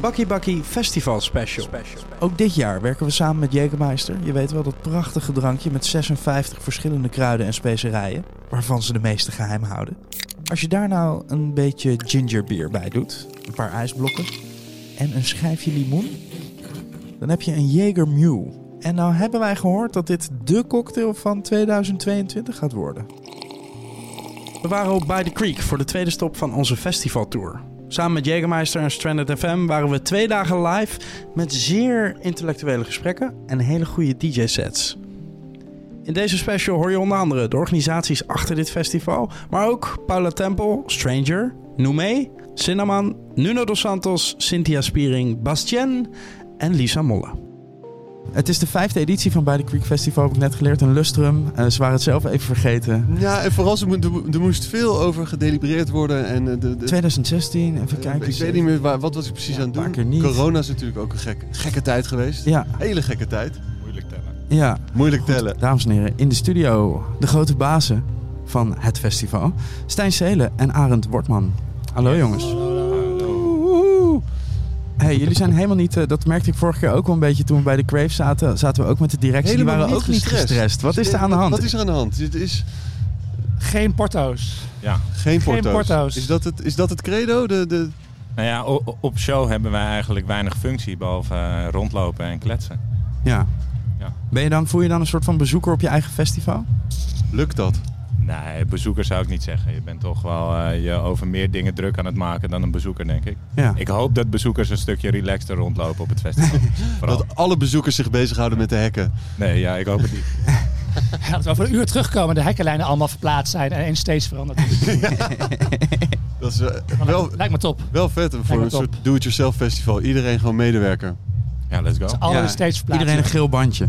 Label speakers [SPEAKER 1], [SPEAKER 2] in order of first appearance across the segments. [SPEAKER 1] Bakkie Bakkie Festival Special. Ook dit jaar werken we samen met Jägermeister. Je weet wel dat prachtige drankje met 56 verschillende kruiden en specerijen, waarvan ze de meeste geheim houden. Als je daar nou een beetje gingerbeer bij doet, een paar ijsblokken en een schijfje limoen, dan heb je een Jaeger Mule. En nou hebben wij gehoord dat dit de cocktail van 2022 gaat worden. We waren ook bij de Creek voor de tweede stop van onze festivaltour. Samen met Jägermeister en Stranded FM waren we twee dagen live met zeer intellectuele gesprekken en hele goede DJ-sets. In deze special hoor je onder andere de organisaties achter dit festival, maar ook Paula Tempel, Stranger, Noemé, Cinnamon, Nuno dos Santos, Cynthia Spiering, Bastien en Lisa Molle. Het is de vijfde editie van Bij de Creek Festival, heb ik net geleerd, in Lustrum. Eh, ze waren het zelf even vergeten.
[SPEAKER 2] Ja, en vooral, ze moet- er, er moest veel over gedelibereerd worden. En eh, de, de,
[SPEAKER 1] 2016, even
[SPEAKER 2] eh,
[SPEAKER 1] kijken.
[SPEAKER 2] ik weet niet meer, waar, wat was ik precies
[SPEAKER 1] Ja,
[SPEAKER 2] aan het
[SPEAKER 1] een
[SPEAKER 2] doen?
[SPEAKER 1] paar keer niet.
[SPEAKER 2] Corona is natuurlijk ook een gek, gekke tijd geweest.
[SPEAKER 1] Ja,
[SPEAKER 2] Hele gekke tijd.
[SPEAKER 3] Moeilijk tellen.
[SPEAKER 1] ja.
[SPEAKER 2] Moeilijk tellen.
[SPEAKER 1] Dames en heren, in de studio de grote bazen van het festival. Stijn Seelen en Arend Wortman. Hallo jongens. Oeh. Hey, jullie zijn helemaal niet, eh, dat merkte ik vorige keer ook wel een beetje toen we bij de Crave zaten, zaten we ook met de directie.
[SPEAKER 2] Helemaal
[SPEAKER 1] die waren ook niet gestrest. Wat
[SPEAKER 2] Dus,
[SPEAKER 1] is er
[SPEAKER 2] eh,
[SPEAKER 1] aan de hand?
[SPEAKER 2] Wat is er aan de hand? Dit is
[SPEAKER 4] Geen porto's.
[SPEAKER 3] Ja.
[SPEAKER 2] geen porto's.
[SPEAKER 4] porto's.
[SPEAKER 2] Is, dat het, is dat het credo? De, de,
[SPEAKER 3] Nou ja, o- o- op show hebben wij eigenlijk weinig functie behalve eh, rondlopen en kletsen.
[SPEAKER 1] Ja.
[SPEAKER 3] Ja.
[SPEAKER 1] Ben je dan, voel je dan een soort van bezoeker op je eigen festival?
[SPEAKER 2] lukt dat?
[SPEAKER 3] Nee, bezoeker zou ik niet zeggen. Je bent toch wel eh, je over meer dingen druk aan het maken dan een bezoeker, denk ik.
[SPEAKER 1] Ja.
[SPEAKER 3] Ik hoop dat bezoekers een stukje relaxter rondlopen op het festival. Vooral.
[SPEAKER 2] Dat alle bezoekers zich bezighouden met de hekken.
[SPEAKER 3] Nee, ja, ik hoop het niet.
[SPEAKER 4] Ja, dat we over een uur terugkomen, de hekkenlijnen allemaal verplaatst zijn en één steeds veranderd. is.
[SPEAKER 2] Dat is eh,
[SPEAKER 4] Maar
[SPEAKER 2] wel,
[SPEAKER 4] dat Lijkt me top.
[SPEAKER 2] wel vet voor
[SPEAKER 4] me
[SPEAKER 2] een
[SPEAKER 4] top.
[SPEAKER 2] soort do-it-yourself festival. Iedereen gewoon medewerker.
[SPEAKER 3] Ja, let's go.
[SPEAKER 4] Alle
[SPEAKER 1] Ja,
[SPEAKER 4] steeds verplaatst.
[SPEAKER 1] Iedereen een geel bandje.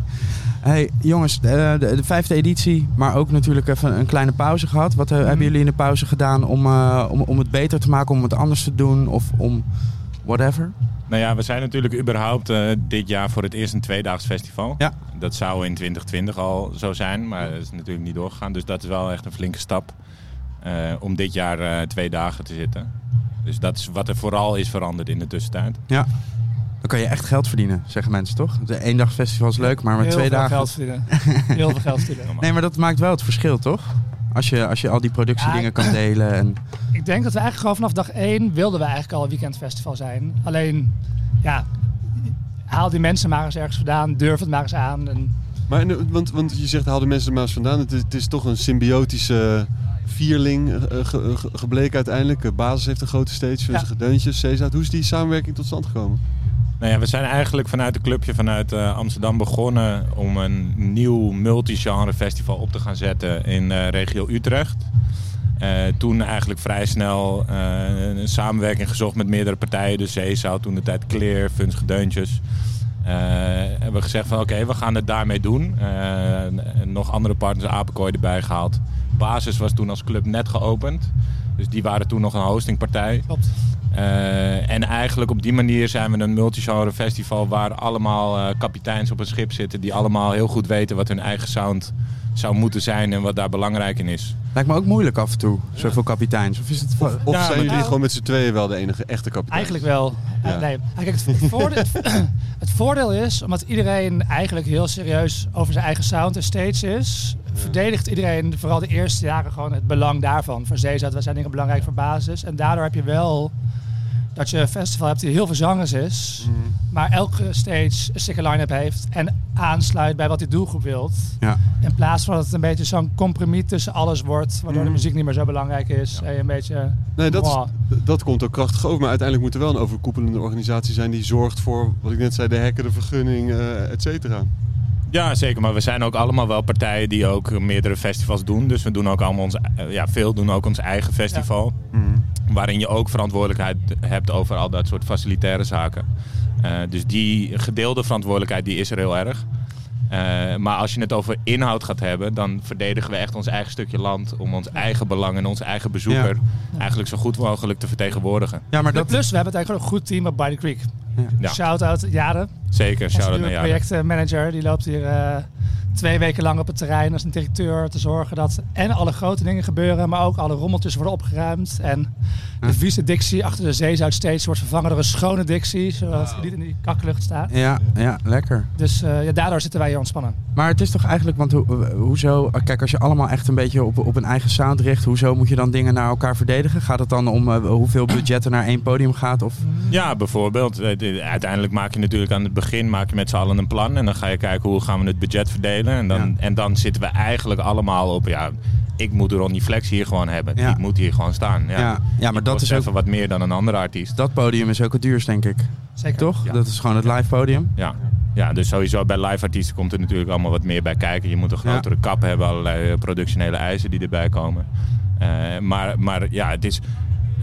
[SPEAKER 1] Hey jongens, de, de, de vijfde editie, maar ook natuurlijk even een kleine pauze gehad. Wat eh,
[SPEAKER 4] Mhm.
[SPEAKER 1] hebben jullie in de pauze gedaan om, eh, om, om het beter te maken, om het anders te doen of om whatever?
[SPEAKER 3] Nou ja, we zijn natuurlijk überhaupt eh, dit jaar voor het eerst een tweedaags festival.
[SPEAKER 1] Ja.
[SPEAKER 3] Dat zou in 2020 al zo zijn, maar dat is natuurlijk niet doorgegaan. Dus dat is wel echt een flinke stap eh, om dit jaar eh, twee dagen te zitten. Dus dat is wat er vooral is veranderd in de tussentijd.
[SPEAKER 1] Ja. Dan kan je echt geld verdienen, zeggen mensen toch? De één dag festival is leuk, maar met
[SPEAKER 4] Heel
[SPEAKER 1] twee
[SPEAKER 4] veel
[SPEAKER 1] dagen.
[SPEAKER 4] Geld verdienen. Heel veel geld verdienen.
[SPEAKER 1] Nee, maar dat maakt wel het verschil, toch? Als je, als je al die productiedingen kan delen. En...
[SPEAKER 4] Ik denk dat we eigenlijk gewoon vanaf dag één wilden we eigenlijk al een weekendfestival zijn. Alleen, ja, haal die mensen maar eens ergens vandaan, durf het maar eens aan. En
[SPEAKER 2] Maar, in de- want, want je zegt, haal de mensen er maar eens vandaan. Het is, het is toch een symbiotische vierling eh, ge- ge- gebleken uiteindelijk. Eh, Basis heeft een grote stage, zijn
[SPEAKER 4] Ja.
[SPEAKER 2] gedeuntjes, Cezaat. Hoe is die samenwerking tot stand gekomen?
[SPEAKER 3] Nou ja, we zijn eigenlijk vanuit een clubje vanuit eh, Amsterdam begonnen om een nieuw multigenre festival op te gaan zetten in eh, regio Utrecht. Eh, toen eigenlijk vrij snel eh, een samenwerking gezocht met meerdere partijen. Dus Zeezaal, toen de tijd Clear, Funs Gedeuntjes. Eh, hebben we gezegd van oké, we gaan het daarmee doen. Eh, en- en nog andere partners, Apenkooi erbij gehaald. Basis was toen als club net geopend. Dus die waren toen nog een hostingpartij.
[SPEAKER 4] klopt.
[SPEAKER 3] Eh, en eigenlijk op die manier zijn we een multigenre festival waar allemaal eh, kapiteins op een schip zitten die allemaal heel goed weten wat hun eigen sound zou moeten zijn en wat daar belangrijk in is.
[SPEAKER 1] Lijkt me ook moeilijk af en toe, zoveel kapiteins. Of is het voor...
[SPEAKER 2] Of
[SPEAKER 3] Ja,
[SPEAKER 2] zijn
[SPEAKER 3] maar-
[SPEAKER 2] jullie
[SPEAKER 4] Nou-
[SPEAKER 2] gewoon met z'n tweeën wel de enige echte kapitein?
[SPEAKER 4] Eigenlijk wel.
[SPEAKER 2] Ja.
[SPEAKER 4] Eh, nee. Ah, kijk, het, voordeel, het voordeel is, omdat iedereen eigenlijk heel serieus over zijn eigen sound en steeds is, verdedigt iedereen vooral de eerste jaren gewoon het belang daarvan. Voor Zeezout, we zijn dingen belangrijk voor basis. En daardoor heb je wel dat je een festival hebt die heel veel zangers is,
[SPEAKER 2] Mhm.
[SPEAKER 4] maar elke stage een stikke line-up heeft en aansluit bij wat die doelgroep wilt.
[SPEAKER 1] Ja.
[SPEAKER 4] In plaats van dat het een beetje zo'n compromis tussen alles wordt, waardoor de
[SPEAKER 2] Mhm.
[SPEAKER 4] muziek niet meer zo belangrijk is. En je een beetje...
[SPEAKER 2] Nee, dat, is-
[SPEAKER 4] Mwah.
[SPEAKER 2] dat komt ook krachtig over. Maar uiteindelijk moet er wel een overkoepelende organisatie zijn die zorgt voor, wat ik net zei, de hekken, de vergunning, eh et cetera.
[SPEAKER 3] Ja, zeker. Maar we zijn ook allemaal wel partijen die ook meerdere festivals doen. Dus we doen ook allemaal ons, eh, ja, veel doen ook ons eigen festival. Waarin je ook verantwoordelijkheid hebt over al dat soort facilitaire zaken. Eh, dus die gedeelde verantwoordelijkheid die is er heel erg. Eh, maar als je het over inhoud gaat hebben, dan verdedigen we echt ons eigen stukje land om ons eigen belang en ons eigen bezoeker eigenlijk zo goed mogelijk te vertegenwoordigen.
[SPEAKER 1] Ja, maar
[SPEAKER 4] Maar
[SPEAKER 1] dat...
[SPEAKER 4] Plus, we hebben het eigenlijk gewoon een goed team op By the Creek.
[SPEAKER 1] Ja.
[SPEAKER 3] Ja.
[SPEAKER 4] Shout-out Jaren.
[SPEAKER 3] Zeker,
[SPEAKER 4] Onze
[SPEAKER 3] shout-out
[SPEAKER 4] nieuwe
[SPEAKER 3] naar jou.
[SPEAKER 4] projectmanager die loopt hier eh, twee weken lang op het terrein als een directeur te zorgen dat en alle grote dingen gebeuren, maar ook alle rommeltjes worden opgeruimd. En de vieze dictie achter de zeezout steeds wordt vervangen door een schone dictie, zodat het niet in die kaklucht staat.
[SPEAKER 1] Ja, ja, lekker.
[SPEAKER 4] Dus eh, ja, daardoor zitten wij hier ontspannen.
[SPEAKER 1] Maar het is toch eigenlijk, want ho- hoezo, eh, kijk, als je allemaal echt een beetje op, op een eigen sound richt, hoezo moet je dan dingen naar elkaar verdedigen? Gaat het dan om eh, hoeveel budget er naar één podium gaat? Of,
[SPEAKER 3] Ja, bijvoorbeeld. Eh, de- Uiteindelijk maak je natuurlijk aan het begin maak je met z'n allen een plan. En dan ga je kijken hoe gaan we het budget verdelen. En dan, en dan zitten we eigenlijk allemaal op. Ja, ik moet Ronnie Flex hier gewoon hebben.
[SPEAKER 1] Ja.
[SPEAKER 3] Die moet hier gewoon staan. Ja,
[SPEAKER 1] ja, ja, maar dat is ook,
[SPEAKER 3] even wat meer dan een andere artiest.
[SPEAKER 1] dat podium is ook het duurst, denk ik.
[SPEAKER 4] Zeker.
[SPEAKER 1] Toch?
[SPEAKER 3] Ja.
[SPEAKER 1] Dat is gewoon het live podium.
[SPEAKER 3] Ja. ja, dus sowieso bij live artiesten komt er natuurlijk allemaal wat meer bij kijken. Je moet een
[SPEAKER 1] Ja.
[SPEAKER 3] grotere kap hebben, allerlei eh, productionele eisen die erbij komen. Eh, maar, maar ja, het is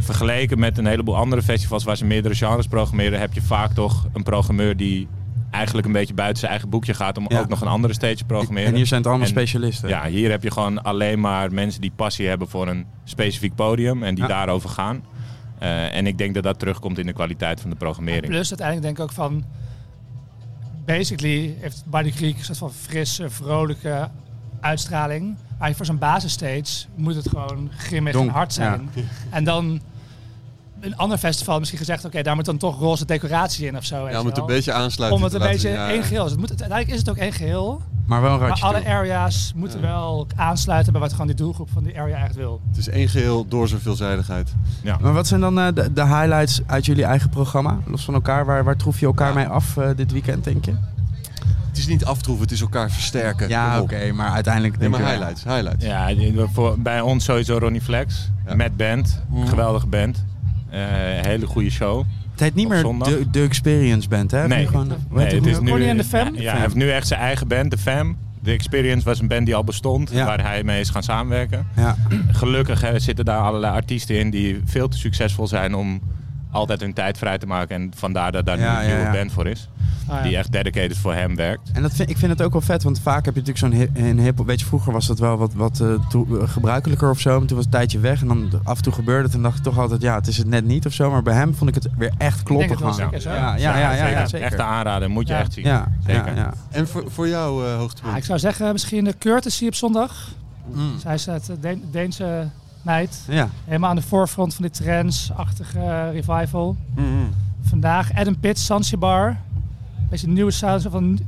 [SPEAKER 3] vergeleken met een heleboel andere festivals waar ze meerdere genres programmeren, heb je vaak toch een programmeur die eigenlijk een beetje buiten zijn eigen boekje gaat om
[SPEAKER 1] Ja.
[SPEAKER 3] ook nog een andere stage te programmeren.
[SPEAKER 1] En hier zijn het allemaal
[SPEAKER 3] En-
[SPEAKER 1] specialisten.
[SPEAKER 3] Ja, hier heb je gewoon alleen maar mensen die passie hebben voor een specifiek podium en die
[SPEAKER 1] Ja.
[SPEAKER 3] daarover gaan. Eh, en ik denk dat dat terugkomt in de kwaliteit van de programmering.
[SPEAKER 4] Plus uiteindelijk denk ik ook van... Basically heeft Barney Creek een soort van frisse, vrolijke uitstraling. Maar voor zo'n basisstage moet het gewoon grimmig
[SPEAKER 1] Donk,
[SPEAKER 4] en hard zijn. En dan een ander festival misschien gezegd... Oké, daar moet dan toch roze decoratie in of zo. weet
[SPEAKER 2] Ja, om
[SPEAKER 4] je
[SPEAKER 2] het een
[SPEAKER 4] wel.
[SPEAKER 2] beetje aansluiten
[SPEAKER 4] Om het
[SPEAKER 2] te
[SPEAKER 4] een
[SPEAKER 2] laten
[SPEAKER 4] beetje
[SPEAKER 2] zien, ja.
[SPEAKER 4] één geheel is. Het moet, uiteindelijk is het ook één geheel.
[SPEAKER 1] Maar wel een
[SPEAKER 4] Maar
[SPEAKER 1] ratje
[SPEAKER 4] alle
[SPEAKER 1] toe.
[SPEAKER 4] area's moeten
[SPEAKER 2] Ja.
[SPEAKER 4] wel aansluiten... bij wat gewoon die doelgroep van die area echt wil.
[SPEAKER 2] Het is één geheel door zijn veelzijdigheid.
[SPEAKER 1] Maar wat zijn dan eh, de, de highlights uit jullie eigen programma? Los van elkaar, waar, waar troef je elkaar mee af eh, dit weekend, denk je?
[SPEAKER 2] Het is niet aftroeven, het is elkaar versterken.
[SPEAKER 1] Ja,
[SPEAKER 2] Kom
[SPEAKER 1] oké,
[SPEAKER 2] op.
[SPEAKER 1] maar uiteindelijk
[SPEAKER 2] Nee,
[SPEAKER 1] denk
[SPEAKER 2] maar
[SPEAKER 1] ik-
[SPEAKER 2] highlights, highlights.
[SPEAKER 3] Ja, voor, bij ons sowieso Ronnie Flex.
[SPEAKER 2] Ja.
[SPEAKER 3] Met band.
[SPEAKER 2] Mhm.
[SPEAKER 3] Geweldige band. Eh, hele goede show.
[SPEAKER 1] Het heet niet
[SPEAKER 3] Op
[SPEAKER 1] meer
[SPEAKER 3] zondag.
[SPEAKER 1] de, de Experience Band, hè? Of nu Gewoon, hoe heet
[SPEAKER 3] Nee,
[SPEAKER 1] het
[SPEAKER 3] het
[SPEAKER 1] nu?
[SPEAKER 3] is nu,
[SPEAKER 4] Ronnie en de Fam?
[SPEAKER 3] Ja, hij heeft nu echt zijn eigen band, de Fam. De Experience was een band die al bestond,
[SPEAKER 1] Ja.
[SPEAKER 3] waar hij mee is gaan samenwerken.
[SPEAKER 1] Ja.
[SPEAKER 3] Gelukkig eh, zitten daar allerlei artiesten in die veel te succesvol zijn om altijd hun tijd vrij te maken. En vandaar dat daar
[SPEAKER 1] Ja,
[SPEAKER 3] nu een
[SPEAKER 1] ja,
[SPEAKER 3] nieuwe
[SPEAKER 1] ja.
[SPEAKER 3] band voor is.
[SPEAKER 4] Ah, ja.
[SPEAKER 3] Die echt dedicated voor hem werkt.
[SPEAKER 1] En dat vind, ik vind het ook wel vet, want vaak heb je natuurlijk zo'n hi- een hip Weet je, vroeger was dat wel wat, wat eh, toe- eh, gebruikelijker of zo. Maar toen was het een tijdje weg en dan af en toe gebeurde het. En dacht ik toch altijd, ja, het is het net niet of zo. Maar bij hem vond ik het weer echt kloppen
[SPEAKER 4] het wel
[SPEAKER 1] gewoon.
[SPEAKER 4] zeker zo.
[SPEAKER 1] Ja, ja, ja, ja, ja, zeker.
[SPEAKER 3] Echte aanrader, moet je
[SPEAKER 4] Ja.
[SPEAKER 3] echt zien.
[SPEAKER 1] Ja,
[SPEAKER 3] Zeker.
[SPEAKER 1] ja, ja.
[SPEAKER 2] En voor, voor jou, eh, hoogtepunt?
[SPEAKER 4] Ah, ik zou zeggen misschien de Curtis hier op zondag.
[SPEAKER 1] Mm.
[SPEAKER 4] Zij is uit de Deense meid.
[SPEAKER 1] Ja,
[SPEAKER 4] Helemaal aan de voorfront van dit trance-achtige eh, revival.
[SPEAKER 1] Mm-hmm.
[SPEAKER 2] Mhm.
[SPEAKER 4] Vandaag Adam Pitt, Zanzibar. Beetje een nieuwe sound van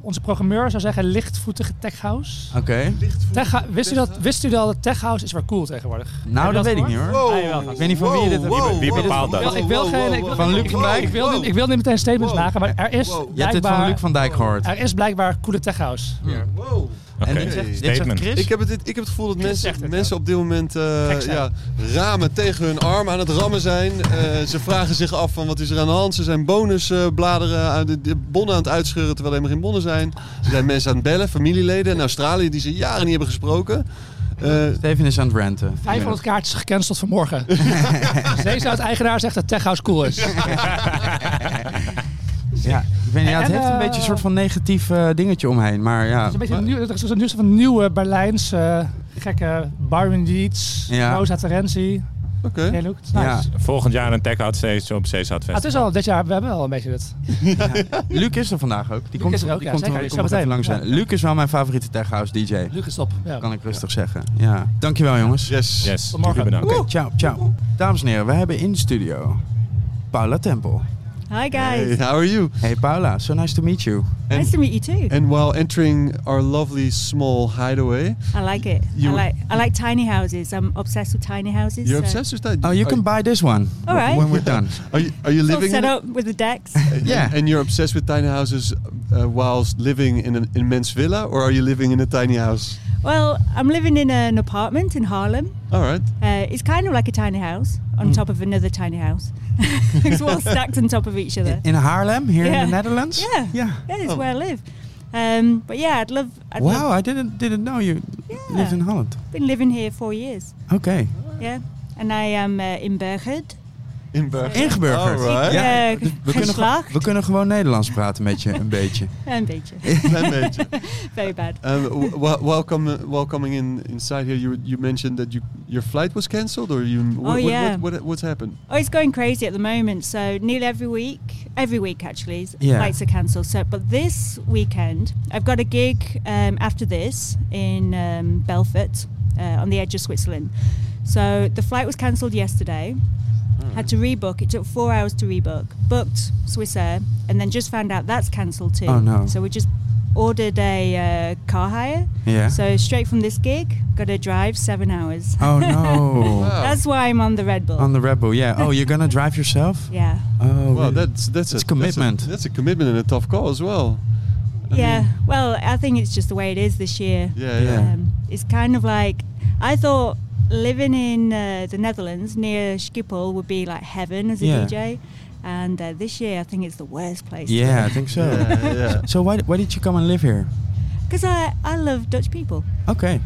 [SPEAKER 4] onze programmeur zou zeggen lichtvoetige tech house.
[SPEAKER 1] oké.
[SPEAKER 4] Tech, hou- wist, u dat, wist u dat het tech house is weer cool tegenwoordig?
[SPEAKER 1] Nou, dat weet ik niet hoor.
[SPEAKER 4] Ah, jawel, gast.
[SPEAKER 1] Ik weet niet van wie dit...
[SPEAKER 2] Wow, wow,
[SPEAKER 3] Wie
[SPEAKER 2] wow,
[SPEAKER 3] bepaalt
[SPEAKER 2] wow,
[SPEAKER 3] dat?
[SPEAKER 4] Ik wil
[SPEAKER 2] wow,
[SPEAKER 4] geen-
[SPEAKER 2] wow,
[SPEAKER 4] ik wil-
[SPEAKER 1] Van Luc van Dijk?
[SPEAKER 4] Ik wil,
[SPEAKER 2] wow.
[SPEAKER 4] niet, ik wil niet meteen statements
[SPEAKER 2] Wow.
[SPEAKER 4] maken, maar er is
[SPEAKER 2] Wow.
[SPEAKER 1] Je hebt dit van Luc
[SPEAKER 4] blijkbaar,
[SPEAKER 1] van Dijk gehoord.
[SPEAKER 4] er is blijkbaar coole tech house.
[SPEAKER 2] Wow.
[SPEAKER 3] Oké,
[SPEAKER 1] En dit zegt, dit zegt
[SPEAKER 3] statement.
[SPEAKER 1] Chris?
[SPEAKER 2] Ik heb, het, ik heb het gevoel dat
[SPEAKER 4] zegt
[SPEAKER 2] mensen,
[SPEAKER 4] het,
[SPEAKER 2] mensen op dit moment eh,
[SPEAKER 4] Gek zijn.
[SPEAKER 2] ja, ramen tegen hun arm aan het rammen zijn. Eh, ze vragen zich af van wat is er aan de hand. Ze zijn bonusbladeren, aan de, de bonnen aan het uitscheuren terwijl er helemaal geen bonnen zijn. Ze zijn mensen aan het bellen, familieleden in Australië die ze jaren niet hebben gesproken. Eh,
[SPEAKER 1] Steven is aan het ranten.
[SPEAKER 4] 500 kaartjes gecanceld vanmorgen. Zeezout-eigenaar zegt dat Tech House cool is.
[SPEAKER 1] Ja, ik weet niet, ja, het
[SPEAKER 4] En,
[SPEAKER 1] heeft een
[SPEAKER 4] eh,
[SPEAKER 1] beetje een soort van negatief eh, dingetje omheen. Maar ja,
[SPEAKER 4] Het is een beetje nieuw, het is een nieuws van nieuwe Berlijns eh, gekke Byron Yeats,
[SPEAKER 1] Ja.
[SPEAKER 4] Rosa Terenzi.
[SPEAKER 2] Oké.
[SPEAKER 4] Nee, Luke, het is nice.
[SPEAKER 1] Ja.
[SPEAKER 3] Volgend jaar een tech-out stage op Zeeshad
[SPEAKER 4] Ah, het is al dit jaar, we hebben wel een beetje dit.
[SPEAKER 1] Luc is er vandaag ook. Die komt,
[SPEAKER 4] is er ook,
[SPEAKER 1] die
[SPEAKER 4] ja,
[SPEAKER 1] komt,
[SPEAKER 4] zeker.
[SPEAKER 1] die
[SPEAKER 4] Zo
[SPEAKER 1] komt even
[SPEAKER 4] meteen.
[SPEAKER 1] langs.
[SPEAKER 4] Ja.
[SPEAKER 1] Luc is wel mijn favoriete tech house DJ.
[SPEAKER 4] Luke is op. Ja.
[SPEAKER 1] Kan ik rustig zeggen. Ja. Dankjewel jongens.
[SPEAKER 2] Yes.
[SPEAKER 3] Yes,
[SPEAKER 4] Tot morgen.
[SPEAKER 3] jullie bedankt.
[SPEAKER 1] Oké, ciao, ciao. Dames en heren, we hebben in de studio Paula Tempel.
[SPEAKER 5] Hi
[SPEAKER 2] Hey,
[SPEAKER 5] guys.
[SPEAKER 2] how are you?
[SPEAKER 1] Hey Paula, so nice to meet you.
[SPEAKER 2] En-
[SPEAKER 5] nice to meet you too.
[SPEAKER 2] And while entering our lovely small hideaway,
[SPEAKER 5] I like it.
[SPEAKER 2] You-
[SPEAKER 5] I like I like tiny houses. I'm obsessed with tiny houses.
[SPEAKER 2] you're
[SPEAKER 5] so-
[SPEAKER 2] obsessed with that.
[SPEAKER 1] Oh, you
[SPEAKER 2] Are-
[SPEAKER 1] can buy this one
[SPEAKER 5] All right.
[SPEAKER 1] when we're done.
[SPEAKER 2] Are you, are you
[SPEAKER 5] It's all
[SPEAKER 2] living?
[SPEAKER 5] set
[SPEAKER 2] in it?
[SPEAKER 5] up with the decks.
[SPEAKER 1] Yeah.
[SPEAKER 2] And you're obsessed with tiny houses uh, whilst living in an immense villa, or are you living in a tiny house?
[SPEAKER 5] well, I'm living in an apartment in Harlem.
[SPEAKER 2] All right.
[SPEAKER 5] Uh, it's kind of like a tiny house
[SPEAKER 2] Mm.
[SPEAKER 5] on top of another tiny house. it's all stacked on top of each other.
[SPEAKER 1] In Haarlem, here in
[SPEAKER 5] Yeah.
[SPEAKER 1] the Netherlands.
[SPEAKER 5] Yeah.
[SPEAKER 1] Yeah.
[SPEAKER 5] Yeah, it's
[SPEAKER 2] Oh.
[SPEAKER 5] where I live. Um, but yeah, I'd love. I'd
[SPEAKER 1] Wow,
[SPEAKER 5] love-
[SPEAKER 1] I didn't didn't know you lived in Holland.
[SPEAKER 5] been living here four years.
[SPEAKER 1] Okay.
[SPEAKER 5] Yeah, and I am uh, in Berghut,
[SPEAKER 2] Inburger.
[SPEAKER 1] Ingeburgerd.
[SPEAKER 2] Alright.
[SPEAKER 1] Ja,
[SPEAKER 5] Ja,
[SPEAKER 1] we, kunnen, ge-
[SPEAKER 5] geslaagd.
[SPEAKER 1] we kunnen gewoon Nederlands praten met je, een beetje.
[SPEAKER 5] Een beetje.
[SPEAKER 2] Klein beetje.
[SPEAKER 5] Very bad.
[SPEAKER 2] Um, w- w- welcome, uh, welcoming in inside here. You you mentioned that you your flight was cancelled, or you. wh-
[SPEAKER 5] Oh,
[SPEAKER 2] wh-
[SPEAKER 5] yeah.
[SPEAKER 2] What, what, what's happened?
[SPEAKER 5] Oh, it's going crazy at the moment. So nearly every week, every week actually, s-
[SPEAKER 1] Yeah.
[SPEAKER 5] flights are cancelled. So, but this weekend, I've got a gig um, after this in um, Belfort, uh, on the edge of Switzerland. So the flight was cancelled yesterday.
[SPEAKER 1] Hmm.
[SPEAKER 5] Had to rebook. It took four hours to rebook. Booked Swiss Air, and then just found out that's cancelled too.
[SPEAKER 1] Oh, no.
[SPEAKER 5] So we just ordered a uh, car hire.
[SPEAKER 1] Yeah.
[SPEAKER 5] So straight from this gig, got to drive seven hours.
[SPEAKER 1] Oh no.
[SPEAKER 2] Wow.
[SPEAKER 5] That's why I'm on the Red Bull.
[SPEAKER 1] On the Rebel, yeah. Oh, you're gonna drive yourself?
[SPEAKER 5] yeah.
[SPEAKER 1] Oh,
[SPEAKER 2] Well,
[SPEAKER 1] really?
[SPEAKER 2] that's that's
[SPEAKER 1] It's
[SPEAKER 2] a
[SPEAKER 1] commitment.
[SPEAKER 2] That's a, that's a commitment and a tough call as well. I
[SPEAKER 5] Yeah,
[SPEAKER 2] mean,
[SPEAKER 5] well, I think it's just the way it is this year.
[SPEAKER 2] yeah.
[SPEAKER 1] Yeah.
[SPEAKER 2] Yeah.
[SPEAKER 5] Um, it's kind of like I thought living in uh, the Netherlands near Schiphol would be like heaven as a
[SPEAKER 1] Yeah.
[SPEAKER 5] DJ, and uh, this year I think it's the worst place.
[SPEAKER 1] yeah, I think so.
[SPEAKER 2] Yeah, yeah.
[SPEAKER 1] So why why did you come and live here?
[SPEAKER 5] because I I love Dutch people.
[SPEAKER 1] Okay.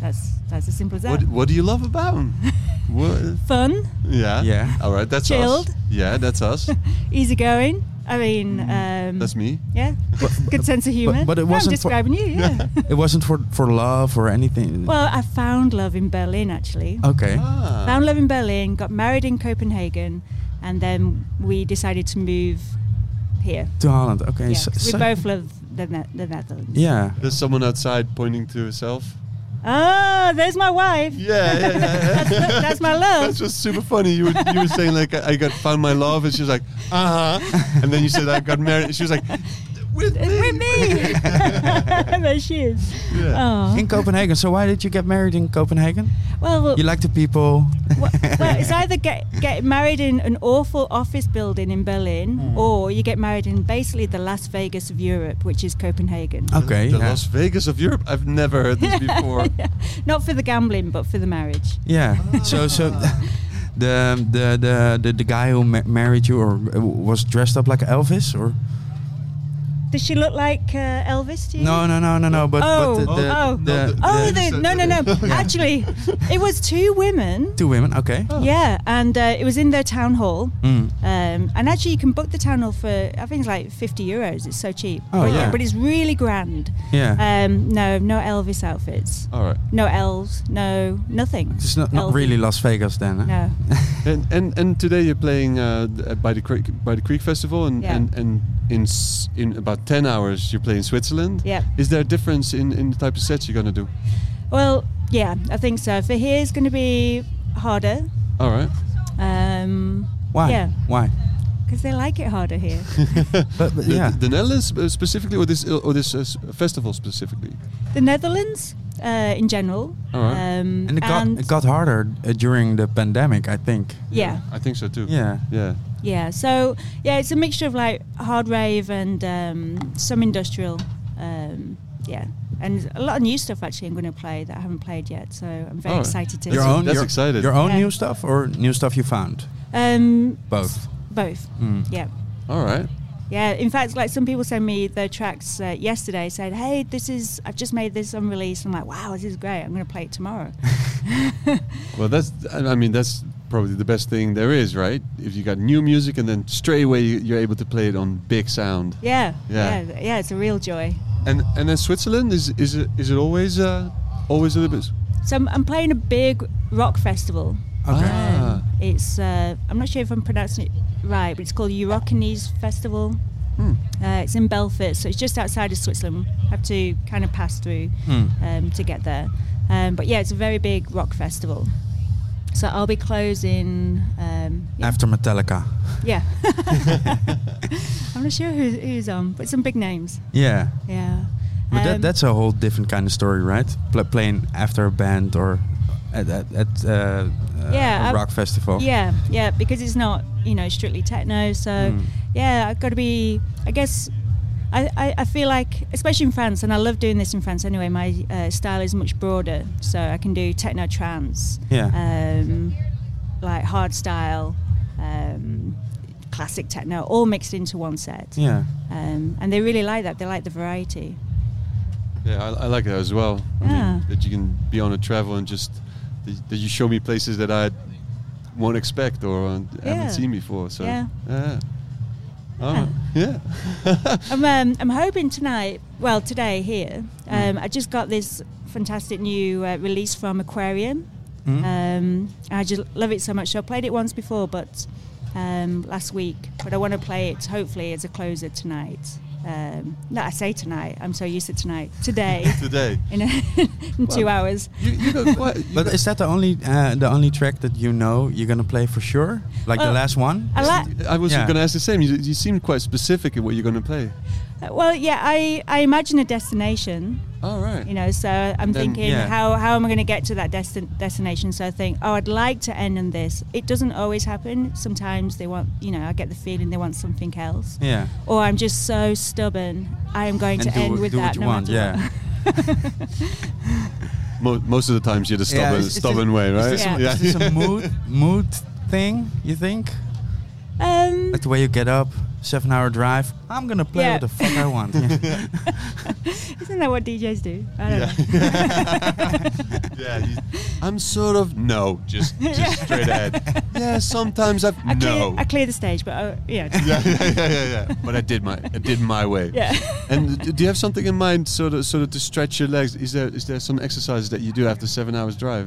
[SPEAKER 5] That's that's as simple as that.
[SPEAKER 2] What What do you love about him? what,
[SPEAKER 5] Fun,
[SPEAKER 2] yeah.
[SPEAKER 1] Yeah.
[SPEAKER 2] All right. That's
[SPEAKER 5] Chilled.
[SPEAKER 2] us. Yeah. That's us.
[SPEAKER 5] easygoing. I mean, um,
[SPEAKER 2] Mm. that's me.
[SPEAKER 5] Yeah, good, good sense of humor.
[SPEAKER 1] but it
[SPEAKER 5] I'm
[SPEAKER 1] wasn't for-
[SPEAKER 5] describing you. Yeah.
[SPEAKER 1] It wasn't for for love or anything.
[SPEAKER 5] well, I found love in Berlin actually.
[SPEAKER 1] okay.
[SPEAKER 2] Ah.
[SPEAKER 5] Found love in Berlin, got married in Copenhagen, and then we decided to move here.
[SPEAKER 1] To Holland. Okay.
[SPEAKER 5] Yeah,
[SPEAKER 1] so-
[SPEAKER 5] 'cause we
[SPEAKER 1] so-
[SPEAKER 5] both love the, Ne- the Netherlands.
[SPEAKER 1] Yeah.
[SPEAKER 2] There's someone outside pointing to herself.
[SPEAKER 5] Oh, there's my wife.
[SPEAKER 2] Yeah, yeah, yeah.
[SPEAKER 5] That's, that's my love.
[SPEAKER 2] That's just super funny. You were, you were saying like I I got found my love, and she was like, uh huh. And then you said I got married, and she was like, with me.
[SPEAKER 5] It's with me. there she is.
[SPEAKER 2] Yeah.
[SPEAKER 5] Oh.
[SPEAKER 1] In Copenhagen. So why did you get married in Copenhagen?
[SPEAKER 5] Well,
[SPEAKER 1] You like the people.
[SPEAKER 5] well, well, it's either get, get married in an awful office building in Berlin,
[SPEAKER 1] Hmm.
[SPEAKER 5] or you get married in basically the Las Vegas of Europe, which is Copenhagen.
[SPEAKER 1] Okay.
[SPEAKER 2] The
[SPEAKER 1] yeah.
[SPEAKER 2] Las Vegas of Europe. I've never heard this before.
[SPEAKER 5] Not for the gambling, but for the marriage.
[SPEAKER 1] Yeah. So so the the the the, the guy who ma- married you or uh, was dressed up like Elvis or
[SPEAKER 5] Does she look like uh, Elvis to you?
[SPEAKER 1] No, no, no, no, no, but
[SPEAKER 5] Oh,
[SPEAKER 1] but the, the,
[SPEAKER 5] oh.
[SPEAKER 1] the,
[SPEAKER 2] No,
[SPEAKER 5] Oh,
[SPEAKER 1] the-
[SPEAKER 2] Yeah.
[SPEAKER 5] the, no, no, no. Actually, it was two women.
[SPEAKER 1] two women. Okay.
[SPEAKER 5] Yeah, and uh, it was in their town hall.
[SPEAKER 1] Mm.
[SPEAKER 5] Um, and actually, you can book the town hall for, I think it's like 50 euros. It's so cheap.
[SPEAKER 1] Oh,
[SPEAKER 5] but,
[SPEAKER 1] yeah.
[SPEAKER 5] but it's really grand.
[SPEAKER 1] Yeah.
[SPEAKER 5] Um, no, no Elvis outfits.
[SPEAKER 2] All right.
[SPEAKER 5] No elves. No, nothing.
[SPEAKER 1] It's not, not
[SPEAKER 5] Elvis.
[SPEAKER 1] really Las Vegas then. Hè?
[SPEAKER 5] No.
[SPEAKER 2] And and and today you're playing uh, th- uh, by the creek by the Creek Festival, and
[SPEAKER 5] Yeah.
[SPEAKER 2] and and in s- in about ten hours you play in Switzerland.
[SPEAKER 5] Yeah.
[SPEAKER 2] Is there a difference in in the type of sets you're gonna do?
[SPEAKER 5] Well, yeah, I think so. For here, it's going to be harder.
[SPEAKER 2] All right.
[SPEAKER 5] Um,
[SPEAKER 1] Why?
[SPEAKER 5] Yeah,
[SPEAKER 1] Why?
[SPEAKER 5] because they like it harder here.
[SPEAKER 1] But, but
[SPEAKER 2] The,
[SPEAKER 1] yeah.
[SPEAKER 2] the Netherlands uh, specifically, or this or this uh, s- festival specifically.
[SPEAKER 5] the Netherlands, uh, in general.
[SPEAKER 2] Alright.
[SPEAKER 5] Um,
[SPEAKER 1] and it got, it got harder uh, during the pandemic, I think.
[SPEAKER 5] yeah.
[SPEAKER 2] I think so too.
[SPEAKER 1] Yeah.
[SPEAKER 2] Yeah.
[SPEAKER 5] Yeah, so yeah, it's a mixture of like hard rave and um, some industrial, um, yeah, and a lot of new stuff actually. I'm going to play that I haven't played yet, so I'm very
[SPEAKER 2] Oh.
[SPEAKER 5] excited to.
[SPEAKER 2] That's-
[SPEAKER 1] your own,
[SPEAKER 2] that's
[SPEAKER 1] your,
[SPEAKER 2] excited.
[SPEAKER 1] Your own
[SPEAKER 5] Yeah.
[SPEAKER 1] new stuff or new stuff you found?
[SPEAKER 5] um,
[SPEAKER 1] Both.
[SPEAKER 5] both,
[SPEAKER 1] Mm.
[SPEAKER 5] yeah,
[SPEAKER 2] Hmm. All right.
[SPEAKER 5] yeah. In fact, like some people sent me their tracks uh, yesterday, said, "Hey, this is I've just made this unreleased." I'm like, "Wow, this is great! I'm going to play it tomorrow."
[SPEAKER 2] Well, that's I I mean that's probably the best thing there is, right? If you got new music and then straight away you- you're able to play it on big sound.
[SPEAKER 5] yeah,
[SPEAKER 2] Yeah.
[SPEAKER 5] yeah, yeah, It's a real joy.
[SPEAKER 2] And and then Switzerland is is it, is it always uh, always a little bit.
[SPEAKER 5] So I'm, I'm playing a big rock festival. Um,
[SPEAKER 1] Okay.
[SPEAKER 2] Ah.
[SPEAKER 5] It's uh, I'm not sure if I'm pronouncing it right, but it's called Eurocanese Festival.
[SPEAKER 2] Hmm.
[SPEAKER 5] Uh, it's in Belfort, so it's just outside of Switzerland. Have to kind of pass through
[SPEAKER 1] Hmm.
[SPEAKER 5] um, to get there. Um, but yeah, it's a very big rock festival. So I'll be closing. Um, yeah,
[SPEAKER 1] After Metallica.
[SPEAKER 5] yeah. I'm not sure who, who's on, but some big names.
[SPEAKER 1] Yeah.
[SPEAKER 5] Yeah.
[SPEAKER 1] But that,
[SPEAKER 5] Um,
[SPEAKER 1] that's a whole different kind of story, right? Pla playing after a band or at, at, at uh, uh,
[SPEAKER 5] Yeah,
[SPEAKER 1] a
[SPEAKER 5] I-
[SPEAKER 1] rock festival.
[SPEAKER 5] Yeah, yeah, because it's not you know strictly techno. So
[SPEAKER 1] Mm.
[SPEAKER 5] yeah, I've got to be. I guess I, I, I feel like, especially in France, and I love doing this in France anyway. My uh, style is much broader, so I can do techno trance,
[SPEAKER 1] Yeah.
[SPEAKER 5] um, like hard style, um, classic techno, all mixed into one set.
[SPEAKER 1] Yeah.
[SPEAKER 5] Um, and they really like that. They like the variety.
[SPEAKER 2] Yeah, I, I like that as well. I
[SPEAKER 5] Yeah.
[SPEAKER 2] mean, that you can be on a travel and just that you show me places that I won't expect or uh,
[SPEAKER 5] Yeah.
[SPEAKER 2] haven't seen before. So
[SPEAKER 5] Yeah.
[SPEAKER 2] yeah. Alright. yeah.
[SPEAKER 5] I'm, um, I'm hoping tonight, well, today here,
[SPEAKER 2] Mm.
[SPEAKER 5] um, I just got this fantastic new uh, release from Aquarium.
[SPEAKER 2] Mm.
[SPEAKER 5] Um, I just love it so much. So I played it once before, but um, last week. But I want to play it hopefully as a closer tonight. Um, no, I say tonight. I'm so used to tonight. Today,
[SPEAKER 2] Today.
[SPEAKER 5] in, a, in two
[SPEAKER 2] Wow.
[SPEAKER 5] hours.
[SPEAKER 2] You, you got quite. You
[SPEAKER 1] But
[SPEAKER 2] got-
[SPEAKER 1] is that the only uh, the only track that you know you're gonna play for sure? Like the
[SPEAKER 5] Well,
[SPEAKER 1] last one?
[SPEAKER 5] I like.
[SPEAKER 2] I was
[SPEAKER 1] Yeah.
[SPEAKER 2] going to ask the same. You, you seem quite specific in what you're going to play.
[SPEAKER 5] Well, yeah, I, I imagine a destination.
[SPEAKER 2] All right.
[SPEAKER 5] you know so i'm
[SPEAKER 2] Then,
[SPEAKER 5] thinking
[SPEAKER 1] yeah.
[SPEAKER 5] how, how am i going to get to that desti- destination so i think oh i'd like to end on this it doesn't always happen sometimes they want you know i get the feeling they want something else
[SPEAKER 1] yeah.
[SPEAKER 5] or i'm just so stubborn i am going
[SPEAKER 1] And
[SPEAKER 5] to
[SPEAKER 1] do
[SPEAKER 5] end
[SPEAKER 1] what-
[SPEAKER 5] with
[SPEAKER 1] do
[SPEAKER 5] that
[SPEAKER 1] what you
[SPEAKER 5] no
[SPEAKER 1] want,
[SPEAKER 5] matter
[SPEAKER 1] yeah.
[SPEAKER 5] what.
[SPEAKER 2] Mo- most of the times you're the
[SPEAKER 1] Yeah,
[SPEAKER 2] stubborn,
[SPEAKER 1] it's- it's
[SPEAKER 2] stubborn
[SPEAKER 1] just-
[SPEAKER 2] way,
[SPEAKER 1] is
[SPEAKER 2] right?
[SPEAKER 1] this
[SPEAKER 5] Yeah.
[SPEAKER 1] a- Is this a mood mood thing? You think?
[SPEAKER 5] um
[SPEAKER 1] Like the way you get up, seven hour drive. I'm gonna play
[SPEAKER 5] Yeah.
[SPEAKER 1] what the fuck I want. Yeah.
[SPEAKER 5] isn't that what djs do i don't know
[SPEAKER 2] yeah, you- I'm sort of no, just just straight ahead. Yeah, sometimes I've
[SPEAKER 5] I clear,
[SPEAKER 2] no.
[SPEAKER 5] I clear the stage, but uh, yeah,
[SPEAKER 2] yeah, yeah, yeah, yeah, yeah. But I did my I did my way.
[SPEAKER 5] yeah.
[SPEAKER 2] And d- do you have something in mind, sort of, sort of to stretch your legs? Is there is there some exercises that you do after seven hours drive?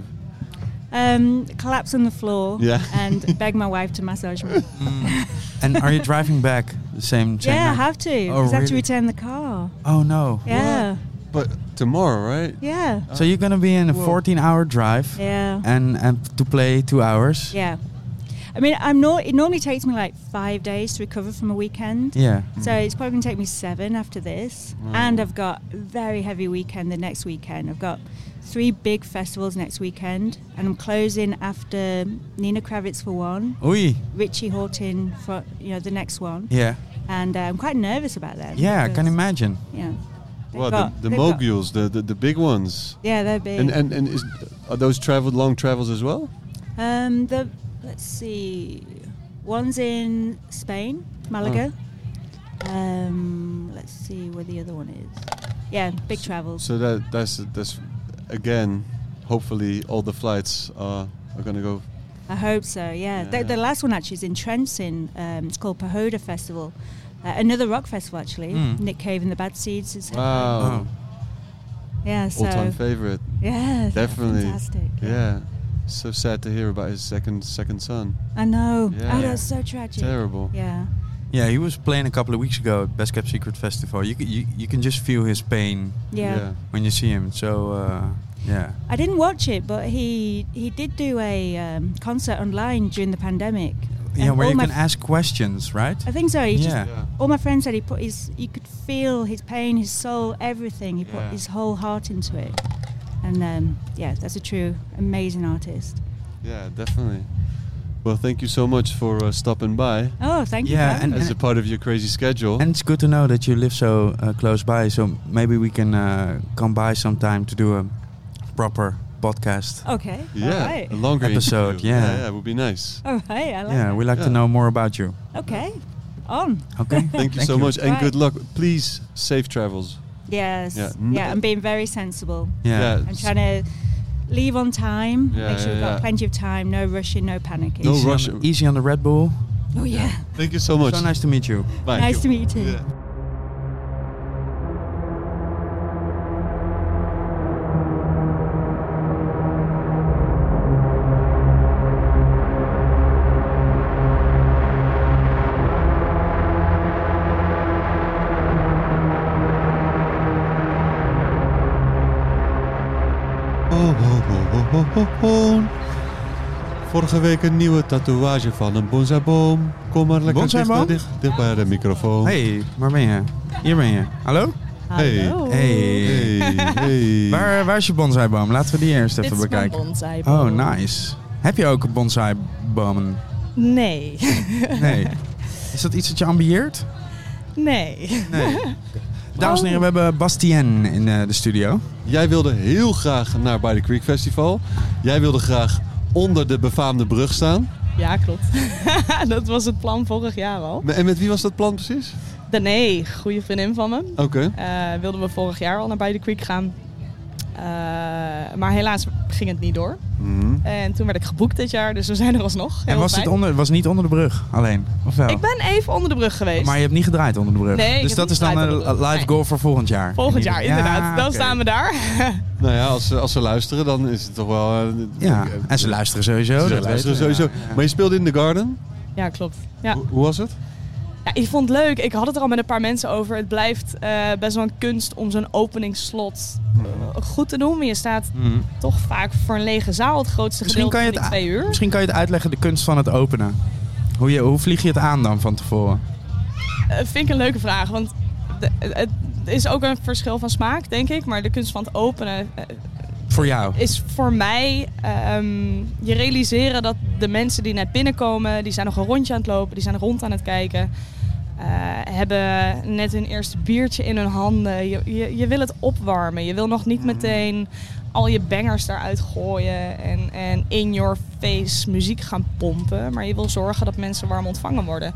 [SPEAKER 5] Um, collapse on the floor
[SPEAKER 2] Yeah.
[SPEAKER 5] and beg my wife to massage me.
[SPEAKER 1] Mm. and are you driving back the same? same
[SPEAKER 5] yeah, I
[SPEAKER 1] night?
[SPEAKER 5] have to.
[SPEAKER 1] Oh,
[SPEAKER 5] 'cause I have to
[SPEAKER 1] really?
[SPEAKER 5] return the car.
[SPEAKER 1] Oh no.
[SPEAKER 5] Yeah,
[SPEAKER 2] But tomorrow, right?
[SPEAKER 5] yeah,
[SPEAKER 1] So you're gonna be in a 14 hour drive
[SPEAKER 5] yeah.
[SPEAKER 1] and and to play two hours.
[SPEAKER 5] Yeah. I mean, I'm not. It normally takes me like five days to recover from a weekend.
[SPEAKER 1] Yeah.
[SPEAKER 5] So it's probably going to take me seven after this. And I've got a very heavy weekend the next weekend. I've got three big festivals next weekend, and I'm closing after Nina Kravitz for one,
[SPEAKER 1] Oei.
[SPEAKER 5] Richie Horton for you know the next one,
[SPEAKER 1] Yeah.
[SPEAKER 5] and uh, I'm quite nervous about them.
[SPEAKER 1] Yeah. I can
[SPEAKER 5] because,
[SPEAKER 1] imagine.
[SPEAKER 5] Yeah. They've got-
[SPEAKER 2] Well, the, the
[SPEAKER 5] they've got-
[SPEAKER 2] moguls, the, the the big ones.
[SPEAKER 5] Yeah, they're big.
[SPEAKER 2] And and and is, are those traveled long travels as well?
[SPEAKER 5] Um, the let's see, one's in Spain, Malaga.
[SPEAKER 2] Oh.
[SPEAKER 5] Um, let's see where the other one is. Yeah, big travels.
[SPEAKER 2] So that that's that's again, hopefully all the flights are are gonna go.
[SPEAKER 5] I hope so. Yeah, The, the last one actually is in Trenton. Um, it's called Pahoda Festival, uh, another rock festival actually. Nick Cave and the Bad Seeds is
[SPEAKER 2] Hmm. Wow,
[SPEAKER 1] Oh.
[SPEAKER 5] yeah. So
[SPEAKER 2] all time favorite,
[SPEAKER 5] yeah, they're
[SPEAKER 2] definitely.
[SPEAKER 5] fantastic.
[SPEAKER 2] Yeah, so sad to hear about his second second son.
[SPEAKER 5] I know.
[SPEAKER 2] Yeah.
[SPEAKER 5] Oh, that's so tragic.
[SPEAKER 2] Terrible.
[SPEAKER 5] Yeah,
[SPEAKER 1] Yeah, he was playing a couple of weeks ago at Best Kept Secret Festival. You c- you, you can just feel his pain
[SPEAKER 5] yeah.
[SPEAKER 1] when you see him. So uh, yeah.
[SPEAKER 5] I didn't watch it, but he he did do a um, concert online during the pandemic.
[SPEAKER 1] Yeah,
[SPEAKER 5] And
[SPEAKER 1] where
[SPEAKER 5] all
[SPEAKER 1] you
[SPEAKER 5] my
[SPEAKER 1] can ask questions, right?
[SPEAKER 5] I think so. He
[SPEAKER 1] Yeah.
[SPEAKER 5] just all my friends said he put his you could feel his pain, his soul, everything. He put
[SPEAKER 2] Yeah.
[SPEAKER 5] his whole heart into it. And um, yeah, that's a true amazing artist.
[SPEAKER 2] Yeah, definitely. Well, thank you so much for uh, stopping by
[SPEAKER 5] Oh, thank you.
[SPEAKER 1] Yeah,
[SPEAKER 5] Frank.
[SPEAKER 1] and-
[SPEAKER 2] as a part of your crazy schedule.
[SPEAKER 1] And it's good to know that you live so uh, close by. So maybe we can uh, come by sometime to do a proper podcast.
[SPEAKER 5] okay.
[SPEAKER 2] yeah,
[SPEAKER 5] All right.
[SPEAKER 2] a longer
[SPEAKER 1] Episode,
[SPEAKER 2] interview.
[SPEAKER 1] yeah.
[SPEAKER 2] yeah, it would be nice.
[SPEAKER 5] All right. I like
[SPEAKER 1] Yeah, we like to
[SPEAKER 2] Yeah.
[SPEAKER 1] know more about you.
[SPEAKER 5] that. Okay. On.
[SPEAKER 1] Okay.
[SPEAKER 2] Thank you so much, and
[SPEAKER 5] Right.
[SPEAKER 2] good luck. Please, safe travels.
[SPEAKER 5] Yes.
[SPEAKER 2] Yeah.
[SPEAKER 5] Yeah. I'm being very sensible.
[SPEAKER 1] Yeah.
[SPEAKER 5] I'm trying to leave on time.
[SPEAKER 2] Yeah,
[SPEAKER 5] make sure
[SPEAKER 2] yeah,
[SPEAKER 5] we've got
[SPEAKER 2] yeah.
[SPEAKER 5] plenty of time. No rushing. No panicking.
[SPEAKER 2] No
[SPEAKER 1] Easy on,
[SPEAKER 2] rush.
[SPEAKER 1] the- easy on the Red Bull.
[SPEAKER 5] Oh yeah.
[SPEAKER 2] Thank you so much.
[SPEAKER 1] So nice to meet you.
[SPEAKER 2] Bye.
[SPEAKER 5] Nice to meet you. too.
[SPEAKER 2] Yeah. Oh, oh, oh, oh, oh, oh, oh. Vorige week een nieuwe tatoeage van een bonsaiboom. Kom maar lekker dicht,
[SPEAKER 1] Bonsaiboom?
[SPEAKER 2] dicht, dicht bij de microfoon.
[SPEAKER 1] Hey, waar ben je? Hier ben je. Hallo?
[SPEAKER 2] Hey.
[SPEAKER 6] Hallo.
[SPEAKER 1] Hey.
[SPEAKER 2] hey, hey.
[SPEAKER 1] Waar, waar is je bonsaiboom? Laten we die eerst
[SPEAKER 6] Dit
[SPEAKER 1] even
[SPEAKER 6] is mijn
[SPEAKER 1] bekijken.
[SPEAKER 6] bonsaiboom.
[SPEAKER 1] Oh, nice. Heb je ook bonsaibomen?
[SPEAKER 6] Nee,
[SPEAKER 1] Nee. Is dat iets dat je ambieert?
[SPEAKER 6] nee. Oh.
[SPEAKER 1] Nee. Dames en heren, we hebben Bastien in eh, de studio.
[SPEAKER 2] Jij wilde heel graag naar By the Creek Festival. Jij wilde graag onder de befaamde brug staan.
[SPEAKER 6] Ja, klopt. dat was het plan vorig jaar al.
[SPEAKER 2] En met wie was dat plan precies?
[SPEAKER 6] Dané, goede vriendin van me.
[SPEAKER 2] Oké.
[SPEAKER 6] eh, wilden we vorig jaar al naar By the Creek gaan. Eh, maar helaas ging het niet door.
[SPEAKER 2] Mhm.
[SPEAKER 6] En toen werd ik geboekt dit jaar, dus we zijn er alsnog.
[SPEAKER 1] En
[SPEAKER 6] Heel
[SPEAKER 1] was
[SPEAKER 6] fijn.
[SPEAKER 1] het, onder, was niet onder de brug alleen? Of wel?
[SPEAKER 6] Ik ben even onder de brug geweest.
[SPEAKER 1] Maar je hebt niet gedraaid onder de brug.
[SPEAKER 6] Nee, ik
[SPEAKER 1] dus
[SPEAKER 6] heb
[SPEAKER 1] dat
[SPEAKER 6] niet
[SPEAKER 1] is dan
[SPEAKER 6] gedraaid
[SPEAKER 1] een
[SPEAKER 6] onder de brug.
[SPEAKER 1] live
[SPEAKER 6] Nee.
[SPEAKER 1] goal voor volgend jaar.
[SPEAKER 6] Volgend
[SPEAKER 1] In
[SPEAKER 6] jaar,
[SPEAKER 1] ieder-
[SPEAKER 6] inderdaad.
[SPEAKER 1] Ja,
[SPEAKER 6] Dan
[SPEAKER 1] oké.
[SPEAKER 6] staan we daar.
[SPEAKER 2] Nou ja, als ze, als ze luisteren, dan is het toch wel... eh,
[SPEAKER 1] Ja,
[SPEAKER 2] eh,
[SPEAKER 1] en ze luisteren sowieso.
[SPEAKER 2] ze
[SPEAKER 1] dat
[SPEAKER 2] luisteren
[SPEAKER 1] weten we.
[SPEAKER 2] sowieso. Maar je speelde in The Garden.
[SPEAKER 6] Ja, klopt. Ja.
[SPEAKER 2] Hoe, hoe was het?
[SPEAKER 6] Ja, ik vond het leuk. Ik had het er al met een paar mensen over. Het blijft eh, best wel een kunst om zo'n openingsslot eh, goed te doen. Maar je staat
[SPEAKER 1] Mhm.
[SPEAKER 6] toch vaak voor een lege zaal het grootste
[SPEAKER 1] Misschien
[SPEAKER 6] gedeelte
[SPEAKER 1] kan, je
[SPEAKER 6] van
[SPEAKER 1] het,
[SPEAKER 6] die twee
[SPEAKER 1] a-
[SPEAKER 6] uur.
[SPEAKER 1] misschien kan je het uitleggen, de kunst van het openen. Hoe, je, hoe vlieg je het aan dan van tevoren?
[SPEAKER 6] Eh, vind ik een leuke vraag, want de- het is ook een verschil van smaak, denk ik. Maar de kunst van het openen eh,
[SPEAKER 1] Voor jou.
[SPEAKER 6] is voor mij ehm, je realiseren dat de mensen die net binnenkomen, die zijn nog een rondje aan het lopen, die zijn rond aan het kijken. eh, hebben net hun eerste biertje in hun handen. Je, je, je wil het opwarmen. Je wil nog niet meteen al je bangers eruit gooien en, en in your face muziek gaan pompen. Maar je wil zorgen dat mensen warm ontvangen worden.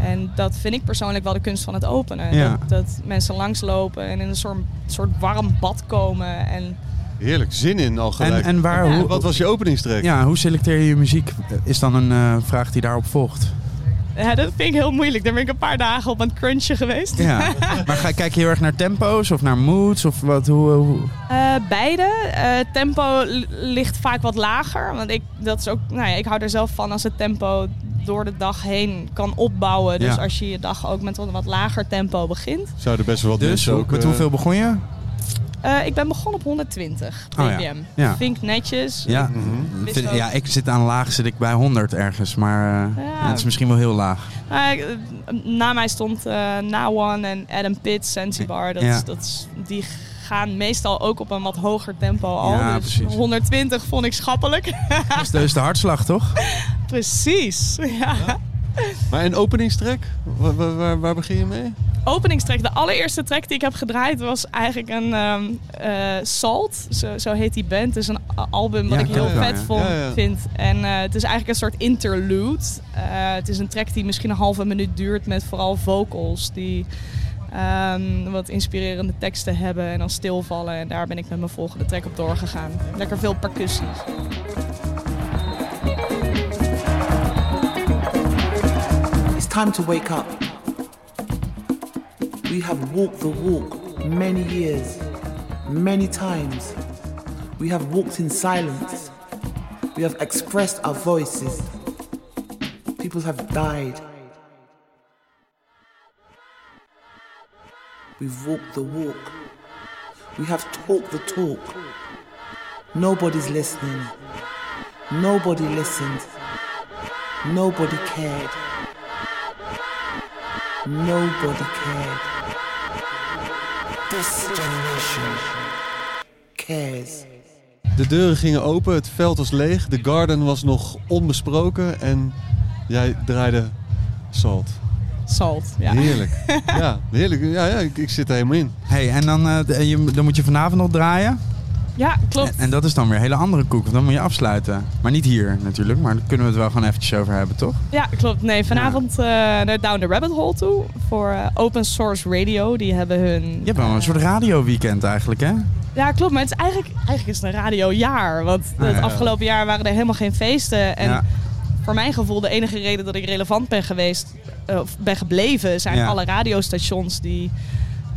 [SPEAKER 6] En dat vind ik persoonlijk wel de kunst van het openen.
[SPEAKER 1] Ja.
[SPEAKER 6] Dat, dat mensen langslopen en in een soort, soort warm bad komen. En
[SPEAKER 2] Heerlijk, zin in al
[SPEAKER 1] En,
[SPEAKER 2] gelijk.
[SPEAKER 1] en waar,
[SPEAKER 6] Ja.
[SPEAKER 1] hoe,
[SPEAKER 2] Wat was je openingstrek?
[SPEAKER 1] ja, hoe selecteer je je muziek? Is dan een eh, vraag die daarop volgt.
[SPEAKER 6] Ja, dat vind ik heel moeilijk. Daar ben ik een paar dagen op aan het crunchen geweest.
[SPEAKER 1] Ja. maar ga, kijk je heel erg naar tempo's of naar moods? Of wat, hoe, hoe-
[SPEAKER 6] Eh, beide. Eh, tempo li- ligt vaak wat lager. Want ik, dat is ook, nou ja, ik hou er zelf van als het tempo door de dag heen kan opbouwen. Dus
[SPEAKER 1] Ja.
[SPEAKER 6] als je je dag ook met een wat lager tempo begint.
[SPEAKER 2] Zouden best wel wat
[SPEAKER 1] Dus
[SPEAKER 2] mensen
[SPEAKER 1] hoe-
[SPEAKER 2] ook...
[SPEAKER 1] met
[SPEAKER 2] eh,
[SPEAKER 1] hoeveel begon je?
[SPEAKER 6] Eh, ik ben begonnen op 120
[SPEAKER 1] Oh ja.
[SPEAKER 6] bpm.
[SPEAKER 1] Ja.
[SPEAKER 6] Vind ik netjes.
[SPEAKER 1] Ja, Mm-hmm.
[SPEAKER 2] Mhm.
[SPEAKER 1] vind- ja, ik zit aan laag, zit ik bij 100 ergens. Maar eh,
[SPEAKER 6] Ja.
[SPEAKER 1] het is misschien wel heel laag.
[SPEAKER 6] Eh, ik- na mij stond eh Nawan en Adam Pitt, Zanzibar. Dat
[SPEAKER 1] Ja.
[SPEAKER 6] is, dat is, die gaan meestal ook op een wat hoger tempo al.
[SPEAKER 1] Ja,
[SPEAKER 6] dus
[SPEAKER 1] precies.
[SPEAKER 6] 120 vond ik schappelijk.
[SPEAKER 1] Dus dat is de hartslag, toch?
[SPEAKER 6] Precies. Ja.
[SPEAKER 2] Maar een openingstrek? Waar, waar- waar, waar begin je mee?
[SPEAKER 6] Openingstrek, de allereerste track die ik heb gedraaid was eigenlijk een ehm, eh, Salt. Zo, zo heet die band. Het is een a- album wat
[SPEAKER 1] Ja,
[SPEAKER 6] ik heel
[SPEAKER 1] klopt wel,
[SPEAKER 6] vet
[SPEAKER 1] ja.
[SPEAKER 6] vond,
[SPEAKER 2] Ja, ja.
[SPEAKER 6] vind. En eh, het is eigenlijk een soort interlude. Eh, het is een track die misschien een halve minuut duurt met vooral vocals die ehm, wat inspirerende teksten hebben en dan stilvallen. En daar ben ik met mijn volgende track op doorgegaan. Lekker veel percussie.
[SPEAKER 7] It's time to wake up. We have walked the walk many years, many times. We have walked in silence. We have expressed our voices. People have died. We've walked the walk. We have talked the talk. Nobody's listening. Nobody listened. Nobody cared. Nobody cared. This generation cares.
[SPEAKER 2] De deuren gingen open, het veld was leeg, de garden was nog onbesproken en jij draaide salt.
[SPEAKER 6] Salt, ja.
[SPEAKER 2] Heerlijk. ja, heerlijk. Ja, ja ik, ik zit er helemaal in.
[SPEAKER 1] hey, en dan, eh, de- je, dan moet je vanavond nog draaien.
[SPEAKER 6] Ja, klopt.
[SPEAKER 1] En, en dat is dan weer een hele andere koek. want Dan moet je afsluiten. Maar niet hier natuurlijk. Maar daar kunnen we het wel gewoon eventjes over hebben, toch?
[SPEAKER 6] Ja, klopt. Nee, vanavond eh, naar Down the Rabbit Hole toe voor eh, Open Source Radio. Die hebben hun...
[SPEAKER 1] Je hebt wel een soort radioweekend eigenlijk, hè?
[SPEAKER 6] Ja, klopt. Maar het is eigenlijk, eigenlijk is het een radiojaar. Want
[SPEAKER 1] Ah,
[SPEAKER 6] het
[SPEAKER 1] ja.
[SPEAKER 6] afgelopen jaar waren er helemaal geen feesten. En
[SPEAKER 1] Ja.
[SPEAKER 6] voor mijn gevoel de enige reden dat ik relevant ben geweest... eh, of ben gebleven, zijn
[SPEAKER 1] Ja.
[SPEAKER 6] alle radiostations die...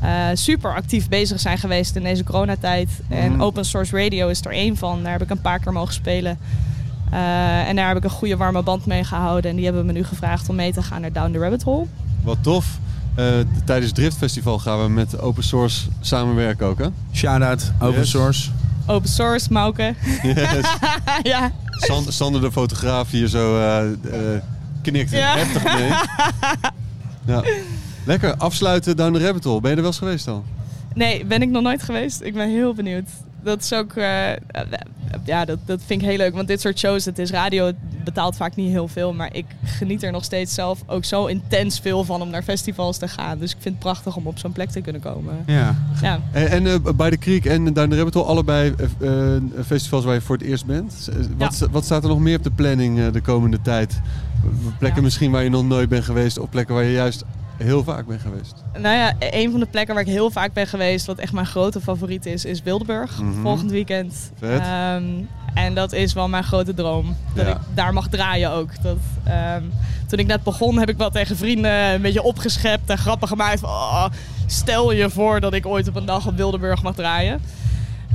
[SPEAKER 6] eh, super actief bezig zijn geweest in deze coronatijd.
[SPEAKER 1] Mm.
[SPEAKER 6] En Open Source Radio is er één van. Daar heb ik een paar keer mogen spelen. Eh, en daar heb ik een goede warme band mee gehouden. En die hebben me nu gevraagd om mee te gaan naar Down the Rabbit Hole.
[SPEAKER 2] Wat tof. Eh, tijdens Drift Festival gaan we met open source samenwerken ook, hè?
[SPEAKER 1] Shout-out, open
[SPEAKER 2] Yes.
[SPEAKER 1] source.
[SPEAKER 6] Open source, Mauke.
[SPEAKER 2] Yes.
[SPEAKER 6] ja.
[SPEAKER 2] San- Sander de fotograaf hier zo eh, eh, knikt
[SPEAKER 6] Ja.
[SPEAKER 2] heftig mee. ja. Lekker, afsluiten Down the Rabbit Hole. Ben je er wel eens geweest al?
[SPEAKER 6] Nee, ben ik nog nooit geweest. Ik ben heel benieuwd. Dat is ook... eh, eh, ja, dat, dat vind ik heel leuk. Want dit soort shows, het is radio, het betaalt vaak niet heel veel. Maar ik geniet er nog steeds zelf ook zo intens veel van om naar festivals te gaan. Dus ik vind het prachtig om op zo'n plek te kunnen komen.
[SPEAKER 1] Ja.
[SPEAKER 6] Ja.
[SPEAKER 2] En, en eh, bij de Creek en Down the Rabbit Hole, allebei eh, eh, festivals waar je voor het eerst bent. Z- Wat, sta- wat staat er nog meer op de planning eh, de komende tijd? Plekken
[SPEAKER 6] Ja.
[SPEAKER 2] misschien waar je nog nooit bent geweest of plekken waar je juist heel vaak bent geweest.
[SPEAKER 6] Nou ja, een van de plekken waar ik heel vaak ben geweest, wat echt mijn grote favoriet is, is Wildeburg. Volgend weekend.
[SPEAKER 2] Mhm. Vet.
[SPEAKER 6] Ehm, En dat is wel mijn grote droom. Dat
[SPEAKER 2] Ja.
[SPEAKER 6] ik daar mag draaien ook. Dat, ehm, toen ik net begon heb ik wel tegen vrienden een beetje opgeschept en grappen gemaakt. Van, "Oh, stel je voor dat ik ooit op een dag op Wildeburg mag draaien.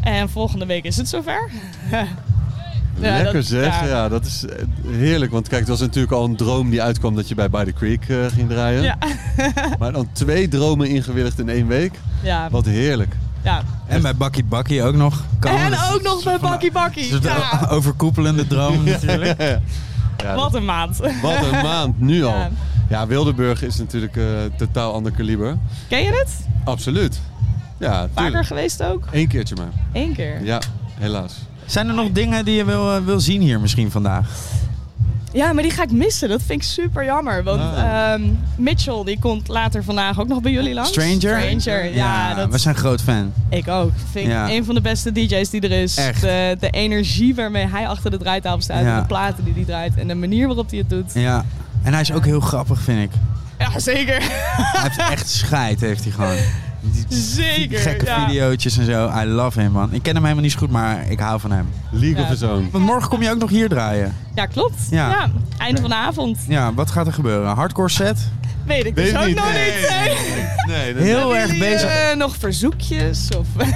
[SPEAKER 6] En volgende week is het zover. Ja,
[SPEAKER 2] Lekker
[SPEAKER 6] dat-
[SPEAKER 2] zeg. Ja.
[SPEAKER 6] ja.
[SPEAKER 2] dat is eh, heerlijk. Want kijk, het was natuurlijk al een droom die uitkwam dat je bij By the Creek eh, ging draaien.
[SPEAKER 6] Ja.
[SPEAKER 2] Maar dan twee dromen ingewilligd in één week.
[SPEAKER 6] Ja,
[SPEAKER 2] Wat heerlijk.
[SPEAKER 6] ja.
[SPEAKER 1] En bij Bakkie Bakkie ook nog. Kan.
[SPEAKER 6] En
[SPEAKER 1] Dat is
[SPEAKER 6] ook nog bij Bakkie Bakkie.
[SPEAKER 1] een eh,
[SPEAKER 6] Ja,
[SPEAKER 1] overkoepelende droom natuurlijk.
[SPEAKER 2] Ja,
[SPEAKER 6] wat een maand.
[SPEAKER 2] Wat een maand, nu al.
[SPEAKER 6] Ja.
[SPEAKER 2] Ja, Wildeburg is natuurlijk eh, totaal ander kaliber.
[SPEAKER 6] Ken je het?
[SPEAKER 2] Absoluut. Ja,
[SPEAKER 6] Vaker
[SPEAKER 2] tuurlijk.
[SPEAKER 6] geweest ook?
[SPEAKER 2] Eén keertje maar.
[SPEAKER 6] Eén keer.
[SPEAKER 2] Ja, helaas.
[SPEAKER 1] Zijn er nog dingen die je wil, eh, wil zien hier misschien vandaag?
[SPEAKER 6] Ja, maar die ga ik missen. Dat vind ik super jammer. Want
[SPEAKER 2] Ah.
[SPEAKER 6] ehm, Mitchell die komt later vandaag ook nog bij jullie langs.
[SPEAKER 1] Stranger?
[SPEAKER 6] Stranger, ja. dat
[SPEAKER 1] We zijn groot fan.
[SPEAKER 6] Ik ook. Vind ik
[SPEAKER 1] Ja.
[SPEAKER 6] een van de beste DJ's die er is.
[SPEAKER 1] Echt.
[SPEAKER 6] De, de energie waarmee hij achter de draaitafel staat.
[SPEAKER 1] Ja.
[SPEAKER 6] En de platen die hij draait. En de manier waarop hij het doet.
[SPEAKER 1] Ja. En hij is ook heel grappig, vind ik.
[SPEAKER 6] Ja, zeker.
[SPEAKER 1] Hij heeft echt scheid, heeft hij gewoon. Die- die
[SPEAKER 6] Zeker,
[SPEAKER 1] Gekke
[SPEAKER 6] ja.
[SPEAKER 1] videootjes en zo. I love him, man. Ik ken hem helemaal niet zo goed, maar ik hou van hem.
[SPEAKER 2] League
[SPEAKER 6] Ja.
[SPEAKER 2] of His Own.
[SPEAKER 1] Want morgen kom je ook nog hier draaien.
[SPEAKER 6] Ja, klopt.
[SPEAKER 1] Ja.
[SPEAKER 6] Ja. Einde van de avond.
[SPEAKER 1] Ja, wat gaat er gebeuren? Een Hardcore set?
[SPEAKER 6] Weet ik
[SPEAKER 2] Weet
[SPEAKER 6] dus
[SPEAKER 2] ik
[SPEAKER 6] ook
[SPEAKER 2] niet.
[SPEAKER 6] nog
[SPEAKER 2] Nee.
[SPEAKER 6] niet. Nee.
[SPEAKER 2] Nee, dat
[SPEAKER 1] Heel erg
[SPEAKER 6] Hebben jullie,
[SPEAKER 1] bezig.
[SPEAKER 6] eh, nog verzoekjes? Of...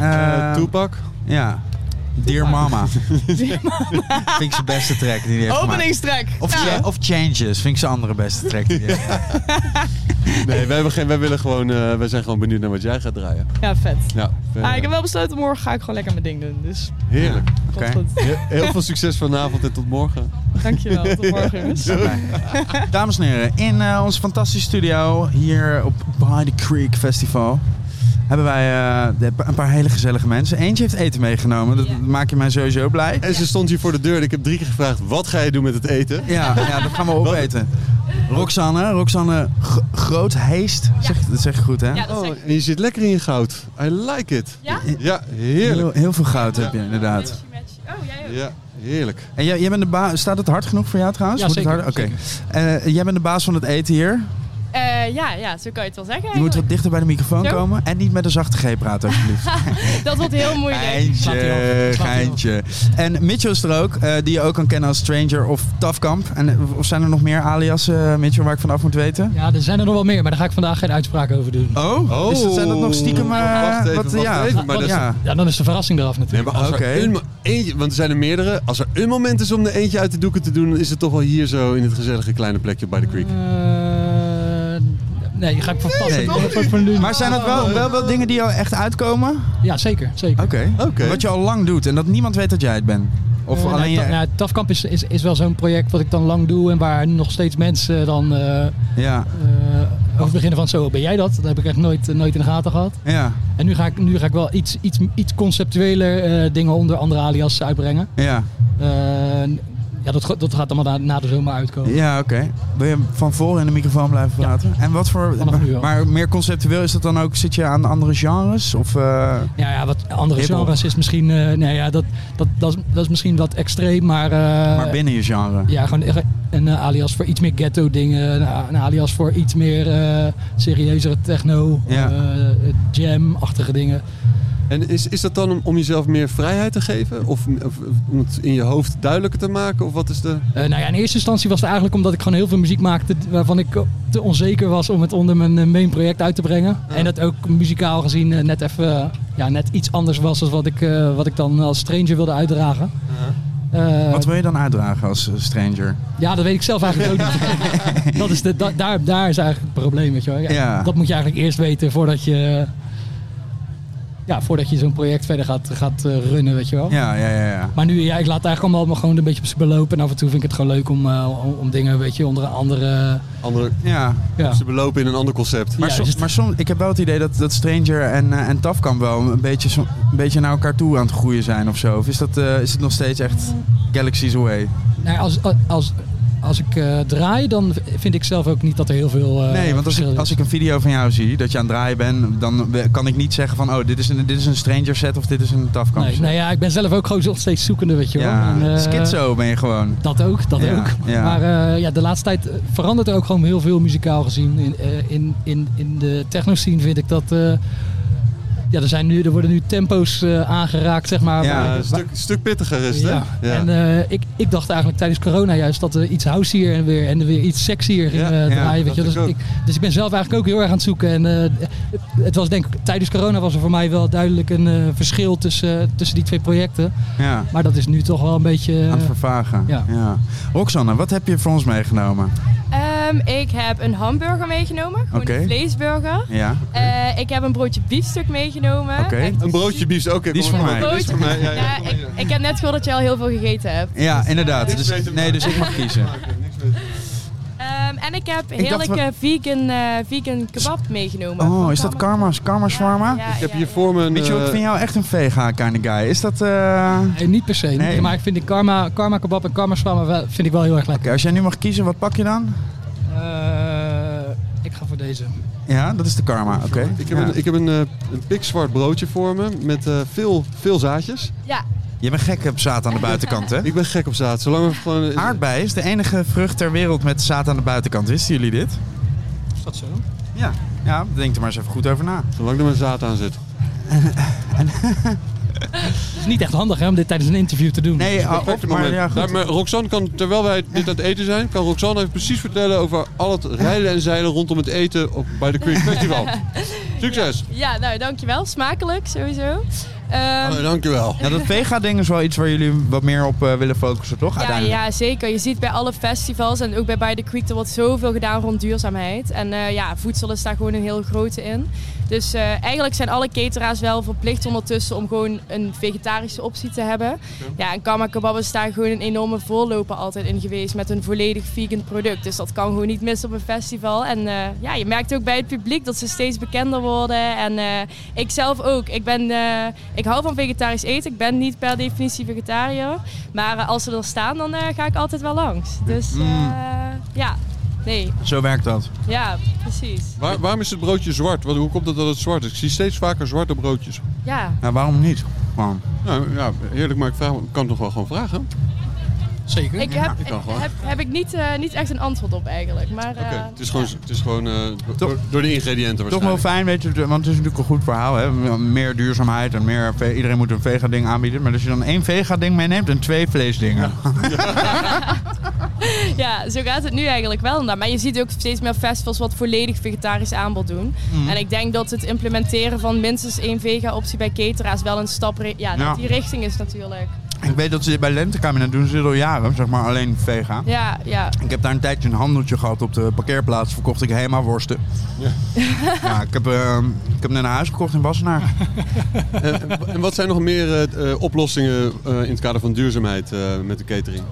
[SPEAKER 1] Eh,
[SPEAKER 2] Toepak.
[SPEAKER 1] Ja. Dear Mama. vind ik zijn beste track die hij heeft gemaakt.
[SPEAKER 6] Openingstrek.
[SPEAKER 1] Of,
[SPEAKER 6] Ja.
[SPEAKER 1] Cha- of Changes vind ik zijn andere beste track die hij heeft gemaakt.
[SPEAKER 2] Nee, wij, hebben geen, wij, willen gewoon, eh, wij zijn gewoon benieuwd naar wat jij gaat draaien.
[SPEAKER 6] ja, vet.
[SPEAKER 2] Ja, eh,
[SPEAKER 6] Ah, ik heb wel besloten, morgen ga ik gewoon lekker mijn ding doen. Dus
[SPEAKER 2] Heerlijk.
[SPEAKER 6] komt
[SPEAKER 1] Oké.
[SPEAKER 6] goed.
[SPEAKER 2] Heel, heel veel succes vanavond en tot morgen.
[SPEAKER 6] Dankjewel. Tot morgen, jongens.
[SPEAKER 1] Dames en heren, in eh, onze fantastische studio hier op By the Creek Festival hebben wij eh, de- een paar hele gezellige mensen. Eentje heeft eten meegenomen, dat
[SPEAKER 6] Ja.
[SPEAKER 1] maakt je mij sowieso blij.
[SPEAKER 2] En ze stond hier voor de deur en ik heb drie keer gevraagd, wat ga je doen met het eten?
[SPEAKER 1] Ja, ja, dat gaan we opeten. Roxanne, Roxanne G- Grootheest, zeg, dat zeg ik goed hè?
[SPEAKER 6] Ja, dat
[SPEAKER 2] Oh,
[SPEAKER 6] zeg ik.
[SPEAKER 2] en je zit lekker in je goud. I like it.
[SPEAKER 6] Ja?
[SPEAKER 2] Ja,
[SPEAKER 1] Heel,
[SPEAKER 2] heerlijk.
[SPEAKER 1] heel veel goud heb je inderdaad.
[SPEAKER 6] Oh, jij ook.
[SPEAKER 2] Ja, heerlijk.
[SPEAKER 1] En jij, jij bent de baas, staat het hard genoeg voor jou trouwens?
[SPEAKER 8] Ja,
[SPEAKER 1] Moet het
[SPEAKER 8] zeker,
[SPEAKER 1] harder? Oké. Eh, jij bent de baas van het eten hier.
[SPEAKER 9] Eh, ja, ja, zo kan je het wel zeggen.
[SPEAKER 1] Je moet wat
[SPEAKER 9] eigenlijk.
[SPEAKER 1] dichter bij de microfoon
[SPEAKER 9] Zo?
[SPEAKER 1] komen en niet met een zachte G praten alsjeblieft.
[SPEAKER 9] Dat wordt heel moeilijk.
[SPEAKER 8] Slaat hij op.
[SPEAKER 1] Geintje,
[SPEAKER 8] Slaat hij op.
[SPEAKER 1] geintje. En Mitchell is er ook, eh, die je ook kan kennen als Stranger of Tafkamp. En, eh, of zijn er nog meer aliasen, eh, Mitchell, waar ik vanaf moet weten?
[SPEAKER 8] Ja, er zijn er nog wel meer, maar daar ga ik vandaag geen uitspraak over doen.
[SPEAKER 1] Oh, dus dat zijn dat nog stiekem... eh,
[SPEAKER 2] wacht even,
[SPEAKER 1] wat,
[SPEAKER 2] wacht
[SPEAKER 1] ja.
[SPEAKER 2] even, maar dat is-
[SPEAKER 1] ja.
[SPEAKER 8] Ja, dan is de verrassing eraf
[SPEAKER 2] Nee,
[SPEAKER 8] natuurlijk.
[SPEAKER 2] maar als
[SPEAKER 1] Oké.
[SPEAKER 2] er een, mo- eentje, want er zijn er meerdere. Als er een moment is om er eentje uit de doeken te doen, dan is het toch wel hier zo in het gezellige kleine plekje bij de creek.
[SPEAKER 8] Eh, nee, ga ik van vast.
[SPEAKER 1] Nee.
[SPEAKER 8] Nee, voor nu.
[SPEAKER 1] Maar zijn dat wel, wel, wel dingen die jou echt uitkomen?
[SPEAKER 8] Ja, zeker. zeker.
[SPEAKER 1] Oké.
[SPEAKER 2] Oké.
[SPEAKER 1] Wat je al lang doet en dat niemand weet dat jij het bent. Of
[SPEAKER 8] Eh,
[SPEAKER 1] alleen
[SPEAKER 8] nou, Ta-
[SPEAKER 1] jij.
[SPEAKER 8] nou, TAFkamp is, is, is wel zo'n project wat ik dan lang doe en waar nog steeds mensen dan eh, eh,
[SPEAKER 1] Ja,
[SPEAKER 8] over het beginnen van zo ben jij dat? Dat heb ik echt nooit, eh, nooit in de gaten gehad.
[SPEAKER 1] ja,
[SPEAKER 8] En nu ga ik, nu ga ik wel iets, iets, iets conceptueler eh, dingen onder andere alias uitbrengen.
[SPEAKER 1] ja.
[SPEAKER 8] Eh, ja, dat, go- dat gaat allemaal na, na de zomer uitkomen.
[SPEAKER 1] Ja, oké. Wil je van voren in de microfoon blijven
[SPEAKER 8] Ja.
[SPEAKER 1] praten? En wat voor...
[SPEAKER 8] Vanaf nu wel.
[SPEAKER 1] Maar meer conceptueel is dat dan ook... Zit je aan andere genres? Of... eh,
[SPEAKER 8] Ja, ja wat andere
[SPEAKER 1] Hiphop.
[SPEAKER 8] genres is misschien... eh, nee, ja, dat, dat, dat, is, dat is misschien wat extreem, maar... eh,
[SPEAKER 1] Maar binnen je genre.
[SPEAKER 8] ja, gewoon echt een eh, alias voor iets meer ghetto dingen. Een, a- een alias voor iets meer eh, serieuzere techno.
[SPEAKER 1] Ja.
[SPEAKER 8] eh, jam-achtige dingen.
[SPEAKER 2] En is, is dat dan om, om jezelf meer vrijheid te geven? Of, of- of om het in je hoofd duidelijker te maken? Of wat is de...
[SPEAKER 8] Eh, nou ja, in eerste instantie was het eigenlijk omdat ik gewoon heel veel muziek maakte... waarvan ik eh, te onzeker was om het onder mijn eh, main project uit te brengen. En dat ook muzikaal gezien eh, net even eh, ja, net iets anders was... dan wat ik, eh, wat ik dan als stranger wilde uitdragen. Eh,
[SPEAKER 1] Wat wil je dan uitdragen als eh, stranger?
[SPEAKER 8] Ja, dat weet ik zelf eigenlijk ook niet. dat is de, da- daar, daar is eigenlijk het probleem, weet je wel. Ja,
[SPEAKER 1] Ja.
[SPEAKER 8] Dat moet je eigenlijk eerst weten voordat je, ja, voordat je zo'n project verder gaat, gaat eh, runnen, weet je wel.
[SPEAKER 1] Ja, ja, ja. ja.
[SPEAKER 8] Maar nu, ja, ik laat het eigenlijk allemaal, allemaal gewoon een beetje op zich belopen. En af en toe vind ik het gewoon leuk om, eh, om, om dingen, weet je, onder andere...
[SPEAKER 2] Andere,
[SPEAKER 1] ja.
[SPEAKER 8] Ja.
[SPEAKER 2] ze belopen in een ander concept.
[SPEAKER 1] Maar,
[SPEAKER 8] Ja,
[SPEAKER 1] soms,
[SPEAKER 8] dus het-
[SPEAKER 1] maar soms, ik heb wel het idee dat, dat Stranger en, eh, en Taf kan wel een beetje, zo- een beetje naar elkaar toe aan het groeien zijn of zo. Of is, dat, eh, is het nog steeds echt galaxies away?
[SPEAKER 8] Nou, ja, als, als, als ik eh, draai, dan vind ik zelf ook niet dat er heel veel eh,
[SPEAKER 1] nee, want als
[SPEAKER 8] verschil
[SPEAKER 1] ik,
[SPEAKER 8] is.
[SPEAKER 1] als ik een video van jou zie dat je aan het draaien bent, dan we- kan ik niet zeggen van oh, dit is een, dit is een Stranger set of dit is een Taf
[SPEAKER 8] Nee,
[SPEAKER 1] set.
[SPEAKER 8] nou ja, ik ben zelf ook gewoon nog steeds zoekende, weet je wel.
[SPEAKER 1] ja,
[SPEAKER 8] En, eh,
[SPEAKER 1] schizo ben je gewoon.
[SPEAKER 8] Dat ook, dat
[SPEAKER 1] Ja,
[SPEAKER 8] ook.
[SPEAKER 1] ja.
[SPEAKER 8] Maar eh, ja, de laatste tijd eh, verandert er ook gewoon heel veel muzikaal gezien. In, eh, in, in, in de techno scene vind ik dat... eh, ja, er, zijn nu, er worden nu tempo's eh, aangeraakt, zeg maar. Eh,
[SPEAKER 1] Ja,
[SPEAKER 8] waar-
[SPEAKER 2] een stuk, stuk pittiger is het, hè?
[SPEAKER 8] ja.
[SPEAKER 2] Ja.
[SPEAKER 8] En eh, ik, ik dacht eigenlijk tijdens corona juist dat er iets houseier en weer, en weer iets sexier ging
[SPEAKER 2] Ja,
[SPEAKER 8] eh,
[SPEAKER 1] ja,
[SPEAKER 8] draaien. weet je.
[SPEAKER 2] dat
[SPEAKER 8] Dus,
[SPEAKER 2] ik ook.
[SPEAKER 8] ik, dus ik ben zelf eigenlijk ook heel erg aan het zoeken. En eh, het, het was denk ik, tijdens corona was er voor mij wel duidelijk een eh, verschil tussen, tussen die twee projecten.
[SPEAKER 1] Ja,
[SPEAKER 8] Maar dat is nu toch wel een beetje... eh,
[SPEAKER 1] aan het vervagen.
[SPEAKER 8] ja.
[SPEAKER 1] ja. Roxanne, wat heb je voor ons meegenomen?
[SPEAKER 9] Ehm, ik heb een hamburger meegenomen, gewoon
[SPEAKER 1] Oké.
[SPEAKER 9] een vleesburger.
[SPEAKER 1] Ja.
[SPEAKER 9] Eh, ik heb een broodje biefstuk meegenomen.
[SPEAKER 1] Oké.
[SPEAKER 9] Echt
[SPEAKER 2] Een broodje biefs, oké.
[SPEAKER 1] Die is
[SPEAKER 2] kom
[SPEAKER 1] voor
[SPEAKER 2] maar.
[SPEAKER 1] mij.
[SPEAKER 2] Die is voor mij, ja, ja,
[SPEAKER 9] Ja,
[SPEAKER 2] kom maar,
[SPEAKER 9] ik,
[SPEAKER 2] ja.
[SPEAKER 9] ik heb net gehoord dat je al heel veel gegeten hebt.
[SPEAKER 1] Ja, inderdaad.
[SPEAKER 2] Niks
[SPEAKER 1] Dus,
[SPEAKER 2] weten maken.
[SPEAKER 1] nee, dus ik mag kiezen.
[SPEAKER 2] Niks weten.
[SPEAKER 9] Ehm, en ik heb
[SPEAKER 1] dacht
[SPEAKER 9] heerlijke vegan, eh, vegan kebab meegenomen.
[SPEAKER 1] Oh,
[SPEAKER 9] van
[SPEAKER 1] is dat karma's? Karma
[SPEAKER 9] Ja,
[SPEAKER 1] shawarma?
[SPEAKER 9] ja,
[SPEAKER 2] Ik heb
[SPEAKER 9] ja,
[SPEAKER 2] hier voor me een...
[SPEAKER 1] Weet je, ik
[SPEAKER 2] eh,
[SPEAKER 1] vind jou echt een vega kind of guy. Is dat... eh,
[SPEAKER 8] Nee, niet per se. niet-
[SPEAKER 1] Nee.
[SPEAKER 8] Maar ik vind die karma, karma kebab en karma shawarma wel- vind ik wel heel erg lekker.
[SPEAKER 1] Oké, als jij nu mag kiezen, wat pak je dan?
[SPEAKER 8] Eh, ik ga voor deze.
[SPEAKER 1] Ja, dat is de karma. Oké.
[SPEAKER 2] Ik heb,
[SPEAKER 1] Ja.
[SPEAKER 2] een, ik heb een, eh, een pikzwart broodje voor me met eh, veel, veel zaadjes.
[SPEAKER 9] Ja,
[SPEAKER 1] Je bent gek op zaad aan de buitenkant, hè?
[SPEAKER 2] Ik ben gek op zaad. Zolang we gewoon... eh,
[SPEAKER 1] Aardbei is de enige vrucht ter wereld met zaad aan de buitenkant. Wisten jullie dit?
[SPEAKER 8] Is dat zo?
[SPEAKER 1] Ja. Ja, denk er maar eens even goed over na.
[SPEAKER 2] Zolang er maar zaad aan zit.
[SPEAKER 8] Het is niet echt handig hè, om dit tijdens een interview te doen. Dus
[SPEAKER 1] Nee, ah, op,
[SPEAKER 2] Perfecte
[SPEAKER 1] maar
[SPEAKER 2] moment.
[SPEAKER 1] ja,
[SPEAKER 2] Daar-
[SPEAKER 1] goed.
[SPEAKER 2] maar Roxanne kan, terwijl wij dit aan het eten zijn, kan Roxanne even precies vertellen over al het rijden en zeilen rondom het eten op, bij de Queen Festival. Succes!
[SPEAKER 9] ja, nou dankjewel. Smakelijk sowieso. Ehm,
[SPEAKER 1] Oh,
[SPEAKER 2] dankjewel.
[SPEAKER 1] Ja, dat vega-ding is wel iets waar jullie wat meer op eh, willen focussen, toch?
[SPEAKER 9] Ja,
[SPEAKER 1] Uiteindelijk.
[SPEAKER 9] ja, zeker. Je ziet bij alle festivals en ook bij By the Creek, er wordt zoveel gedaan rond duurzaamheid. En eh, ja, voedsel is daar gewoon een heel grote in. Dus eh, eigenlijk zijn alle cateraars wel verplicht ondertussen om gewoon een vegetarische optie te hebben. Ja, en Karma Kebab is daar gewoon een enorme voorloper altijd in geweest met een volledig vegan product. Dus dat kan gewoon niet mis op een festival. En eh, ja, je merkt ook bij het publiek dat ze steeds bekender worden. En eh, ik zelf ook. Ik, ben, eh, ik hou van vegetarisch eten. Ik ben niet per definitie vegetariër. Maar eh, als ze er staan, dan eh, ga ik altijd wel langs. Dus eh, ja, nee,
[SPEAKER 1] Zo werkt dat.
[SPEAKER 9] ja, precies.
[SPEAKER 2] Waar, waarom is het broodje zwart? Wat, hoe komt het dat het zwart is? Ik zie steeds vaker zwarte broodjes.
[SPEAKER 9] Ja,
[SPEAKER 1] Nou, waarom niet? Gewoon.
[SPEAKER 2] Nou ja, heerlijk, maar ik vraag, me- kan toch wel gewoon vragen?
[SPEAKER 8] Zeker.
[SPEAKER 9] ik heb,
[SPEAKER 2] ik kan gewoon.
[SPEAKER 9] heb, heb ik niet, eh, niet echt een antwoord op eigenlijk. Maar, eh,
[SPEAKER 2] Oké, het is gewoon, het is gewoon eh, do-
[SPEAKER 1] Toch-
[SPEAKER 2] door de ingrediënten
[SPEAKER 1] Toch wel
[SPEAKER 2] waarschijnlijk.
[SPEAKER 1] fijn, weet je, want het is natuurlijk een goed verhaal. Hè? Meer duurzaamheid en meer, ve- iedereen moet een vega-ding aanbieden. Maar als je dan één vega-ding meeneemt en twee vleesdingen.
[SPEAKER 9] eh, Ja, zo gaat het nu eigenlijk wel. inderdaad. Maar je ziet ook steeds meer festivals wat volledig vegetarisch aanbod doen. En ik denk dat het implementeren van minstens één vega-optie bij cateraars wel een stap ri- ja,
[SPEAKER 1] Ja.
[SPEAKER 9] naar die richting is natuurlijk.
[SPEAKER 1] Ik weet dat ze dit bij Lentekabinet doen, ze dit al jaren, zeg maar, alleen vega.
[SPEAKER 9] Ja, ja.
[SPEAKER 1] Ik heb daar een tijdje een handeltje gehad op de parkeerplaats. Verkocht ik helemaal worsten. Ja. ik, heb, eh, ik heb net een huis gekocht in Wassenaar.
[SPEAKER 2] En, en wat zijn nog meer eh, eh, oplossingen eh, in het kader van duurzaamheid eh, met de catering?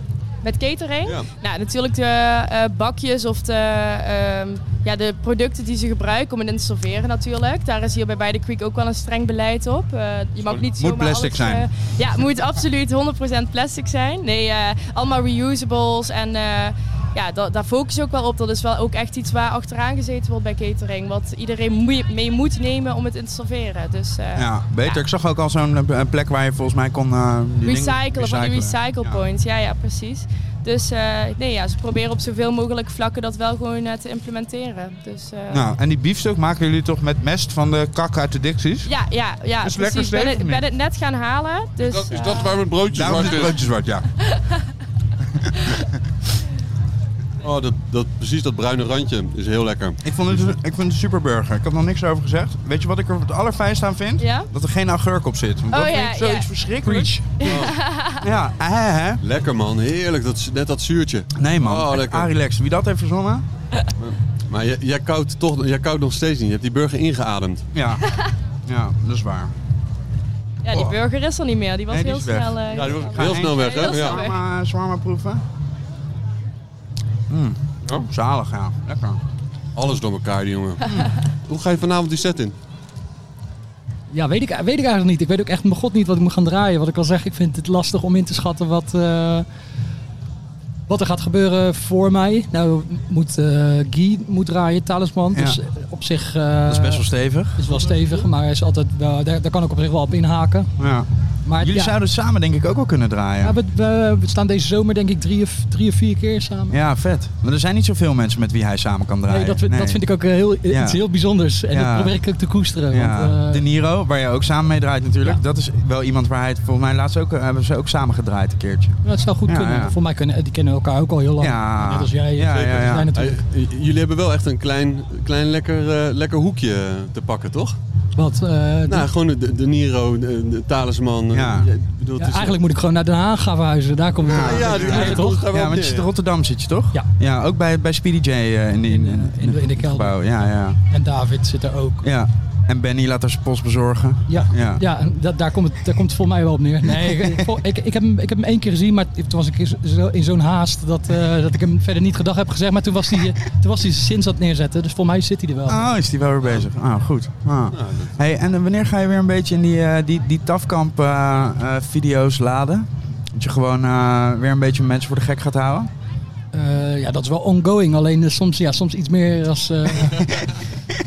[SPEAKER 9] Met catering?
[SPEAKER 2] Ja.
[SPEAKER 9] Nou, natuurlijk de eh, bakjes of de, ehm, ja, de producten die ze gebruiken om het in te serveren natuurlijk. Daar is hier bij By the Creek ook wel een streng beleid op. Eh, je mag niet
[SPEAKER 1] Moet
[SPEAKER 9] zomaar
[SPEAKER 1] plastic
[SPEAKER 9] alles,
[SPEAKER 1] zijn.
[SPEAKER 9] eh, ja, moet absoluut 100% plastic zijn. Nee, eh, allemaal reusables en eh, ja, da- daar focus ook wel op. Dat is wel ook echt iets waar achteraan gezeten wordt bij catering. Wat iedereen moe- mee moet nemen om het in te serveren. Dus, eh,
[SPEAKER 1] Ja, beter. Ik zag ook al zo'n eh, plek waar je volgens mij kon... eh, die dingen
[SPEAKER 9] Recyclen, van die recycle
[SPEAKER 1] Ja.
[SPEAKER 9] points. Ja, ja, precies. Dus eh, nee, ja, ze proberen op zoveel mogelijk vlakken dat wel gewoon eh, te implementeren. Dus, eh,
[SPEAKER 1] Nou, en die biefstuk maken jullie toch met mest van de kak uit de dicties?
[SPEAKER 9] ja, ja, ja.
[SPEAKER 1] Is het lekker
[SPEAKER 9] precies. Ik ben,
[SPEAKER 1] steek,
[SPEAKER 9] het,
[SPEAKER 1] of
[SPEAKER 9] ben
[SPEAKER 1] niet?
[SPEAKER 9] het net gaan halen. Dus,
[SPEAKER 2] Dat, is
[SPEAKER 9] eh,
[SPEAKER 2] dat waarom het broodje
[SPEAKER 1] Daarom is
[SPEAKER 2] zwart
[SPEAKER 1] het
[SPEAKER 2] is?
[SPEAKER 1] broodje zwart, ja.
[SPEAKER 2] Oh, dat, dat, precies dat bruine randje is heel lekker.
[SPEAKER 1] Ik vond, het, een- ik vond het een superburger. Ik heb nog niks over gezegd. Weet je wat ik er het allerfijnst aan vind?
[SPEAKER 9] Ja?
[SPEAKER 1] Dat er geen augurk op zit. Want
[SPEAKER 9] Oh
[SPEAKER 1] dat
[SPEAKER 9] ja,
[SPEAKER 1] vind ik zoiets
[SPEAKER 9] ja.
[SPEAKER 1] verschrikkelijks. Ja, Eh, hè, hè.
[SPEAKER 2] Lekker man, heerlijk. Dat, net dat zuurtje.
[SPEAKER 1] Nee man,
[SPEAKER 2] Oh,
[SPEAKER 1] Arilex.
[SPEAKER 2] lekker.
[SPEAKER 1] Wie dat heeft verzonnen?
[SPEAKER 2] Maar jij, jij, koudt toch, jij koudt nog steeds niet. Je hebt die burger ingeademd.
[SPEAKER 1] Ja. ja, dat is waar.
[SPEAKER 9] ja, die burger is er niet meer. Die was
[SPEAKER 1] Nee, die
[SPEAKER 9] heel
[SPEAKER 1] is weg.
[SPEAKER 9] snel. eh,
[SPEAKER 2] Ja, die was eh,
[SPEAKER 1] Ga
[SPEAKER 2] heel
[SPEAKER 1] heen.
[SPEAKER 2] snel weg, hè?
[SPEAKER 9] Heel
[SPEAKER 2] Ja.
[SPEAKER 9] snel.
[SPEAKER 1] Zwarma, zwarma proeven. Mm.
[SPEAKER 2] Oh.
[SPEAKER 1] Zalig, ja. Lekker. Mm.
[SPEAKER 2] Alles door elkaar, die jongen. Hoe ga je vanavond die set in?
[SPEAKER 8] Ja, weet ik, weet ik eigenlijk niet. Ik weet ook echt mijn god niet wat ik moet gaan draaien. Wat ik al zeg, ik vind het lastig om in te schatten wat, eh, wat er gaat gebeuren voor mij. Nou moet eh Guy moet draaien, Talisman.
[SPEAKER 1] Ja.
[SPEAKER 8] Dus op zich eh,
[SPEAKER 1] Dat is best wel stevig.
[SPEAKER 8] is wel stevig, maar hij is altijd, wel- daar, daar kan ik op zich wel op inhaken.
[SPEAKER 1] Ja.
[SPEAKER 8] Maar
[SPEAKER 1] Jullie
[SPEAKER 8] ja,
[SPEAKER 1] zouden samen denk ik ook wel kunnen draaien.
[SPEAKER 8] ja,
[SPEAKER 1] Ja,
[SPEAKER 8] we, we, we staan deze zomer denk ik drie of, drie of vier keer samen.
[SPEAKER 1] vet. Maar er zijn niet zoveel mensen met wie hij samen kan draaien.
[SPEAKER 8] Nee, dat, vind- dat vind ik ook eh, heel,
[SPEAKER 1] Ja.
[SPEAKER 8] iets heel bijzonders. En
[SPEAKER 1] Ja.
[SPEAKER 8] dat probeer ik ook te koesteren.
[SPEAKER 1] Ja.
[SPEAKER 8] Want, eh,
[SPEAKER 1] De Niro, waar je ook samen mee draait natuurlijk.
[SPEAKER 8] Ja.
[SPEAKER 1] Dat is wel iemand waar hij het volgens mij laatst ook... eh, hebben ze ook samen gedraaid een keertje.
[SPEAKER 8] ja, het zou goed
[SPEAKER 1] Ja,
[SPEAKER 8] kunnen.
[SPEAKER 1] ja.
[SPEAKER 8] Volgens mij kunnen, die kennen elkaar ook al heel lang.
[SPEAKER 1] Ja.
[SPEAKER 8] Net als jij.
[SPEAKER 1] Ah. Ja,
[SPEAKER 8] zeker.
[SPEAKER 1] ja,
[SPEAKER 8] Dus
[SPEAKER 1] ja.
[SPEAKER 8] wij natuurlijk.
[SPEAKER 2] Ah, j- jullie hebben wel echt een klein, klein lekker, eh, lekker hoekje te pakken, toch?
[SPEAKER 8] Wat, eh,
[SPEAKER 2] Nou, gewoon de, de Niro, de, de talisman. eh,
[SPEAKER 1] Ja.
[SPEAKER 2] je- ik bedoel,
[SPEAKER 8] Ja,
[SPEAKER 2] het is-
[SPEAKER 8] eigenlijk moet ik gewoon naar Den Haag gaan verhuizen. Daar komt het
[SPEAKER 2] Ja,
[SPEAKER 8] op.
[SPEAKER 2] ja, die- eigenlijk komt het daar wel
[SPEAKER 1] Ja,
[SPEAKER 2] op
[SPEAKER 1] want je
[SPEAKER 2] neer,
[SPEAKER 1] zit in
[SPEAKER 2] ja.
[SPEAKER 1] Rotterdam zit je toch?
[SPEAKER 8] Ja.
[SPEAKER 1] Ja, ook bij, bij Speedy J eh, in, die,
[SPEAKER 8] In, eh, in de- in de
[SPEAKER 1] het
[SPEAKER 8] kelder.
[SPEAKER 1] gebouw. Ja, ja.
[SPEAKER 8] En David zit er ook.
[SPEAKER 1] ja. En Benny laat haar zijn post bezorgen.
[SPEAKER 8] Ja,
[SPEAKER 1] Ja.
[SPEAKER 8] ja. en dat, daar, komt het, daar komt het volgens mij wel op neer. Nee, ik, vol- ik, ik, heb hem, ik heb hem één keer gezien, maar toen was ik in zo- zo- in zo'n haast dat, eh, dat ik hem verder niet gedag heb gezegd. Maar toen was hij, eh, toen was hij zijn zin zat neerzetten, dus volgens mij zit hij er wel.
[SPEAKER 1] Oh, is die wel weer bezig. Ah, goed. Ah. Hey, en eh, wanneer ga je weer een beetje in die, eh, die, die TAFkamp eh, eh, video's laden? Dat je gewoon eh, weer een beetje mensen voor de gek gaat houden?
[SPEAKER 8] Eh, ja, dat is wel ongoing, alleen eh, soms, ja, soms iets meer als, eh,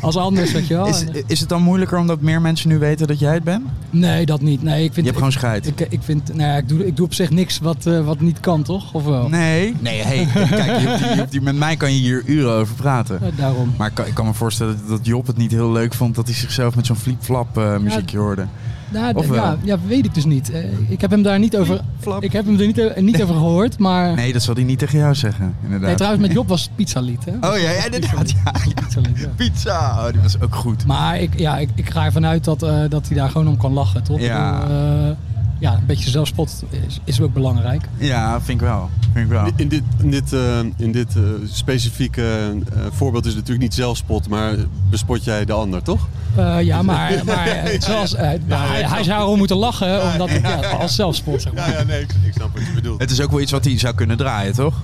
[SPEAKER 8] als anders, weet je wel.
[SPEAKER 1] Is,
[SPEAKER 8] En, eh,
[SPEAKER 1] is het dan moeilijker omdat meer mensen nu weten dat jij het bent?
[SPEAKER 8] nee, dat niet. Nee, ik
[SPEAKER 1] Je
[SPEAKER 8] vind,
[SPEAKER 1] hebt gewoon scheid.
[SPEAKER 8] ik, ik, ik vind, nou ja, ik doe, ik doe op zich niks wat, eh, wat niet kan, toch? Of wel?
[SPEAKER 1] Nee. Nee, hey, kijk, je hoeft hier- je hoeft hier- met mij kan je hier uren over praten.
[SPEAKER 8] Eh, daarom.
[SPEAKER 1] Maar ik kan, ik kan me voorstellen dat- dat Job het niet heel leuk vond dat hij zichzelf met zo'n flip-flap eh, muziekje hoorde.
[SPEAKER 8] Nou, d-
[SPEAKER 1] Of wel?
[SPEAKER 8] ja, ja, weet ik dus niet. Eh, ik heb hem daar niet over, ik heb hem er niet, eh, niet over gehoord, maar...
[SPEAKER 1] Nee, dat zal hij niet tegen jou zeggen,
[SPEAKER 8] Nee,
[SPEAKER 1] inderdaad.
[SPEAKER 8] trouwens, met Job was het pizzalied, hè?
[SPEAKER 1] oh ja, ja, inderdaad. Ja, ja.
[SPEAKER 8] Pizzalied, ja.
[SPEAKER 1] Pizza. Oh, die was ook goed.
[SPEAKER 8] Maar ik, ja, ik, ik ga ervan uit dat, eh, dat hij daar gewoon om kan lachen, toch?
[SPEAKER 1] Ja.
[SPEAKER 8] Ik bedoel, eh, ja, een beetje zelfspot is, is ook belangrijk.
[SPEAKER 1] Ja, vind ik wel. Vind ik wel.
[SPEAKER 2] In dit, in dit, eh, in dit eh, specifieke eh, voorbeeld is het natuurlijk niet zelfspot, maar bespot jij de ander, toch?
[SPEAKER 8] Eh, ja, maar, maar, eh, zoals, eh, maar hij, hij zou erom moeten lachen, omdat ik, ja, als zelfspot, zeg maar.
[SPEAKER 2] ja, nee, ik, ik snap wat je bedoelt.
[SPEAKER 1] Het is ook wel iets wat hij zou kunnen draaien, toch?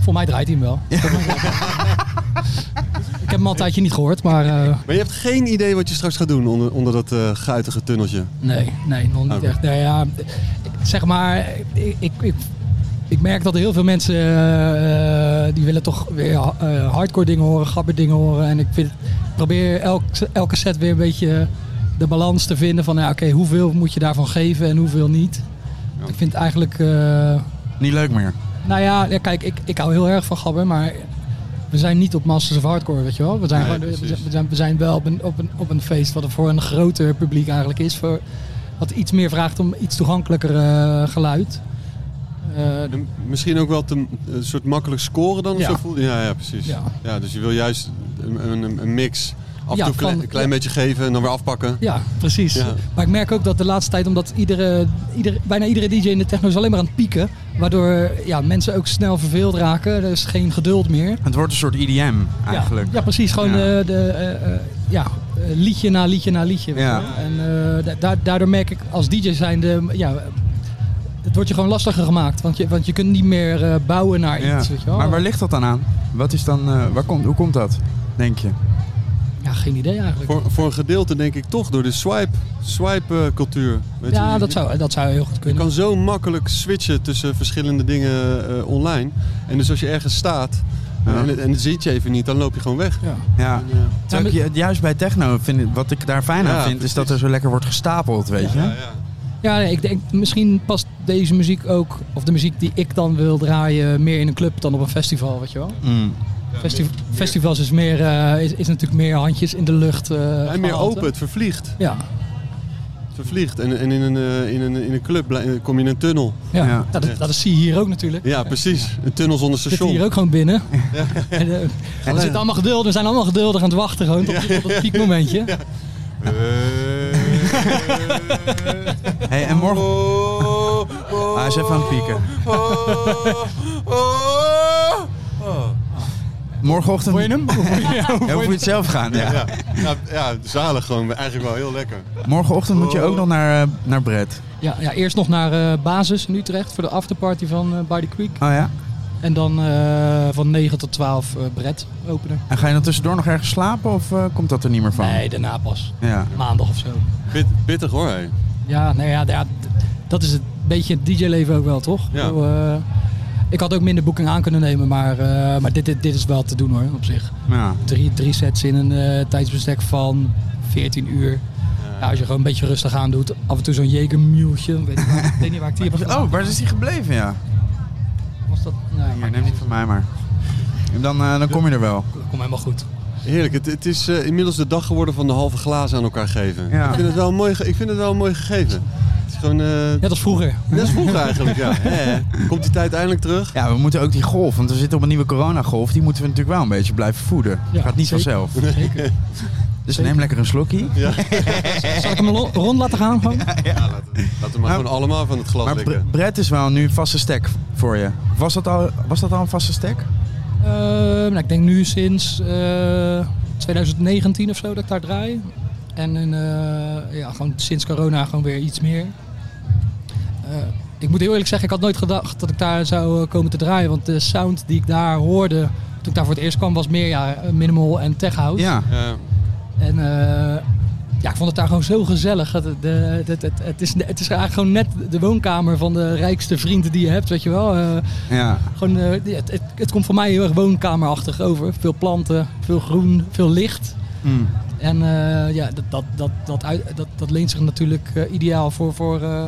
[SPEAKER 8] Voor mij draait hij hem wel. ik heb hem al een tijdje niet gehoord, maar eh,
[SPEAKER 2] Maar je hebt geen idee wat je straks gaat doen onder, onder dat eh guitige tunneltje.
[SPEAKER 8] nee, nee, nog niet
[SPEAKER 2] Oké.
[SPEAKER 8] echt. Nee, ja, zeg maar, ik, ik, ik, ik merk dat er heel veel mensen eh, eh, die willen toch weer eh, hardcore dingen horen, grappige dingen horen. En ik vind, probeer elk, elke set weer een beetje de balans te vinden van, ja, oké, hoeveel moet je daarvan geven en hoeveel niet. Ik vind eigenlijk... eh,
[SPEAKER 1] Niet leuk meer.
[SPEAKER 8] Nou ja, ja, kijk, ik, ik hou heel erg van gabber, maar we zijn niet op Masters of Hardcore, weet je wel. We zijn,
[SPEAKER 2] Nee,
[SPEAKER 8] gewoon- we
[SPEAKER 2] precies.
[SPEAKER 8] zijn, we zijn, we zijn wel op een, op, een, op een feest wat er voor een groter publiek eigenlijk is. Voor, wat iets meer vraagt om iets toegankelijker eh, geluid. Eh,
[SPEAKER 2] En misschien ook wel te- een soort makkelijk scoren dan? of
[SPEAKER 8] Ja.
[SPEAKER 2] Zo voel, ja, ja, precies. Ja.
[SPEAKER 8] Ja.
[SPEAKER 2] dus je wil juist een, een, een mix. Af en
[SPEAKER 8] Ja,
[SPEAKER 2] toe een klein,
[SPEAKER 8] van-
[SPEAKER 2] klein
[SPEAKER 8] ja.
[SPEAKER 2] beetje geven en dan weer afpakken.
[SPEAKER 8] ja, precies.
[SPEAKER 2] Ja.
[SPEAKER 8] Maar ik merk ook dat de laatste tijd, omdat iedere, iedere, bijna iedere DJ in de techno is alleen maar aan het pieken. Waardoor ja, mensen ook snel verveeld raken. Er is geen geduld meer.
[SPEAKER 1] Het wordt een soort EDM, eigenlijk.
[SPEAKER 8] Ja, ja precies. Gewoon
[SPEAKER 1] Ja.
[SPEAKER 8] eh, de, eh, eh, ja, eh, liedje na liedje na liedje. weet
[SPEAKER 1] Ja.
[SPEAKER 8] je wel. En eh, da- da- daardoor merk ik als DJ zijnde, ja, het wordt je gewoon lastiger gemaakt. Want je, want je kunt niet meer eh, bouwen naar
[SPEAKER 1] Ja.
[SPEAKER 8] iets. Weet je wel.
[SPEAKER 1] Maar waar ligt dat dan aan? Wat is dan, eh, waar komt, hoe komt dat, denk je?
[SPEAKER 8] Ja, geen idee eigenlijk.
[SPEAKER 2] Voor, voor een gedeelte denk ik toch door de swipe, swipe eh, cultuur. Weet je,
[SPEAKER 8] Ja,
[SPEAKER 2] je-
[SPEAKER 8] dat zou, dat zou heel goed
[SPEAKER 2] Je
[SPEAKER 8] kunnen.
[SPEAKER 2] kan zo makkelijk switchen tussen verschillende dingen eh, online. En dus als je ergens staat eh,
[SPEAKER 1] Ja.
[SPEAKER 2] en, en dat ziet je even niet, dan loop je gewoon weg.
[SPEAKER 8] Ja.
[SPEAKER 1] Ja.
[SPEAKER 2] En, eh,
[SPEAKER 1] Terwijl ik ju- juist bij techno, vind, ik- wat ik daar fijn aan
[SPEAKER 2] Ja,
[SPEAKER 1] vind, is
[SPEAKER 2] precies.
[SPEAKER 1] dat er zo lekker wordt gestapeld, weet je.
[SPEAKER 2] ja, ja.
[SPEAKER 8] Ja, nee, ik denk misschien past deze muziek ook, of de muziek die ik dan wil draaien, meer in een club dan op een festival, weet je wel.
[SPEAKER 1] Mm.
[SPEAKER 8] Festi- Festivals is, meer, eh, is, is natuurlijk meer handjes in de lucht. eh,
[SPEAKER 2] En meer
[SPEAKER 8] gehalte.
[SPEAKER 2] open, het vervliegt.
[SPEAKER 8] Ja,
[SPEAKER 2] Het vervliegt. En, en in, een, eh, in, een, in een club blij- kom je in een tunnel.
[SPEAKER 8] ja.
[SPEAKER 1] Ja.
[SPEAKER 8] Nou, dat, dat zie je hier ook natuurlijk.
[SPEAKER 2] Ja, precies. Een tunnel zonder
[SPEAKER 8] We zitten
[SPEAKER 2] station.
[SPEAKER 8] hier ook gewoon binnen. En, eh, we, zitten allemaal geduldig, we zijn allemaal geduldig aan het wachten gewoon tot, tot het piekmomentje.
[SPEAKER 1] Hey, en morgen... Ah, hij is even aan het pieken. Morgenochtend...
[SPEAKER 8] Hoor je hem?
[SPEAKER 1] Ja, hoe moet je het zelf gaan, ja.
[SPEAKER 2] Ja, ja, ja, zalig gewoon. Eigenlijk wel heel lekker.
[SPEAKER 1] Morgenochtend moet je ook nog naar, eh, naar Brett.
[SPEAKER 8] Ja, ja, eerst nog naar eh, basis in Utrecht voor de afterparty van eh, By the Creek.
[SPEAKER 1] Oh ja?
[SPEAKER 8] En dan eh, van 9 tot 12 eh Brett openen.
[SPEAKER 1] En ga je dan tussendoor nog ergens slapen of eh, komt dat er niet meer van?
[SPEAKER 8] Nee, daarna pas.
[SPEAKER 1] Ja.
[SPEAKER 8] Maandag of zo.
[SPEAKER 2] Oh. Bit, bittig hoor. hé.
[SPEAKER 8] Ja, nou ja, ja, d- dat is het beetje het DJ-leven ook wel, toch?
[SPEAKER 2] Ja.
[SPEAKER 8] Ik bedoel, eh, ik had ook minder boeking aan kunnen nemen, maar, eh, maar dit, dit, dit is wel te doen hoor, op zich.
[SPEAKER 1] Ja.
[SPEAKER 8] Drie, drie sets in een eh, tijdsbestek van 14 uur.
[SPEAKER 2] Ja.
[SPEAKER 8] Ja, als je gewoon een beetje rustig aan doet, af en toe zo'n jegermuultje. Weet, ik waar- ik weet niet waar ik die heb.
[SPEAKER 1] Oh, waar is die gebleven, ja?
[SPEAKER 8] was dat? nou, Nee,
[SPEAKER 1] Hier, neem die van mij maar. En Dan, eh, dan kom je er wel.
[SPEAKER 8] dat komt helemaal goed.
[SPEAKER 2] Heerlijk, het, het is eh, inmiddels de dag geworden van de halve glazen aan elkaar geven.
[SPEAKER 1] Ja.
[SPEAKER 2] Ik, vind het wel een mooi, ge- ik vind het wel een mooi gegeven. Het is gewoon... eh,
[SPEAKER 8] Net als vroeger.
[SPEAKER 2] Net als vroeger eigenlijk, ja. Ja, ja. Komt die tijd eindelijk terug?
[SPEAKER 1] Ja, we moeten ook die golf, want we zitten op een nieuwe coronagolf. Die moeten we natuurlijk wel een beetje blijven voeden.
[SPEAKER 8] Ja,
[SPEAKER 1] Gaat niet
[SPEAKER 8] zeker.
[SPEAKER 1] vanzelf.
[SPEAKER 8] Zeker.
[SPEAKER 1] Dus neem lekker een slokkie.
[SPEAKER 8] Zal ik hem lo- rond laten gaan? Gewoon?
[SPEAKER 2] Laten we maar
[SPEAKER 1] Maar-
[SPEAKER 2] gewoon allemaal van het glas
[SPEAKER 1] Nou. Maar Bre-
[SPEAKER 2] likken.
[SPEAKER 1] Brett is wel nu een vaste stek voor je. Was dat al, was dat al een vaste stek?
[SPEAKER 8] Ehm, nou, ik denk nu sinds eh, 2019 of zo dat ik daar draai. En in, eh, ja, gewoon sinds corona gewoon weer iets meer. Eh, ik moet heel eerlijk zeggen, ik had nooit gedacht dat ik daar zou eh, komen te draaien. Want de sound die ik daar hoorde toen ik daar voor het eerst kwam was meer ja, minimal en tech house.
[SPEAKER 1] Ja.
[SPEAKER 2] Ja.
[SPEAKER 8] En eh, ja, ik vond het daar gewoon zo gezellig. Het, de- het, het, het, het is, het is eigenlijk gewoon net de woonkamer van de rijkste vrienden die je hebt, weet je wel. Eh,
[SPEAKER 1] ja.
[SPEAKER 8] gewoon, eh, die- het, het, het komt voor mij heel erg woonkamerachtig over. Veel planten, veel groen, veel licht.
[SPEAKER 1] Mm.
[SPEAKER 8] En eh, ja, dat, dat, dat, dat, uit- dat, dat leent zich natuurlijk eh, ideaal voor, voor, eh,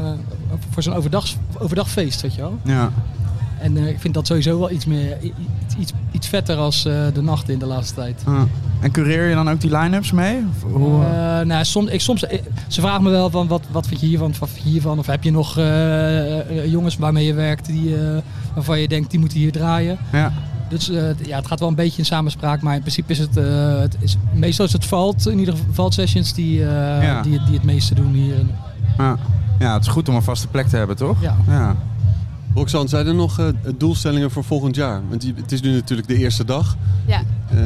[SPEAKER 8] voor zo'n overdags, overdagfeest, weet je wel.
[SPEAKER 1] Ja.
[SPEAKER 8] En eh, ik vind dat sowieso wel iets, meer, i- iets, iets, iets vetter als eh, de nachten in de laatste tijd.
[SPEAKER 1] Ah. En cureer je dan ook die line-ups mee? Of hoe-
[SPEAKER 8] Eh, nou, soms, ik, soms, ik- ze vragen me wel van wat, wat vind je hiervan, wat vind je hiervan? Of heb je nog eh, eh, jongens waarmee je werkt die, eh, waarvan je denkt die moeten hier draaien?
[SPEAKER 1] Ja.
[SPEAKER 8] Dus eh, t- ja, het gaat wel een beetje in samenspraak, maar in principe is het, eh, het is, meestal is het valt, in ieder geval valt sessions die, eh,
[SPEAKER 1] Ja.
[SPEAKER 8] die, het- die het meeste doen hier. En,
[SPEAKER 1] Ja. ja, het is goed om een vaste plek te hebben, toch?
[SPEAKER 8] ja.
[SPEAKER 1] Ja.
[SPEAKER 2] Roxanne, zijn er nog eh, doelstellingen voor volgend jaar? Want die- het is nu natuurlijk de eerste dag.
[SPEAKER 9] Ja.
[SPEAKER 2] Eh,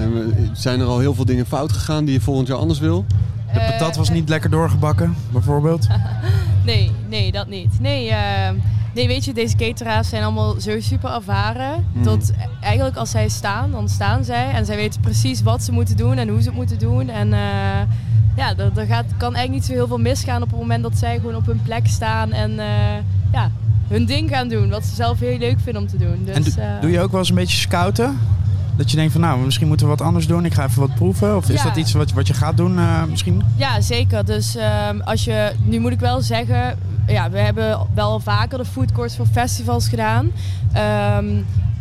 [SPEAKER 2] zijn er al heel veel dingen fout gegaan die je volgend jaar anders wil?
[SPEAKER 1] De patat was niet lekker doorgebakken, bijvoorbeeld.
[SPEAKER 9] Nee, nee, dat niet. Nee, eh, nee, weet je, deze cateraars zijn allemaal zo super ervaren.
[SPEAKER 1] Hmm.
[SPEAKER 9] Dat eigenlijk als zij staan, dan staan zij. En zij weten precies wat ze moeten doen en hoe ze het moeten doen. En eh, ja, er, er gaat, kan eigenlijk niet zo heel veel misgaan op het moment dat zij gewoon op hun plek staan. En eh, ja, hun ding gaan doen. Wat ze zelf heel leuk vinden om te doen. Dus,
[SPEAKER 1] En do-
[SPEAKER 9] eh,
[SPEAKER 1] doe je ook wel eens een beetje scouten? Dat je denkt van, nou, misschien moeten we wat anders doen. Ik ga even wat proeven. Of is
[SPEAKER 9] Ja.
[SPEAKER 1] dat iets wat, wat je gaat doen eh, misschien?
[SPEAKER 9] Ja, zeker. Dus ehm, als je, nu moet ik wel zeggen, ja, we hebben wel vaker de foodcourts voor festivals gedaan. Ehm,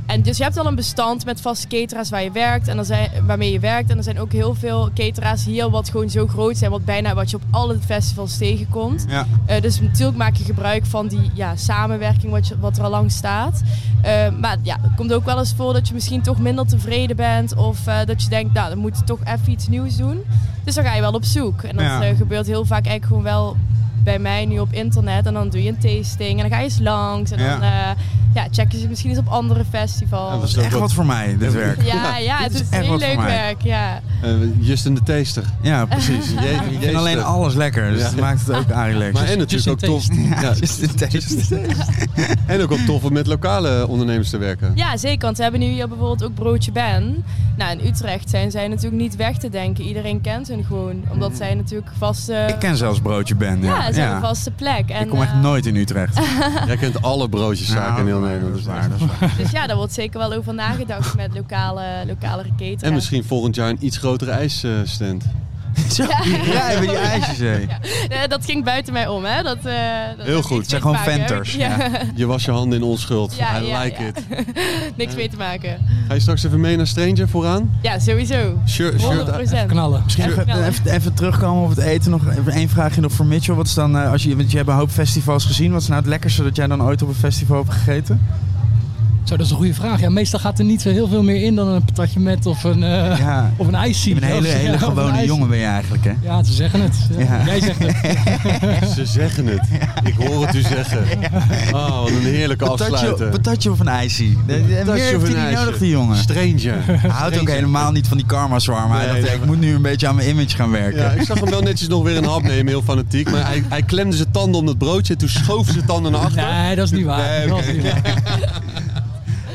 [SPEAKER 9] en dus je hebt al een bestand met vaste cateraars waar je werkt en er zijn, waarmee je werkt. En er zijn ook heel veel cateraars hier wat gewoon zo groot zijn, wat bijna wat je op alle festivals tegenkomt.
[SPEAKER 1] Ja.
[SPEAKER 9] Eh, dus natuurlijk maak je gebruik van die ja, samenwerking wat, je, wat er al lang staat. Eh, maar ja, het komt ook wel eens voor dat je misschien toch minder tevreden bent. Of eh, dat je denkt, nou, dan moet je toch even iets nieuws doen. Dus dan ga je wel op zoek. En dat
[SPEAKER 1] Ja.
[SPEAKER 9] eh, gebeurt heel vaak eigenlijk gewoon wel bij mij nu op internet. En dan doe je een tasting en dan ga je eens langs. En
[SPEAKER 1] Ja.
[SPEAKER 9] dan eh, ja, check je ze misschien eens op andere
[SPEAKER 2] dat
[SPEAKER 9] festivals.
[SPEAKER 2] is
[SPEAKER 1] Dat is echt wat voor mij, dit werk.
[SPEAKER 9] Ja, ja, het is,
[SPEAKER 1] echt
[SPEAKER 9] heel
[SPEAKER 1] wat voor
[SPEAKER 9] leuk
[SPEAKER 1] mij.
[SPEAKER 9] werk. Ja.
[SPEAKER 2] Eh Justin de Taster.
[SPEAKER 1] Ja, precies.
[SPEAKER 2] Je-
[SPEAKER 1] Ik
[SPEAKER 2] Jeester.
[SPEAKER 1] vind alleen alles lekker, dus
[SPEAKER 2] Ja.
[SPEAKER 1] dat maakt het ook aardig
[SPEAKER 2] Maar en natuurlijk ook
[SPEAKER 8] Justin
[SPEAKER 2] tof. Ja,
[SPEAKER 1] Just in taste.
[SPEAKER 2] en ook wel tof om met lokale ondernemers te werken.
[SPEAKER 9] Ja, zeker. Want we hebben nu hier bijvoorbeeld ook Broodje Ben. Nou, in Utrecht zijn zij natuurlijk niet weg te denken. Iedereen kent hun gewoon. Omdat zij natuurlijk vaste...
[SPEAKER 1] Ik ken zelfs Broodje Ben.
[SPEAKER 9] ja,
[SPEAKER 1] Ja,
[SPEAKER 9] ze hebben
[SPEAKER 1] Ja.
[SPEAKER 9] een vaste plek. En,
[SPEAKER 1] Ik kom echt
[SPEAKER 9] eh,
[SPEAKER 1] nooit in Utrecht.
[SPEAKER 2] Jij kent alle broodjeszaken in heel
[SPEAKER 1] Nou,
[SPEAKER 2] Nederland.
[SPEAKER 1] Dat is waar, dat is waar.
[SPEAKER 9] Dus ja, daar wordt zeker wel over nagedacht met lokale, lokale cateraars.
[SPEAKER 2] En misschien volgend jaar een iets grotere ijsstand.
[SPEAKER 1] Zo, die rij met die ijsjes, hé.
[SPEAKER 9] Eh, dat ging buiten mij om, hè? Dat, eh, dat
[SPEAKER 2] Heel
[SPEAKER 9] heeft
[SPEAKER 2] goed.
[SPEAKER 9] niks
[SPEAKER 1] zijn
[SPEAKER 9] mee te
[SPEAKER 1] gewoon
[SPEAKER 9] maken.
[SPEAKER 1] venters,
[SPEAKER 9] Ja,
[SPEAKER 2] Je was je handen in onschuld.
[SPEAKER 9] Ja,
[SPEAKER 2] I
[SPEAKER 9] ja,
[SPEAKER 2] like
[SPEAKER 9] ja.
[SPEAKER 2] it.
[SPEAKER 9] niks mee te maken.
[SPEAKER 2] Ga je straks even mee naar Stranger vooraan?
[SPEAKER 9] Ja, sowieso.
[SPEAKER 2] Shirt,
[SPEAKER 9] 100
[SPEAKER 2] shirt,
[SPEAKER 9] procent.
[SPEAKER 8] Knallen.
[SPEAKER 1] Misschien
[SPEAKER 9] Echt
[SPEAKER 1] even,
[SPEAKER 9] knallen.
[SPEAKER 1] even, even terugkomen op het eten. Nog even één vraagje nog voor Mitchell. Wat is dan, eh, als je, want je hebt een hoop festivals gezien. Wat is nou het lekkerste dat jij dan ooit op een festival hebt gegeten?
[SPEAKER 8] Zo, dat is een goede vraag. Ja, meestal gaat er niet zo heel veel meer in dan een patatje met of een, eh
[SPEAKER 1] Ja,
[SPEAKER 8] of een ijsje.
[SPEAKER 1] je bent een hele,
[SPEAKER 8] Ja,
[SPEAKER 1] hele
[SPEAKER 8] of een
[SPEAKER 1] gewone
[SPEAKER 8] ijsje.
[SPEAKER 1] jongen ben je eigenlijk, hè?
[SPEAKER 8] Ja, ze zeggen het. Ja.
[SPEAKER 1] Ja.
[SPEAKER 8] Jij zegt het.
[SPEAKER 2] Ze zeggen het. Ik hoor het u zeggen. Oh, wat een heerlijke
[SPEAKER 1] Patatje,
[SPEAKER 2] afsluiter.
[SPEAKER 1] patatje of een ijsie. De- de- Meer
[SPEAKER 2] Patatje
[SPEAKER 1] heeft
[SPEAKER 2] of
[SPEAKER 1] hij
[SPEAKER 2] een
[SPEAKER 1] niet
[SPEAKER 2] ijsje.
[SPEAKER 1] nodig, die jongen.
[SPEAKER 2] Stranger.
[SPEAKER 1] Hij houdt ook helemaal niet van die karma swarm. Hij
[SPEAKER 2] Nee,
[SPEAKER 1] dacht,
[SPEAKER 2] nee,
[SPEAKER 1] ik moet nu een beetje aan mijn image gaan werken.
[SPEAKER 2] Ja, ik zag hem wel netjes nog weer een hap nemen, heel fanatiek. Maar hij, hij klemde zijn tanden om dat broodje en toen schoof zijn tanden naar achter.
[SPEAKER 8] Nee, dat is niet waar.
[SPEAKER 2] Nee,
[SPEAKER 8] dat is niet waar.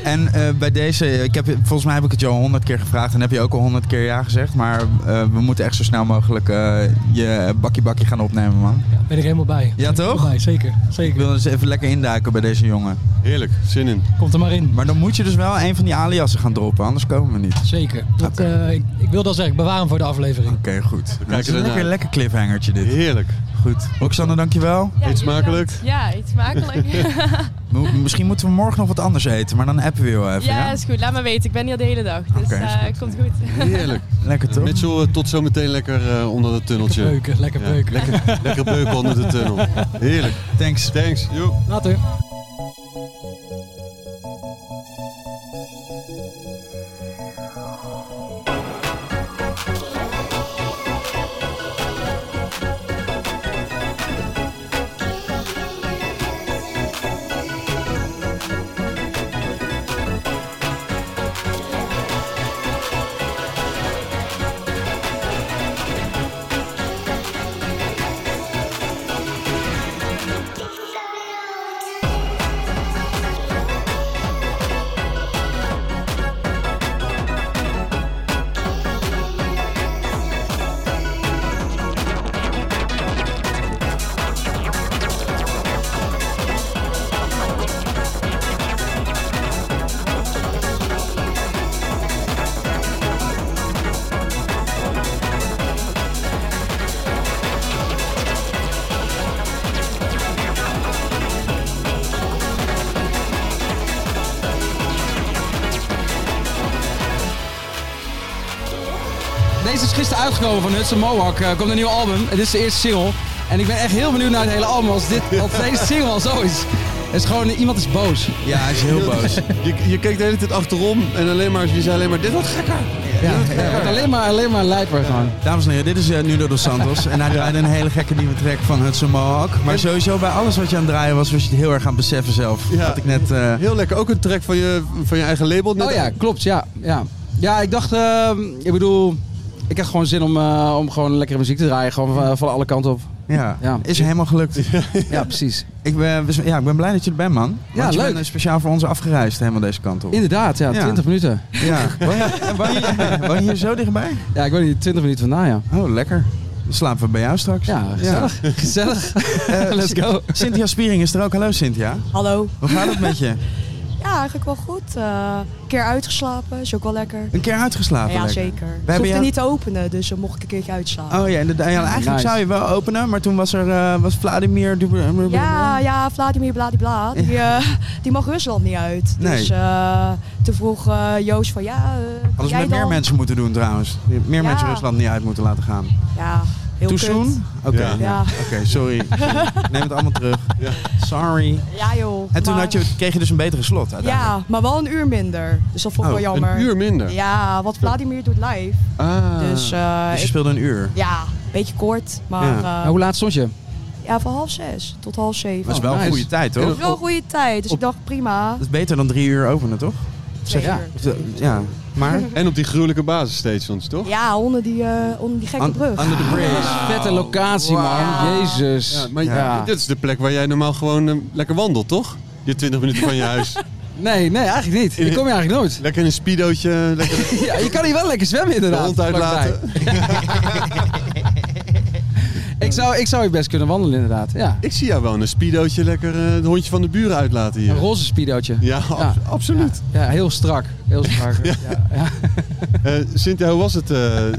[SPEAKER 1] En eh, bij deze, ik heb, volgens mij heb ik het je al honderd keer gevraagd en heb je ook al honderd keer ja gezegd. Maar eh, we moeten echt zo snel mogelijk eh, je bakkie bakkie gaan opnemen, man.
[SPEAKER 8] Ben ik helemaal bij. Ben ik
[SPEAKER 1] toch?
[SPEAKER 8] helemaal Bij. Zeker,
[SPEAKER 1] Ik
[SPEAKER 8] zeker.
[SPEAKER 1] wil eens even lekker induiken bij deze jongen.
[SPEAKER 2] Heerlijk, zin in.
[SPEAKER 8] Komt er maar in.
[SPEAKER 1] Maar dan moet je dus wel een van die aliasen gaan droppen, anders komen we niet. Oké,
[SPEAKER 8] Zeker. Dat, eh, ik, ik wil dat zeggen. Ik bewaar hem voor de aflevering.
[SPEAKER 1] goed.
[SPEAKER 2] kijken
[SPEAKER 1] Dat is een
[SPEAKER 2] ernaar.
[SPEAKER 1] lekker, lekker cliffhangertje dit.
[SPEAKER 2] Heerlijk.
[SPEAKER 1] Goed. Roxanne, dankjewel.
[SPEAKER 9] Ja,
[SPEAKER 2] Eet smakelijk.
[SPEAKER 9] inderdaad. Ja, iets smakelijk.
[SPEAKER 1] Mo- misschien moeten we morgen nog wat anders eten, maar dan appen we wel even. Ja,
[SPEAKER 9] ja, is goed. Laat me weten. Ik ben hier de hele dag. Dus
[SPEAKER 1] Oké, is
[SPEAKER 9] eh,
[SPEAKER 1] goed.
[SPEAKER 9] komt goed.
[SPEAKER 2] Heerlijk.
[SPEAKER 1] Lekker toch?
[SPEAKER 2] Mitchell, eh, tot zometeen lekker eh, onder het tunneltje.
[SPEAKER 8] Beuken, lekker
[SPEAKER 2] Ja,
[SPEAKER 8] beuken.
[SPEAKER 2] lekker, lekker beuken onder de tunnel. Heerlijk.
[SPEAKER 1] Thanks.
[SPEAKER 2] Thanks. Joep.
[SPEAKER 8] Later.
[SPEAKER 10] Deze is gisteren uitgekomen van Hudson Mohawk. Eh, komt een nieuw album. Het is de eerste single. En ik ben echt heel benieuwd naar het hele album als, dit, als deze single al zo is. Het is gewoon, eh, iemand is boos.
[SPEAKER 1] Ja, hij is heel boos.
[SPEAKER 2] Je, je keek de hele tijd achterom en alleen maar, je zei alleen maar, dit wordt gekker.
[SPEAKER 10] Ja, Het wordt alleen maar, alleen maar lijper gewoon.
[SPEAKER 1] Dames en heren, dit is eh, Nuno dos Santos. En hij draaide een hele gekke nieuwe track van Hudson Mohawk. Maar sowieso, bij alles wat je aan het draaien was, was je het heel erg aan het beseffen zelf.
[SPEAKER 2] Ja.
[SPEAKER 1] Had ik net... eh,
[SPEAKER 2] Heel lekker. Ook een track van je, van je eigen label. Net-
[SPEAKER 10] Oh ja, klopt. Ja, ja. ja ik dacht, eh, ik bedoel, ik heb gewoon zin om, eh, om gewoon lekkere muziek te draaien. Gewoon eh, van alle kanten op.
[SPEAKER 1] ja.
[SPEAKER 10] Ja.
[SPEAKER 1] is helemaal gelukt.
[SPEAKER 10] Ja, precies.
[SPEAKER 1] Ik ben, we zijn- ja, ik ben blij dat je er bent, man. Want
[SPEAKER 10] Ja,
[SPEAKER 1] je
[SPEAKER 10] leuk.
[SPEAKER 1] bent, eh, speciaal voor ons afgereisd, helemaal deze kant op.
[SPEAKER 10] Inderdaad, ja,
[SPEAKER 1] Ja.
[SPEAKER 10] 20 minuten.
[SPEAKER 1] Ja. Woon je- Woon je- woon je hier zo dichtbij?
[SPEAKER 10] Ja, ik weet niet, 20 minuten vandaan, ja.
[SPEAKER 1] Oh, lekker. Dan slapen we bij jou straks.
[SPEAKER 10] Ja, gezellig. Gezellig.
[SPEAKER 1] Eh,
[SPEAKER 10] Let's
[SPEAKER 1] Cyn-
[SPEAKER 10] go.
[SPEAKER 1] Cynthia Spiering is er ook. Hallo Cynthia.
[SPEAKER 11] Hallo.
[SPEAKER 1] Hoe gaat het met je?
[SPEAKER 11] Ja, eigenlijk wel goed. Eh, een keer uitgeslapen, is ook wel lekker.
[SPEAKER 1] Een keer uitgeslapen.
[SPEAKER 11] ja,
[SPEAKER 1] lekker.
[SPEAKER 11] zeker.
[SPEAKER 1] We
[SPEAKER 11] We
[SPEAKER 1] hebben
[SPEAKER 11] hoefde
[SPEAKER 1] jou-
[SPEAKER 11] niet te openen, dus dan mocht ik een keertje uitslapen.
[SPEAKER 1] Oh ja, inderdaad. Ja, eigenlijk
[SPEAKER 10] Nice.
[SPEAKER 1] zou je wel openen, maar toen was er eh, was Vladimir. Dub-
[SPEAKER 11] Ja, ja, Vladimir Bladibla, die, eh, die mag Rusland niet uit.
[SPEAKER 1] Nee.
[SPEAKER 11] Dus eh, toen vroeg eh, Joost van, ja, eh, kan
[SPEAKER 1] Hadden ze
[SPEAKER 11] jij
[SPEAKER 1] met
[SPEAKER 11] dan?
[SPEAKER 1] meer mensen moeten doen trouwens. Meer
[SPEAKER 11] Ja.
[SPEAKER 1] mensen Rusland niet uit moeten laten gaan.
[SPEAKER 11] Ja, heel
[SPEAKER 1] Too
[SPEAKER 11] kut.
[SPEAKER 1] soon? Oké,
[SPEAKER 2] Ja.
[SPEAKER 1] ja.
[SPEAKER 11] Ja.
[SPEAKER 1] Oké, sorry. Neem het allemaal terug.
[SPEAKER 2] Ja.
[SPEAKER 1] Sorry.
[SPEAKER 11] Ja joh.
[SPEAKER 1] En toen
[SPEAKER 11] maar-
[SPEAKER 1] had je, kreeg je dus een betere slot uiteindelijk.
[SPEAKER 11] Ja, maar wel een uur minder. Dus dat vond ik
[SPEAKER 1] Oh,
[SPEAKER 11] wel jammer.
[SPEAKER 2] Een uur minder.
[SPEAKER 11] Ja, wat Vladimir doet live.
[SPEAKER 1] Ah.
[SPEAKER 11] Dus, eh,
[SPEAKER 1] Dus je
[SPEAKER 11] ik-
[SPEAKER 1] speelde een uur.
[SPEAKER 11] ja, een beetje kort. Maar
[SPEAKER 1] Ja.
[SPEAKER 11] eh,
[SPEAKER 10] Nou, hoe laat stond je?
[SPEAKER 11] ja, van half zes tot half zeven.
[SPEAKER 1] Dat is wel
[SPEAKER 10] Oh,
[SPEAKER 1] een
[SPEAKER 10] nice.
[SPEAKER 1] goede tijd,
[SPEAKER 11] Dat
[SPEAKER 1] toch?
[SPEAKER 11] is wel een goede tijd. Dus ik dacht, prima.
[SPEAKER 1] Dat is beter dan drie uur openen, toch?
[SPEAKER 11] Twee
[SPEAKER 10] ja.
[SPEAKER 11] uur.
[SPEAKER 1] Of de- Ja. Maar?
[SPEAKER 2] En op die gruwelijke basisstations, toch?
[SPEAKER 11] Ja, onder die, eh, onder die gekke
[SPEAKER 1] Un-
[SPEAKER 11] brug.
[SPEAKER 1] Under the bridge.
[SPEAKER 10] Vette locatie, man.
[SPEAKER 11] Wauw.
[SPEAKER 10] Jezus.
[SPEAKER 2] Ja, maar
[SPEAKER 10] Ja.
[SPEAKER 2] dit is de plek waar jij normaal gewoon eh, lekker wandelt, toch? Je 20 minuten van je huis.
[SPEAKER 10] Nee, nee, eigenlijk niet. Die kom je eigenlijk nooit.
[SPEAKER 2] Lekker in een speedootje, lekker
[SPEAKER 10] Ja, je kan hier wel lekker zwemmen
[SPEAKER 2] de
[SPEAKER 10] inderdaad.
[SPEAKER 2] hond uitlaten.
[SPEAKER 10] vlakbij. Ik zou, ik zou hier best kunnen wandelen inderdaad. Ja.
[SPEAKER 2] Ik zie jou wel in een speedootje lekker eh, het hondje van de buren uitlaten hier.
[SPEAKER 10] Een roze speedootje.
[SPEAKER 2] Ja, ab-
[SPEAKER 10] Ja.
[SPEAKER 2] absoluut.
[SPEAKER 10] Ja, heel strak. Heel strak. Ja. Ja.
[SPEAKER 2] Eh, Cynthia, hoe was het eh, eh,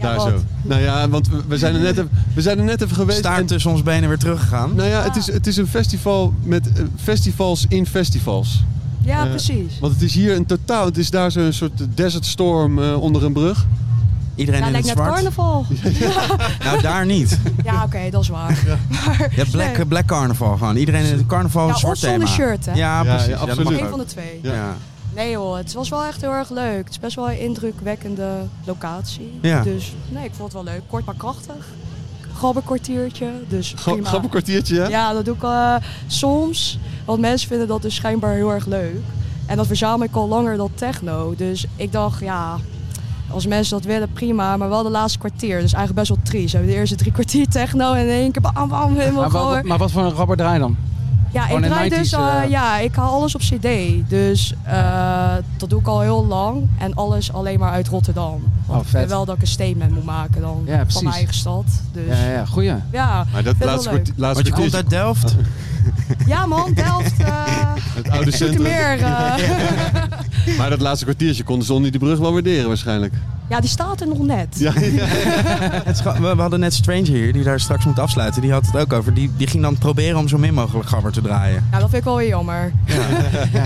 [SPEAKER 2] daar
[SPEAKER 11] wat?
[SPEAKER 2] zo? Nou ja, want we- we zijn er net, even- we zijn er net even geweest.
[SPEAKER 1] Staart tussen ons benen weer teruggegaan.
[SPEAKER 2] Nou ja,
[SPEAKER 11] Ah.
[SPEAKER 2] het is, het is een festival met eh, festivals in festivals.
[SPEAKER 11] ja,
[SPEAKER 2] eh,
[SPEAKER 11] precies.
[SPEAKER 2] Want het is hier een totaal, het is daar zo'n soort desert storm eh, onder een brug.
[SPEAKER 1] Iedereen
[SPEAKER 11] Ja,
[SPEAKER 1] in het
[SPEAKER 11] lijkt net
[SPEAKER 1] zwart.
[SPEAKER 11] carnaval.
[SPEAKER 1] Nou, daar niet.
[SPEAKER 11] Ja, oké, dat is waar.
[SPEAKER 1] Je hebt black,
[SPEAKER 11] Nee.
[SPEAKER 1] black carnaval gewoon. Iedereen in het carnaval
[SPEAKER 11] Ja,
[SPEAKER 1] een zwart
[SPEAKER 11] of zonder
[SPEAKER 1] thema.
[SPEAKER 11] shirt, hè?
[SPEAKER 1] Ja,
[SPEAKER 2] Ja,
[SPEAKER 1] precies.
[SPEAKER 2] ja,
[SPEAKER 1] dat
[SPEAKER 2] absoluut.
[SPEAKER 1] mag
[SPEAKER 11] Eén
[SPEAKER 1] ook.
[SPEAKER 11] van de twee.
[SPEAKER 2] Ja.
[SPEAKER 1] Ja.
[SPEAKER 11] Nee hoor, het was wel echt heel erg leuk. Het is best wel een indrukwekkende locatie.
[SPEAKER 1] Ja.
[SPEAKER 11] Dus nee, ik vond het wel leuk. Kort maar krachtig. Grabbekwartiertje, dus
[SPEAKER 2] Grap-
[SPEAKER 11] prima.
[SPEAKER 2] Grappig kwartiertje, hè?
[SPEAKER 11] Ja, dat doe ik eh, soms. Want mensen vinden dat dus schijnbaar heel erg leuk. En dat verzamel ik al langer dan techno. Dus ik dacht, ja, als mensen dat willen, prima. Maar wel de laatste kwartier. Dus eigenlijk best wel triest. We hebben de eerste drie kwartier techno en in één keer bam, bam, helemaal
[SPEAKER 10] Maar, wat,
[SPEAKER 11] gewoon...
[SPEAKER 10] maar wat voor een rapper draai je dan?
[SPEAKER 11] Ja,
[SPEAKER 10] Gewoon
[SPEAKER 11] ik
[SPEAKER 10] een
[SPEAKER 11] draai
[SPEAKER 10] 90s,
[SPEAKER 11] dus, eh,
[SPEAKER 10] eh.
[SPEAKER 11] ja, ik haal alles op cd. Dus eh, dat doe ik al heel lang. En alles alleen maar uit Rotterdam. Want
[SPEAKER 10] Oh,
[SPEAKER 11] ik
[SPEAKER 10] vet.
[SPEAKER 11] vind wel dat ik een statement moet maken dan
[SPEAKER 10] Ja,
[SPEAKER 11] van
[SPEAKER 10] precies.
[SPEAKER 11] mijn eigen stad. Dus
[SPEAKER 10] Ja, ja, goeie.
[SPEAKER 11] ja,
[SPEAKER 2] Maar dat
[SPEAKER 11] vind wel
[SPEAKER 2] laatste
[SPEAKER 11] leuk.
[SPEAKER 2] kwartier... Laatste
[SPEAKER 1] Want je komt uit
[SPEAKER 2] kwartiertje-
[SPEAKER 1] Delft.
[SPEAKER 11] Ja man, Delft, eh
[SPEAKER 2] Het oude centrum.
[SPEAKER 11] meer. eh.
[SPEAKER 2] Maar dat laatste kwartiertje kon Zonny die brug wel waarderen waarschijnlijk.
[SPEAKER 11] ja, die staat er nog net.
[SPEAKER 2] Ja, ja.
[SPEAKER 1] Het is gewoon- we, we hadden net Stranger hier, die daar straks moet afsluiten. Die had het ook over. Die, die ging dan proberen om zo min mogelijk gabber te draaien.
[SPEAKER 11] Ja, dat vind ik wel weer jammer.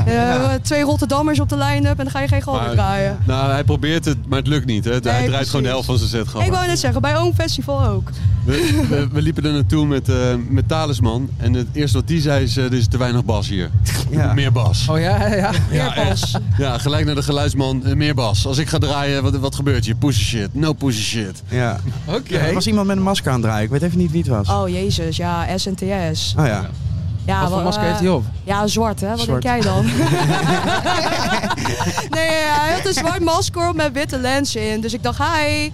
[SPEAKER 11] Eh, Twee Rotterdammers op de line-up en dan ga je geen galm
[SPEAKER 2] Maar-
[SPEAKER 11] draaien.
[SPEAKER 2] Nou, hij probeert het, maar het lukt niet. Hè? hij draait
[SPEAKER 11] precies.
[SPEAKER 2] gewoon de helft van zijn set gewoon.
[SPEAKER 11] Ik wou net zeggen, bij Oom Festival ook.
[SPEAKER 2] We, we, we liepen er naartoe met, eh, met Talisman. En het eerste wat die zei is, eh, er is te weinig bas hier.
[SPEAKER 1] Ja.
[SPEAKER 2] Meer bas.
[SPEAKER 10] Oh ja, ja, ja.
[SPEAKER 2] Ja, echt. ja, gelijk naar de geluidsman. eh, Meer bas. Als ik ga draaien, wat, wat gebeurt hier? Pussy shit. No pussy shit.
[SPEAKER 1] Ja.
[SPEAKER 10] Oké.
[SPEAKER 1] Er was iemand met een masker aan het draaien. Ik weet even niet wie het was.
[SPEAKER 11] Oh jezus, ja, SNTS.
[SPEAKER 1] Oh ja.
[SPEAKER 11] Ja,
[SPEAKER 10] Wat voor
[SPEAKER 11] wa-
[SPEAKER 10] masker heeft
[SPEAKER 11] eh,
[SPEAKER 10] hij op?
[SPEAKER 11] Ja, zwart hè, wat
[SPEAKER 1] Zwart.
[SPEAKER 11] denk jij dan? nee, eh, hij had een zwart masker op met witte lens in. Dus ik dacht, hi.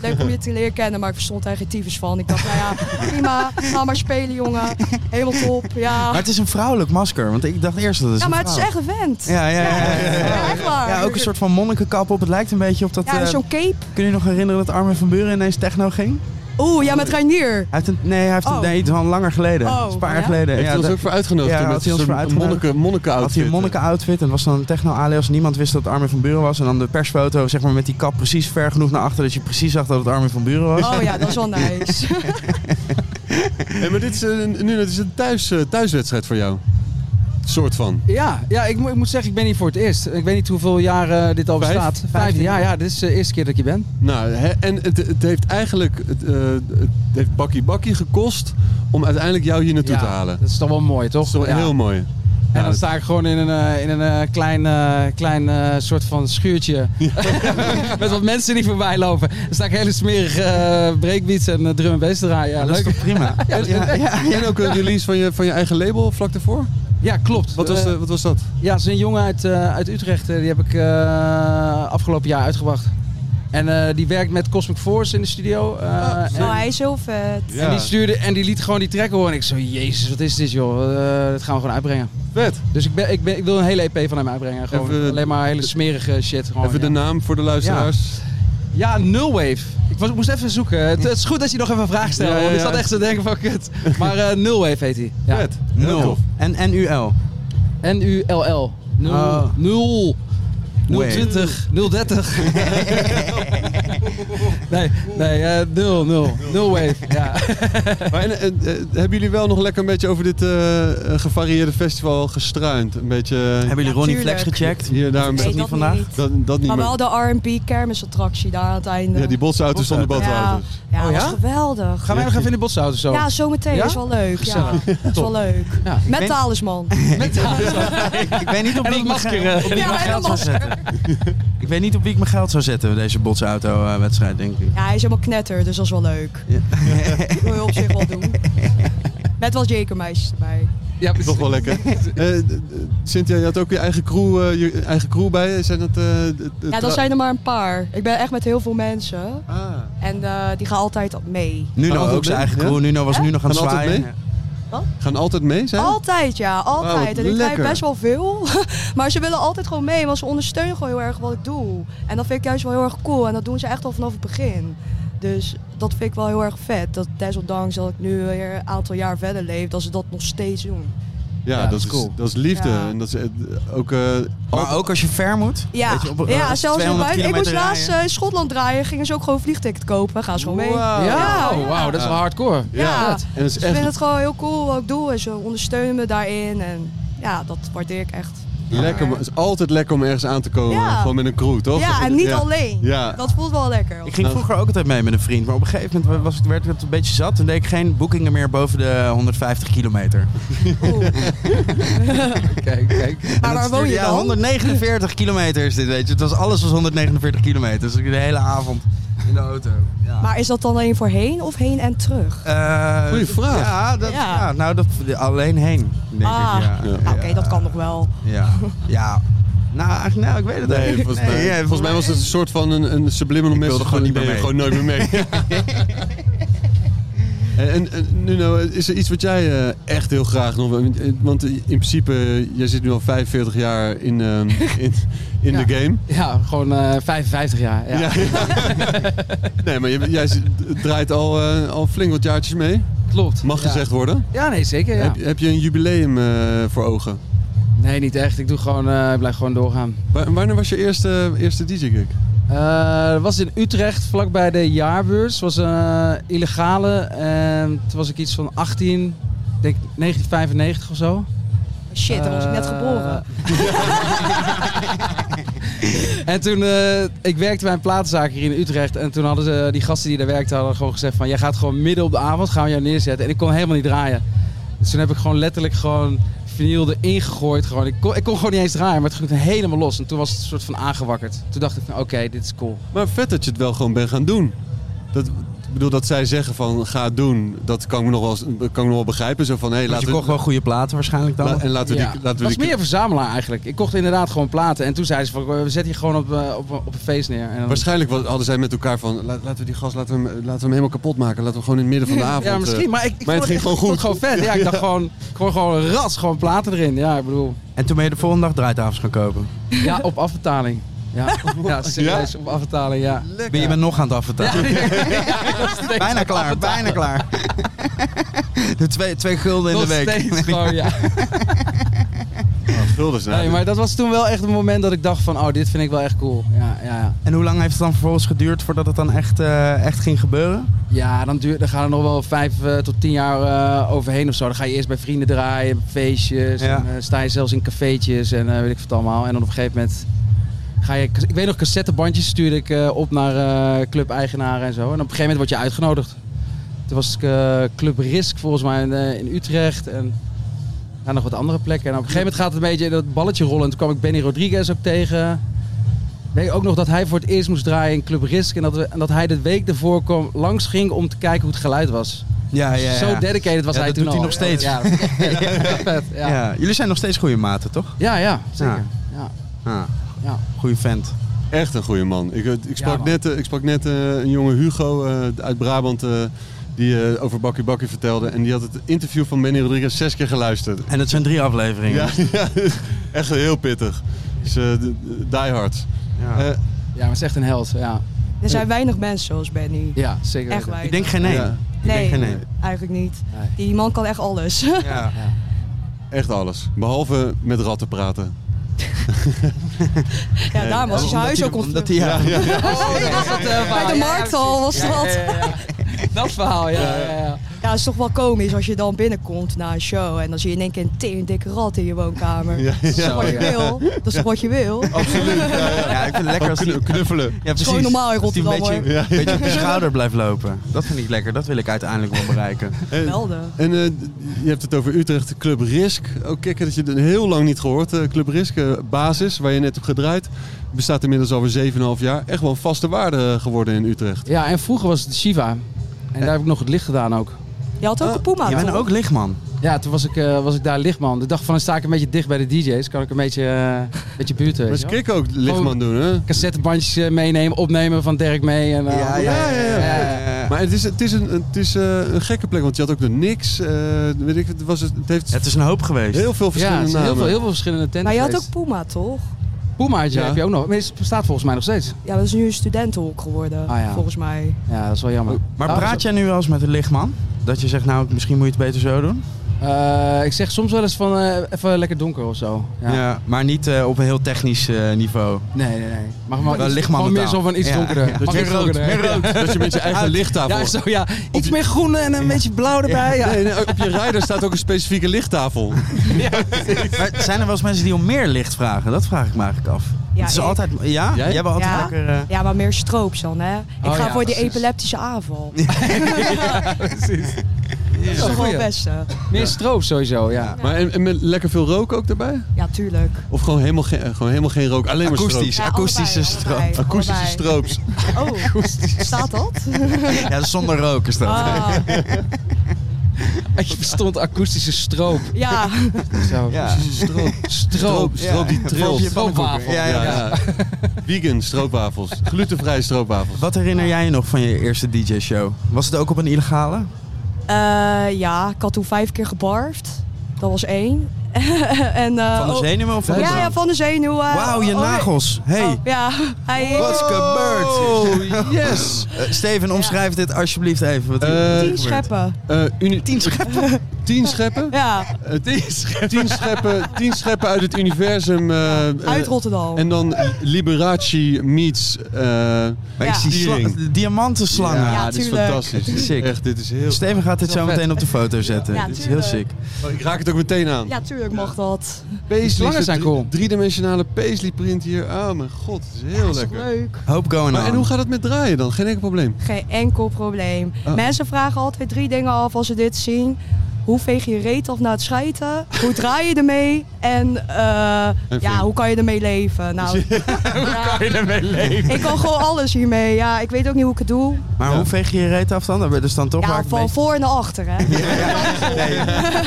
[SPEAKER 11] Leuk om je te leren kennen, maar ik verstond daar geen tyfus van. Ik dacht, nou ja, prima, ga maar spelen jongen. Helemaal top, ja.
[SPEAKER 1] Maar het is een vrouwelijk masker, want ik dacht eerst dat het
[SPEAKER 11] Ja,
[SPEAKER 1] een
[SPEAKER 11] maar het is
[SPEAKER 1] vrouw-
[SPEAKER 11] echt een vent.
[SPEAKER 1] Ja, ja, ja. ja, ja.
[SPEAKER 11] Ja, echt waar.
[SPEAKER 1] Ja, ook een soort van monnikenkap op. Het lijkt een beetje op dat...
[SPEAKER 11] Ja,
[SPEAKER 1] eh,
[SPEAKER 11] zo'n cape.
[SPEAKER 1] kun je nog herinneren dat Armin van Buren ineens techno ging?
[SPEAKER 11] Oeh, ja, met Reinier.
[SPEAKER 1] Hij heeft een, nee, hij heeft een,
[SPEAKER 11] Oh.
[SPEAKER 1] nee, het is al langer geleden.
[SPEAKER 11] Oh,
[SPEAKER 1] Het is een paar jaar
[SPEAKER 11] ja?
[SPEAKER 1] geleden.
[SPEAKER 2] Heeft
[SPEAKER 1] Ja,
[SPEAKER 2] hij ons
[SPEAKER 1] dat-
[SPEAKER 2] ook voor uitgenodigd?
[SPEAKER 1] Ja,
[SPEAKER 2] toen
[SPEAKER 1] had hij ons
[SPEAKER 2] zo'n
[SPEAKER 1] voor uitgenodigd.
[SPEAKER 2] monniken- eh. monniken-outfit.
[SPEAKER 1] had hij een monniken-outfit en was dan een techno-alias. Niemand wist dat het Armin van Buren was. En dan de persfoto zeg maar, met die kap precies ver genoeg naar achter... dat je precies zag dat het Armin van Buren was.
[SPEAKER 11] Oh ja, dat is wel nice.
[SPEAKER 2] Hé, maar dit is, eh, nu, dit is een thuis, eh, thuiswedstrijd voor jou. Soort van.
[SPEAKER 10] Ja, ja ik, moet- ik moet zeggen, ik ben hier voor het eerst. Ik weet niet hoeveel jaar eh, dit al
[SPEAKER 2] Vijf?
[SPEAKER 10] bestaat. Vijftien
[SPEAKER 1] Vijftien
[SPEAKER 10] jaar, ja. Dit is de eerste keer dat ik hier ben.
[SPEAKER 2] Nou, hè, en het, het heeft eigenlijk het, eh, het heeft bakkie bakkie gekost om uiteindelijk jou hier naartoe
[SPEAKER 10] Ja,
[SPEAKER 2] te halen.
[SPEAKER 10] Dat is toch wel mooi, toch?
[SPEAKER 2] Dat is toch
[SPEAKER 10] Ja.
[SPEAKER 2] heel mooi.
[SPEAKER 10] En
[SPEAKER 2] Ja,
[SPEAKER 10] dan sta ik gewoon in een, eh, in een eh, klein, eh, klein eh, soort van schuurtje. Met wat mensen die voorbij lopen. Dan sta ik hele smerige eh breakbeats en eh, drum en bass te draaien. Ja,
[SPEAKER 1] Dat is
[SPEAKER 10] leuk.
[SPEAKER 1] toch prima?
[SPEAKER 10] Ja, ja, ja.
[SPEAKER 2] En ook een release van je, van je eigen label vlak daarvoor?
[SPEAKER 10] Ja, klopt.
[SPEAKER 2] Wat was,
[SPEAKER 10] Eh,
[SPEAKER 2] de- wat was dat?
[SPEAKER 10] Ja, het is een jongen uit, eh, uit Utrecht. eh, Die heb ik eh, afgelopen jaar uitgebracht. En eh, die werkt met Cosmic Force in de studio. eh, en-
[SPEAKER 11] Oh, hij is heel vet.
[SPEAKER 10] En die stuurde en die liet gewoon die track horen. En ik zo, jezus, wat is dit joh? Eh, dat gaan we gewoon uitbrengen.
[SPEAKER 2] Vet.
[SPEAKER 10] Dus ik, ben, ik, ben, ik wil een hele EP van hem uitbrengen. Gewoon
[SPEAKER 2] Even-
[SPEAKER 10] alleen maar hele smerige shit. Gewoon,
[SPEAKER 2] Even de
[SPEAKER 10] ja.
[SPEAKER 2] naam voor de luisteraars.
[SPEAKER 10] ja, Nullwave. Ik was, moest even zoeken. Het, het is goed dat je nog even een vraag stelt.
[SPEAKER 2] Ja, ja,
[SPEAKER 10] Want ik
[SPEAKER 2] ja.
[SPEAKER 10] zat echt te denken van kut. Maar eh Nullwave heet hij. Ja.
[SPEAKER 2] Vet. Heel
[SPEAKER 1] Nul.
[SPEAKER 2] tof.
[SPEAKER 1] En NUL.
[SPEAKER 10] N-U-L-L. Nul.
[SPEAKER 1] Oh.
[SPEAKER 10] Nul.
[SPEAKER 1] Wave.
[SPEAKER 10] 020, 030. nee, nee, eh, nul, nul. Nul wave. Ja.
[SPEAKER 2] Maar en, en, eh, hebben jullie wel nog lekker een beetje over dit eh, eh, gevarieerde festival gestruind? Een beetje eh,
[SPEAKER 1] Hebben jullie Ronnie Flex
[SPEAKER 11] tuurlijk.
[SPEAKER 1] gecheckt?
[SPEAKER 2] hier en daar een
[SPEAKER 1] dat
[SPEAKER 11] Nee,
[SPEAKER 2] beetje.
[SPEAKER 1] niet
[SPEAKER 11] dat
[SPEAKER 1] vandaag?
[SPEAKER 11] niet.
[SPEAKER 2] Dat, dat niet
[SPEAKER 11] Maar
[SPEAKER 2] meer.
[SPEAKER 11] wel de R&B kermisattractie daar aan het einde.
[SPEAKER 2] Ja, die botsauto's van de
[SPEAKER 11] ja.
[SPEAKER 2] badwater.
[SPEAKER 11] Ja,
[SPEAKER 10] Oh,
[SPEAKER 11] dat
[SPEAKER 10] ja?
[SPEAKER 11] was geweldig.
[SPEAKER 10] Gaan wij nog even in de botsauto zo?
[SPEAKER 11] Ja, zometeen.
[SPEAKER 10] Ja?
[SPEAKER 11] is wel leuk. Ja,
[SPEAKER 10] Gezellig.
[SPEAKER 11] dat is wel leuk.
[SPEAKER 10] Ja, ik
[SPEAKER 11] Met
[SPEAKER 10] weet-
[SPEAKER 11] talisman.
[SPEAKER 1] Ik weet niet op
[SPEAKER 10] En
[SPEAKER 1] wie
[SPEAKER 10] dat
[SPEAKER 1] ik mijn
[SPEAKER 10] masker,
[SPEAKER 1] geld-
[SPEAKER 10] eh.
[SPEAKER 1] op wie ik
[SPEAKER 11] Ja,
[SPEAKER 1] mijn
[SPEAKER 11] en
[SPEAKER 1] geld zou
[SPEAKER 11] dat
[SPEAKER 1] zetten. Ik weet niet op wie ik mijn geld zou zetten deze botsauto-wedstrijd, denk ik.
[SPEAKER 11] Ja, hij is helemaal knetter, dus dat is wel leuk.
[SPEAKER 1] Ja.
[SPEAKER 11] Dat wil je op zich wel doen. Met wat jekermeisjes erbij.
[SPEAKER 10] Ja, precies.
[SPEAKER 2] Toch wel lekker. Eh, eh, Cynthia, je had ook je eigen crew, eh, je eigen crew bij. je. Zijn dat, eh, de- de
[SPEAKER 11] Ja,
[SPEAKER 2] trou-
[SPEAKER 11] dat zijn er maar een paar. Ik ben echt met heel veel mensen.
[SPEAKER 2] Ah.
[SPEAKER 11] En eh, die gaan altijd mee.
[SPEAKER 2] Gaan
[SPEAKER 1] Nuno
[SPEAKER 2] altijd
[SPEAKER 1] ook zijn
[SPEAKER 2] mee?
[SPEAKER 1] eigen
[SPEAKER 2] Ja?
[SPEAKER 1] crew. Nuno was nu nog aan het
[SPEAKER 2] Gaan altijd
[SPEAKER 1] zwaaien.
[SPEAKER 2] mee? Gaan altijd mee, zijn?
[SPEAKER 11] Altijd, ja.
[SPEAKER 2] Wauw,
[SPEAKER 11] Altijd.
[SPEAKER 2] wat
[SPEAKER 11] en ik krijg
[SPEAKER 2] lekker.
[SPEAKER 11] best wel veel. maar ze willen altijd gewoon mee, want ze ondersteunen gewoon heel erg wat ik doe. En dat vind ik juist wel heel erg cool. En dat doen ze echt al vanaf het begin. Dus dat vind ik wel heel erg vet. Dat desondanks dat ik nu weer een aantal jaar verder leef, dat ze dat nog steeds doen.
[SPEAKER 2] Ja, dat, is,
[SPEAKER 10] cool.
[SPEAKER 2] dat is liefde.
[SPEAKER 11] Ja.
[SPEAKER 2] En dat is eh, ook... eh,
[SPEAKER 1] Maar ook als je ver moet.
[SPEAKER 11] Ja,
[SPEAKER 1] Weet je, op- als
[SPEAKER 11] ja
[SPEAKER 1] je
[SPEAKER 11] zelfs
[SPEAKER 1] 200
[SPEAKER 11] in Ik moest
[SPEAKER 1] kilometer
[SPEAKER 11] laatst
[SPEAKER 1] rijden.
[SPEAKER 11] eh, in Schotland draaien, gingen ze ook gewoon vliegticket kopen. Gaan ze gewoon mee.
[SPEAKER 2] Wauw.
[SPEAKER 10] Ja,
[SPEAKER 11] Ja,
[SPEAKER 10] oh, wauw, dat is wel hardcore.
[SPEAKER 11] Ja.
[SPEAKER 2] En dat is
[SPEAKER 11] Ik vind
[SPEAKER 2] echt
[SPEAKER 11] het gewoon heel cool wat ik doe. En ze ondersteunen me daarin. En ja, dat waardeer ik echt.
[SPEAKER 2] lekker. maar Het is altijd lekker om ergens aan te komen.
[SPEAKER 11] Ja.
[SPEAKER 2] Gewoon met een crew, toch?
[SPEAKER 11] Ja, en niet alleen.
[SPEAKER 2] Ja.
[SPEAKER 11] Dat voelt wel lekker.
[SPEAKER 1] Ik ging vroeger ook altijd mee met een vriend, maar op een gegeven moment was het, werd het een beetje zat en deed ik geen boekingen meer boven de 150 kilometer.
[SPEAKER 11] Oeh.
[SPEAKER 10] Kijk, kijk.
[SPEAKER 1] Ah,
[SPEAKER 11] Maar waar woon je
[SPEAKER 1] ja,
[SPEAKER 11] dan?
[SPEAKER 1] 149 kilometer is dit, weet je. Het was, alles was 149 kilometer, dus ik de hele avond in de auto. Ja.
[SPEAKER 11] Maar is dat dan alleen voor heen of heen en terug?
[SPEAKER 1] Eh,
[SPEAKER 2] Goeie vraag.
[SPEAKER 1] Ja, dat,
[SPEAKER 11] Ja.
[SPEAKER 1] ja. nou, dat, alleen heen, denk
[SPEAKER 11] Ah,
[SPEAKER 1] ik. Ja,
[SPEAKER 2] Ja.
[SPEAKER 11] Nou, Oké, dat kan nog wel.
[SPEAKER 1] Ja, ja. Nou, eigenlijk, nou, ik weet het
[SPEAKER 2] Nee,
[SPEAKER 1] eigenlijk
[SPEAKER 2] volgens, mij,
[SPEAKER 1] Nee, ja,
[SPEAKER 2] volgens mij was het een soort van een, een subliminal message.
[SPEAKER 1] wilde gewoon
[SPEAKER 2] van,
[SPEAKER 1] niet meer
[SPEAKER 2] nee, Gewoon nooit meer mee. En, en, en Nuno, is er iets wat jij eh, echt heel graag nog... wil- Want in principe, eh, jij zit nu al 45 jaar in, ehm, in, in de game.
[SPEAKER 10] Ja, gewoon eh, 55 jaar. Ja.
[SPEAKER 2] Ja. nee, maar jij, jij zit- draait al, eh, al flink wat jaartjes mee.
[SPEAKER 10] Klopt.
[SPEAKER 2] Mag
[SPEAKER 10] Ja.
[SPEAKER 2] gezegd worden.
[SPEAKER 10] Ja, nee, zeker. Ja.
[SPEAKER 2] Heb, heb je een jubileum eh, voor ogen?
[SPEAKER 10] Nee, niet echt. Ik doe gewoon, eh, ik blijf gewoon doorgaan.
[SPEAKER 2] Wa- Wanneer was je eerste, eerste DJ-gig?
[SPEAKER 10] Eh, Dat was in Utrecht, vlakbij de jaarbeurs. was een illegale. En toen was ik iets van 18, ik denk 1995 of zo.
[SPEAKER 11] Shit, dan was ik net
[SPEAKER 10] Eh,
[SPEAKER 11] geboren.
[SPEAKER 10] En toen, eh, ik werkte bij een platenzaak hier in Utrecht. En toen hadden ze, die gasten die daar werkten, hadden gewoon gezegd van... Jij gaat gewoon midden op de avond, gaan we jou neerzetten. En ik kon helemaal niet draaien. Dus toen heb ik gewoon letterlijk gewoon vinyl erin gegooid. Gewoon. Ik, kon, ik kon gewoon niet eens draaien, maar het ging helemaal los. En toen was het soort van aangewakkerd. Toen dacht ik van, oké, dit is cool.
[SPEAKER 2] Maar vet dat je het wel gewoon bent gaan doen. Dat, ik bedoel, dat zij zeggen van ga het doen, dat kan ik me nog wel, eens- kan ik me nog wel begrijpen. Zo van, hé,
[SPEAKER 1] Want
[SPEAKER 2] laten
[SPEAKER 1] je kocht wel goede platen waarschijnlijk dan.
[SPEAKER 2] la- en laten we
[SPEAKER 10] Ja.
[SPEAKER 2] die... Laten we
[SPEAKER 10] was
[SPEAKER 2] die
[SPEAKER 10] meer een verzamelaar eigenlijk. Ik kocht inderdaad gewoon platen. En toen zeiden ze van, we zetten je gewoon op, eh, op, op een feest neer. En dan-
[SPEAKER 2] Waarschijnlijk wa- hadden zij met elkaar van, la- laten we die gast, laten we hem, laten we hem helemaal kapot maken. Laten we gewoon in het midden van de avond...
[SPEAKER 10] ja,
[SPEAKER 2] eh,
[SPEAKER 10] misschien. Maar, ik, ik
[SPEAKER 2] maar het
[SPEAKER 10] vond
[SPEAKER 2] ging
[SPEAKER 10] echt-
[SPEAKER 2] gewoon
[SPEAKER 10] ik vond
[SPEAKER 2] goed.
[SPEAKER 10] het gewoon vet. Ja, ik
[SPEAKER 2] Ja.
[SPEAKER 10] dacht gewoon, gewoon, gewoon ras, gewoon platen erin. Ja, ik bedoel...
[SPEAKER 1] En toen ben je de volgende dag draaitafels gaan kopen.
[SPEAKER 10] Ja, op afbetaling. Ja, ja serieus, op afbetaling, ja.
[SPEAKER 1] Ben je me nog aan het afvertalen? bijna klaar, bijna klaar. De twee, twee gulden in
[SPEAKER 10] Nog
[SPEAKER 1] de week.
[SPEAKER 10] steeds gewoon, ja.
[SPEAKER 2] Guldens, nou,
[SPEAKER 10] Nee, maar dat was toen wel echt een moment dat ik dacht van, oh, dit vind ik wel echt cool. Ja, ja, ja.
[SPEAKER 1] En hoe lang heeft het dan vervolgens geduurd voordat het dan echt, eh, echt ging gebeuren?
[SPEAKER 10] ja dan, duurt, dan gaan er nog wel vijf eh, tot tien jaar eh, overheen of zo. Dan ga je eerst bij vrienden draaien, feestjes.
[SPEAKER 1] Ja.
[SPEAKER 10] En, eh, sta je zelfs in cafeetjes en eh, weet ik wat allemaal. En dan op een gegeven moment ga je... Ik weet nog, cassettebandjes stuurde ik eh, op naar eh, club-eigenaren en zo. En op een gegeven moment word je uitgenodigd. Toen was ik eh, Club Risk volgens mij in, eh, in Utrecht en ja, nog wat andere plekken. En op een gegeven moment gaat het een beetje dat balletje rollen. En toen kwam ik Benny Rodriguez ook tegen. Weet ik ook nog dat hij voor het eerst moest draaien in Club Risk. En dat, we, en dat hij de week daarvoor kwam, langs ging om te kijken hoe het geluid was.
[SPEAKER 1] Ja, ja, ja.
[SPEAKER 10] Zo dedicated was
[SPEAKER 1] Ja,
[SPEAKER 10] hij toen
[SPEAKER 1] dat doet hij
[SPEAKER 10] al.
[SPEAKER 1] nog steeds.
[SPEAKER 10] Ja, dat is echt vet. Ja, vet, ja. ja.
[SPEAKER 1] Ja, Jullie zijn nog steeds goede maten, toch?
[SPEAKER 10] ja, zeker. Ja.
[SPEAKER 1] Ah,
[SPEAKER 10] Ja.
[SPEAKER 1] Goeie vent.
[SPEAKER 2] Echt een goede man. Ik, ik sprak
[SPEAKER 10] man.
[SPEAKER 2] net, eh, ik sprak net eh, een jonge Hugo eh, uit Brabant eh, die eh, over Bakkie Bakkie vertelde. En die had het interview van Benny Rodriguez zes keer geluisterd.
[SPEAKER 1] En dat zijn drie afleveringen.
[SPEAKER 2] Ja, ja echt heel pittig. Dus eh, d- d- die hard.
[SPEAKER 1] Ja.
[SPEAKER 2] Eh,
[SPEAKER 10] ja, maar het is echt een held. Ja,
[SPEAKER 11] Er zijn weinig mensen zoals Benny.
[SPEAKER 10] ja zeker.
[SPEAKER 11] Echt
[SPEAKER 10] weten.
[SPEAKER 11] waar.
[SPEAKER 1] ik denk geen één.
[SPEAKER 2] Ja.
[SPEAKER 1] Ik
[SPEAKER 11] Nee.
[SPEAKER 1] denk geen één.
[SPEAKER 11] Eigenlijk niet.
[SPEAKER 10] Nee.
[SPEAKER 11] Die man kan echt alles.
[SPEAKER 1] Ja.
[SPEAKER 2] echt alles. Behalve met ratten praten.
[SPEAKER 11] Ja, daarom was hij zijn huis ook Oh,
[SPEAKER 1] Omdat
[SPEAKER 11] ontdekt.
[SPEAKER 1] hij, ja.
[SPEAKER 11] eh, Bij de markt al was dat.
[SPEAKER 10] Dat verhaal, ja. ja, ja.
[SPEAKER 11] Ja, het is toch wel komisch als je dan binnenkomt na een show en dan zie je in één keer een teen dikke rat in je woonkamer.
[SPEAKER 2] Ja,
[SPEAKER 11] Dat is toch
[SPEAKER 10] Zo,
[SPEAKER 11] wat je
[SPEAKER 10] ja.
[SPEAKER 11] wil? Dat is toch wat je wil?
[SPEAKER 2] Absoluut. Ja, ja.
[SPEAKER 1] ja, ik vind het lekker als die,
[SPEAKER 2] Knu- Knuffelen.
[SPEAKER 1] ja, precies.
[SPEAKER 11] gewoon normaal in
[SPEAKER 1] Als die een
[SPEAKER 11] Rotterdam,
[SPEAKER 1] beetje,
[SPEAKER 2] hoor.
[SPEAKER 1] een beetje op je schouder blijft lopen. Dat vind ik lekker. Dat wil ik uiteindelijk wel bereiken.
[SPEAKER 2] En,
[SPEAKER 11] Melden.
[SPEAKER 2] en, eh, d- je hebt het over Utrecht Club Risk. Ook kikker dat je het heel lang niet gehoord. eh, Club Risk, eh, basis, waar je net hebt gedraaid. Bestaat inmiddels alweer 7,5 jaar. Echt wel een vaste waarde eh, geworden in Utrecht.
[SPEAKER 10] Ja, en vroeger was het de Shiva. En daar heb ik nog het licht gedaan ook.
[SPEAKER 11] Je had ook een Puma.
[SPEAKER 1] Je bent
[SPEAKER 11] toch?
[SPEAKER 1] ook lichtman.
[SPEAKER 10] Ja, toen was ik, eh, was ik daar lichtman. De dag van dan sta ik een beetje dicht bij de DJ's. Kan ik een beetje, eh, een beetje buurten.
[SPEAKER 2] Maar
[SPEAKER 10] weet
[SPEAKER 2] ze
[SPEAKER 10] je wel.
[SPEAKER 2] kikken ook lichtman doen, hè?
[SPEAKER 10] Cassettebandjes eh, meenemen, opnemen van Dirk mee. En, eh,
[SPEAKER 2] ja, ja, ja.
[SPEAKER 10] ja, ja.
[SPEAKER 2] Maar het is, het is, een, het is eh, een gekke plek, want je had ook de niks. eh, weet ik, het, was, het het heeft
[SPEAKER 1] Het is een hoop geweest.
[SPEAKER 2] heel veel
[SPEAKER 10] Ja, het
[SPEAKER 2] verschillende
[SPEAKER 10] zijn heel
[SPEAKER 2] namen.
[SPEAKER 10] veel, heel veel verschillende tenten.
[SPEAKER 11] Maar je had ook
[SPEAKER 10] geweest.
[SPEAKER 11] Puma, toch?
[SPEAKER 10] Puma had je,
[SPEAKER 2] Ja.
[SPEAKER 10] heb je ook nog. Maar het bestaat volgens mij nog steeds.
[SPEAKER 11] Ja, dat is nu een studentenhok geworden,
[SPEAKER 10] Ah, ja.
[SPEAKER 11] volgens mij.
[SPEAKER 10] Ja, dat is wel jammer.
[SPEAKER 1] Maar
[SPEAKER 10] Nou,
[SPEAKER 1] praat jij nu wel eens met een lichtman? Dat je zegt, nou, misschien moet je het beter zo doen.
[SPEAKER 10] eh, ik zeg soms wel eens van eh, even lekker donker of zo.
[SPEAKER 1] Ja.
[SPEAKER 10] Ja.
[SPEAKER 1] maar niet eh, op een heel technisch eh, niveau.
[SPEAKER 10] Nee, nee, nee. Mag maar
[SPEAKER 1] Wel
[SPEAKER 10] iets-
[SPEAKER 1] lichtman
[SPEAKER 10] gewoon meer
[SPEAKER 1] betaald.
[SPEAKER 10] zo van iets
[SPEAKER 1] Ja,
[SPEAKER 10] donkerder.
[SPEAKER 1] ja.
[SPEAKER 10] Mag
[SPEAKER 1] Meer
[SPEAKER 10] iets
[SPEAKER 1] rood,
[SPEAKER 10] donkerder.
[SPEAKER 1] meer rood.
[SPEAKER 2] Dat je met je eigen lichttafel...
[SPEAKER 10] Ja, zo ja. Iets meer groen en een beetje blauw erbij. Ja.
[SPEAKER 2] Nee, nee, op je rijder staat ook een specifieke lichttafel.
[SPEAKER 1] Maar zijn er wel eens mensen die om meer licht vragen? Dat vraag ik me eigenlijk af.
[SPEAKER 11] Ja,
[SPEAKER 1] het is
[SPEAKER 11] ik-
[SPEAKER 1] altijd... Ja?
[SPEAKER 2] Jij?
[SPEAKER 1] Jij, hebt altijd
[SPEAKER 11] Ja?
[SPEAKER 1] lekker... eh,
[SPEAKER 11] Ja, maar meer stroops dan, hè? Ik
[SPEAKER 10] Oh,
[SPEAKER 11] ga
[SPEAKER 10] ja,
[SPEAKER 11] voor die
[SPEAKER 10] precies.
[SPEAKER 11] epileptische aanval. Dat is
[SPEAKER 10] een
[SPEAKER 11] toch wel
[SPEAKER 10] goeie.
[SPEAKER 11] het beste.
[SPEAKER 10] Meer stroop sowieso, ja.
[SPEAKER 2] Maar en, en met lekker veel rook ook daarbij?
[SPEAKER 11] Ja, tuurlijk.
[SPEAKER 2] Of gewoon helemaal, geen- eh, gewoon helemaal geen rook, alleen maar
[SPEAKER 1] Akoestisch.
[SPEAKER 2] stroop?
[SPEAKER 11] Ja,
[SPEAKER 1] akoestische
[SPEAKER 11] allebei, allebei,
[SPEAKER 2] Akoestische
[SPEAKER 11] allebei.
[SPEAKER 2] stroops.
[SPEAKER 11] Oh, staat dat?
[SPEAKER 1] Ja, zonder rook is dat.
[SPEAKER 11] Ah,
[SPEAKER 10] Je verstond akoestische stroop.
[SPEAKER 11] ja.
[SPEAKER 10] Zo.
[SPEAKER 1] Ja.
[SPEAKER 2] Stroop.
[SPEAKER 10] Stroop.
[SPEAKER 2] Stroop, stroop die trilt.
[SPEAKER 1] Stroopje pannenkoeken. Ja,
[SPEAKER 2] Ja,
[SPEAKER 1] ja, ja.
[SPEAKER 2] ja. Vegan stroopwafels. Glutenvrije stroopwafels.
[SPEAKER 1] Wat herinner jij je nog van je eerste DJ-show? Was het ook op een illegale?
[SPEAKER 11] Eh, ja, ik had toen vijf keer gebarfd. Dat was één. en, eh,
[SPEAKER 1] Van de
[SPEAKER 11] oh-
[SPEAKER 1] zenuwen of van de
[SPEAKER 11] Ja, ja,
[SPEAKER 1] zand?
[SPEAKER 11] van de zenuwen.
[SPEAKER 1] Wauw, je
[SPEAKER 11] Oh,
[SPEAKER 1] nagels. Hey,
[SPEAKER 11] oh, ja, hij...
[SPEAKER 1] what's gebeurd?
[SPEAKER 2] Oh, yes!
[SPEAKER 1] Eh, Steven, omschrijf dit alsjeblieft even. Wat hier-
[SPEAKER 2] Eh,
[SPEAKER 1] wat hier
[SPEAKER 11] Tien
[SPEAKER 1] gebeurt.
[SPEAKER 11] scheppen.
[SPEAKER 2] Eh uni- tien scheppen? tien scheppen?
[SPEAKER 11] Ja,
[SPEAKER 2] Eh, tien, scheppen. Tien, scheppen tien scheppen uit het universum. eh, eh,
[SPEAKER 11] uit Rotterdam.
[SPEAKER 2] en dan Liberace meets... eh,
[SPEAKER 1] Maar ik
[SPEAKER 11] Ja.
[SPEAKER 1] zie sla-
[SPEAKER 2] Diering.
[SPEAKER 1] diamantenslangen.
[SPEAKER 2] Ja,
[SPEAKER 11] Ja,
[SPEAKER 2] dit is
[SPEAKER 11] tuurlijk.
[SPEAKER 2] fantastisch. Dit is
[SPEAKER 1] Sick.
[SPEAKER 2] Echt, dit is heel...
[SPEAKER 1] Steven gaat dit zo
[SPEAKER 10] vet.
[SPEAKER 1] meteen op de foto zetten.
[SPEAKER 11] Ja,
[SPEAKER 1] dit is heel
[SPEAKER 11] tuurlijk.
[SPEAKER 1] sick.
[SPEAKER 2] Oh, ik raak het ook meteen aan.
[SPEAKER 11] Ja, tuurlijk mag dat.
[SPEAKER 2] Paisley,
[SPEAKER 10] slangen
[SPEAKER 2] zo'n
[SPEAKER 10] zijn
[SPEAKER 2] dus drie-
[SPEAKER 10] cool.
[SPEAKER 2] Driedimensionale paisley print hier. Oh mijn god, het is heel
[SPEAKER 11] Ja, is toch
[SPEAKER 2] lekker.
[SPEAKER 11] leuk.
[SPEAKER 1] Hope going
[SPEAKER 2] Maar
[SPEAKER 1] on.
[SPEAKER 2] en hoe gaat het met draaien dan? Geen enkel probleem.
[SPEAKER 11] Geen enkel probleem.
[SPEAKER 2] Oh.
[SPEAKER 11] Mensen vragen altijd drie dingen af als ze dit zien. Hoe veeg je je reet af na het schijten? Hoe draai je ermee? En eh,
[SPEAKER 2] En
[SPEAKER 11] ja,
[SPEAKER 2] veel.
[SPEAKER 11] hoe kan je ermee leven? Nou, ja,
[SPEAKER 3] Kan je ermee leven?
[SPEAKER 11] ik kan gewoon alles hiermee. Ja, ik weet ook niet hoe ik het doe.
[SPEAKER 1] Maar hoe veeg je je reet af dan? Dat is dan toch
[SPEAKER 11] Ja,
[SPEAKER 1] waar
[SPEAKER 11] van voor naar achter, hè.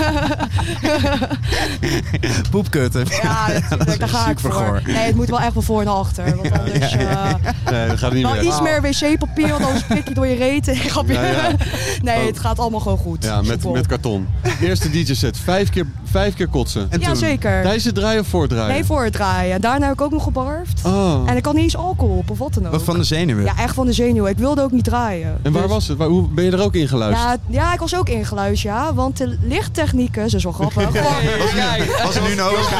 [SPEAKER 1] poepkutten.
[SPEAKER 11] Ja, natuurlijk, daar ga ik voor.
[SPEAKER 1] supergoor.
[SPEAKER 11] Nee, het moet wel echt wel voor naar achter. Want anders... eh,
[SPEAKER 2] Nee, dat gaat niet
[SPEAKER 11] wel
[SPEAKER 2] meer.
[SPEAKER 11] iets meer wc-papier, want anders prik je door je reet. Ik grapje.
[SPEAKER 2] Ja, ja.
[SPEAKER 11] Nee,
[SPEAKER 2] Oh.
[SPEAKER 11] het gaat allemaal gewoon goed.
[SPEAKER 2] Ja, met,
[SPEAKER 11] Soepel.
[SPEAKER 2] met karton. Eerste DJ set. Vijf keer, vijf keer kotsen.
[SPEAKER 11] Ja, zeker.
[SPEAKER 2] Tijdens het draaien of voordraaien?
[SPEAKER 11] Nee, voor het draaien. Daarna heb ik ook nog gebarfd.
[SPEAKER 2] Oh.
[SPEAKER 11] En ik had niet eens alcohol op of wat dan ook.
[SPEAKER 1] Van de zenuwen.
[SPEAKER 11] Ja, echt van de zenuwen. Ik wilde ook niet draaien.
[SPEAKER 2] En waar
[SPEAKER 11] Dus-
[SPEAKER 2] was het? Waar, hoe, ben je er ook in geluisterd?
[SPEAKER 11] Ja, ja, ik was ook ingeluisterd, ja. Want de lichttechnicus, dat is wel grappig. Gewoon-
[SPEAKER 1] Als Eh, er nu nodig
[SPEAKER 11] ja,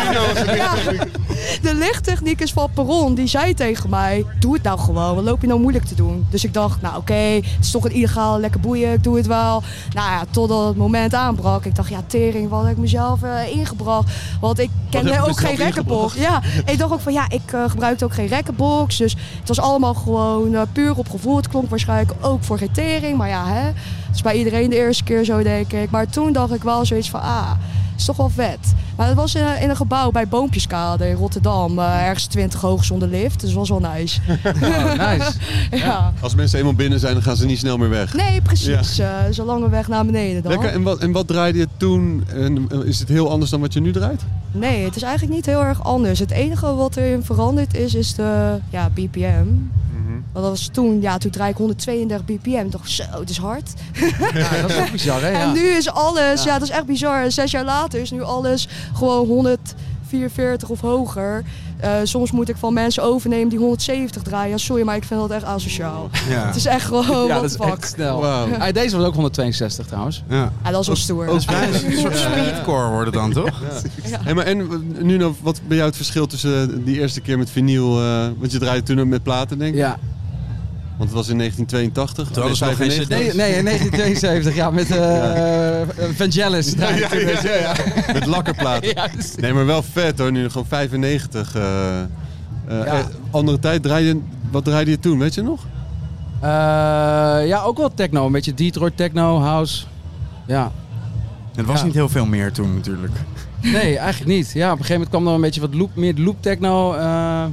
[SPEAKER 11] de lichttechnicus van Perron, die zei tegen mij... Doe het nou gewoon, wat loop je nou moeilijk te doen? Dus ik dacht, nou oké, het is toch een illegaal, lekker boeien, ik doe het wel. Nou ja, totdat het moment aanbrak. Ik dacht, ja tering, wat heb ik mezelf eh, ingebracht? Want ik
[SPEAKER 2] heb
[SPEAKER 11] kende
[SPEAKER 2] je
[SPEAKER 11] ook
[SPEAKER 2] mezelf
[SPEAKER 11] geen rekkenbox. Ja, ik dacht ook van, ja, ik eh, gebruikte ook geen rekkenbox. Dus het was allemaal gewoon eh, puur op gevoel. Het klonk waarschijnlijk ook voor geen tering, maar ja, hè. Het is bij iedereen de eerste keer zo, denk ik. Maar toen dacht ik wel zoiets van, ah, is toch wel vet. Maar dat was in een, in een gebouw bij Boompjeskade in Rotterdam. eh, ergens 20 hoog zonder lift, dus dat was wel nice.
[SPEAKER 10] Oh, nice.
[SPEAKER 11] ja.
[SPEAKER 2] Als mensen eenmaal binnen zijn, dan gaan ze niet snel meer weg.
[SPEAKER 11] Nee, precies. eh zo lange weg naar beneden dan.
[SPEAKER 2] Lekker. En wat, en wat draaide je toen? En eh, is het heel anders dan wat je nu draait?
[SPEAKER 11] Nee, het is eigenlijk niet heel erg anders. Het enige wat erin veranderd is, is de ja, BPM.
[SPEAKER 10] Mhm.
[SPEAKER 11] Want dat was toen, ja, toen draai ik 132 BPM. Ik dacht, zo, het is hard.
[SPEAKER 10] Ja, Ah, dat is ook bizar, hè?
[SPEAKER 11] En
[SPEAKER 10] Ja.
[SPEAKER 11] nu is alles, ja. dat is echt bizar. Zes jaar later is nu alles gewoon 144 of hoger. Eh, soms moet ik van mensen overnemen die 170 draaien. Ja, sorry, maar ik vind dat echt asociaal.
[SPEAKER 1] Ja.
[SPEAKER 11] Het is echt gewoon,
[SPEAKER 10] Ja,
[SPEAKER 11] what
[SPEAKER 10] dat
[SPEAKER 11] the
[SPEAKER 10] is
[SPEAKER 11] fuck.
[SPEAKER 10] echt snel.
[SPEAKER 2] Wauw.
[SPEAKER 10] Ah, deze was ook 162 trouwens. Ah,
[SPEAKER 1] Ja.
[SPEAKER 11] Ja, dat is wel stoer.
[SPEAKER 1] Dat Oh, is bijna een soort speedcore worden dan, toch?
[SPEAKER 2] Hey, maar en eh, nu nog, wat bij jou het verschil tussen eh, die eerste keer met vinyl? eh, want je draaide toen ook met platen, denk ik?
[SPEAKER 10] Ja.
[SPEAKER 2] Want het was in 1982.
[SPEAKER 1] Toen hadden ze nog geen
[SPEAKER 2] 95.
[SPEAKER 1] cd.
[SPEAKER 10] Nee, nee, in 1972, ja, met eh Vangelis. Ja, ja,
[SPEAKER 2] Ja, ja, ja. Met lakkerplaten.
[SPEAKER 10] dus-
[SPEAKER 2] Nee, maar wel vet hoor. Nu gewoon 95. eh, eh, eh, andere tijd draaide. Wat draaide je toen, weet je nog?
[SPEAKER 10] Eh, ja, ook wel techno, een beetje Detroit techno, house. Ja.
[SPEAKER 1] Het was
[SPEAKER 10] Ja.
[SPEAKER 1] niet heel veel meer toen natuurlijk.
[SPEAKER 10] Nee, eigenlijk niet. Ja, op een gegeven moment kwam er een beetje wat loop, meer loop techno. eh.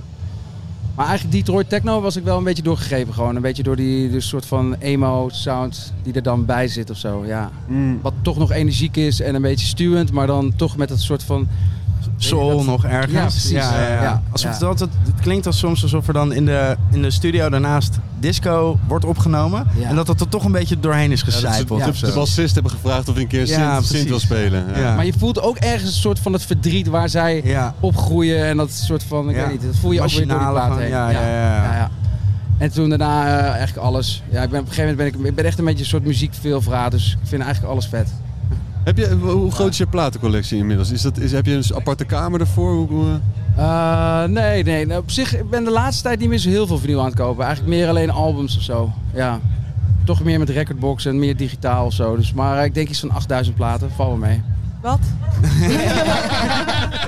[SPEAKER 10] maar eigenlijk Detroit techno was ik wel een beetje doorgegeven. Gewoon een beetje door die dus soort van emo sound die er dan bij zit of zo. Ja.
[SPEAKER 1] Hmm.
[SPEAKER 10] Wat toch nog energiek is en een beetje stuwend, maar dan toch met dat soort van.
[SPEAKER 1] Soul nog ergens.
[SPEAKER 10] Ja, precies.
[SPEAKER 1] Ja, ja, ja.
[SPEAKER 10] Ja.
[SPEAKER 1] Alsof het,
[SPEAKER 10] Ja.
[SPEAKER 1] altijd, het klinkt als soms alsof er dan in de, in de studio daarnaast disco wordt opgenomen.
[SPEAKER 10] Ja.
[SPEAKER 1] En dat dat er toch een beetje doorheen is gecijpeld.
[SPEAKER 10] ja,
[SPEAKER 1] of
[SPEAKER 2] De
[SPEAKER 1] zo.
[SPEAKER 2] bassist hebben gevraagd of hij een keer Sint, Sint
[SPEAKER 1] Ja, precies.
[SPEAKER 2] wil spelen. Ja.
[SPEAKER 1] Ja.
[SPEAKER 10] Maar je voelt ook ergens een soort van het verdriet waar zij
[SPEAKER 1] ja.
[SPEAKER 10] opgroeien en dat soort van, ik
[SPEAKER 1] Ja.
[SPEAKER 10] weet niet, dat voel je ook weer door die
[SPEAKER 1] Machinale
[SPEAKER 10] plaat
[SPEAKER 1] gewoon,
[SPEAKER 10] heen.
[SPEAKER 1] ja, ja, ja, ja.
[SPEAKER 10] En toen daarna eh, eigenlijk alles. Ja, ik ben, op een gegeven moment ben ik, ik ben echt een beetje een soort muziekveelvraat, dus ik vind eigenlijk alles vet.
[SPEAKER 2] Heb je, hoe groot is je platencollectie inmiddels? Is dat, is, heb je een aparte kamer ervoor? Hoe, hoe-
[SPEAKER 10] Eh, nee, nee, nou, op zich ik ben de laatste tijd niet meer zo heel veel vinyl aan het kopen. Eigenlijk meer alleen albums of zo, ja. Toch meer met recordbox en meer digitaal of zo. Dus, maar eh, ik denk iets van 8000 platen, val wel mee.
[SPEAKER 11] Wat?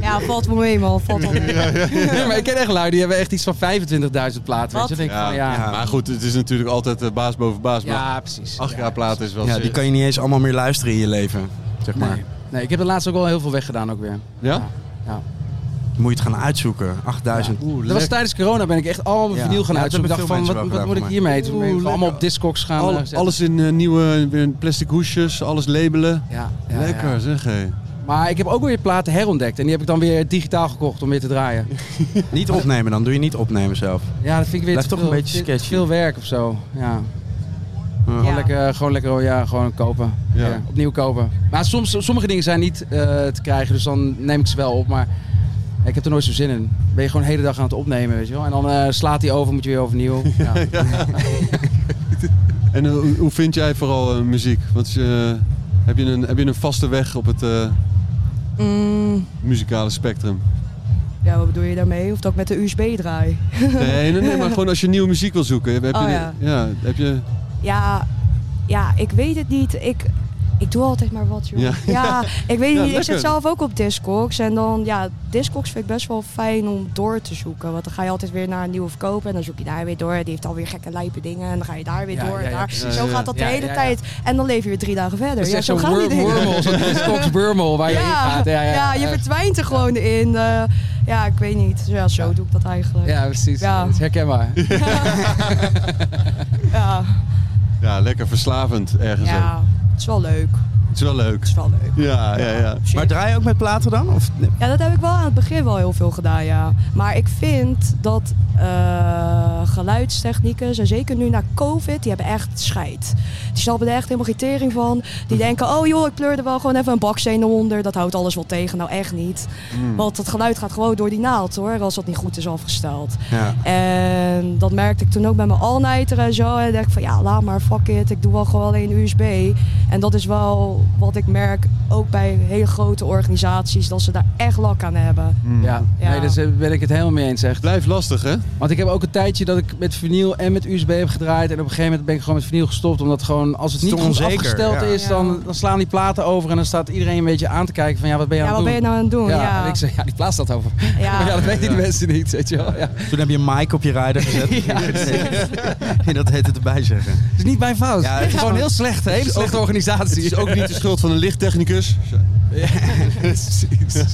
[SPEAKER 11] ja, valt wel mee, man. Valt wel mee.
[SPEAKER 10] Nee, maar ik ken echt lui, die hebben echt iets van 25.000 platen. Weet je?
[SPEAKER 11] Wat?
[SPEAKER 10] Dan denk ik van, ja.
[SPEAKER 1] Ja.
[SPEAKER 10] Ja,
[SPEAKER 2] Maar goed, het is natuurlijk altijd eh, baas boven baas. maar
[SPEAKER 10] precies.
[SPEAKER 2] acht
[SPEAKER 10] Ja.
[SPEAKER 2] jaar platen is wel
[SPEAKER 1] Ja, die
[SPEAKER 2] serieus.
[SPEAKER 1] kan je niet eens allemaal meer luisteren in je leven. Zeg maar.
[SPEAKER 10] Nee. nee, ik heb de laatste ook wel heel veel weggedaan ook weer.
[SPEAKER 2] Ja?
[SPEAKER 1] Moet je het gaan uitzoeken. 8000.
[SPEAKER 2] Oeh,
[SPEAKER 10] Dat was tijdens corona ben ik echt al mijn
[SPEAKER 1] Ja.
[SPEAKER 10] vinyl gaan
[SPEAKER 1] Ja, dat
[SPEAKER 10] uitzoeken. Ik
[SPEAKER 1] hebben
[SPEAKER 10] dacht van, wat,
[SPEAKER 1] veel mensen
[SPEAKER 10] wat
[SPEAKER 1] wel
[SPEAKER 10] moet ik
[SPEAKER 1] gedaan,
[SPEAKER 10] hiermee? Toen ben ik
[SPEAKER 2] Oeh,
[SPEAKER 10] gewoon allemaal op Discogs gaan
[SPEAKER 2] Al-
[SPEAKER 10] eh, zetten.
[SPEAKER 2] alles in eh, nieuwe weer in plastic hoesjes, alles labelen.
[SPEAKER 10] Ja, ja,
[SPEAKER 2] Lekker
[SPEAKER 10] ja.
[SPEAKER 2] zeg hé.
[SPEAKER 10] Maar ik heb ook weer platen herontdekt. En die heb ik dan weer digitaal gekocht om weer te draaien.
[SPEAKER 1] Niet opnemen dan. Doe je niet opnemen zelf.
[SPEAKER 10] Ja, dat vind ik weer
[SPEAKER 1] Blijft
[SPEAKER 10] te
[SPEAKER 1] toch een
[SPEAKER 10] veel-
[SPEAKER 1] beetje
[SPEAKER 10] te- te
[SPEAKER 1] sketchy.
[SPEAKER 10] veel werk of zo. Ja. Gewoon,
[SPEAKER 6] Ja.
[SPEAKER 10] lekker, eh, gewoon lekker ja, gewoon kopen.
[SPEAKER 2] Ja.
[SPEAKER 10] Ja, opnieuw kopen. Maar soms, sommige dingen zijn niet eh, te krijgen, dus dan neem ik ze wel op. Maar ik heb er nooit zo zin in. Ben je gewoon de hele dag aan het opnemen, weet je wel. En dan eh, slaat hij over, moet je weer overnieuw. Ja.
[SPEAKER 2] En eh, hoe, hoe vind jij vooral eh, muziek? Wat is, eh, heb, je een, heb je een vaste weg op het eh,
[SPEAKER 11] Mm,
[SPEAKER 2] muzikale spectrum?
[SPEAKER 11] ja, wat bedoel je daarmee? Of dat ik met de USB draai?
[SPEAKER 2] Nee, nee, nee, maar gewoon als je nieuwe muziek wil zoeken. Heb, heb
[SPEAKER 11] Oh,
[SPEAKER 2] je,
[SPEAKER 11] ja.
[SPEAKER 2] heb je...
[SPEAKER 11] Ja, ja, ik weet het niet. Ik, ik doe altijd maar wat, joh.
[SPEAKER 2] Ja.
[SPEAKER 11] Ja, ik weet het
[SPEAKER 2] Ja,
[SPEAKER 11] niet. Ik
[SPEAKER 2] lekker.
[SPEAKER 11] zit zelf ook op Discogs. En dan, ja, Discogs vind ik best wel fijn om door te zoeken. Want dan ga je altijd weer naar een nieuwe verkoper. En dan zoek je daar weer door. Die heeft alweer gekke lijpe dingen. En dan ga je daar weer
[SPEAKER 10] Ja,
[SPEAKER 11] door.
[SPEAKER 10] ja,
[SPEAKER 11] en
[SPEAKER 10] ja,
[SPEAKER 11] daar.
[SPEAKER 10] precies.
[SPEAKER 11] zo
[SPEAKER 2] Ja,
[SPEAKER 11] gaat dat
[SPEAKER 10] ja.
[SPEAKER 11] de
[SPEAKER 10] Ja,
[SPEAKER 11] hele
[SPEAKER 10] ja, ja.
[SPEAKER 11] tijd. En dan leef je weer drie dagen verder.
[SPEAKER 10] Dat is
[SPEAKER 11] ja,
[SPEAKER 10] echt
[SPEAKER 11] zo
[SPEAKER 10] zo'n
[SPEAKER 11] gaan die
[SPEAKER 10] wor-
[SPEAKER 11] dingen.
[SPEAKER 10] wormhole, zo'n Discogs wormhole waar je in
[SPEAKER 11] Ja,
[SPEAKER 10] gaat. Ja, ja,
[SPEAKER 11] ja, je
[SPEAKER 10] echt.
[SPEAKER 11] verdwijnt er gewoon in. eh, ja, ik weet niet. Ja, zo doe ik dat eigenlijk.
[SPEAKER 10] Ja, precies.
[SPEAKER 11] Ja.
[SPEAKER 10] Dat is herkenbaar.
[SPEAKER 11] Ja,
[SPEAKER 2] Ja, lekker verslavend ergens. ook.
[SPEAKER 11] ja. het is wel leuk.
[SPEAKER 2] Het is wel leuk.
[SPEAKER 11] Het is wel leuk.
[SPEAKER 2] Ja, ja, ja.
[SPEAKER 1] Maar draai je ook met platen dan? Of,
[SPEAKER 11] Ja, dat heb ik wel aan het begin wel heel veel gedaan, ja. Maar ik vind dat eh, geluidstechnieken, en zeker nu na COVID, die hebben echt scheid. Die snappen er echt helemaal geen tering van. Die denken, oh joh, ik pleur er wel gewoon even een baksteen onder. Dat houdt alles wel tegen. Nou, echt niet. Want dat geluid gaat gewoon door die naald, hoor. Als dat niet goed is afgesteld.
[SPEAKER 1] ja.
[SPEAKER 11] En dat merkte ik toen ook bij mijn all-nighter en zo. En dan dacht ik van ja, laat maar, fuck it. Ik doe wel gewoon alleen USB. En dat is wel wat ik merk ook bij hele grote organisaties. Dat ze daar echt lak aan hebben.
[SPEAKER 10] Ja,
[SPEAKER 11] Ja.
[SPEAKER 10] Hmm. Nee, daar ben ik het helemaal mee eens echt.
[SPEAKER 2] Blijft lastig, hè?
[SPEAKER 10] Want ik heb ook een tijdje dat ik met vinyl en met USB heb gedraaid. En op een gegeven moment ben ik gewoon met vinyl gestopt. Omdat gewoon, als het
[SPEAKER 1] Het is
[SPEAKER 10] niet
[SPEAKER 1] toch
[SPEAKER 10] goed
[SPEAKER 1] onzeker,
[SPEAKER 10] afgesteld
[SPEAKER 1] ja.
[SPEAKER 10] is, dan, dan slaan die platen over. En dan staat iedereen een beetje aan te kijken van ja, wat ben je
[SPEAKER 11] Ja,
[SPEAKER 10] aan
[SPEAKER 11] wat
[SPEAKER 10] het
[SPEAKER 11] ben
[SPEAKER 10] doen?
[SPEAKER 11] je nou aan het doen? Ja,
[SPEAKER 10] Ja, en ik zeg, ja, die plaat staat over.
[SPEAKER 11] Ja.
[SPEAKER 10] Maar ja, dat weten die mensen niet, weet je wel. Ja.
[SPEAKER 1] Toen heb je een mic op je rider gezet. En dat heet het erbij zeggen.
[SPEAKER 10] Het is niet mijn fout.
[SPEAKER 1] Ja,
[SPEAKER 10] het is gewoon heel slecht, een hele slechte organisatie.
[SPEAKER 2] Het is ook niet de schuld van een lichttechnicus.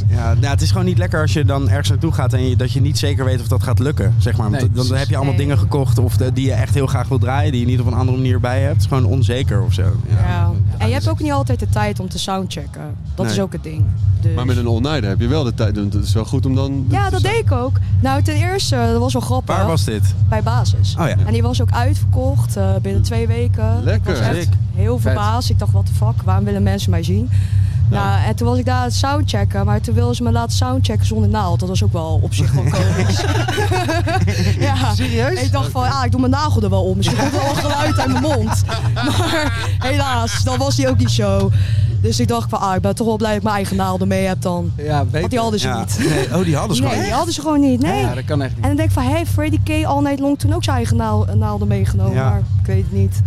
[SPEAKER 1] Ja, nou, het is gewoon niet lekker als je dan ergens naartoe gaat en je, dat je niet zeker weet of dat gaat lukken. Zeg maar. Want
[SPEAKER 10] Nee,
[SPEAKER 1] dan
[SPEAKER 10] precies.
[SPEAKER 1] heb je allemaal
[SPEAKER 11] Nee.
[SPEAKER 1] dingen gekocht of de- die je echt heel graag wil draaien, die je niet op een andere manier bij hebt. Het is gewoon onzeker of zo. Ja.
[SPEAKER 11] Ja. En je hebt ook niet altijd de tijd om te soundchecken. Dat
[SPEAKER 1] Nee.
[SPEAKER 11] is ook het ding. Dus-
[SPEAKER 2] Maar met een all-nighter heb je wel de tijd. Het is wel goed om dan...
[SPEAKER 11] Ja, dat deed ik ook. Nou, ten eerste, dat was wel grappig.
[SPEAKER 1] Waar was dit?
[SPEAKER 11] Bij Basis.
[SPEAKER 1] Oh ja.
[SPEAKER 11] En die was ook uitverkocht eh, binnen twee weken.
[SPEAKER 2] Lekker.
[SPEAKER 11] Ik was echt
[SPEAKER 1] Sick.
[SPEAKER 11] heel verbaasd. Ik dacht, wat de fuck, waarom willen mensen mij zien? Nou, en toen was ik daar aan het soundchecken, maar toen wilden ze me laten soundchecken zonder naald. Dat was ook wel op zich wel komisch. ja.
[SPEAKER 10] Serieus?
[SPEAKER 11] Ik dacht van, ah, ik doe mijn nagel er wel om. Misschien komt er wel geluid uit mijn mond. Maar helaas, dan was die ook niet zo. Dus ik dacht van, ah, ik ben toch wel blij dat ik mijn eigen naalden mee heb dan.
[SPEAKER 10] Ja,
[SPEAKER 11] Want die
[SPEAKER 10] beter.
[SPEAKER 11] hadden ze
[SPEAKER 1] Ja.
[SPEAKER 11] niet.
[SPEAKER 1] Nee, oh, die hadden ze
[SPEAKER 11] Nee,
[SPEAKER 1] gewoon.
[SPEAKER 11] die hadden ze gewoon niet. Nee.
[SPEAKER 10] Ja, dat kan echt niet.
[SPEAKER 11] En dan denk ik van, hé, Freddy K. All Night Long toen ook zijn eigen naal- naalden meegenomen.
[SPEAKER 1] Ja.
[SPEAKER 11] Maar ik weet het niet.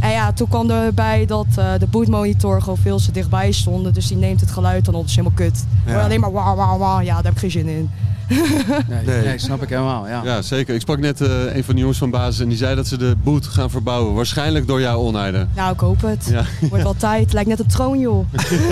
[SPEAKER 11] En ja, toen kwam erbij dat eh, de bootmonitor gewoon veel te dichtbij stonden. Dus die neemt het geluid dan op. Dat is helemaal kut.
[SPEAKER 1] Ja.
[SPEAKER 11] Hoor je alleen maar wauw, wauw, wauw. Ja, daar heb ik geen zin in.
[SPEAKER 10] Nee,
[SPEAKER 1] Nee.
[SPEAKER 10] nee, snap ik helemaal. Ja.
[SPEAKER 2] Ja, zeker. Ik sprak net eh, een van de jongens van basis en die zei dat ze de boot gaan verbouwen. Waarschijnlijk door jouw all-nighter.
[SPEAKER 11] Nou, ik hoop het.
[SPEAKER 2] Ja.
[SPEAKER 11] Wordt wel tijd. Lijkt net een troon, joh.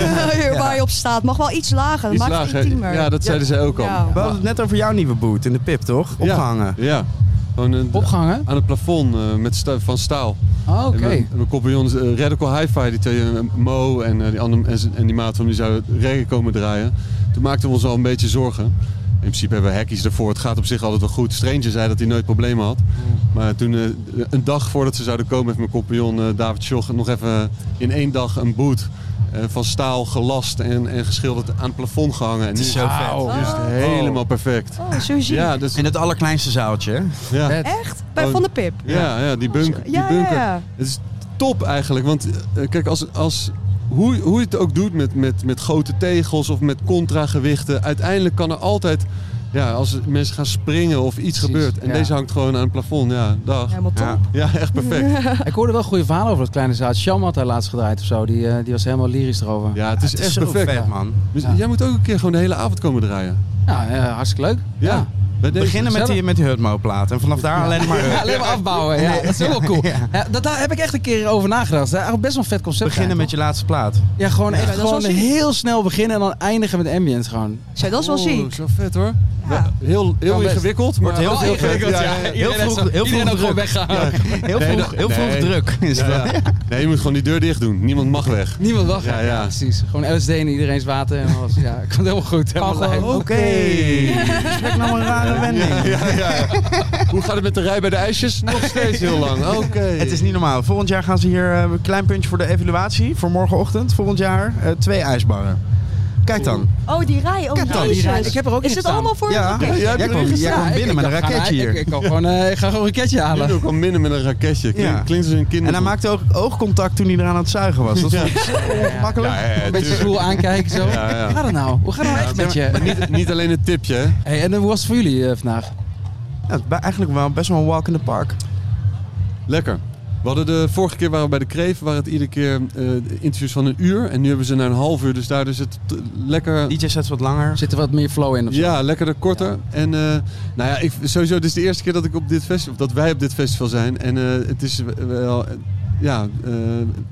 [SPEAKER 11] Waar je op staat. Mag wel iets lager. Dat
[SPEAKER 2] Iets
[SPEAKER 11] maakt
[SPEAKER 2] lager.
[SPEAKER 11] het intiemer.
[SPEAKER 2] Ja, dat zeiden zij ook al.
[SPEAKER 11] Ja.
[SPEAKER 1] We hadden het net over jouw nieuwe boot in de pip, toch?
[SPEAKER 2] Ja.
[SPEAKER 1] Opgehangen.
[SPEAKER 2] Ja. Gewoon een-
[SPEAKER 10] Opgehangen?
[SPEAKER 2] aan het plafond eh, met sta- van staal.
[SPEAKER 11] Ah,
[SPEAKER 10] Oh, oké.
[SPEAKER 2] En mijn- en mijn compagnons eh, Radical Hi-Fi, die twee, eh, Mo en, eh, die andere, en, z- en die maat van hem, die zouden reggae komen draaien. Toen maakten we ons al een beetje zorgen. In principe hebben we hackies ervoor. Het gaat op zich altijd wel goed. Stranger zei dat hij nooit problemen had. Maar toen, eh, een dag voordat ze zouden komen, heeft mijn compagnon eh, David Schoch nog even in één dag een boot eh, van staal gelast en, en geschilderd aan het plafond gehangen. En nu
[SPEAKER 1] Het is zo vet.
[SPEAKER 2] is het dus helemaal perfect.
[SPEAKER 11] Oh, zo zie je.
[SPEAKER 2] Ja, dus,
[SPEAKER 1] In het allerkleinste zaaltje. hè?
[SPEAKER 2] ja.
[SPEAKER 11] Echt? Bij
[SPEAKER 2] Oh.
[SPEAKER 11] Van de Pip.
[SPEAKER 2] Ja, ja die, bunk, die
[SPEAKER 11] Ja,
[SPEAKER 2] bunker.
[SPEAKER 11] ja.
[SPEAKER 2] Het is top eigenlijk. Want eh, kijk, als, als, hoe, hoe je het ook doet met, met, met grote tegels of met contragewichten. Uiteindelijk kan er altijd, ja, als mensen gaan springen of iets gebeurt. En
[SPEAKER 10] ja.
[SPEAKER 2] deze hangt gewoon aan het plafond. Ja, dag.
[SPEAKER 11] Helemaal top.
[SPEAKER 1] Ja.
[SPEAKER 2] Ja, echt perfect.
[SPEAKER 10] Ik hoorde wel goede verhalen over dat kleine zaad. Sham had daar laatst gedraaid of zo. Die, eh, die was helemaal lyrisch erover.
[SPEAKER 2] Ja, het is
[SPEAKER 1] Het is
[SPEAKER 2] echt
[SPEAKER 1] zo
[SPEAKER 2] perfect.
[SPEAKER 1] vet, man.
[SPEAKER 2] Dus
[SPEAKER 10] Ja.
[SPEAKER 2] Jij moet ook een keer gewoon de hele avond komen draaien.
[SPEAKER 10] Ja, eh, hartstikke leuk.
[SPEAKER 2] Ja. Bij
[SPEAKER 1] We
[SPEAKER 2] deze.
[SPEAKER 1] beginnen met die, met die Hutmo-plaat. En vanaf daar alleen maar...
[SPEAKER 10] Ja, alleen maar afbouwen. Ja, dat is wel cool. Ja, dat, daar heb ik echt een keer over nagedacht. Dat is eigenlijk best wel een vet concept.
[SPEAKER 1] Beginnen met je laatste plaat.
[SPEAKER 10] Ja, gewoon echt
[SPEAKER 11] dat is wel
[SPEAKER 10] gewoon
[SPEAKER 11] ziek.
[SPEAKER 10] heel snel beginnen en dan eindigen met ambient gewoon.
[SPEAKER 11] Zo, dat is wel
[SPEAKER 10] Oh,
[SPEAKER 2] Oeh,
[SPEAKER 11] ziek.
[SPEAKER 2] Zo vet hoor. Heel, heel
[SPEAKER 10] Kan best.
[SPEAKER 2] ingewikkeld. Maar
[SPEAKER 1] Wordt heel veel
[SPEAKER 10] ingewikkeld, ja.
[SPEAKER 1] Heel
[SPEAKER 10] Iedereen
[SPEAKER 1] vroeg,
[SPEAKER 10] ook-
[SPEAKER 1] heel
[SPEAKER 10] iedereen ook
[SPEAKER 1] vroeg
[SPEAKER 10] gewoon
[SPEAKER 1] druk.
[SPEAKER 10] weggaan.
[SPEAKER 1] Heel
[SPEAKER 2] Nee,
[SPEAKER 1] vroeg,
[SPEAKER 2] dat-
[SPEAKER 1] heel vroeg
[SPEAKER 2] nee.
[SPEAKER 1] druk is
[SPEAKER 2] Ja,
[SPEAKER 1] dat.
[SPEAKER 2] ja. Nee, je moet gewoon die deur dicht doen. Niemand mag weg.
[SPEAKER 10] Niemand wacht.
[SPEAKER 2] Ja,
[SPEAKER 10] Ja,
[SPEAKER 2] ja.
[SPEAKER 10] precies. Gewoon LSD in iedereen's water en alles. Ja, komt helemaal goed. Helemaal
[SPEAKER 11] gewoon.
[SPEAKER 10] lijp.
[SPEAKER 1] Oké. Spreek nou maar een rare een wending.
[SPEAKER 2] Ja, ja, ja. Hoe gaat het met de rij bij de ijsjes? Nog steeds heel lang. Oké.
[SPEAKER 1] Het is niet normaal. Volgend jaar gaan ze hier eh, een klein puntje voor de evaluatie. Voor morgenochtend, volgend jaar, eh, twee ijsbarren. Kijk dan.
[SPEAKER 11] Oh, die rij. Oh,
[SPEAKER 1] Kijk dan, die
[SPEAKER 11] jezus.
[SPEAKER 1] rij.
[SPEAKER 10] Ik heb er ook
[SPEAKER 11] Is
[SPEAKER 10] in
[SPEAKER 11] het
[SPEAKER 10] staan.
[SPEAKER 11] allemaal voor
[SPEAKER 1] Ja.
[SPEAKER 11] een raketje?
[SPEAKER 2] Jij hebt
[SPEAKER 1] Jij
[SPEAKER 2] er
[SPEAKER 1] kwam,
[SPEAKER 2] in
[SPEAKER 1] jij kwam
[SPEAKER 10] ik-
[SPEAKER 1] binnen
[SPEAKER 10] ik
[SPEAKER 1] met een
[SPEAKER 10] kan
[SPEAKER 1] raketje
[SPEAKER 10] gaan- ik-
[SPEAKER 1] hier.
[SPEAKER 10] Ik, kan gewoon, eh, ik ga gewoon een raketje
[SPEAKER 2] Je
[SPEAKER 10] halen.
[SPEAKER 2] doet ook al minder met een raketje. Klinkt,
[SPEAKER 1] Ja.
[SPEAKER 2] klinkt als een kind.
[SPEAKER 1] En hij maakte ook oogcontact toen hij eraan aan het zuigen was. Dat vond ik zo makkelijk.
[SPEAKER 2] ja, ja,
[SPEAKER 10] Een beetje
[SPEAKER 2] tuurlijk.
[SPEAKER 10] zwoel aankijken zo.
[SPEAKER 2] Ja, ja.
[SPEAKER 10] Hoe gaat het nou? Hoe gaat het nou echt met je?
[SPEAKER 2] Maar niet, niet alleen het tipje, hè?
[SPEAKER 10] Hey, en hoe was het voor jullie eh, vandaag?
[SPEAKER 1] Ja, het is ba- eigenlijk wel best wel een walk in the park.
[SPEAKER 2] Lekker. We hadden de vorige keer waren we bij de Kreef, waren het iedere keer eh, interviews van een uur. En nu hebben ze naar een half uur, dus daar is het t- lekker...
[SPEAKER 1] DJ sets wat langer.
[SPEAKER 10] Zit er wat meer flow in of zo?
[SPEAKER 2] Ja, lekkerder, korter. En eh, nou ja, ik, sowieso, dit is de eerste keer dat ik op dit festival, dat wij op dit festival zijn. En eh, het is wel, eh, ja, eh,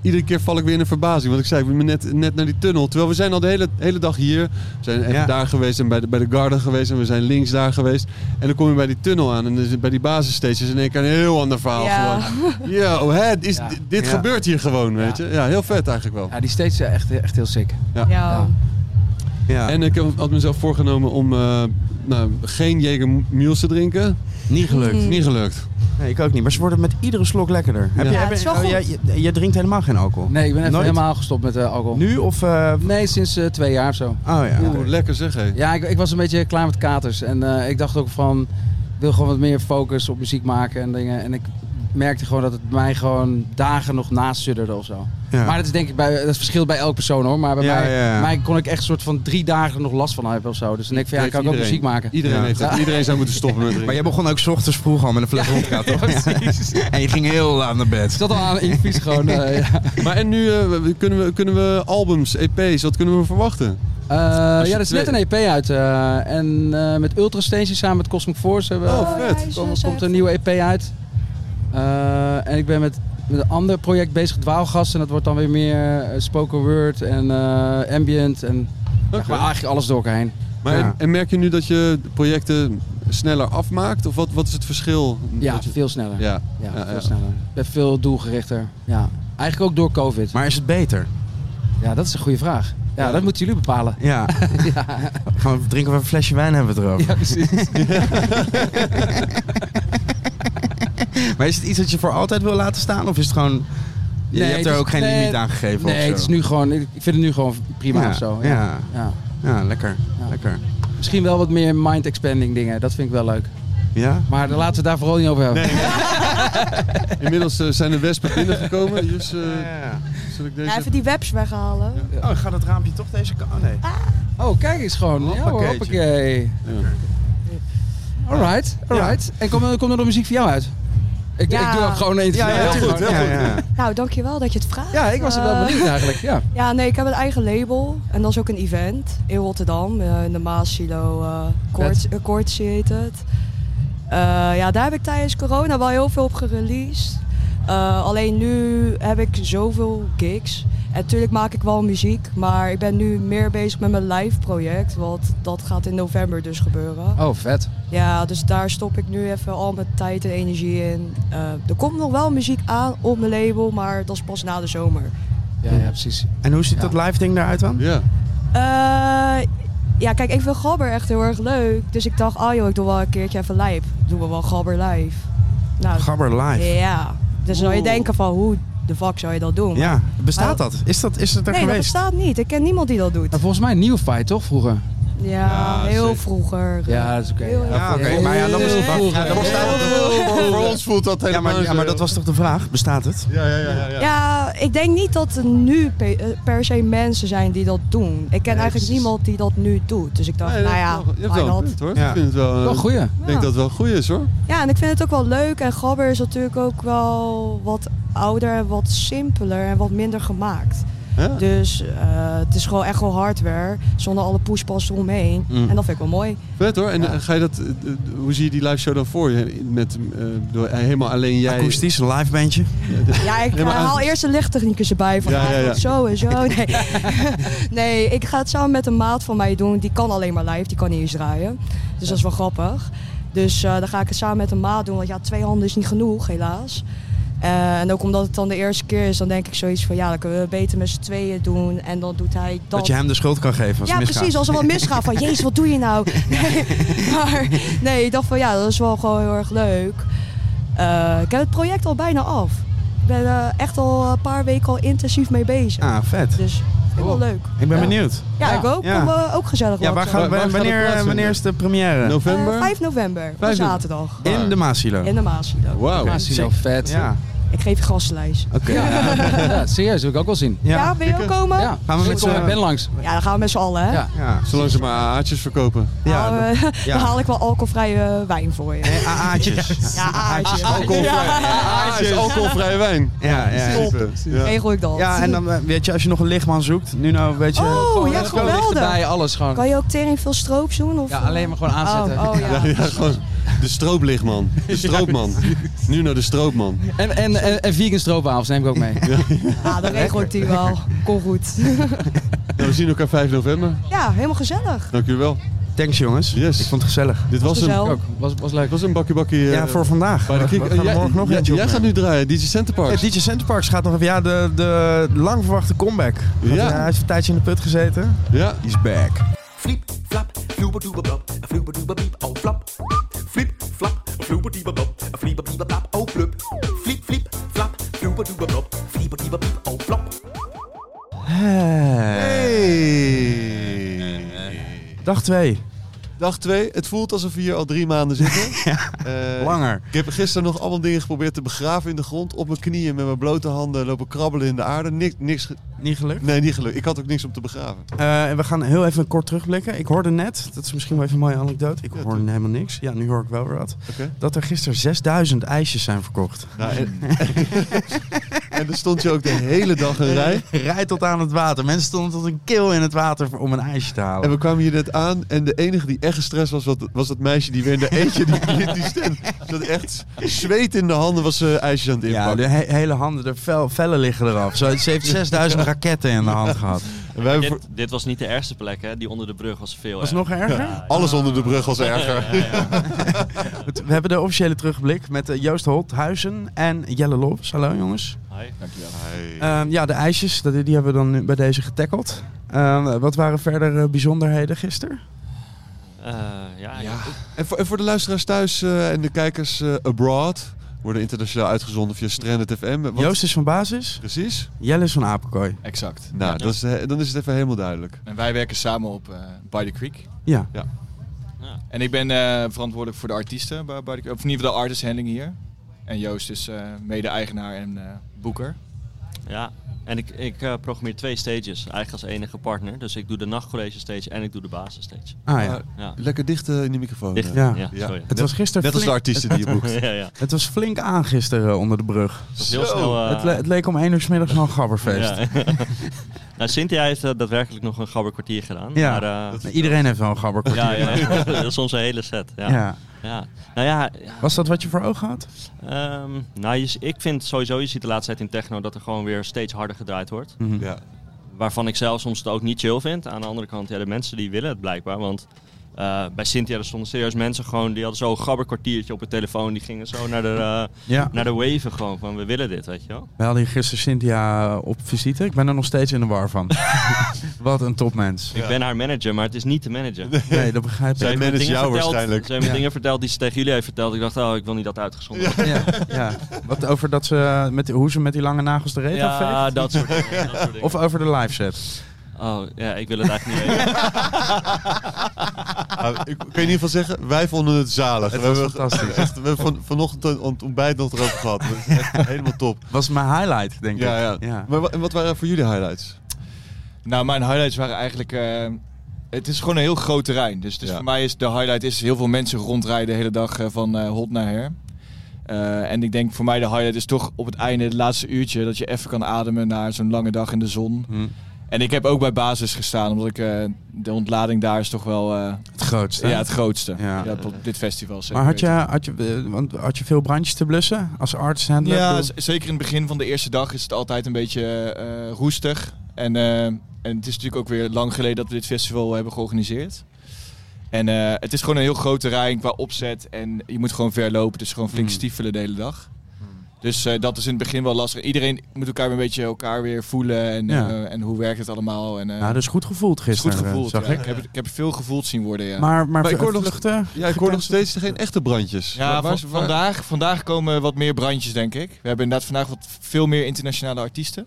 [SPEAKER 2] iedere keer val ik weer in een verbazing. Want ik zei, ik ben net, net naar die tunnel. Terwijl we zijn al de hele, hele dag hier. We zijn even
[SPEAKER 1] Ja.
[SPEAKER 2] daar geweest en bij de, bij de garden geweest. En we zijn links daar geweest. En dan kom je bij die tunnel aan. En dan is- bij die basisstages is in één keer een heel ander verhaal.
[SPEAKER 11] Ja.
[SPEAKER 2] Gewoon. Yo, oh, hè, het is,
[SPEAKER 10] Ja.
[SPEAKER 2] dit- dit
[SPEAKER 1] Ja.
[SPEAKER 2] gebeurt hier gewoon, weet je. Ja, heel vet eigenlijk wel.
[SPEAKER 10] Ja, die steeds eh, echt, echt heel sick.
[SPEAKER 11] Ja.
[SPEAKER 1] Ja.
[SPEAKER 2] En ik heb- had mezelf voorgenomen om eh, nou, geen Jager Mules te drinken.
[SPEAKER 1] niet gelukt.
[SPEAKER 2] Niet gelukt.
[SPEAKER 1] Nee, ik ook niet. Maar ze worden met iedere slok lekkerder. Heb
[SPEAKER 2] Ja.
[SPEAKER 1] je,
[SPEAKER 11] Ja,
[SPEAKER 1] heb
[SPEAKER 11] het is
[SPEAKER 1] je-
[SPEAKER 11] wel
[SPEAKER 1] oh, jij, jij- jij drinkt helemaal geen alcohol?
[SPEAKER 10] Nee, ik ben even
[SPEAKER 1] Nooit?
[SPEAKER 10] helemaal gestopt met eh, alcohol.
[SPEAKER 1] Nu of... eh,
[SPEAKER 10] Nee, sinds eh, twee jaar of zo.
[SPEAKER 1] oh ja.
[SPEAKER 2] Oeh, lekker zeg hé.
[SPEAKER 10] Ja, ik, ik was een beetje klaar met katers. En eh, ik dacht ook van, ik wil gewoon wat meer focus op muziek maken en dingen. En ik merkte gewoon dat het mij gewoon dagen nog nasudderde of zo.
[SPEAKER 1] Ja.
[SPEAKER 10] Maar dat is denk ik bij, dat verschilt bij elk persoon hoor. Maar bij
[SPEAKER 1] Ja,
[SPEAKER 10] mij,
[SPEAKER 1] ja, ja.
[SPEAKER 10] mij kon ik echt een soort van drie dagen nog last van hebben of zo. Dus dan denk ik van, ja, ik kan ook
[SPEAKER 2] Iedereen.
[SPEAKER 10] muziek maken.
[SPEAKER 2] Iedereen,
[SPEAKER 1] Ja.
[SPEAKER 2] heeft dat. Iedereen zou moeten stoppen met drinken.
[SPEAKER 1] Maar jij begon ook 's ochtends vroeg al met een fles vodka, toch? Ja. En je ging heel laat naar bed.
[SPEAKER 10] Ik zat al
[SPEAKER 2] Ah,
[SPEAKER 10] aan in vies gewoon. eh, ja.
[SPEAKER 2] Maar en nu eh, kunnen, we, kunnen we albums, EP's, wat kunnen we verwachten?
[SPEAKER 10] Eh,
[SPEAKER 2] je
[SPEAKER 10] ja, er is net een
[SPEAKER 2] twee-
[SPEAKER 10] EP uit. eh, en eh, met Ultra Station samen met Cosmic Force hebben we-
[SPEAKER 2] Oh, vet.
[SPEAKER 10] Er komt, komt een nieuwe EP uit. Eh, en ik ben met, met een ander project bezig, Dwaalgas. En dat wordt dan weer meer eh, spoken word en eh, ambient. En ja,
[SPEAKER 2] Oké.
[SPEAKER 10] gewoon eigenlijk alles door elkaar heen.
[SPEAKER 2] Maar
[SPEAKER 1] Ja.
[SPEAKER 2] en merk je nu dat je projecten sneller afmaakt? Of wat, wat is het verschil?
[SPEAKER 10] Ja,
[SPEAKER 2] Dat je-
[SPEAKER 10] veel sneller. Ja,
[SPEAKER 2] ja. ja,
[SPEAKER 10] veel
[SPEAKER 2] ja.
[SPEAKER 10] sneller. Ik ben veel doelgerichter. Ja. Eigenlijk ook door COVID.
[SPEAKER 1] Maar is het beter?
[SPEAKER 10] Ja, dat is een goede vraag. Ja,
[SPEAKER 2] Ja.
[SPEAKER 10] dat moeten jullie bepalen.
[SPEAKER 1] Ja. Gaan we drinken we een flesje wijn hebben we het erover.
[SPEAKER 10] Ja, precies.
[SPEAKER 1] Maar is het iets dat je voor altijd wil laten staan? Of is het gewoon... Je
[SPEAKER 10] Nee,
[SPEAKER 1] hebt
[SPEAKER 10] het
[SPEAKER 1] er
[SPEAKER 10] is-
[SPEAKER 1] ook geen
[SPEAKER 10] nee,
[SPEAKER 1] limiet aan gegeven of
[SPEAKER 10] nee,
[SPEAKER 1] zo?
[SPEAKER 10] het is nu gewoon, ik ik vind het nu gewoon prima
[SPEAKER 1] Ja,
[SPEAKER 10] of zo.
[SPEAKER 1] ja.
[SPEAKER 10] ja.
[SPEAKER 1] Ja, lekker.
[SPEAKER 10] Ja.
[SPEAKER 1] Lekker.
[SPEAKER 10] Misschien wel wat meer mind-expanding dingen. Dat vind ik wel leuk.
[SPEAKER 1] Ja?
[SPEAKER 10] Maar daar laten we het daar vooral niet over hebben.
[SPEAKER 2] Inmiddels eh, zijn de wespen binnengekomen. Dus eh, zal ik deze...
[SPEAKER 11] Ja, even die webs weghalen.
[SPEAKER 1] Oh, gaat het raampje toch deze kant? Oh nee.
[SPEAKER 10] Oh, kijk eens gewoon. Ja hoor,
[SPEAKER 1] Hoppakeetje.
[SPEAKER 10] hoppakee. Alright, alright. En komt er, komt er nog muziek voor jou uit? Ik,
[SPEAKER 11] Ja.
[SPEAKER 10] ik doe ook gewoon eentje.
[SPEAKER 1] Ja, ja,
[SPEAKER 10] voor jou.
[SPEAKER 1] tuurlijk.
[SPEAKER 10] Gewoon-
[SPEAKER 1] Ja, ja.
[SPEAKER 11] Nou, dankjewel dat je het vraagt.
[SPEAKER 10] Ja, ik was er wel
[SPEAKER 11] Eh,
[SPEAKER 10] benieuwd eigenlijk. Ja.
[SPEAKER 11] Ja, nee, ik heb een eigen label. En dat is ook een event in Rotterdam. eh, in de Maasilo eh Court- eh, Courtesy heet het. Eh, ja, daar heb ik tijdens corona wel heel veel op gereleased. Eh, alleen nu heb ik zoveel gigs. En natuurlijk maak ik wel muziek. Maar ik ben nu meer bezig met mijn live project. Want dat gaat in november dus gebeuren.
[SPEAKER 10] Oh, vet.
[SPEAKER 11] Ja, dus daar stop ik nu even al mijn tijd en energie in. Eh, er komt nog wel muziek aan op mijn label. Maar dat is pas na de zomer.
[SPEAKER 10] Ja, ja, precies.
[SPEAKER 1] En hoe ziet
[SPEAKER 10] Ja.
[SPEAKER 1] dat live ding eruit dan?
[SPEAKER 2] Ja.
[SPEAKER 11] Eh, ja, kijk, ik vind Gabber echt heel erg leuk. Dus ik dacht, ah joh, ik doe wel een keertje even live. Doen we wel Gabber live. Nou,
[SPEAKER 1] Gabber live.
[SPEAKER 11] ja. Dus zou je denken van, hoe de fuck zou je dat doen?
[SPEAKER 1] Ja, bestaat
[SPEAKER 11] Maar-
[SPEAKER 1] dat? Is dat, is dat er
[SPEAKER 11] nee, dat
[SPEAKER 1] geweest?
[SPEAKER 11] bestaat niet. Ik ken niemand die dat doet.
[SPEAKER 10] Maar volgens mij New Fight, toch? Vroeger.
[SPEAKER 11] Ja,
[SPEAKER 2] Ja,
[SPEAKER 11] heel
[SPEAKER 2] zeker.
[SPEAKER 11] vroeger.
[SPEAKER 10] Ja, dat is oké.
[SPEAKER 11] Heel erg
[SPEAKER 1] Ja, oké.
[SPEAKER 11] vroeger.
[SPEAKER 1] Maar ja, dat was-
[SPEAKER 10] Heel vroeger.
[SPEAKER 1] ja, dat was-
[SPEAKER 2] Voor ons voelt dat
[SPEAKER 1] Ja
[SPEAKER 2] helemaal
[SPEAKER 1] maar, ja,
[SPEAKER 2] zo.
[SPEAKER 1] maar dat was toch de vraag? Bestaat het?
[SPEAKER 2] Ja, ja, ja. ja, ja.
[SPEAKER 11] Ja, ik denk niet dat er nu pe- eh, per se mensen zijn die dat doen. Ik ken eigenlijk
[SPEAKER 2] precies.
[SPEAKER 11] niemand die dat nu doet. Dus ik dacht,
[SPEAKER 2] Nee, dat
[SPEAKER 11] nou
[SPEAKER 2] is
[SPEAKER 11] ja,
[SPEAKER 2] wel- je hebt
[SPEAKER 11] why
[SPEAKER 2] wel een
[SPEAKER 11] not?
[SPEAKER 2] punt, hoor.
[SPEAKER 1] Ja.
[SPEAKER 2] Ik vind het wel, eh,
[SPEAKER 10] Wel goeie.
[SPEAKER 2] ik denk dat het wel goed is hoor.
[SPEAKER 11] Ja, en ik vind het ook wel leuk. En Gabber is natuurlijk ook wel wat ouder en wat simpeler en wat minder gemaakt.
[SPEAKER 2] Hè?
[SPEAKER 11] Dus eh, het is gewoon echt wel hardware, zonder alle pushpas omheen.
[SPEAKER 1] Mm.
[SPEAKER 11] En dat vind ik wel mooi.
[SPEAKER 2] Vet hoor. En eh, ga je dat, eh, eh, hoe zie je die live show dan voor je? Met eh, door, eh, helemaal alleen jij.
[SPEAKER 1] Akoestisch, een live bandje.
[SPEAKER 11] Ja, ik
[SPEAKER 2] Nee, maar
[SPEAKER 11] eh, haal
[SPEAKER 2] aan-
[SPEAKER 11] eerst de lichttechnicus erbij van
[SPEAKER 2] Ja, ja, ja.
[SPEAKER 11] ah, zo en zo. Nee. nee, ik ga het samen met een maat van mij doen. Die kan alleen maar live, die kan niet eens draaien. Dus dat is wel grappig. Dus eh, dan ga ik het samen met een maat doen, want ja, twee handen is niet genoeg, helaas. Eh, en ook omdat het dan de eerste keer is, dan denk ik zoiets van ja, dan kunnen we beter met z'n tweeën doen. En dan doet hij dat.
[SPEAKER 1] Dat je hem de schuld kan geven als
[SPEAKER 11] ja,
[SPEAKER 1] het misgaat.
[SPEAKER 11] precies. Als er wat misgaat, van jezus, wat doe je nou? Nee, maar nee, ik dacht van ja, dat is wel gewoon heel erg leuk. Eh, ik heb het project al bijna af. Ik ben eh, echt al een paar weken al intensief mee bezig.
[SPEAKER 1] Ah, vet.
[SPEAKER 11] Dus vind ik wel leuk.
[SPEAKER 1] Ik ben
[SPEAKER 11] Ja.
[SPEAKER 1] benieuwd.
[SPEAKER 11] Ja, ik ook.
[SPEAKER 1] Ja.
[SPEAKER 11] Kom eh, ook gezellig
[SPEAKER 1] Ja, waar
[SPEAKER 11] langs.
[SPEAKER 1] gaan,
[SPEAKER 2] Waar- waar gaat het
[SPEAKER 1] wanneer, eh,
[SPEAKER 2] plaatsvinden?
[SPEAKER 1] wanneer is de première?
[SPEAKER 11] Eh,
[SPEAKER 2] November?
[SPEAKER 11] 5 november, op
[SPEAKER 2] Vijf november.
[SPEAKER 11] zaterdag.
[SPEAKER 1] In de Maasilo.
[SPEAKER 11] In de Maasilo.
[SPEAKER 2] Wauw.
[SPEAKER 10] Ja, zie je wel vet.
[SPEAKER 1] Ja.
[SPEAKER 11] Ik geef je gastenlijst.
[SPEAKER 1] Oké.
[SPEAKER 10] Ja, ja, serieus, wil ik ook wel zien.
[SPEAKER 1] Ja.
[SPEAKER 11] Ja, wil je ook komen?
[SPEAKER 10] Ja,
[SPEAKER 1] Gaan we met
[SPEAKER 10] kom
[SPEAKER 1] z'n-
[SPEAKER 10] met Ben langs.
[SPEAKER 11] Ja, dan gaan we met z'n allen. Hè?
[SPEAKER 10] Ja.
[SPEAKER 1] Ja.
[SPEAKER 2] Zolang ze maar aardjes verkopen.
[SPEAKER 1] Ja,
[SPEAKER 11] Nou, eh,
[SPEAKER 1] ja.
[SPEAKER 11] Dan haal ik wel alcoholvrije wijn voor je.
[SPEAKER 1] Eh, Aatjes.
[SPEAKER 11] Ja, aardjes.
[SPEAKER 2] Alcoholvrij. Ah, het is alcoholvrij wijn.
[SPEAKER 1] Ja, ja.
[SPEAKER 2] In principe. Ja.
[SPEAKER 11] Regel ik dat.
[SPEAKER 1] Ja, en dan eh, weet je, als je nog een lichtman zoekt, nu nou weet je...
[SPEAKER 11] Oh, ja,
[SPEAKER 10] Gewoon
[SPEAKER 11] geweldig.
[SPEAKER 10] dichterbij, alles gewoon.
[SPEAKER 11] Kan je ook tering veel stroop doen? Of,
[SPEAKER 10] Ja, alleen maar gewoon aanzetten.
[SPEAKER 11] Oh, oh,
[SPEAKER 2] Ja,
[SPEAKER 11] ja.
[SPEAKER 2] ja, gewoon de stroopligman. De stroopman. Nu naar de stroopman.
[SPEAKER 10] En, en, en, en vegan stroopwafels neem ik ook mee.
[SPEAKER 11] Ah, dan regel ik die wel. Kom goed.
[SPEAKER 2] Nou, we zien elkaar 5 november.
[SPEAKER 11] Ja, helemaal gezellig.
[SPEAKER 2] Dank jullie wel.
[SPEAKER 1] Thanks jongens.
[SPEAKER 2] Yes.
[SPEAKER 1] Ik vond het gezellig.
[SPEAKER 2] Dit was hem.
[SPEAKER 11] Gezellig.
[SPEAKER 10] Ook, was, was leuk.
[SPEAKER 2] was een bakkie bakkie. eh,
[SPEAKER 1] Ja, voor vandaag.
[SPEAKER 2] bij de kick.
[SPEAKER 1] We gaan er
[SPEAKER 2] Eh, jij-
[SPEAKER 1] morgen nog
[SPEAKER 2] jij-
[SPEAKER 1] eentje
[SPEAKER 2] Jij gaat
[SPEAKER 1] opnemen.
[SPEAKER 2] nu draaien, DJ Center Park.
[SPEAKER 1] Ja, DJ Centerparks gaat nog even... Ja, de, de lang verwachte comeback.
[SPEAKER 2] Ja.
[SPEAKER 1] Ja. hij heeft een tijdje in de put gezeten.
[SPEAKER 2] Ja.
[SPEAKER 1] He's back.
[SPEAKER 7] Flip, flap, flooba dooba blop, a flooba dooba beep, oh flop. Flip, flap, flooba dooba blop, a flooba dooba blop, oh flup. Flip, flip, flap, flooba dooba blop, flooba dooba beep, oh flop.
[SPEAKER 2] Hey.
[SPEAKER 1] Dag 2.
[SPEAKER 2] Dag 2. Het voelt alsof we hier al drie maanden zitten. Eh,
[SPEAKER 1] Langer.
[SPEAKER 2] Ik heb gisteren nog allemaal dingen geprobeerd te begraven in de grond. Op mijn knieën met mijn blote handen lopen krabbelen in de aarde. Niks, niks ge-
[SPEAKER 1] Niet gelukt.
[SPEAKER 2] nee, niet gelukt. Ik had ook niks om te begraven.
[SPEAKER 1] Eh, en we gaan heel even kort terugblikken. Ik hoorde net, dat is misschien wel even een mooie anekdote. Ik hoorde helemaal niks. Ja, nu hoor ik wel weer wat.
[SPEAKER 2] Oké.
[SPEAKER 1] Dat er gisteren 6000 ijsjes zijn verkocht.
[SPEAKER 2] Nou, en, en er stond je ook de hele dag een rij.
[SPEAKER 1] Rij tot aan het water. Mensen stonden tot een keel in het water voor- om een ijsje te halen.
[SPEAKER 2] En we kwamen hier net aan en de enige die echt gestrest was, wat- was dat meisje die weer in de eentje die, die, die stand. Ze had echt zweet in de handen, was ze eh, ijsjes aan het
[SPEAKER 1] ja,
[SPEAKER 2] inpakken.
[SPEAKER 1] de he- hele handen, de vel- vellen liggen eraf. Zo, ze heeft 6000 raketten in de hand gehad.
[SPEAKER 2] En wij hebben voor-
[SPEAKER 12] Dit, dit was niet de ergste plek, hè? Die onder de brug was veel
[SPEAKER 1] Was
[SPEAKER 12] erger.
[SPEAKER 1] nog erger?
[SPEAKER 12] Ja,
[SPEAKER 2] alles onder de brug was erger.
[SPEAKER 1] Goed, We hebben de officiële terugblik met eh, Joost Holthuizen en Jelle Lobs. Hallo jongens.
[SPEAKER 12] Hi, dankjewel.
[SPEAKER 1] Ehm, ja, de ijsjes, dat- die hebben we dan nu bij deze getackeld. Ehm, wat waren verder eh, bijzonderheden gisteren?
[SPEAKER 12] Eh, ja,
[SPEAKER 2] En voor, en voor de luisteraars thuis eh, en de kijkers eh, abroad, worden internationaal uitgezonden via Stranded FM. Wat-
[SPEAKER 1] Joost is van basis,
[SPEAKER 2] Precies.
[SPEAKER 1] Jelle is van Apenkooi.
[SPEAKER 12] exact.
[SPEAKER 2] Nou, dat is, eh, dan is het even helemaal duidelijk.
[SPEAKER 12] En wij werken samen op eh, By the Creek.
[SPEAKER 1] Ja.
[SPEAKER 12] En ik ben eh, verantwoordelijk voor de artiesten, bij, by the, of in ieder geval de artist handling hier. En Joost is eh, mede-eigenaar en eh, boeker. Ja, en ik, ik eh, programmeer twee stages, eigenlijk als enige partner. Dus ik doe de nachtcollege stage en ik doe de basis stage.
[SPEAKER 1] Ah ja.
[SPEAKER 2] Eh,
[SPEAKER 12] Ja.
[SPEAKER 2] lekker dicht eh, in de microfoon.
[SPEAKER 12] Dicht.
[SPEAKER 2] eh.
[SPEAKER 1] Ja.
[SPEAKER 12] Ja,
[SPEAKER 2] Ja.
[SPEAKER 12] sorry.
[SPEAKER 1] Het was gisteren
[SPEAKER 2] Net als de
[SPEAKER 1] flink,
[SPEAKER 2] artiesten die je boekt.
[SPEAKER 12] ja, ja.
[SPEAKER 1] het was flink aan gisteren eh, onder de brug.
[SPEAKER 12] Het was heel
[SPEAKER 2] Zo.
[SPEAKER 12] snel. eh,
[SPEAKER 1] het, le- het leek om één uur 's middags nog een gabberfeest.
[SPEAKER 12] Ja. nou, Cynthia heeft eh, daadwerkelijk nog een gabber kwartier gedaan.
[SPEAKER 1] Ja.
[SPEAKER 12] Maar, eh,
[SPEAKER 1] Nou, Iedereen heeft wel een gabberkwartier.
[SPEAKER 12] ja, ja, ja. soms een hele set. Ja. Ja.
[SPEAKER 1] Ja.
[SPEAKER 12] Nou ja, ja,
[SPEAKER 1] Was dat wat je voor ogen had?
[SPEAKER 12] ehm, nou, je, ik vind sowieso, je ziet de laatste tijd in techno dat er gewoon weer steeds harder gedraaid wordt.
[SPEAKER 1] Mhm.
[SPEAKER 2] Ja.
[SPEAKER 12] Waarvan ik zelf soms het ook niet chill vind. Aan de andere kant, ja, de mensen die willen het blijkbaar. Want eh, bij Cynthia er stonden serieus mensen gewoon, die hadden zo'n gabberkwartiertje op hun telefoon. Die gingen zo naar de, eh,
[SPEAKER 1] Ja.
[SPEAKER 12] naar de waven gewoon van, we willen dit, weet je wel.
[SPEAKER 1] We hadden hier gisteren Cynthia op visite. Ik ben er nog steeds in de war van. wat een topmens.
[SPEAKER 12] Ik ben haar manager, maar het is niet te managen.
[SPEAKER 1] Nee, dat begrijp
[SPEAKER 2] Zij
[SPEAKER 1] ik.
[SPEAKER 12] heeft me
[SPEAKER 2] manage
[SPEAKER 12] dingen
[SPEAKER 2] jou
[SPEAKER 12] verteld-
[SPEAKER 2] waarschijnlijk.
[SPEAKER 12] Ze hebben me
[SPEAKER 1] Ja.
[SPEAKER 12] dingen verteld die ze tegen jullie heeft verteld. Ik dacht, oh, ik wil niet dat uitgezonden wordt.
[SPEAKER 1] Ja, ja. Wat over dat ze met, hoe ze met die lange nagels de reet
[SPEAKER 12] Ja,
[SPEAKER 1] afveegt?
[SPEAKER 12] dat soort dingen. dat soort dingen.
[SPEAKER 1] Of over de live set.
[SPEAKER 12] Oh, ja, ik wil het eigenlijk niet weten.
[SPEAKER 2] Ah, ik kan je in ieder geval zeggen, wij vonden het zalig.
[SPEAKER 1] Het
[SPEAKER 2] we
[SPEAKER 1] was
[SPEAKER 2] hebben
[SPEAKER 1] fantastisch.
[SPEAKER 2] echt- we hebben van, vanochtend aan het ontbijt nog erover gehad. Dat is echt helemaal top.
[SPEAKER 1] Was mijn highlight, denk ik.
[SPEAKER 2] Ja, ja. Maar wa- en wat waren voor jullie highlights?
[SPEAKER 12] Nou, mijn highlights waren eigenlijk... eh, het is gewoon een heel groot terrein. Dus, dus
[SPEAKER 2] Ja.
[SPEAKER 12] voor mij is de highlight is heel veel mensen rondrijden de hele dag eh, van eh hot naar her. Eh, en ik denk voor mij de highlight is toch op het einde, het laatste uurtje, dat je even kan ademen na zo'n lange dag in de zon.
[SPEAKER 1] Hm.
[SPEAKER 12] En ik heb ook bij basis gestaan, omdat ik eh, de ontlading daar is toch wel eh,
[SPEAKER 1] Het grootste.
[SPEAKER 12] ja, het grootste.
[SPEAKER 1] Ja.
[SPEAKER 12] Ja. op dit festival. zeker
[SPEAKER 1] Maar had je,
[SPEAKER 12] weten.
[SPEAKER 1] had, je, eh, want had je veel brandjes te blussen als arts handler?
[SPEAKER 12] Ja,
[SPEAKER 1] Bedoel-
[SPEAKER 12] z- zeker in het begin van de eerste dag is het altijd een beetje eh, roestig. En, eh, en het is natuurlijk ook weer lang geleden dat we dit festival hebben georganiseerd. En eh, het is gewoon een heel groot terrein qua opzet. En je moet gewoon ver lopen. Dus gewoon flink
[SPEAKER 1] Mm.
[SPEAKER 12] stiefelen de hele dag. Dus eh, dat is in het begin wel lastig. Iedereen moet elkaar weer een beetje elkaar weer voelen. En,
[SPEAKER 1] Ja.
[SPEAKER 12] eh, en hoe werkt het allemaal. En, eh,
[SPEAKER 1] Nou, dat is goed gevoeld
[SPEAKER 12] het is
[SPEAKER 1] gisteren.
[SPEAKER 12] Goed gevoeld,
[SPEAKER 1] zag
[SPEAKER 12] ja.
[SPEAKER 1] ik.
[SPEAKER 12] ik. heb, het- ik heb het veel gevoeld zien worden, ja.
[SPEAKER 1] Maar, maar,
[SPEAKER 2] ik hoor nog-
[SPEAKER 1] vluchten,
[SPEAKER 2] Ja, ik hoor nog steeds geen echte brandjes.
[SPEAKER 12] Ja,
[SPEAKER 2] Waar- waar-
[SPEAKER 12] van-
[SPEAKER 2] waar-
[SPEAKER 12] vandaag, vandaag komen wat meer brandjes, denk ik. We hebben inderdaad vandaag wat veel meer internationale artiesten.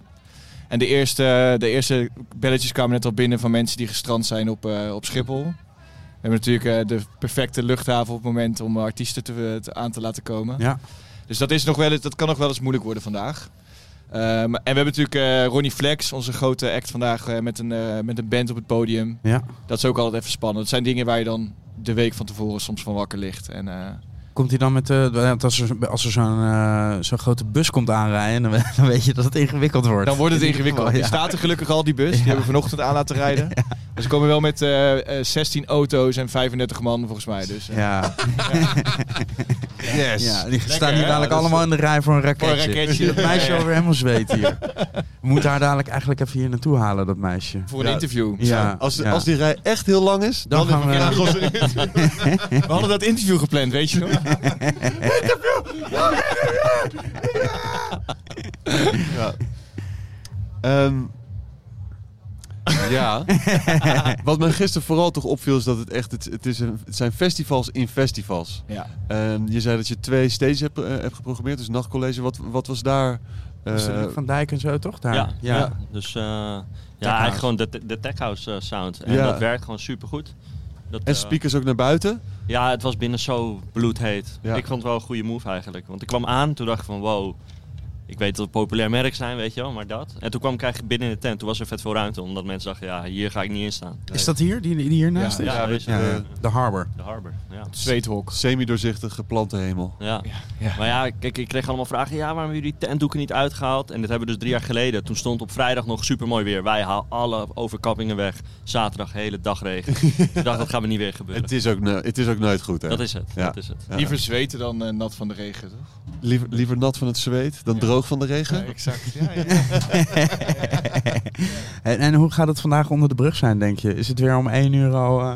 [SPEAKER 12] En de eerste, de eerste belletjes kwamen net al binnen van mensen die gestrand zijn op, eh, op Schiphol. We hebben natuurlijk eh, de perfecte luchthaven op het moment om artiesten te, te- aan te laten komen.
[SPEAKER 1] Ja.
[SPEAKER 12] Dus dat, is nog wel, eens- dat kan nog wel eens moeilijk worden vandaag. Ehm, en we hebben natuurlijk eh, Ronnie Flex, onze grote act vandaag, eh, met, een, eh, met een band op het podium.
[SPEAKER 1] Ja.
[SPEAKER 12] Dat is ook altijd even spannend. Dat zijn dingen waar je dan de week van tevoren soms van wakker ligt. En, eh,
[SPEAKER 1] Komt hij dan met eh, want als er, als er zo'n eh, zo'n grote bus komt aanrijden, dan, we- dan weet je dat het ingewikkeld wordt.
[SPEAKER 12] Dan wordt het
[SPEAKER 1] In ieder
[SPEAKER 12] ingewikkeld.
[SPEAKER 1] geval,
[SPEAKER 12] Er
[SPEAKER 1] ja.
[SPEAKER 12] staat er gelukkig al die bus. Die hebben we vanochtend aan laten rijden. Dus ze komen wel met eh, eh, 16 auto's en 35 man volgens mij. Dus, eh,
[SPEAKER 1] Ja.
[SPEAKER 12] Yes.
[SPEAKER 1] Ja, die
[SPEAKER 12] Lekker,
[SPEAKER 1] staan hier
[SPEAKER 12] hè?
[SPEAKER 1] dadelijk
[SPEAKER 12] Dat is-
[SPEAKER 1] allemaal in de rij voor een raketje.
[SPEAKER 12] Voor een raketje.
[SPEAKER 1] Dat meisje
[SPEAKER 12] Ja, ja.
[SPEAKER 1] over helemaal zweet hier. We moeten haar dadelijk eigenlijk even hier naartoe halen, dat meisje.
[SPEAKER 12] Voor een interview.
[SPEAKER 1] Ja,
[SPEAKER 2] Als,
[SPEAKER 1] ja.
[SPEAKER 2] als die rij echt heel lang is,
[SPEAKER 1] Dan
[SPEAKER 2] dan,
[SPEAKER 1] gaan we-
[SPEAKER 2] gaan we...
[SPEAKER 12] We hadden dat interview gepland, weet je nog?
[SPEAKER 2] Ja. Ehm, ja. Wat mij gisteren vooral toch opviel is dat het echt... Het, het, is een, het zijn festivals in festivals.
[SPEAKER 12] Ja.
[SPEAKER 2] Ehm, je zei dat je twee stages hebt, eh, hebt geprogrammeerd, dus nachtcollege. Wat, wat was daar... eh,
[SPEAKER 1] Dus de Nick van Dijk en zo, toch? Daar?
[SPEAKER 13] Ja, ja. dus eh, ja,
[SPEAKER 1] house.
[SPEAKER 13] eigenlijk gewoon de, de tech house eh, sound. En
[SPEAKER 2] Ja.
[SPEAKER 13] dat werkt gewoon supergoed. Dat,
[SPEAKER 2] en
[SPEAKER 13] eh,
[SPEAKER 2] speakers ook naar buiten?
[SPEAKER 13] ja, het was binnen zo bloedheet.
[SPEAKER 2] Ja.
[SPEAKER 13] Ik vond het wel een goede move eigenlijk. Want ik kwam aan, toen dacht ik van wow, ik weet dat we een populair merk zijn, weet je wel, maar dat. En toen kwam ik eigenlijk binnen in de tent, toen was er vet veel ruimte. Omdat mensen dachten, ja, hier ga ik niet in staan.
[SPEAKER 1] Is dat hier, die, die hiernaast
[SPEAKER 13] Ja,
[SPEAKER 1] is?
[SPEAKER 13] ja, dat is
[SPEAKER 1] ja,
[SPEAKER 13] het,
[SPEAKER 1] ja. De Harbor.
[SPEAKER 13] De Harbor, ja.
[SPEAKER 12] Zweethok.
[SPEAKER 2] Semi-doorzichtige planten hemel.
[SPEAKER 13] Ja.
[SPEAKER 12] ja.
[SPEAKER 13] Maar ja, kijk, ik kreeg allemaal vragen. Ja, waarom hebben jullie tentdoeken niet uitgehaald? En dat hebben we dus drie jaar geleden. Toen stond op vrijdag nog supermooi weer. Wij halen alle overkappingen weg. Zaterdag hele dag regen. ik dacht, dat gaat me niet weer gebeuren.
[SPEAKER 2] Het is ook, ne- het is ook nooit goed, hè?
[SPEAKER 13] Dat is het.
[SPEAKER 2] Ja.
[SPEAKER 13] Dat is het.
[SPEAKER 2] Ja.
[SPEAKER 12] Liever zweten dan eh, nat van de regen, toch?
[SPEAKER 2] Liever, liever nat van het zweet dan droog van de regen.
[SPEAKER 12] exact. Ja, ja.
[SPEAKER 1] en, en hoe gaat het vandaag onder de brug zijn, denk je? Is het weer om één uur al... eh,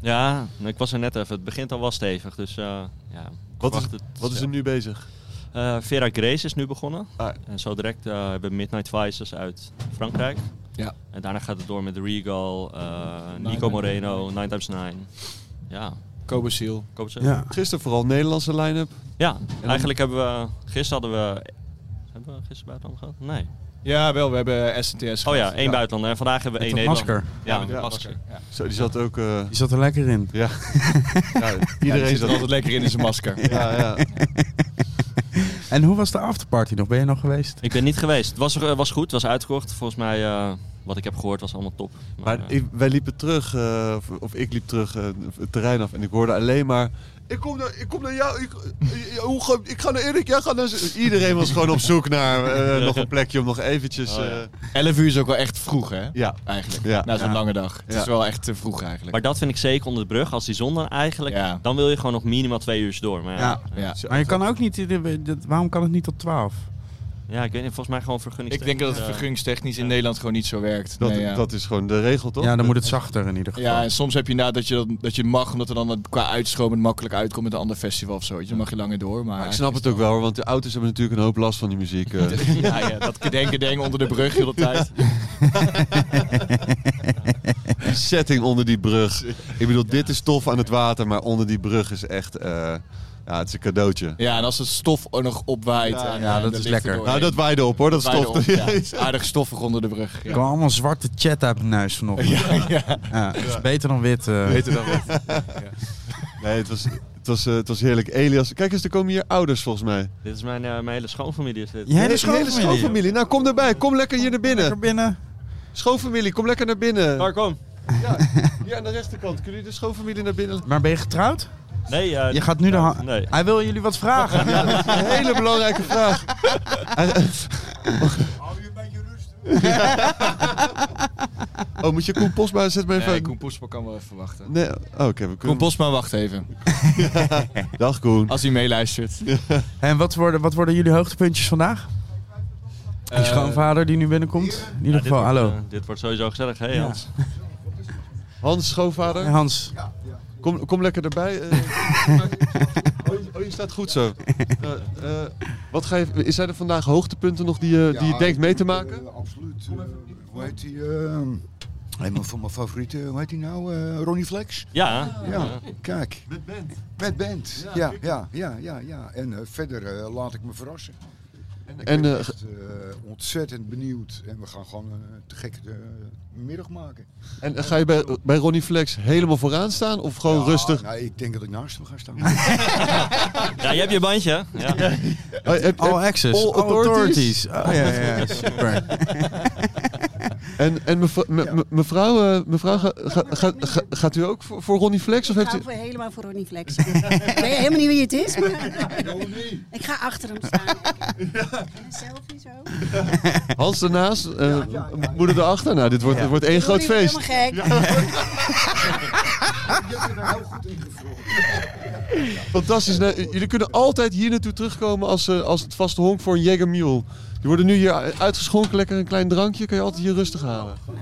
[SPEAKER 13] Ja, ik was er net even. Het begint al wel stevig. Dus eh, ja, ik
[SPEAKER 2] Wat is,
[SPEAKER 13] verwacht het
[SPEAKER 2] wat is er
[SPEAKER 13] zelf.
[SPEAKER 2] nu bezig?
[SPEAKER 13] Eh, Vera Grace is nu begonnen.
[SPEAKER 2] Ah.
[SPEAKER 13] En zo direct eh, hebben we Midnight Vices uit Frankrijk.
[SPEAKER 12] Ja.
[SPEAKER 13] En daarna gaat het door met Regal, eh,
[SPEAKER 12] Nine
[SPEAKER 13] Nico
[SPEAKER 12] Times
[SPEAKER 13] Moreno, 9 times 9 Ja,
[SPEAKER 12] Kobe Seal.
[SPEAKER 13] koop ze.
[SPEAKER 1] ja.
[SPEAKER 2] Gisteren vooral Nederlandse line-up.
[SPEAKER 13] Ja, eigenlijk hebben we... Gisteren hadden we... Hebben we gisteren buitenland gehad? Nee.
[SPEAKER 12] Ja, wel. We hebben eh, SNTS
[SPEAKER 13] Oh
[SPEAKER 12] gehad.
[SPEAKER 13] ja, één buitenlander. En vandaag hebben we
[SPEAKER 1] Met
[SPEAKER 13] één
[SPEAKER 1] dat
[SPEAKER 13] Nederlander.
[SPEAKER 1] masker.
[SPEAKER 12] Ja,
[SPEAKER 13] Ja,
[SPEAKER 12] met
[SPEAKER 2] Ja,
[SPEAKER 12] een masker. Ja.
[SPEAKER 2] Zo, die zat ook... eh,
[SPEAKER 1] Die zat er lekker in.
[SPEAKER 2] ja. ja,
[SPEAKER 12] Iedereen
[SPEAKER 2] iedereen
[SPEAKER 12] zit er
[SPEAKER 2] zat
[SPEAKER 12] altijd lekker in in zijn masker.
[SPEAKER 2] Ja, ja.
[SPEAKER 1] En hoe was de afterparty nog? Ben je nog geweest?
[SPEAKER 13] Ik ben niet geweest. Het was, er- was goed, het was uitverkocht. Volgens mij, eh, wat ik heb gehoord, was allemaal top.
[SPEAKER 2] Maar
[SPEAKER 13] eh,
[SPEAKER 2] ik- wij liepen terug, eh, of, of ik liep terug eh, het terrein af en ik hoorde alleen maar... Ik kom naar, ik kom naar jou, ik, eh, hoe ga- ik ga naar Erik, jij gaat naar... z-" Iedereen was gewoon op zoek naar eh, nog een plekje om nog eventjes...
[SPEAKER 13] Oh,
[SPEAKER 2] eh,
[SPEAKER 13] ja.
[SPEAKER 12] 11 uur is ook wel echt vroeg, hè?
[SPEAKER 2] ja.
[SPEAKER 12] Eigenlijk.
[SPEAKER 2] Ja.
[SPEAKER 12] Na zo'n
[SPEAKER 1] Ja.
[SPEAKER 12] lange dag. Het
[SPEAKER 2] Ja.
[SPEAKER 12] is wel echt te vroeg eigenlijk.
[SPEAKER 13] maar dat vind ik zeker onder de brug. Als die zon dan eigenlijk...
[SPEAKER 12] Ja.
[SPEAKER 13] Dan wil je gewoon nog minimaal twee uur door. Maar ja,
[SPEAKER 12] Ja.
[SPEAKER 13] ja.
[SPEAKER 1] Maar je kan ook niet... dat- Waarom kan het niet tot 12?
[SPEAKER 13] Ja, ik weet niet. Volgens mij gewoon vergunning.
[SPEAKER 12] Ik denk dat het vergunningstechnisch in Nederland gewoon niet zo werkt.
[SPEAKER 2] Dat,
[SPEAKER 12] Nee, ja.
[SPEAKER 2] dat is gewoon de regel, toch?
[SPEAKER 1] Ja, dan moet het zachter in ieder geval.
[SPEAKER 12] Ja, en soms heb je inderdaad dat je, dat, dat je mag, omdat er dan het qua uitstromen makkelijk uitkomt met een ander festival of zo. weet je. Dan mag je langer door. Maar,
[SPEAKER 2] Maar ik snap het ook wel, hoor, want de auto's hebben natuurlijk een hoop last van die muziek. eh.
[SPEAKER 12] Ja, ja, dat gedenken ding onder de brug heel de tijd.
[SPEAKER 2] Die setting onder die brug. Ik bedoel, dit is tof aan het water, maar onder die brug is echt... eh, ja, het is een cadeautje.
[SPEAKER 12] Ja, en als het stof ook nog opwaait.
[SPEAKER 2] Ja,
[SPEAKER 12] en,
[SPEAKER 1] ja,
[SPEAKER 12] eh,
[SPEAKER 1] dat
[SPEAKER 12] de
[SPEAKER 1] is
[SPEAKER 12] lichten
[SPEAKER 1] lekker.
[SPEAKER 12] doorheen.
[SPEAKER 2] Nou, dat waaide op hoor, dat is
[SPEAKER 12] Waaide
[SPEAKER 2] tof.
[SPEAKER 12] op, ja. Is Aardig stoffig onder de brug.
[SPEAKER 1] Er
[SPEAKER 12] Ja.
[SPEAKER 1] kwam allemaal zwarte chat uit mijn neus vanochtend. Ja, dat is beter dan wit. eh.
[SPEAKER 12] Beter dan wat.
[SPEAKER 2] Nee, het was, het, was, eh, het was heerlijk. Elias, kijk eens, er komen hier ouders volgens mij.
[SPEAKER 13] Dit is mijn, eh, mijn hele schoonfamilie. Is dit.
[SPEAKER 1] Je hele
[SPEAKER 2] Hele- hele
[SPEAKER 1] schoonfamilie.
[SPEAKER 2] schoonfamilie. Nou, kom erbij. Kom lekker hier naar
[SPEAKER 1] Lekker
[SPEAKER 2] binnen.
[SPEAKER 1] binnen.
[SPEAKER 2] Schoonfamilie, kom lekker naar binnen.
[SPEAKER 13] Waar kom?
[SPEAKER 2] Hier aan de rechterkant. Kunnen jullie de schoonfamilie naar binnen?
[SPEAKER 1] Maar ben je getrouwd?
[SPEAKER 13] Nee, eh,
[SPEAKER 1] Je gaat nu de... ha-
[SPEAKER 13] Nee.
[SPEAKER 1] Hij wil jullie wat vragen.
[SPEAKER 2] Een hele belangrijke vraag. Oh, moet je Koen Postma zet maar even...
[SPEAKER 12] Nee, Koen Poespa kan wel even wachten.
[SPEAKER 2] Nee, oh, oké. we
[SPEAKER 12] Koen
[SPEAKER 2] kunnen...
[SPEAKER 12] Postma, wacht even.
[SPEAKER 2] Dag Koen.
[SPEAKER 12] Als hij meeluistert.
[SPEAKER 1] En wat worden, wat worden jullie hoogtepuntjes vandaag? Je
[SPEAKER 12] Eh,
[SPEAKER 1] schoonvader die nu binnenkomt. In ieder
[SPEAKER 13] ja, dit
[SPEAKER 1] geval,
[SPEAKER 13] wordt,
[SPEAKER 1] hallo.
[SPEAKER 13] eh, dit wordt sowieso gezellig, hè Hans?
[SPEAKER 2] Hans,
[SPEAKER 1] Hey,
[SPEAKER 2] schoonvader.
[SPEAKER 1] Hans,
[SPEAKER 2] Kom, kom lekker erbij. eh. oh, je- oh, je die staat goed zo. Eh, eh, wat ga je, zijn er vandaag hoogtepunten nog die, je- Eh, die je denkt mee te maken?
[SPEAKER 14] eh, absoluut. Eh, hoe heet die? ehm een van mijn favorieten, hoe heet die nou? eh, Ronnie Flex?
[SPEAKER 13] Ja.
[SPEAKER 14] Ja,
[SPEAKER 13] Ja.
[SPEAKER 14] kijk.
[SPEAKER 2] Met band.
[SPEAKER 14] Met band,
[SPEAKER 2] Ja,
[SPEAKER 14] ja, ja, ja, ja. ja. En eh, verder eh, laat ik me verrassen. Ik
[SPEAKER 2] En,
[SPEAKER 14] ben
[SPEAKER 2] eh,
[SPEAKER 14] echt eh, ontzettend benieuwd. En we gaan gewoon eh, te gek eh, middag maken.
[SPEAKER 2] En eh, ga je bij, bij Ronnie Flex helemaal vooraan staan of gewoon
[SPEAKER 14] Ja,
[SPEAKER 2] rustig?
[SPEAKER 14] Nou, ik denk dat ik naast hem ga staan.
[SPEAKER 13] Ja, je hebt je bandje. hè? Ja.
[SPEAKER 2] Oh, heb- heb-
[SPEAKER 1] All access, all authorities. Oh, ja, ja, ja, super.
[SPEAKER 2] en en mevrouw, me- me- mevrouw, eh, mevrouw ga- ga- ga- ga- gaat u ook voor, voor Ronnie Flex? Of
[SPEAKER 15] Ik
[SPEAKER 2] heeft
[SPEAKER 15] ga
[SPEAKER 2] u...
[SPEAKER 15] voor helemaal voor Ronnie Flex. ik weet helemaal niet wie het is, maar... ik ga achter hem staan. En een selfie zo.
[SPEAKER 2] Hans ernaast, eh, moeder erachter. Nou, dit wordt, dit wordt één groot
[SPEAKER 15] Ronnie
[SPEAKER 2] feest.
[SPEAKER 15] wordt helemaal
[SPEAKER 14] Je hebt er heel goed in gevroren.
[SPEAKER 2] Fantastisch. Nou, jullie kunnen altijd hier naartoe terugkomen als, eh, als het vaste honk voor een Jager Mule. Die worden nu hier uitgeschonken, lekker een klein drankje. Kan je altijd hier rustig halen.
[SPEAKER 1] Nou,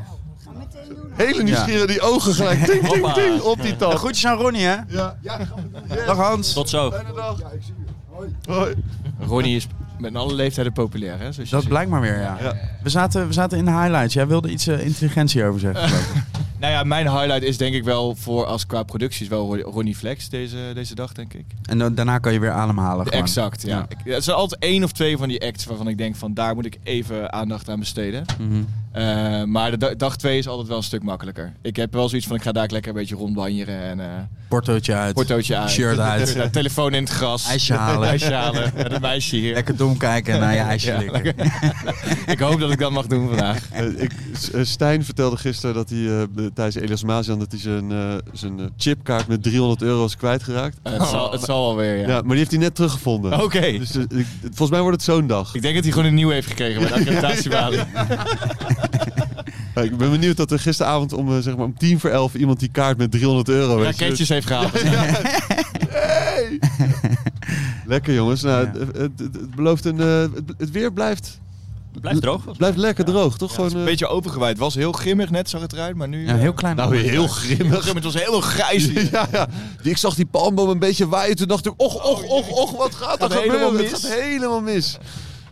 [SPEAKER 2] Hele nieuwsgierige die ogen gelijk. Ting, ting, ting, op die tand.
[SPEAKER 1] Goedjes Nou, aan Ronnie, hè?
[SPEAKER 14] Ja.
[SPEAKER 13] eh,
[SPEAKER 1] Dag Hans.
[SPEAKER 13] Tot zo.
[SPEAKER 14] Ja, ik zie je. Hoi.
[SPEAKER 2] Hoi.
[SPEAKER 12] Ronnie is met alle leeftijden populair, hè? zoals je
[SPEAKER 1] Dat
[SPEAKER 12] ziet.
[SPEAKER 1] blijkt maar weer, ja. We, zaten, we zaten in de highlights. Jij wilde iets eh, intelligentie over zeggen. geloof ik.
[SPEAKER 12] Nou ja, mijn highlight is denk ik wel voor als qua producties wel Ron- Ronnie Flex deze, deze dag, denk ik.
[SPEAKER 1] en dan, daarna kan je weer ademhalen. gewoon.
[SPEAKER 12] Exact, ja. Ik- er zijn altijd één of twee van die acts waarvan ik denk van daar moet ik even aandacht aan besteden.
[SPEAKER 1] Mhm.
[SPEAKER 12] Eh, maar de da- dag twee is altijd wel een stuk makkelijker. Ik heb wel zoiets van ik ga daar lekker een beetje rondbanjeren en eh,
[SPEAKER 1] Portootje uit.
[SPEAKER 12] portootje uit.
[SPEAKER 1] Shirt uit.
[SPEAKER 12] Ja, telefoon in het gras.
[SPEAKER 1] IJsje halen.
[SPEAKER 12] IJsje halen. Met een meisje hier.
[SPEAKER 1] Lekker dom kijken en naar je ijsje
[SPEAKER 12] Ja,
[SPEAKER 1] likken.
[SPEAKER 12] lekker. ik hoop dat ik dat mag doen vandaag.
[SPEAKER 2] Eh, ik, S- eh, Stijn vertelde gisteren dat hij eh, de- tijdens Elias Mazian dat hij zijn, eh, zijn eh, chipkaart met 300 euro is kwijtgeraakt.
[SPEAKER 12] Eh, het, zal, het zal wel weer, ja.
[SPEAKER 2] Ja, maar die heeft hij net teruggevonden.
[SPEAKER 12] Oké.
[SPEAKER 2] Dus eh, ik- volgens mij wordt het zo'n dag.
[SPEAKER 12] Ik denk dat hij gewoon een nieuw heeft gekregen bij de accreditatiebalie.
[SPEAKER 2] Ja, Eh, ik ben benieuwd dat er gisteravond om, eh, zeg maar, om tien voor elf iemand die kaart met 300 euro weet je.
[SPEAKER 12] Raketjes heeft gehaald.
[SPEAKER 2] Lekker jongens. Nou, het, het- het- het belooft een, eh, het, het weer blijft,
[SPEAKER 13] Blijft droog.
[SPEAKER 2] blijft lekker droog,
[SPEAKER 12] Het
[SPEAKER 2] toch?
[SPEAKER 12] is
[SPEAKER 2] Gewoon,
[SPEAKER 12] een
[SPEAKER 2] eh,
[SPEAKER 12] beetje opengewijd. Het was heel grimmig net, zag het eruit, maar nu... eh,
[SPEAKER 1] Ja, heel klein.
[SPEAKER 2] nou, heel grimmig.
[SPEAKER 12] Het was helemaal grijs hier.
[SPEAKER 2] Ja, ja. Ik zag die palmboom een beetje waaien. Toen dacht ik, och, och, och, och, wat gaat er
[SPEAKER 12] Oh, Gaat helemaal
[SPEAKER 2] gebeuren? Het
[SPEAKER 12] mis.
[SPEAKER 2] gaat helemaal mis.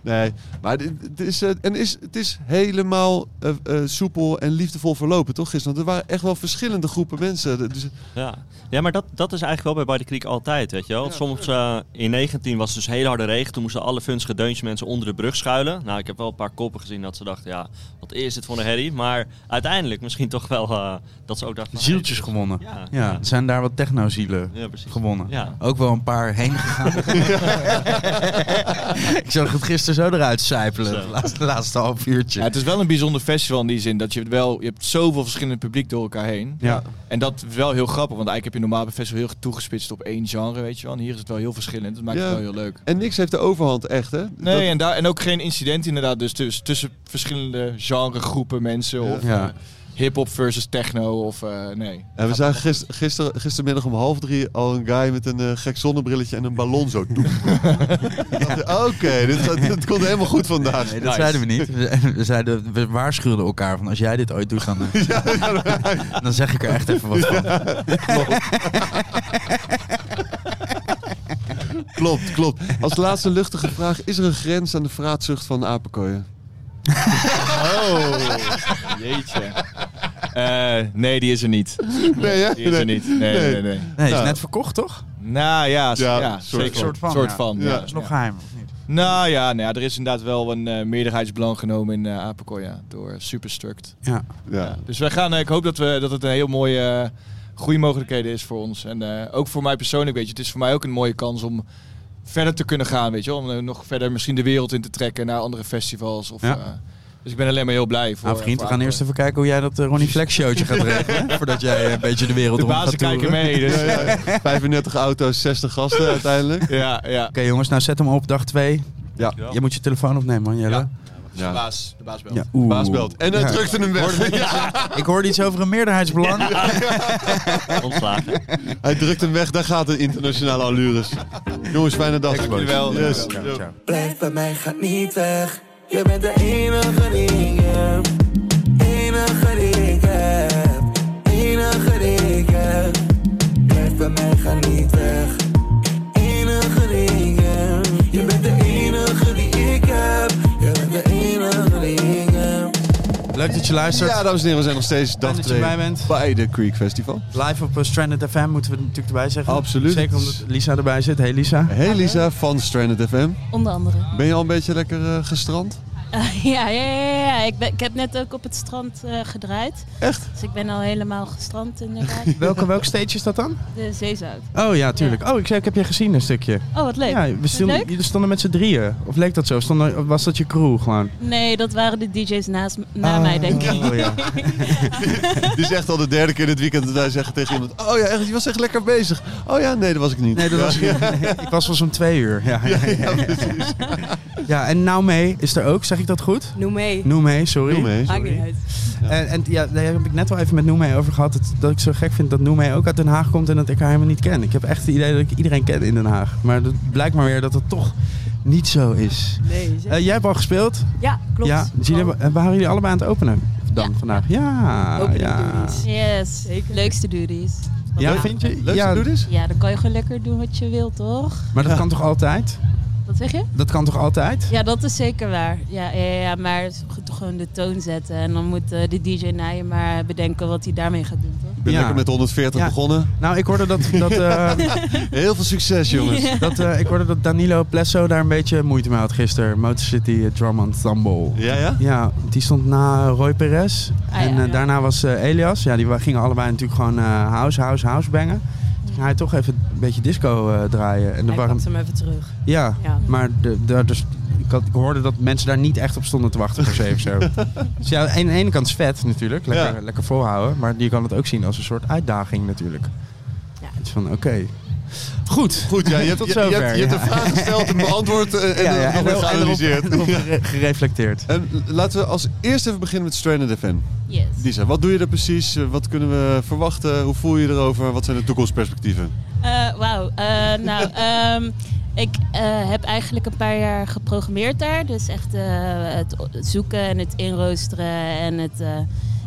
[SPEAKER 2] Nee, maar dit- het is, eh, en is, het is helemaal eh, eh, soepel en liefdevol verlopen, toch gisteren? Want er waren echt wel verschillende groepen mensen. Dus,
[SPEAKER 13] Ja, ja maar dat, dat is eigenlijk wel bij By the Creek altijd, weet je wel. Soms eh, in 19 was het dus hele harde regen. Toen moesten alle funstige deuntjes mensen onder de brug schuilen. Nou, ik heb wel een paar koppen gezien dat ze dachten, ja, wat is dit voor een herrie? Maar uiteindelijk misschien toch wel eh, dat ze ook dachten... van,
[SPEAKER 1] Zieltjes gewonnen.
[SPEAKER 13] Ja.
[SPEAKER 1] Ja, er zijn daar wat technozielen
[SPEAKER 13] Ja, precies.
[SPEAKER 1] gewonnen.
[SPEAKER 13] Ja.
[SPEAKER 1] Ook wel een paar heen gegaan. Ik zag het gisteren zo eruit sijpelen.
[SPEAKER 13] Zo.
[SPEAKER 1] Het laatste, laatste half uurtje.
[SPEAKER 12] Ja, het is wel een bijzonder festival in die zin dat je wel... Je hebt zoveel verschillend publiek door elkaar heen.
[SPEAKER 1] Ja.
[SPEAKER 12] En dat is wel heel grappig, want eigenlijk heb je normaal bij festival heel erg toegespitst op één genre, weet je wel. En hier is het wel heel verschillend. Dat maakt
[SPEAKER 2] Ja.
[SPEAKER 12] het wel heel leuk.
[SPEAKER 2] en niks heeft de overhand echt, hè?
[SPEAKER 12] Nee, en, daar, en ook geen incident inderdaad. Dus tuss- tussen verschillende genregroepen mensen of
[SPEAKER 1] Ja.
[SPEAKER 12] eh, hip-hop versus techno of eh, nee.
[SPEAKER 2] En we zagen gister, gister, gistermiddag om half drie al een guy met een eh, gek zonnebrilletje en een ballon zo. Doep. Ik dacht, Oké, dit, gaat- dit komt helemaal goed vandaag.
[SPEAKER 1] Nee, dat zeiden we niet. We- We, zeiden, we waarschuwden elkaar van als jij dit ooit doet, dan, eh, dan zeg ik er echt even wat van.
[SPEAKER 2] Klopt, klopt. Als laatste luchtige vraag, is er een grens aan de vraatzucht van apenkooien?
[SPEAKER 12] Oh, jeetje. Eh, nee, die is er niet.
[SPEAKER 2] Nee, hè?
[SPEAKER 12] Die is er niet. Nee, nee, nee.
[SPEAKER 1] Nee, is
[SPEAKER 2] Nou.
[SPEAKER 1] net verkocht toch?
[SPEAKER 12] Nou ja, s-
[SPEAKER 2] Ja,
[SPEAKER 12] ja,
[SPEAKER 2] soort
[SPEAKER 12] zeker.
[SPEAKER 2] van.
[SPEAKER 1] Soort van,
[SPEAKER 12] Soort
[SPEAKER 1] ja.
[SPEAKER 12] van,
[SPEAKER 2] Ja.
[SPEAKER 12] ja.
[SPEAKER 2] Dat
[SPEAKER 1] Dat is nog geheim, of niet?
[SPEAKER 12] Nou ja, nou ja, er is inderdaad wel een eh meerderheidsbelang genomen in eh Apico, ja, door Superstruct.
[SPEAKER 1] Ja.
[SPEAKER 2] Ja.
[SPEAKER 12] Dus wij gaan, eh, ik hoop dat, we, dat het een heel mooie eh goede mogelijkheden is voor ons. En eh, ook voor mij persoonlijk, weet je, het is voor mij ook een mooie kans om verder te kunnen gaan, weet je wel. Om eh, nog verder misschien de wereld in te trekken naar andere festivals. Of,
[SPEAKER 1] Ja.
[SPEAKER 12] eh, dus ik ben alleen maar heel blij voor
[SPEAKER 1] Nou vriend,
[SPEAKER 12] voor
[SPEAKER 1] we gaan
[SPEAKER 12] Apico.
[SPEAKER 1] eerst even kijken hoe jij dat eh, Ronnie Flex showtje gaat regelen. hè? Voordat jij een beetje de wereld
[SPEAKER 12] De
[SPEAKER 1] rond
[SPEAKER 12] bazen
[SPEAKER 1] gaat toeren.
[SPEAKER 12] kijken mee, dus... eh,
[SPEAKER 2] 35 auto's, 60 gasten uiteindelijk.
[SPEAKER 12] ja, ja.
[SPEAKER 1] Oké jongens, nou zet hem op, dag 2.
[SPEAKER 2] Ja.
[SPEAKER 1] Je moet je telefoon opnemen man, Jelle.
[SPEAKER 12] Ja.
[SPEAKER 2] Ja.
[SPEAKER 12] De baas, de baas belt.
[SPEAKER 1] Ja, oeh.
[SPEAKER 2] Baas belt. En hij
[SPEAKER 1] Ja.
[SPEAKER 2] drukte hem weg.
[SPEAKER 1] Ik hoorde iets over een meerderheidsbelang.
[SPEAKER 13] Ontslagen.
[SPEAKER 2] Hij drukt hem weg, daar gaat de internationale allures. Jongens, fijne dag.
[SPEAKER 12] Dank jullie wel.
[SPEAKER 2] Yes.
[SPEAKER 12] Dank
[SPEAKER 2] Yo.
[SPEAKER 7] Blijf bij mij, gaat niet weg. Je bent de enige die ik heb. Enige die ik heb. Enige die ik heb. Blijf bij mij, ga niet weg. Enige die
[SPEAKER 1] Leuk dat je luistert.
[SPEAKER 2] Ja, dames en heren, we zijn nog steeds
[SPEAKER 1] Fijn
[SPEAKER 2] dag
[SPEAKER 1] dat je
[SPEAKER 2] twee
[SPEAKER 1] erbij bent.
[SPEAKER 2] bij de Creek Festival.
[SPEAKER 1] Live op eh, Stranded FM moeten we het natuurlijk erbij zeggen.
[SPEAKER 2] Absoluut.
[SPEAKER 1] Zeker omdat Lisa erbij zit. Hey Lisa.
[SPEAKER 2] Hey Lisa van Stranded FM.
[SPEAKER 16] Onder andere.
[SPEAKER 2] Ben je al een beetje lekker eh, gestrand?
[SPEAKER 16] Eh, ja, ja, ja, ja, ja. Ik, ben, ik heb net ook op het strand eh, gedraaid.
[SPEAKER 1] Echt?
[SPEAKER 16] Dus ik ben al helemaal gestrand inderdaad.
[SPEAKER 1] Welke, welk stage is dat dan?
[SPEAKER 16] De zeezout.
[SPEAKER 1] Oh ja, tuurlijk. Oh, ik, zei- ik heb je gezien een stukje.
[SPEAKER 16] Oh, wat leuk.
[SPEAKER 1] Ja, we stonden,
[SPEAKER 16] Leuk?
[SPEAKER 1] jullie stonden met z'n drieën. Of leek dat zo? Stonden, was dat je crew gewoon?
[SPEAKER 16] Nee, dat waren de DJ's naast, m- na mij, denk ik.
[SPEAKER 1] Oh ja.
[SPEAKER 2] Die zegt al de derde keer in het weekend dat wij zeggen tegen iemand... Oh ja, echt, je was echt lekker bezig. Oh ja, nee, dat was ik niet.
[SPEAKER 1] Nee, dat was
[SPEAKER 2] Ja.
[SPEAKER 1] ik was pas om twee uur. Ja, ja, ja, ja. Ja, en Nou Mee is er ook, zeg ik dat goed?
[SPEAKER 16] Nou
[SPEAKER 11] Noem mee.
[SPEAKER 1] Noem Nou mee, sorry.
[SPEAKER 11] Noem mee, Maakt niet uit.
[SPEAKER 1] En, en ja, daar heb ik net wel even met Noem mee over gehad. Dat, dat ik zo gek vind dat Noem mee ook uit Den Haag komt en dat ik haar helemaal niet ken. Ik heb echt het idee dat ik iedereen ken in Den Haag. Maar dat blijkt maar weer dat het toch niet zo is.
[SPEAKER 11] Nee, zeker.
[SPEAKER 1] Eh, jij hebt al gespeeld?
[SPEAKER 16] Ja, klopt.
[SPEAKER 1] Ja, Gina, wa- en waren jullie allebei aan het openen dan vandaag? Ja,
[SPEAKER 16] Opening
[SPEAKER 1] ja.
[SPEAKER 16] Yes, leukste duties.
[SPEAKER 1] Ja, vind je?
[SPEAKER 16] Leukste
[SPEAKER 1] ja,
[SPEAKER 16] Ja, dan kan je gewoon lekker doen wat je wilt, toch?
[SPEAKER 1] Maar dat kan toch altijd?
[SPEAKER 16] Wat zeg je?
[SPEAKER 1] Dat kan toch altijd?
[SPEAKER 16] Ja, dat is zeker waar. Ja, ja, ja, ja, maar goed, gewoon de toon zetten. En dan moet eh, de DJ na je maar bedenken wat hij daarmee gaat doen, toch?
[SPEAKER 2] Ik ben
[SPEAKER 1] Ja.
[SPEAKER 2] lekker met 140
[SPEAKER 1] Ja.
[SPEAKER 2] begonnen.
[SPEAKER 1] Nou, ik hoorde dat... dat eh,
[SPEAKER 2] Heel veel succes, jongens.
[SPEAKER 1] Dat, eh, ik hoorde dat Danilo Plesso daar een beetje moeite mee had gisteren. Motor City eh, Drum Ensemble.
[SPEAKER 2] Ja, ja?
[SPEAKER 1] Ja, die stond na Roy Perez.
[SPEAKER 16] Ah,
[SPEAKER 1] en
[SPEAKER 16] ja.
[SPEAKER 1] eh, daarna was eh, Elias. Ja, die wa- gingen allebei natuurlijk gewoon eh, house, house, house bangen. Toen ging hij toch even een beetje disco eh, draaien. En er
[SPEAKER 16] Hij
[SPEAKER 1] waren-
[SPEAKER 16] pakte hem even terug.
[SPEAKER 1] Ja,
[SPEAKER 16] Ja.
[SPEAKER 1] maar de, de- dus, ik, had, ik hoorde dat mensen daar niet echt op stonden te wachten voor 7 zo. Dus ja, aan de ene kant is vet natuurlijk. Lekker,
[SPEAKER 2] Ja.
[SPEAKER 1] lekker volhouden. Maar je kan het ook zien als een soort uitdaging natuurlijk. Ja. Het is van, oké. Goed.
[SPEAKER 2] Goed, ja, je hebt,
[SPEAKER 1] Tot
[SPEAKER 2] je, je
[SPEAKER 1] zover,
[SPEAKER 2] hebt, je hebt
[SPEAKER 1] ja.
[SPEAKER 2] een vraag gesteld en beantwoord eh, en,
[SPEAKER 1] Ja, ja,
[SPEAKER 2] dan
[SPEAKER 1] en
[SPEAKER 2] nog
[SPEAKER 1] erop-
[SPEAKER 2] weer geanalyseerd.
[SPEAKER 1] en erop- en erop gere- gereflecteerd.
[SPEAKER 2] En laten we als eerst even beginnen met Stranded FM.
[SPEAKER 16] Yes.
[SPEAKER 2] Lisa, wat doe je er precies? Eh, Wat kunnen we verwachten? Hoe voel je je erover? Wat zijn de toekomstperspectieven?
[SPEAKER 16] Eh, Wauw. Eh, nou, ehm, ik eh, heb eigenlijk een paar jaar geprogrammeerd daar. Dus echt eh, het o- het zoeken en het inroosteren en het eh,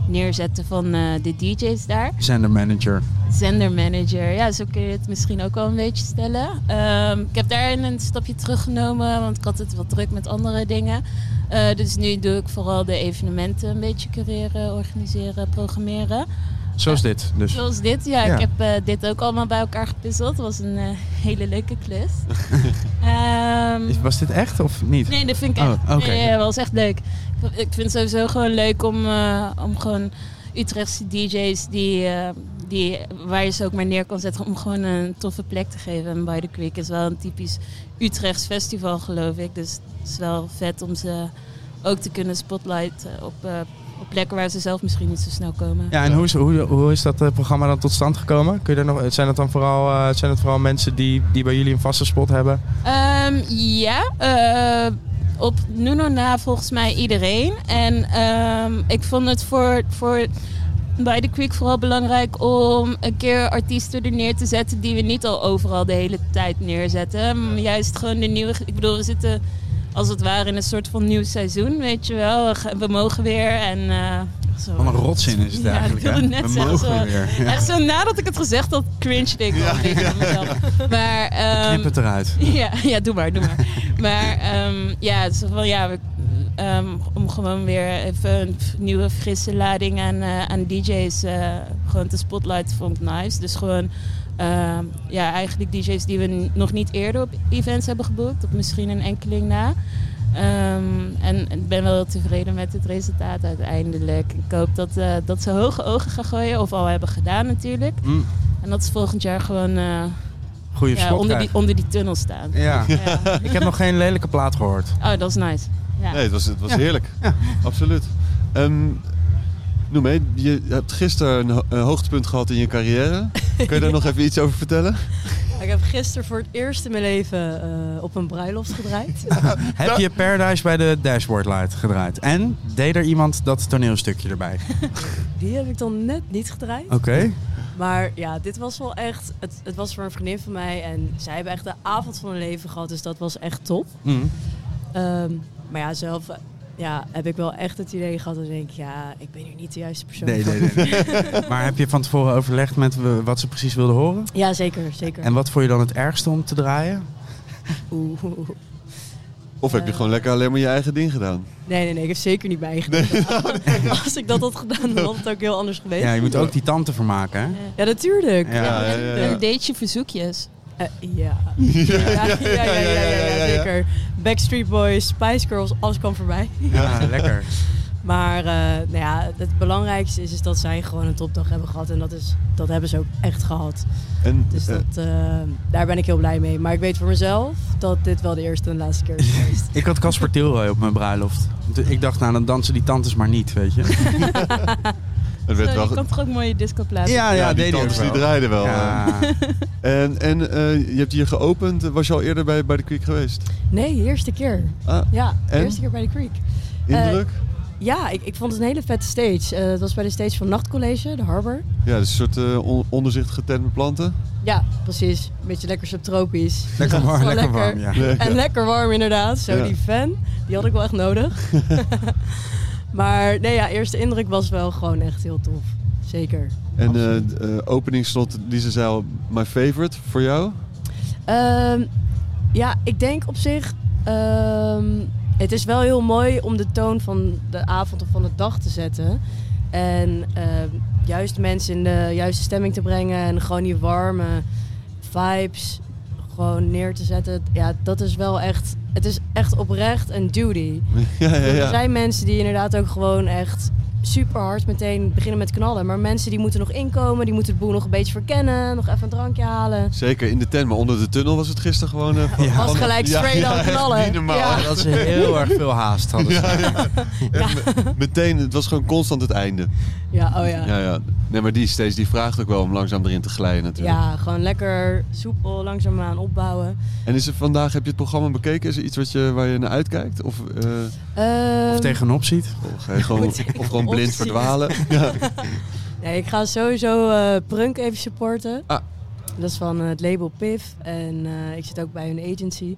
[SPEAKER 16] neerzetten van eh, de DJ's daar.
[SPEAKER 1] Zender manager.
[SPEAKER 16] Zendermanager, ja, zo kun je het misschien ook wel een beetje stellen. Ehm, ik heb daarin een stapje teruggenomen, want ik had het wat druk met andere dingen. Eh, dus nu doe ik vooral de evenementen een beetje cureren, organiseren, programmeren.
[SPEAKER 1] Zoals dit dus.
[SPEAKER 16] Zoals dit, ja.
[SPEAKER 1] Ja.
[SPEAKER 16] Ik heb eh, dit ook allemaal bij elkaar gepuzzeld. Het was een eh, hele leuke klus. Ehm,
[SPEAKER 1] Is- Was dit echt of niet?
[SPEAKER 16] Nee, dat vind ik echt.
[SPEAKER 1] Oh, oké.
[SPEAKER 16] nee, ja, was echt leuk. Ik- Ik vind het sowieso gewoon leuk om, eh, om gewoon Utrechtse DJ's die, eh, die, waar je ze ook maar neer kan zetten, om gewoon een toffe plek te geven. En By the Creek is wel een typisch Utrechts festival, geloof ik. Dus het is wel vet om ze ook te kunnen spotlighten op, eh, op plekken waar ze zelf misschien niet zo snel komen.
[SPEAKER 1] Ja, en hoe is, hoe, hoe is dat eh, programma dan tot stand gekomen? Kun je daar nog, zijn het dan vooral, eh, zijn het vooral mensen die, die bij jullie een vaste spot hebben?
[SPEAKER 16] Ehm, ja, eh, op Nuno na volgens mij iedereen. En ehm, ik vond het voor, voor bij de Creek vooral belangrijk om een keer artiesten er neer te zetten die we niet al overal de hele tijd neerzetten. Maar Juist gewoon de nieuwe. Ik bedoel, we zitten als het ware in een soort van nieuw seizoen, weet je wel. We, gaan- we mogen weer en. eh, zo.
[SPEAKER 1] Wat een rotzin is het
[SPEAKER 16] Ja,
[SPEAKER 1] eigenlijk,
[SPEAKER 16] ik wilde
[SPEAKER 1] hè?
[SPEAKER 16] net
[SPEAKER 1] We
[SPEAKER 16] zeggen,
[SPEAKER 1] mogen
[SPEAKER 16] zo-
[SPEAKER 1] weer, ja.
[SPEAKER 16] Echt zo nadat ik het gezegd had, cringe ik al een beetje van mezelf. Maar, ehm,
[SPEAKER 1] Knip het eruit.
[SPEAKER 16] ja, ja, doe maar, doe maar. maar ehm, ja, het is van, ja we, ehm, om gewoon weer even een f- nieuwe frisse lading aan, eh, aan DJ's eh, gewoon te spotlighten vond ik nice. Dus gewoon ehm, ja, eigenlijk DJ's die we n- nog niet eerder op events hebben geboekt, op misschien een enkeling na. Ehm, en ik ben wel heel tevreden met het resultaat uiteindelijk. Ik hoop dat, eh, dat ze hoge ogen gaan gooien, of al hebben gedaan natuurlijk.
[SPEAKER 1] Mm.
[SPEAKER 16] En dat ze volgend jaar gewoon eh,
[SPEAKER 1] Goeie
[SPEAKER 16] ja,
[SPEAKER 1] spot
[SPEAKER 16] onder, die,
[SPEAKER 1] krijgen.
[SPEAKER 16] onder die tunnel staan.
[SPEAKER 1] Ja. Ik heb nog geen lelijke plaat gehoord.
[SPEAKER 16] Oh, dat is nice. Ja.
[SPEAKER 2] Nee, het was, het was
[SPEAKER 16] Ja.
[SPEAKER 2] heerlijk. Absoluut. Ehm, noem mee, je hebt gisteren een, ho- een hoogtepunt gehad in je carrière. Kun je daar nog even iets over vertellen?
[SPEAKER 17] eh, Ik heb gisteren voor het eerst in mijn leven eh, op een bruiloft gedraaid.
[SPEAKER 1] Heb je Paradise bij de Dashboard Light gedraaid? En deed er iemand dat toneelstukje erbij?
[SPEAKER 17] Die heb ik dan net niet gedraaid.
[SPEAKER 1] Oké.
[SPEAKER 17] Maar ja, dit was wel echt... Het, het was voor een vriendin van mij en zij hebben echt de avond van hun leven gehad. Dus dat was echt top.
[SPEAKER 1] Mm.
[SPEAKER 17] Ehm, maar ja, zelf eh, ja, heb ik wel echt het idee gehad dat ik denk... Ja, ik ben hier niet de juiste persoon
[SPEAKER 1] Nee,
[SPEAKER 17] voor.
[SPEAKER 1] nee, nee. nee. maar heb je van tevoren overlegd met eh, wat ze precies wilden horen?
[SPEAKER 17] Ja, zeker, zeker.
[SPEAKER 1] En wat vond je dan het ergste om te draaien?
[SPEAKER 17] Oeh.
[SPEAKER 2] Of
[SPEAKER 16] Eh.
[SPEAKER 2] heb je gewoon lekker alleen maar je eigen ding gedaan?
[SPEAKER 17] Nee, nee, nee. Ik heb zeker niet bij Als ik dat had gedaan, dan had het ook heel anders geweest.
[SPEAKER 1] Ja, je moet ook die tante vermaken, hè?
[SPEAKER 17] Ja, natuurlijk.
[SPEAKER 1] Ja, ja, ja, ja.
[SPEAKER 17] En- en
[SPEAKER 1] Ja.
[SPEAKER 17] deed je verzoekjes? Eh, ja. Ja, ja, ja, ja, ja, ja,
[SPEAKER 1] ja, ja.
[SPEAKER 17] zeker. Backstreet Boys, Spice Girls, alles kwam voorbij.
[SPEAKER 1] Ja, lekker.
[SPEAKER 17] Maar eh, nou ja, het belangrijkste is, is dat zij gewoon een topdag hebben gehad. En dat, is, dat hebben ze ook echt gehad.
[SPEAKER 2] En,
[SPEAKER 17] dus
[SPEAKER 2] eh,
[SPEAKER 17] dat, eh, daar ben ik heel blij mee. Maar ik weet voor mezelf dat dit wel de eerste en laatste keer is geweest.
[SPEAKER 1] Ik had Casper Tilroy op mijn bruiloft. Want Ik dacht, nou, dan dansen die tantes maar niet, weet je.
[SPEAKER 2] Het
[SPEAKER 16] Zo, je kan toch ook mooie disco plaatsen?
[SPEAKER 1] Ja, ja,
[SPEAKER 2] die
[SPEAKER 1] deed hij
[SPEAKER 2] tantes
[SPEAKER 1] ook
[SPEAKER 2] die
[SPEAKER 1] wel.
[SPEAKER 2] draaiden wel.
[SPEAKER 1] Ja.
[SPEAKER 2] En, en eh, je hebt hier geopend. Was je al eerder bij, bij de Quick geweest?
[SPEAKER 17] Nee, de eerste keer.
[SPEAKER 2] Ah,
[SPEAKER 17] ja, de
[SPEAKER 2] en?
[SPEAKER 17] eerste keer bij de Creek.
[SPEAKER 2] Indruk?
[SPEAKER 17] Eh, ja, ik, ik vond het een hele vette stage. Eh, het was bij de stage van Nachtcollege, de Harbor.
[SPEAKER 2] Ja, dus een soort eh on- onderzicht getent met planten.
[SPEAKER 17] Ja, precies. Een beetje lekker subtropisch.
[SPEAKER 2] Lekker
[SPEAKER 17] Dat is
[SPEAKER 2] warm,
[SPEAKER 17] wel
[SPEAKER 2] lekker warm, ja. Lekker.
[SPEAKER 17] En lekker warm inderdaad. Zo
[SPEAKER 2] Ja.
[SPEAKER 17] die fan, die had ik wel echt nodig. maar nee, ja, eerste indruk was wel gewoon echt heel tof. Zeker.
[SPEAKER 2] En eh eh, openingsslot, Lisa zei al, my favorite voor jou.
[SPEAKER 17] Ehm, ja, ik denk op zich. ehm, het is wel heel mooi om de toon van de avond of van de dag te zetten. En ehm, juist mensen in de juiste stemming te brengen. En gewoon die warme vibes gewoon neer te zetten. Ja, dat is wel echt. Het is echt oprecht een duty.
[SPEAKER 2] ja, ja,
[SPEAKER 17] Er
[SPEAKER 2] ja.
[SPEAKER 17] zijn mensen die inderdaad ook gewoon echt super hard meteen beginnen met knallen. Maar mensen die moeten nog inkomen, die moeten het boel nog een beetje verkennen. Nog even een drankje halen.
[SPEAKER 2] Zeker in de tent, maar onder de tunnel was het gisteren gewoon... eh, van-
[SPEAKER 17] Was
[SPEAKER 2] van-
[SPEAKER 17] gelijk
[SPEAKER 2] Ja,
[SPEAKER 17] straight
[SPEAKER 2] ja,
[SPEAKER 17] aan
[SPEAKER 2] echt
[SPEAKER 17] knallen.
[SPEAKER 2] niet normaal.
[SPEAKER 17] Ja.
[SPEAKER 2] hè.
[SPEAKER 17] Dat ze heel erg
[SPEAKER 1] veel haast hadden.
[SPEAKER 2] Ja, ja. En me- meteen, het was gewoon constant het einde.
[SPEAKER 17] Ja, oh ja.
[SPEAKER 2] Ja, ja. Nee, maar die steeds, die vraagt ook wel om langzaam erin te glijden natuurlijk.
[SPEAKER 17] Ja, gewoon lekker soepel, langzaamaan opbouwen.
[SPEAKER 2] En is er vandaag, heb je het programma bekeken? Is er iets wat je, waar je naar uitkijkt? Of, eh,
[SPEAKER 17] Ehm,
[SPEAKER 1] tegenop ziet?
[SPEAKER 2] Of, eh, gewoon,
[SPEAKER 17] Moet ik
[SPEAKER 2] of gewoon blind
[SPEAKER 17] opzien?
[SPEAKER 2] verdwalen? Ja.
[SPEAKER 17] Nee, ik ga sowieso eh, Prunk even supporten.
[SPEAKER 2] Ah.
[SPEAKER 17] Dat is van eh, het label PIF. En eh, ik zit ook bij hun agency.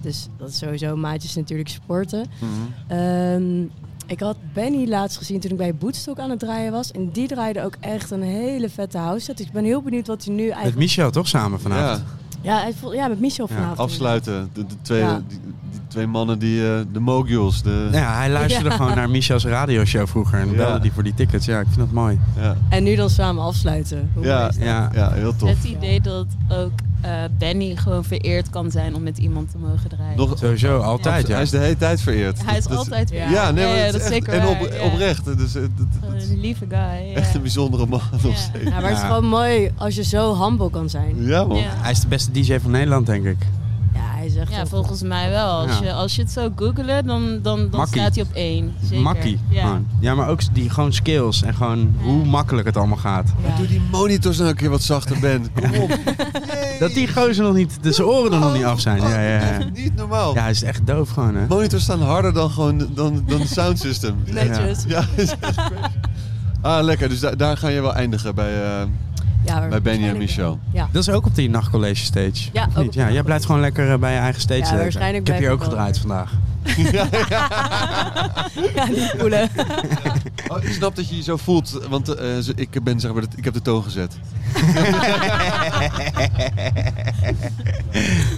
[SPEAKER 17] Dus dat is sowieso maatjes natuurlijk supporten.
[SPEAKER 2] Mhm.
[SPEAKER 17] Ehm, ik had Benny laatst gezien toen ik bij Bootstock aan het draaien was. En die draaide ook echt een hele vette house set. Dus ik ben heel benieuwd wat hij nu
[SPEAKER 1] Met
[SPEAKER 17] eigenlijk...
[SPEAKER 1] Michel toch samen vanavond?
[SPEAKER 17] Ja, hij vol- ja, met Michel vanavond.
[SPEAKER 2] Afsluiten. De, de twee,
[SPEAKER 17] Ja.
[SPEAKER 2] die, die twee mannen, die, eh, de moguls. De...
[SPEAKER 1] Ja, hij luisterde
[SPEAKER 17] Ja.
[SPEAKER 1] gewoon naar Michel's radioshow vroeger. En
[SPEAKER 2] Ja.
[SPEAKER 1] belde die voor die tickets. Ja, ik vind dat mooi.
[SPEAKER 2] Ja,
[SPEAKER 17] En nu dan samen afsluiten. Hoe mooi
[SPEAKER 1] ja,
[SPEAKER 17] is dat?
[SPEAKER 1] heel
[SPEAKER 16] Het idee dat ook eh, Benny gewoon vereerd kan zijn om met iemand te mogen draaien.
[SPEAKER 2] Nog,
[SPEAKER 1] Sowieso, altijd. Ja.
[SPEAKER 2] Hij is de hele tijd vereerd.
[SPEAKER 16] Hij is
[SPEAKER 2] Dat- dat-
[SPEAKER 16] altijd vereerd.
[SPEAKER 2] Ja, nee,
[SPEAKER 16] Ja,
[SPEAKER 2] maar
[SPEAKER 16] ja,
[SPEAKER 2] het
[SPEAKER 16] dat
[SPEAKER 2] is
[SPEAKER 16] is
[SPEAKER 2] echt-
[SPEAKER 16] zeker
[SPEAKER 2] En op,
[SPEAKER 16] waar, ja.
[SPEAKER 2] oprecht. Dus, eh, dat- dat-
[SPEAKER 16] Gewoon Een lieve guy.
[SPEAKER 2] echt een bijzondere man nog steeds.
[SPEAKER 17] Ja, maar het is gewoon mooi als je zo humble kan zijn.
[SPEAKER 2] Ja, man.
[SPEAKER 16] Ja.
[SPEAKER 1] Hij is de beste DJ van Nederland, denk ik.
[SPEAKER 17] Ja, hij zegt
[SPEAKER 16] Ja, volgens mij wel. Als,
[SPEAKER 1] Ja.
[SPEAKER 16] je, als je het zou googelen, dan, dan, dan
[SPEAKER 1] Makkie.
[SPEAKER 16] staat hij op één. Zeker.
[SPEAKER 1] Makkie.
[SPEAKER 16] Ja.
[SPEAKER 1] gewoon. Ja, maar ook die gewoon skills en gewoon hoe makkelijk het allemaal gaat.
[SPEAKER 2] Doe die monitors nou een keer wat zachter, Ben. Kom op.
[SPEAKER 1] Dat die gozer nog niet, dus, oh, de zijn oren er nog niet af zijn. Ja, ja, ja.
[SPEAKER 2] Oh, Niet normaal.
[SPEAKER 1] Ja, hij is echt doof gewoon, hè?
[SPEAKER 2] Monitors staan harder dan gewoon dan, dan de sound system.
[SPEAKER 17] Netjes.
[SPEAKER 2] Ja, ja, is echt crazy. Ah, lekker. Dus daar- daar ga je wel eindigen bij, eh,
[SPEAKER 17] Ja, maar
[SPEAKER 2] bij Benny
[SPEAKER 17] waarschijnlijk-
[SPEAKER 2] en Michel.
[SPEAKER 17] Ja.
[SPEAKER 1] Dat is ook op die nachtcollege stage.
[SPEAKER 17] Ja, ook
[SPEAKER 1] Of niet?
[SPEAKER 17] op
[SPEAKER 1] ja jij blijft gewoon lekker eh, bij je eigen stage.
[SPEAKER 17] Ja,
[SPEAKER 1] leven.
[SPEAKER 17] waarschijnlijk
[SPEAKER 1] ik heb
[SPEAKER 17] blijf
[SPEAKER 1] hier
[SPEAKER 17] ik
[SPEAKER 1] ook
[SPEAKER 17] wel
[SPEAKER 1] gedraaid vandaag.
[SPEAKER 17] Ja, die voelen.
[SPEAKER 2] Oh, ik snap dat je je zo voelt, want eh, ze- ik, ben, zeg maar, dat- ik heb de toon gezet.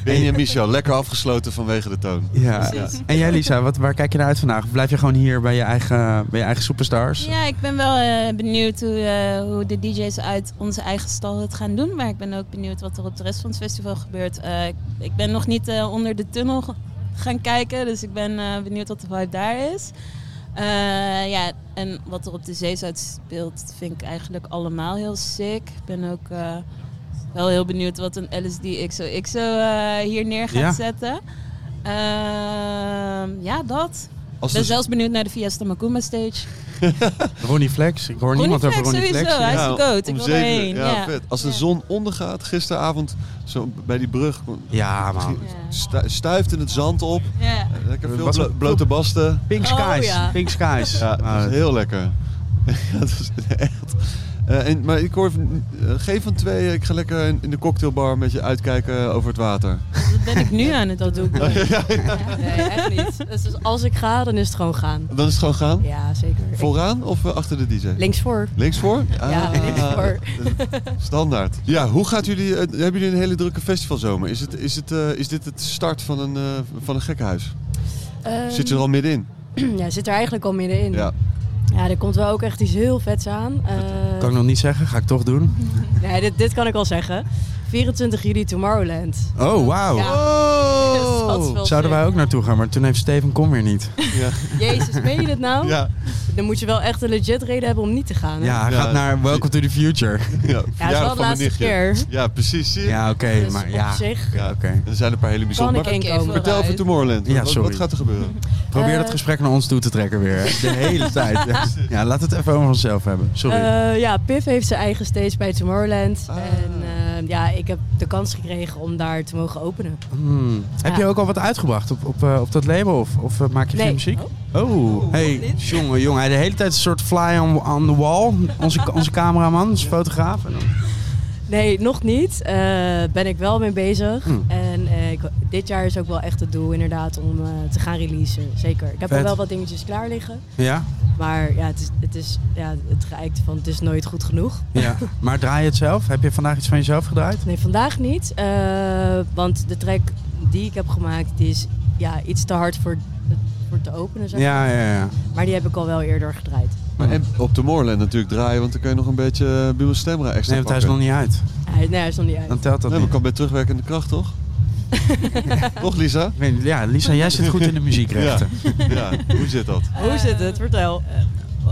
[SPEAKER 2] Benny en Michel, lekker afgesloten vanwege de toon.
[SPEAKER 1] Ja. En jij Lisa, wat, waar kijk je naar uit vandaag? Blijf je gewoon hier bij je eigen, bij je eigen superstars?
[SPEAKER 16] Ja, ik ben wel eh, benieuwd hoe, eh, hoe de DJ's uit onze eigen stal het gaan doen. Maar ik ben ook benieuwd wat er op de rest van het festival gebeurt. Eh, ik- ik ben nog niet eh, onder de tunnel ge- gaan kijken. Dus ik ben eh, benieuwd wat de vibe daar is. Eh, ja, en wat er op de zeezout speelt, vind ik eigenlijk allemaal heel sick. Ik ben ook eh, wel heel benieuwd wat een LSD XOXO eh, hier neer gaat
[SPEAKER 1] Ja.
[SPEAKER 16] zetten. Ehm, ja, dat.
[SPEAKER 1] Als
[SPEAKER 16] ik
[SPEAKER 1] dus-
[SPEAKER 16] ben zelfs benieuwd naar de Fiesta Macumba stage.
[SPEAKER 1] Ronnie Flex, ik hoor
[SPEAKER 16] Ronnie
[SPEAKER 1] niemand over
[SPEAKER 16] Flex,
[SPEAKER 1] Ronnie Flex.
[SPEAKER 16] sowieso, hij is de goat. Ik
[SPEAKER 2] om
[SPEAKER 16] wil
[SPEAKER 2] zeven uur.
[SPEAKER 16] erheen,
[SPEAKER 2] Ja,
[SPEAKER 16] ja.
[SPEAKER 2] vet. Als de zon ondergaat, gisteravond zo bij die brug.
[SPEAKER 1] Ja, man.
[SPEAKER 2] Stu stuift in het zand op.
[SPEAKER 16] Ja.
[SPEAKER 2] Lekker veel
[SPEAKER 1] Was
[SPEAKER 2] blo-
[SPEAKER 1] het-
[SPEAKER 2] blote basten.
[SPEAKER 1] Pink skies,
[SPEAKER 16] Oh, ja.
[SPEAKER 1] pink skies. Nou,
[SPEAKER 2] Ja, dat is heel lekker. Ja, dat is echt. Eh, en, maar ik hoor van, eh, geen van twee. Ik ga lekker in, in de cocktailbar met je uitkijken over het water.
[SPEAKER 16] dat ben ik nu aan het dat doe ik
[SPEAKER 2] Ja,
[SPEAKER 16] niet.
[SPEAKER 2] ja,
[SPEAKER 16] Nee, echt niet. Dus
[SPEAKER 17] Dus als ik ga, dan is het gewoon gaan.
[SPEAKER 2] Dan is het gewoon gaan?
[SPEAKER 17] Ja, zeker.
[SPEAKER 2] Vooraan of eh, achter de DJ?
[SPEAKER 17] Linksvoor.
[SPEAKER 2] Linksvoor?
[SPEAKER 17] Ja,
[SPEAKER 2] Ah,
[SPEAKER 17] linksvoor.
[SPEAKER 2] Standaard. Ja, hoe gaat jullie... eh, hebben jullie een hele drukke festivalzomer? Is, het, is, het, eh, is dit het start van een, eh, van een gekkenhuis?
[SPEAKER 17] Ehm,
[SPEAKER 2] Dus Zit je er al middenin?
[SPEAKER 17] Ja, zit er eigenlijk al middenin.
[SPEAKER 2] Ja.
[SPEAKER 17] Ja, er komt wel ook echt iets heel vets aan. Eh,
[SPEAKER 1] Kan ik nog niet zeggen, ga ik toch doen.
[SPEAKER 17] Nee, dit, dit kan ik al zeggen. 24 juli Tomorrowland.
[SPEAKER 1] Oh, wauw.
[SPEAKER 17] Ja.
[SPEAKER 2] Oh!
[SPEAKER 17] Dat is wel
[SPEAKER 1] Zouden wij
[SPEAKER 17] sick.
[SPEAKER 1] ook naartoe gaan, maar toen heeft Steven Kom weer niet.
[SPEAKER 2] Ja,
[SPEAKER 17] Jezus, meen je dit nou?
[SPEAKER 2] Ja.
[SPEAKER 17] Dan moet je wel echt een legit reden hebben om niet te gaan. hè?
[SPEAKER 1] hij gaat naar Welcome to the Future.
[SPEAKER 2] Ja,
[SPEAKER 17] het is wel de laatste keer.
[SPEAKER 2] Ja, precies. zie je?
[SPEAKER 1] Ja, oké,
[SPEAKER 17] Dus maar op ja. zich-
[SPEAKER 2] ja oké. Er zijn een paar hele bijzondere...
[SPEAKER 17] Kan ik
[SPEAKER 2] Maar
[SPEAKER 17] inkomen? Oké,
[SPEAKER 2] Vertel over
[SPEAKER 17] vooruit.
[SPEAKER 2] Tomorrowland.
[SPEAKER 1] Ja,
[SPEAKER 2] Wat- wat,
[SPEAKER 1] sorry.
[SPEAKER 2] gaat er gebeuren?
[SPEAKER 1] Probeer
[SPEAKER 17] Eh.
[SPEAKER 1] dat gesprek naar ons toe te trekken weer. hè. De hele tijd. Ja. Ja, laat het even over onszelf hebben. Sorry. Ah.
[SPEAKER 17] Eh, ja, Piff heeft zijn eigen stage bij Tomorrowland. En eh, ja, ik heb de kans gekregen om daar te mogen openen.
[SPEAKER 1] Hmm. Heb je
[SPEAKER 17] Ja.
[SPEAKER 1] ook al wat uitgebracht op, op, eh, op dat label? Of, of eh, maak je
[SPEAKER 17] Nee.
[SPEAKER 1] geen muziek? Oh, hey, jongen, jongen. Hij de hele tijd een soort fly on, on the wall. Onze, onze cameraman, onze fotograaf. En dan-
[SPEAKER 17] Nee, nog niet. Eh ben ik wel mee bezig.
[SPEAKER 1] Hm.
[SPEAKER 17] En eh, ik- dit jaar is ook wel echt het doel inderdaad om eh, te gaan releasen. Zeker. Ik heb
[SPEAKER 1] Vet.
[SPEAKER 17] al wel wat dingetjes klaar liggen.
[SPEAKER 1] Ja?
[SPEAKER 17] Maar ja, het, is, het, is, ja, het geëikte van het is nooit goed genoeg.
[SPEAKER 1] ja. Maar draai je het zelf? Heb je vandaag iets van jezelf gedraaid?
[SPEAKER 17] Nee, vandaag niet. eh, want de track die ik heb gemaakt, die is ja, iets te hard voor, voor te openen. Zeg
[SPEAKER 1] Ja,
[SPEAKER 17] maar.
[SPEAKER 1] ja, ja.
[SPEAKER 17] maar die heb ik al wel eerder gedraaid.
[SPEAKER 2] Maar en op Tomorrowland natuurlijk draaien, want dan kun je nog een beetje eh, Buma Stemra extra
[SPEAKER 1] Nee, want hij is nog niet uit.
[SPEAKER 17] Hij, nee, hij is nog niet uit.
[SPEAKER 1] Dan telt dat
[SPEAKER 2] Nee, maar
[SPEAKER 1] niet.
[SPEAKER 2] kan bij terugwerkende kracht, toch? toch, Lisa?
[SPEAKER 1] Ik weet niet, Ja, Lisa, jij zit goed in de muziekrechten.
[SPEAKER 2] Ja. Ja, hoe zit dat?
[SPEAKER 17] Hoe zit het? Vertel.
[SPEAKER 16] Ehm, eh,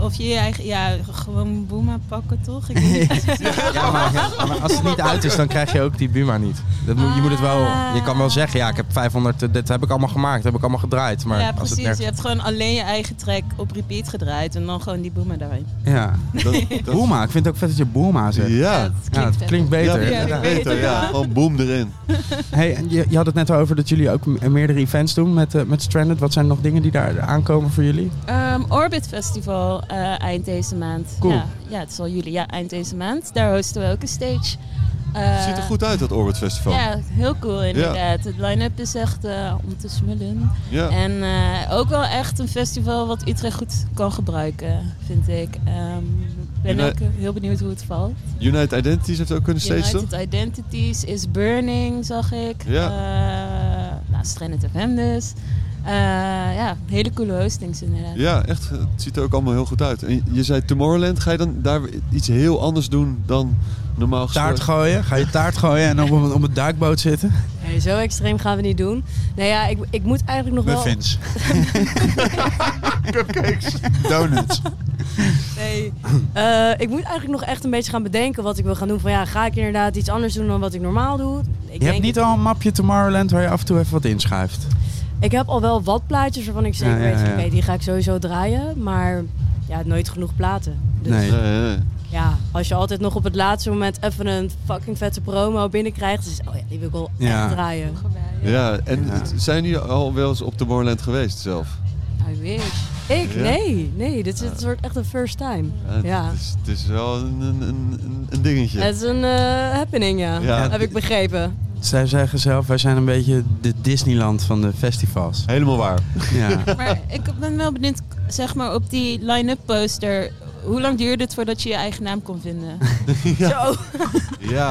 [SPEAKER 16] Of je je eigen, ja, gewoon boema pakken toch? Ik weet niet.
[SPEAKER 1] Ja, maar, maar als het niet uit is, dan krijg je ook die Buma niet. Dat moet, je moet het wel... Je kan wel zeggen, ja, ik heb 500... eh, Dit heb ik allemaal gemaakt, heb ik allemaal gedraaid. Maar
[SPEAKER 16] ja,
[SPEAKER 1] als het
[SPEAKER 16] precies.
[SPEAKER 1] nergens-
[SPEAKER 16] Je hebt gewoon alleen je eigen track op repeat gedraaid en dan gewoon die boema daarin.
[SPEAKER 1] Ja. Boema, ik vind het ook vet dat je Boema zegt.
[SPEAKER 2] Ja. dat
[SPEAKER 1] Ja, het klinkt beter.
[SPEAKER 2] Ja,
[SPEAKER 1] Ja.
[SPEAKER 2] beter, ja. Gewoon boom erin.
[SPEAKER 1] Hey, en je, je had het net over dat jullie ook me- meerdere events doen met, eh, met Stranded. Wat zijn nog dingen die daar aankomen voor jullie?
[SPEAKER 16] Ehm, Orbit Festival eh, eind deze maand.
[SPEAKER 1] Cool.
[SPEAKER 16] Ja, ja, het is al juli. Ja, eind deze maand. Daar hosten we ook een stage. Eh,
[SPEAKER 2] Ziet er goed uit, dat Orbit Festival.
[SPEAKER 16] Ja, heel cool inderdaad. Het line-up is echt eh, om te smullen.
[SPEAKER 2] Ja.
[SPEAKER 16] En eh, ook wel echt een festival wat Utrecht goed kan gebruiken, vind ik. Ehm, Ik ben
[SPEAKER 2] Jullie-
[SPEAKER 16] ook heel benieuwd hoe het valt.
[SPEAKER 2] United Identities heeft ook een stage, toch?
[SPEAKER 16] United Identities is Burning, zag ik.
[SPEAKER 2] Ja.
[SPEAKER 16] Eh, nou, Stranded FM dus. Eh, ja, hele coole hostings inderdaad.
[SPEAKER 2] Ja, echt. Het ziet er ook allemaal heel goed uit. En je zei Tomorrowland. Ga je dan daar iets heel anders doen dan normaal gesproken?
[SPEAKER 1] Taart gooien? Ga je taart gooien en dan op, een- op een duikboot zitten?
[SPEAKER 17] Nee, zo extreem gaan we niet doen. Nou ja, ik, ik moet eigenlijk nog wel...
[SPEAKER 1] Muffins. Cupcakes. Donuts.
[SPEAKER 17] Nee. Eh, ik moet eigenlijk nog echt een beetje gaan bedenken wat ik wil gaan doen. Van ja, ga ik inderdaad iets anders doen dan wat ik normaal doe? Ik,
[SPEAKER 1] Je hebt
[SPEAKER 17] denk,
[SPEAKER 1] niet al een mapje Tomorrowland waar je af en toe even wat inschuift.
[SPEAKER 17] ik heb al wel wat plaatjes waarvan ik zeker
[SPEAKER 1] Ja, ja,
[SPEAKER 17] weet,
[SPEAKER 1] ja.
[SPEAKER 17] oké, die ga ik sowieso draaien. Maar ja, nooit genoeg platen. Dus
[SPEAKER 1] Nee.
[SPEAKER 17] ja, als je altijd nog op het laatste moment even een fucking vette promo binnenkrijgt. Dus oh ja, die wil ik wel
[SPEAKER 2] Ja.
[SPEAKER 17] echt draaien.
[SPEAKER 2] Ja, en het- zijn jullie al wel eens op Tomorrowland geweest zelf?
[SPEAKER 17] I wish. Ik?
[SPEAKER 2] Ja.
[SPEAKER 17] Nee, nee. Dit is, dit wordt echt een first time.
[SPEAKER 2] Ja, het,
[SPEAKER 17] ja.
[SPEAKER 2] Is, het is wel een, een, een, een dingetje.
[SPEAKER 17] Het is een eh, happening, ja.
[SPEAKER 1] Ja.
[SPEAKER 17] Heb ik begrepen.
[SPEAKER 1] Zij zeggen zelf, wij zijn een beetje de Disneyland van de festivals.
[SPEAKER 2] Helemaal waar.
[SPEAKER 1] Ja.
[SPEAKER 16] Maar ik ben wel benieuwd, zeg maar, op die line-up poster. Hoe lang duurde het voordat je je eigen naam kon vinden?
[SPEAKER 17] Zo.
[SPEAKER 2] Ja, dus-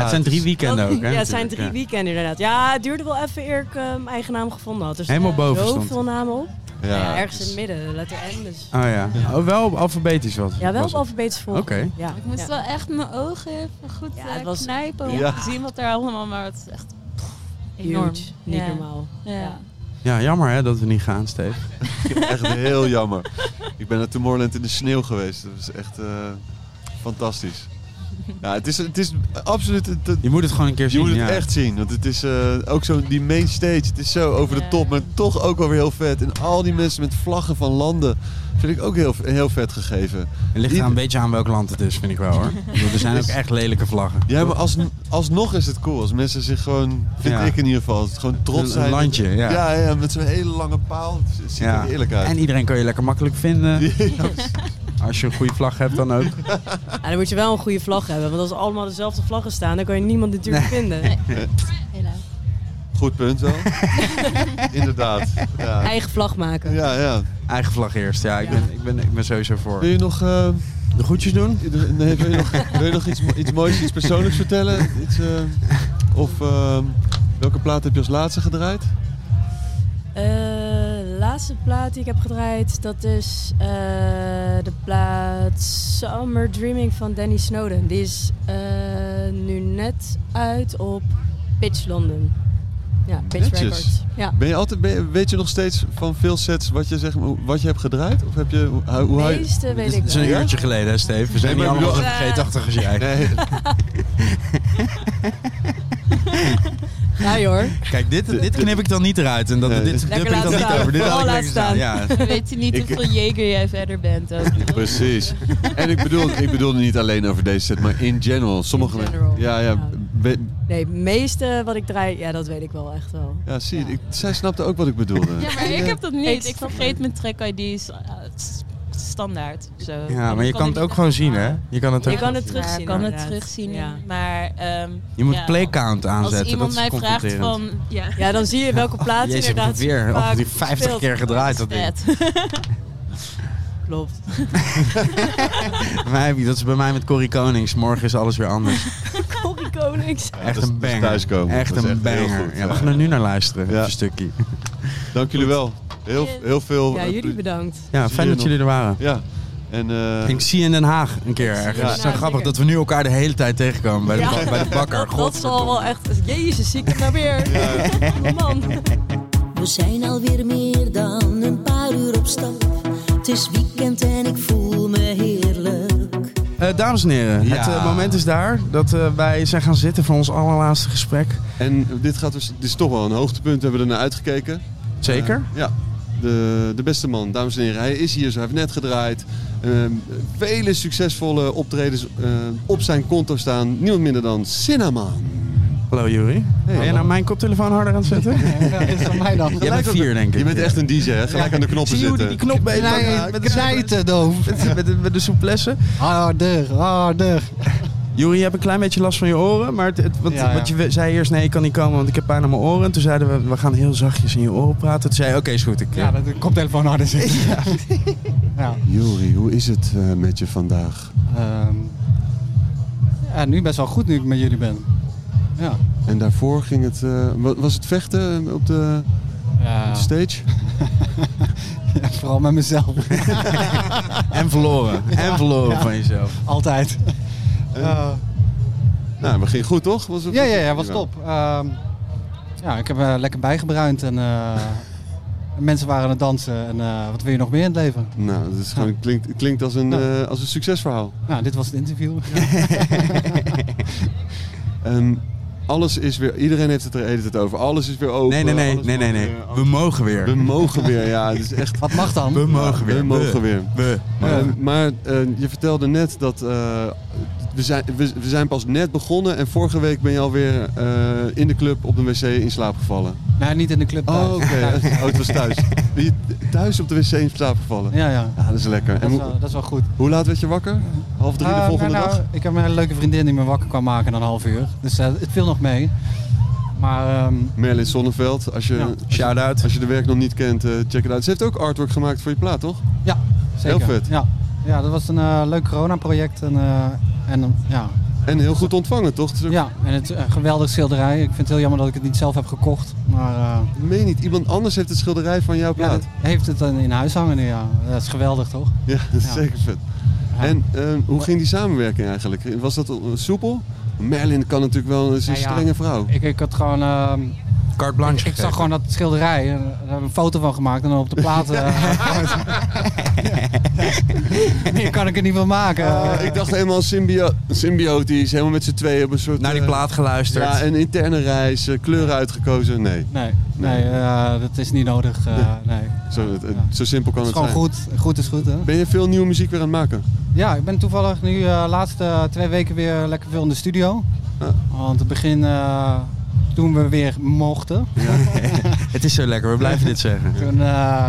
[SPEAKER 1] het zijn drie weekenden ook, hè?
[SPEAKER 17] ja, het zijn drie
[SPEAKER 1] natuurlijk,
[SPEAKER 17] weekenden inderdaad. Ja, het duurde wel even eer ik eh, mijn eigen naam gevonden had. Dus
[SPEAKER 1] Helemaal boven
[SPEAKER 17] Zoveel
[SPEAKER 1] stond.
[SPEAKER 17] namen op.
[SPEAKER 1] Ja.
[SPEAKER 17] Ja, ergens in het midden, letter N. Dus.
[SPEAKER 1] ja. Oh ja. Oh, wel op alfabetisch wat.
[SPEAKER 17] Ja, wel
[SPEAKER 1] was
[SPEAKER 17] op
[SPEAKER 1] het.
[SPEAKER 17] alfabetische volgorde.
[SPEAKER 1] Oké.
[SPEAKER 17] Ja.
[SPEAKER 16] Ik moest wel echt mijn ogen even goed eh,
[SPEAKER 17] het was-
[SPEAKER 16] knijpen om
[SPEAKER 1] Ja.
[SPEAKER 16] te zien wat er allemaal... Maar het is echt pff,
[SPEAKER 17] Huge.
[SPEAKER 16] enorm.
[SPEAKER 17] Niet
[SPEAKER 16] Ja.
[SPEAKER 17] normaal.
[SPEAKER 16] Ja.
[SPEAKER 1] Ja, jammer hè dat we niet gaan, Steve.
[SPEAKER 2] Echt heel jammer. Ik ben naar Tomorrowland in de sneeuw geweest. Dat was echt eh, fantastisch. Ja, het is, het is absoluut... Het, het-
[SPEAKER 1] Je moet het gewoon een keer zien,
[SPEAKER 2] Je moet het
[SPEAKER 1] ja.
[SPEAKER 2] echt zien. Want het is eh, ook zo die main stage. Het is zo over de top, maar toch ook wel weer heel vet. En al die mensen met vlaggen van landen vind ik ook heel, heel vet gegeven.
[SPEAKER 1] Het ligt
[SPEAKER 2] Die-
[SPEAKER 1] er een beetje aan welk land het is, vind ik wel hoor. Ik bedoel, Er zijn ook
[SPEAKER 2] Dus-
[SPEAKER 1] echt lelijke vlaggen.
[SPEAKER 2] Ja, maar als, alsnog is het cool. Als mensen zich gewoon, vind
[SPEAKER 1] Ja.
[SPEAKER 2] ik in ieder geval, gewoon trots
[SPEAKER 1] Een- een
[SPEAKER 2] zijn.
[SPEAKER 1] landje, ja.
[SPEAKER 2] Ja, ja, met zo'n hele lange paal. Het ziet
[SPEAKER 1] Ja.
[SPEAKER 2] er eerlijk uit.
[SPEAKER 1] En iedereen kan je lekker makkelijk vinden. Als je een goede vlag hebt dan ook.
[SPEAKER 17] Ja, dan moet je wel een goede vlag hebben. Want als allemaal dezelfde vlaggen staan, dan kan je niemand natuurlijk vinden.
[SPEAKER 1] Nee.
[SPEAKER 2] Eh, Goed punt wel. Inderdaad. Ja.
[SPEAKER 15] Eigen vlag maken.
[SPEAKER 2] Ja, ja.
[SPEAKER 1] Eigen vlag eerst, ja. Ik, Ben, ik, ben, ik ben sowieso voor.
[SPEAKER 2] Wil je nog... eh,
[SPEAKER 1] de goedjes doen?
[SPEAKER 2] Nee, wil je nog, wil je nog iets, mo- iets moois, iets persoonlijks vertellen? Iets, eh, of ehm, welke plaat heb je als laatste gedraaid?
[SPEAKER 17] Eh, de laatste plaat die ik heb gedraaid, dat is eh, de plaat Summer Dreaming van Danny Snowden. Die is eh, nu net uit op Pitch London. Ja, Pitch
[SPEAKER 2] Netjes.
[SPEAKER 17] Records. Ja.
[SPEAKER 2] Ben je altijd, ben je- weet je nog steeds van veel sets wat je, zeg, maar- wat je hebt gedraaid? Of heb je, hoe, hoe hou je-
[SPEAKER 17] meeste weet ik
[SPEAKER 1] Het is een
[SPEAKER 17] wel.
[SPEAKER 1] uurtje geleden, hè, Steve? We zijn
[SPEAKER 2] Nee,
[SPEAKER 1] niet
[SPEAKER 2] maar ik
[SPEAKER 1] allemaal zo
[SPEAKER 2] bedoel-
[SPEAKER 1] vergeetachtig als jij.
[SPEAKER 2] Nee.
[SPEAKER 15] Ja hoor.
[SPEAKER 1] Kijk, dit, dit knip ik dan niet eruit. En dat, dit
[SPEAKER 16] Lekker
[SPEAKER 1] dub ik dan
[SPEAKER 16] laten
[SPEAKER 1] niet
[SPEAKER 16] staan.
[SPEAKER 1] over. Dit
[SPEAKER 16] Vooral
[SPEAKER 1] laat ik lekker
[SPEAKER 16] laten staan.
[SPEAKER 1] staan. Ja.
[SPEAKER 16] We weten niet
[SPEAKER 2] Ik-
[SPEAKER 16] hoeveel Jager jij verder bent. Ook.
[SPEAKER 2] Precies. En ik bedoel, ik bedoel niet alleen over deze set, maar in general. Sommige Ja, ja. we-
[SPEAKER 15] Nee, het meeste wat ik draai, ja, dat weet ik wel echt wel.
[SPEAKER 2] ja, zie je, ik, zij snapte ook wat ik bedoelde.
[SPEAKER 16] Ja, maar ik heb dat
[SPEAKER 15] Ik
[SPEAKER 16] niet. Ik
[SPEAKER 15] snap
[SPEAKER 16] vergeet mijn track-ID's eh, s- standaard. Zo.
[SPEAKER 1] ja,
[SPEAKER 16] Dan
[SPEAKER 1] maar je kan het
[SPEAKER 16] ik
[SPEAKER 1] ook gewoon zien, hè? Je kan het ook
[SPEAKER 16] Je kan het
[SPEAKER 1] zien.
[SPEAKER 16] terugzien.
[SPEAKER 15] Ja,
[SPEAKER 16] kan het
[SPEAKER 15] inderdaad.
[SPEAKER 16] terugzien. Maar, ehm,
[SPEAKER 1] Je moet
[SPEAKER 16] ja,
[SPEAKER 1] playcount aanzetten.
[SPEAKER 16] Als iemand
[SPEAKER 1] dat is
[SPEAKER 16] mij vraagt van...
[SPEAKER 1] confronterend.
[SPEAKER 16] Ja.
[SPEAKER 15] Ja, dan zie je welke plaats
[SPEAKER 1] Jezus, ik heb
[SPEAKER 15] inderdaad
[SPEAKER 1] het weer
[SPEAKER 15] vaak
[SPEAKER 1] al die 50
[SPEAKER 15] gespeeld
[SPEAKER 1] keer gedraaid. Dat
[SPEAKER 16] Dat
[SPEAKER 1] ding.
[SPEAKER 16] is
[SPEAKER 15] Klopt.
[SPEAKER 1] Mij heb je- dat is bij mij met Corrie Konings. Morgen is alles weer anders.
[SPEAKER 15] Corrie Konings.
[SPEAKER 1] Echt
[SPEAKER 2] dat is-
[SPEAKER 1] een
[SPEAKER 2] dat is
[SPEAKER 1] banger.
[SPEAKER 2] thuiskomen.
[SPEAKER 1] Echt
[SPEAKER 2] Dat is
[SPEAKER 1] een
[SPEAKER 2] echt heel
[SPEAKER 1] banger.
[SPEAKER 2] goed,
[SPEAKER 1] ja, we
[SPEAKER 2] ja.
[SPEAKER 1] gaan er nu naar luisteren.
[SPEAKER 2] Ja.
[SPEAKER 1] Een stukje.
[SPEAKER 2] Dank jullie wel. Heel, heel veel.
[SPEAKER 15] Ja,
[SPEAKER 2] eh,
[SPEAKER 15] jullie bedankt.
[SPEAKER 1] Ja, fijn dat jullie er waren.
[SPEAKER 2] Ja. En, eh,
[SPEAKER 1] Ik zie je in Den Haag een keer ergens.
[SPEAKER 2] Ja.
[SPEAKER 1] Het is zo grappig dat we nu elkaar de hele tijd tegenkomen bij de,
[SPEAKER 15] Ja.
[SPEAKER 1] ba- bij de bakker.
[SPEAKER 15] Dat zal wel echt... Jezus, zie ik het nou weer. Man.
[SPEAKER 18] We zijn alweer meer dan een paar uur op stap. Het is weekend en ik voel me heerlijk.
[SPEAKER 1] Eh, dames en heren, het eh, moment is daar dat eh, wij zijn gaan zitten voor ons allerlaatste gesprek.
[SPEAKER 2] en dit, gaat dus, dit is toch wel een hoogtepunt. We hebben er naar uitgekeken.
[SPEAKER 1] Zeker?
[SPEAKER 2] Eh, ja. De, de beste man, dames en heren. Hij is hier, zo. hij heeft net gedraaid. Ehm, vele succesvolle optredens eh, op zijn konto staan. Niemand minder dan Cinnamon.
[SPEAKER 1] Hallo Jury. Ben jij nou mijn koptelefoon harder aan het zetten? Ja, dat is van mij dan. Jij bent
[SPEAKER 2] Gelijk
[SPEAKER 1] vier,
[SPEAKER 2] ook-
[SPEAKER 1] denk ik.
[SPEAKER 2] Je bent echt een DJ, hè? Gelijk aan de knoppen
[SPEAKER 1] Zie je hoe
[SPEAKER 2] zitten.
[SPEAKER 1] die knop bij
[SPEAKER 2] Knij-
[SPEAKER 1] met de knijten, doof. Met, met, de- met de souplesse. Harder, harder. Juri, je hebt een klein beetje last van je oren, maar het, het- wat,
[SPEAKER 19] Ja, ja.
[SPEAKER 1] wat je we- zei eerst, nee, ik kan niet komen, want ik heb pijn aan mijn oren. En Toen zeiden we, we gaan heel zachtjes in je oren praten. Toen zei je, oké, is goed. Ik, eh,
[SPEAKER 19] Ja, dat
[SPEAKER 1] de koptelefoon harder zit.
[SPEAKER 2] Jori, hoe is het eh, met je vandaag?
[SPEAKER 19] Ehm, ja, nu best wel goed nu ik met jullie ben. Ja.
[SPEAKER 2] En daarvoor ging het... eh, wa- was het vechten eh, op de,
[SPEAKER 19] Ja.
[SPEAKER 2] op de stage?
[SPEAKER 19] Ja, vooral met mezelf.
[SPEAKER 1] en verloren. En verloren van jezelf.
[SPEAKER 19] Altijd. Eh,
[SPEAKER 2] Nou, we gingen goed, toch? Was het-
[SPEAKER 19] ja, ja, ja, was
[SPEAKER 2] prima.
[SPEAKER 19] top. Ehm, ja, ik heb eh, lekker bijgebruind en eh, mensen waren aan het dansen. En eh, wat wil je nog meer in het leven?
[SPEAKER 2] Nou, het, is gewoon, het klinkt, het klinkt als, een,
[SPEAKER 19] Ja.
[SPEAKER 2] eh, als een succesverhaal.
[SPEAKER 19] Nou, dit was het interview.
[SPEAKER 2] Ehm, alles is weer... Iedereen heeft het er de hele tijd over. Alles is weer open.
[SPEAKER 1] Nee, nee, nee,
[SPEAKER 2] alles
[SPEAKER 1] nee, nee,
[SPEAKER 2] mag
[SPEAKER 1] nee.
[SPEAKER 2] weer, alles-
[SPEAKER 1] We mogen weer.
[SPEAKER 2] We mogen weer, ja. Het is echt...
[SPEAKER 19] Wat mag dan?
[SPEAKER 1] We mogen
[SPEAKER 2] We
[SPEAKER 1] weer.
[SPEAKER 2] mogen weer.
[SPEAKER 1] We.
[SPEAKER 2] Eh, maar eh, je vertelde net dat eh, we, zijn, we, we zijn pas net begonnen en vorige week ben je alweer eh, in de club op de wc in slaap gevallen.
[SPEAKER 19] nou, niet in de club.
[SPEAKER 2] Oh,
[SPEAKER 19] thuis.
[SPEAKER 2] oké.
[SPEAKER 19] Thuis.
[SPEAKER 2] Oh, het was thuis. Ben je thuis op de wc in slaap gevallen?
[SPEAKER 19] Ja, ja.
[SPEAKER 2] Ja, dat is lekker.
[SPEAKER 19] Dat
[SPEAKER 2] En
[SPEAKER 19] is
[SPEAKER 2] hoe-
[SPEAKER 19] wel, dat is wel goed.
[SPEAKER 2] Hoe laat werd je wakker? Half drie de
[SPEAKER 19] Eh,
[SPEAKER 2] volgende
[SPEAKER 19] nou, nou,
[SPEAKER 2] dag?
[SPEAKER 19] Ik heb een hele leuke vriendin die me wakker kwam maken na een half uur. Dus eh, het viel nog mee. Maar ehm,
[SPEAKER 2] Merlin Sonneveld, als je,
[SPEAKER 19] Ja.
[SPEAKER 2] Shout-out. als je de werk nog niet kent, eh, check het uit. Ze heeft ook artwork gemaakt voor je plaat, toch?
[SPEAKER 19] ja, zeker.
[SPEAKER 2] Heel vet.
[SPEAKER 19] Ja. ja, dat was een eh, leuk corona-project. En, eh, en, eh, ja.
[SPEAKER 2] En heel goed ontvangen, toch?
[SPEAKER 19] Ja, en het eh, geweldige schilderij. Ik vind het heel jammer dat ik het niet zelf heb gekocht. Maar, eh,
[SPEAKER 2] Meen niet, iemand anders heeft het schilderij van jouw plaat.
[SPEAKER 19] Ja, dat heeft het dan in huis hangen nu, ja. Dat is geweldig, toch?
[SPEAKER 2] Ja, dat is
[SPEAKER 19] Ja.
[SPEAKER 2] zeker vet. En eh, hoe ging die samenwerking eigenlijk? Was dat eh, soepel? Merlin kan natuurlijk wel, ze is een
[SPEAKER 19] Ja, ja.
[SPEAKER 2] strenge vrouw.
[SPEAKER 19] Ik, ik had gewoon... ehm,
[SPEAKER 1] Carte blanche
[SPEAKER 19] Ik, ik zag gewoon dat schilderij. En eh, daar hebben we een foto van gemaakt en dan op de eh, platen. Meer kan ik er niet van maken.
[SPEAKER 2] Eh, ik dacht helemaal symbio symbiotisch, helemaal met z'n tweeën op een soort... Naar
[SPEAKER 1] die plaat geluisterd.
[SPEAKER 2] Ja, een interne reis, eh, kleuren uitgekozen, nee.
[SPEAKER 19] Nee, nee eh, dat is niet nodig. eh, nee.
[SPEAKER 2] Zo, het- het- zo simpel kan
[SPEAKER 19] Het
[SPEAKER 2] het,
[SPEAKER 19] is gewoon
[SPEAKER 2] zijn.
[SPEAKER 19] goed. Goed is goed, hè?
[SPEAKER 2] Ben je veel nieuwe muziek weer aan het maken?
[SPEAKER 19] Ja, ik ben toevallig nu de laatste twee weken weer lekker veel in de studio. Want het begin eh, toen we weer mochten.
[SPEAKER 1] Het is zo lekker, we blijven dit zeggen.
[SPEAKER 19] Toen, eh,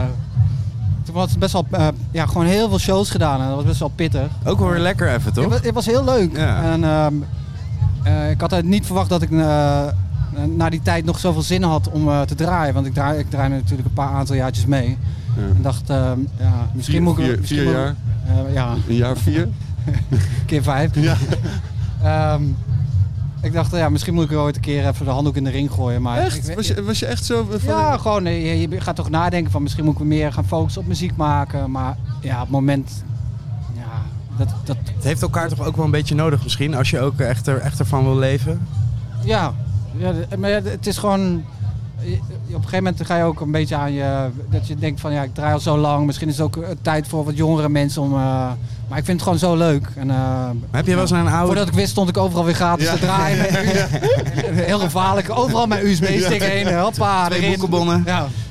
[SPEAKER 19] toen was het best wel, eh, ja, gewoon heel veel shows gedaan. En dat was best wel pittig.
[SPEAKER 1] Ook wel weer lekker even,
[SPEAKER 19] Het
[SPEAKER 1] toch?
[SPEAKER 19] was, het was heel leuk. En, ehm, eh, ik had eigenlijk niet verwacht dat ik eh, eh, na die tijd nog zoveel zin had om eh, te draaien. Want ik draai, ik draai natuurlijk een paar aantal jaartjes mee. En dacht, eh, ja, misschien
[SPEAKER 2] Vier-
[SPEAKER 19] moet ik...
[SPEAKER 2] vier-
[SPEAKER 19] misschien
[SPEAKER 2] vier
[SPEAKER 19] moet ik- eh, ja.
[SPEAKER 2] Een jaar vier?
[SPEAKER 19] keer vijf. Ehm, ik dacht, eh, ja, misschien moet ik er ooit een keer even de handdoek in de ring gooien. Maar ik-
[SPEAKER 2] Echt? Was je, was je echt zo... van-
[SPEAKER 19] ja, gewoon, eh, je, je gaat toch nadenken van misschien moet ik meer gaan focussen op muziek maken. Maar ja, op het moment, ja, dat, dat,
[SPEAKER 1] Het heeft elkaar toch ook wel een beetje nodig misschien, als je ook echt, er, echt ervan wil leven.
[SPEAKER 19] ja, ja d- maar ja, d- het is gewoon, je- op een gegeven moment ga je ook een beetje aan je, dat je denkt van ja, ik draai al zo lang. Misschien is het ook eh, tijd voor wat jongere mensen om, eh, maar ik vind het gewoon zo leuk. En, eh,
[SPEAKER 1] heb je wel eens naar een oude-
[SPEAKER 19] Voordat ik wist stond ik overal weer gratis
[SPEAKER 1] Ja.
[SPEAKER 19] te draaien. met USB. Heel gevaarlijk, overal mijn USB-stick heen, hoppa,
[SPEAKER 1] Twee
[SPEAKER 19] erin.
[SPEAKER 1] boekenbonnen.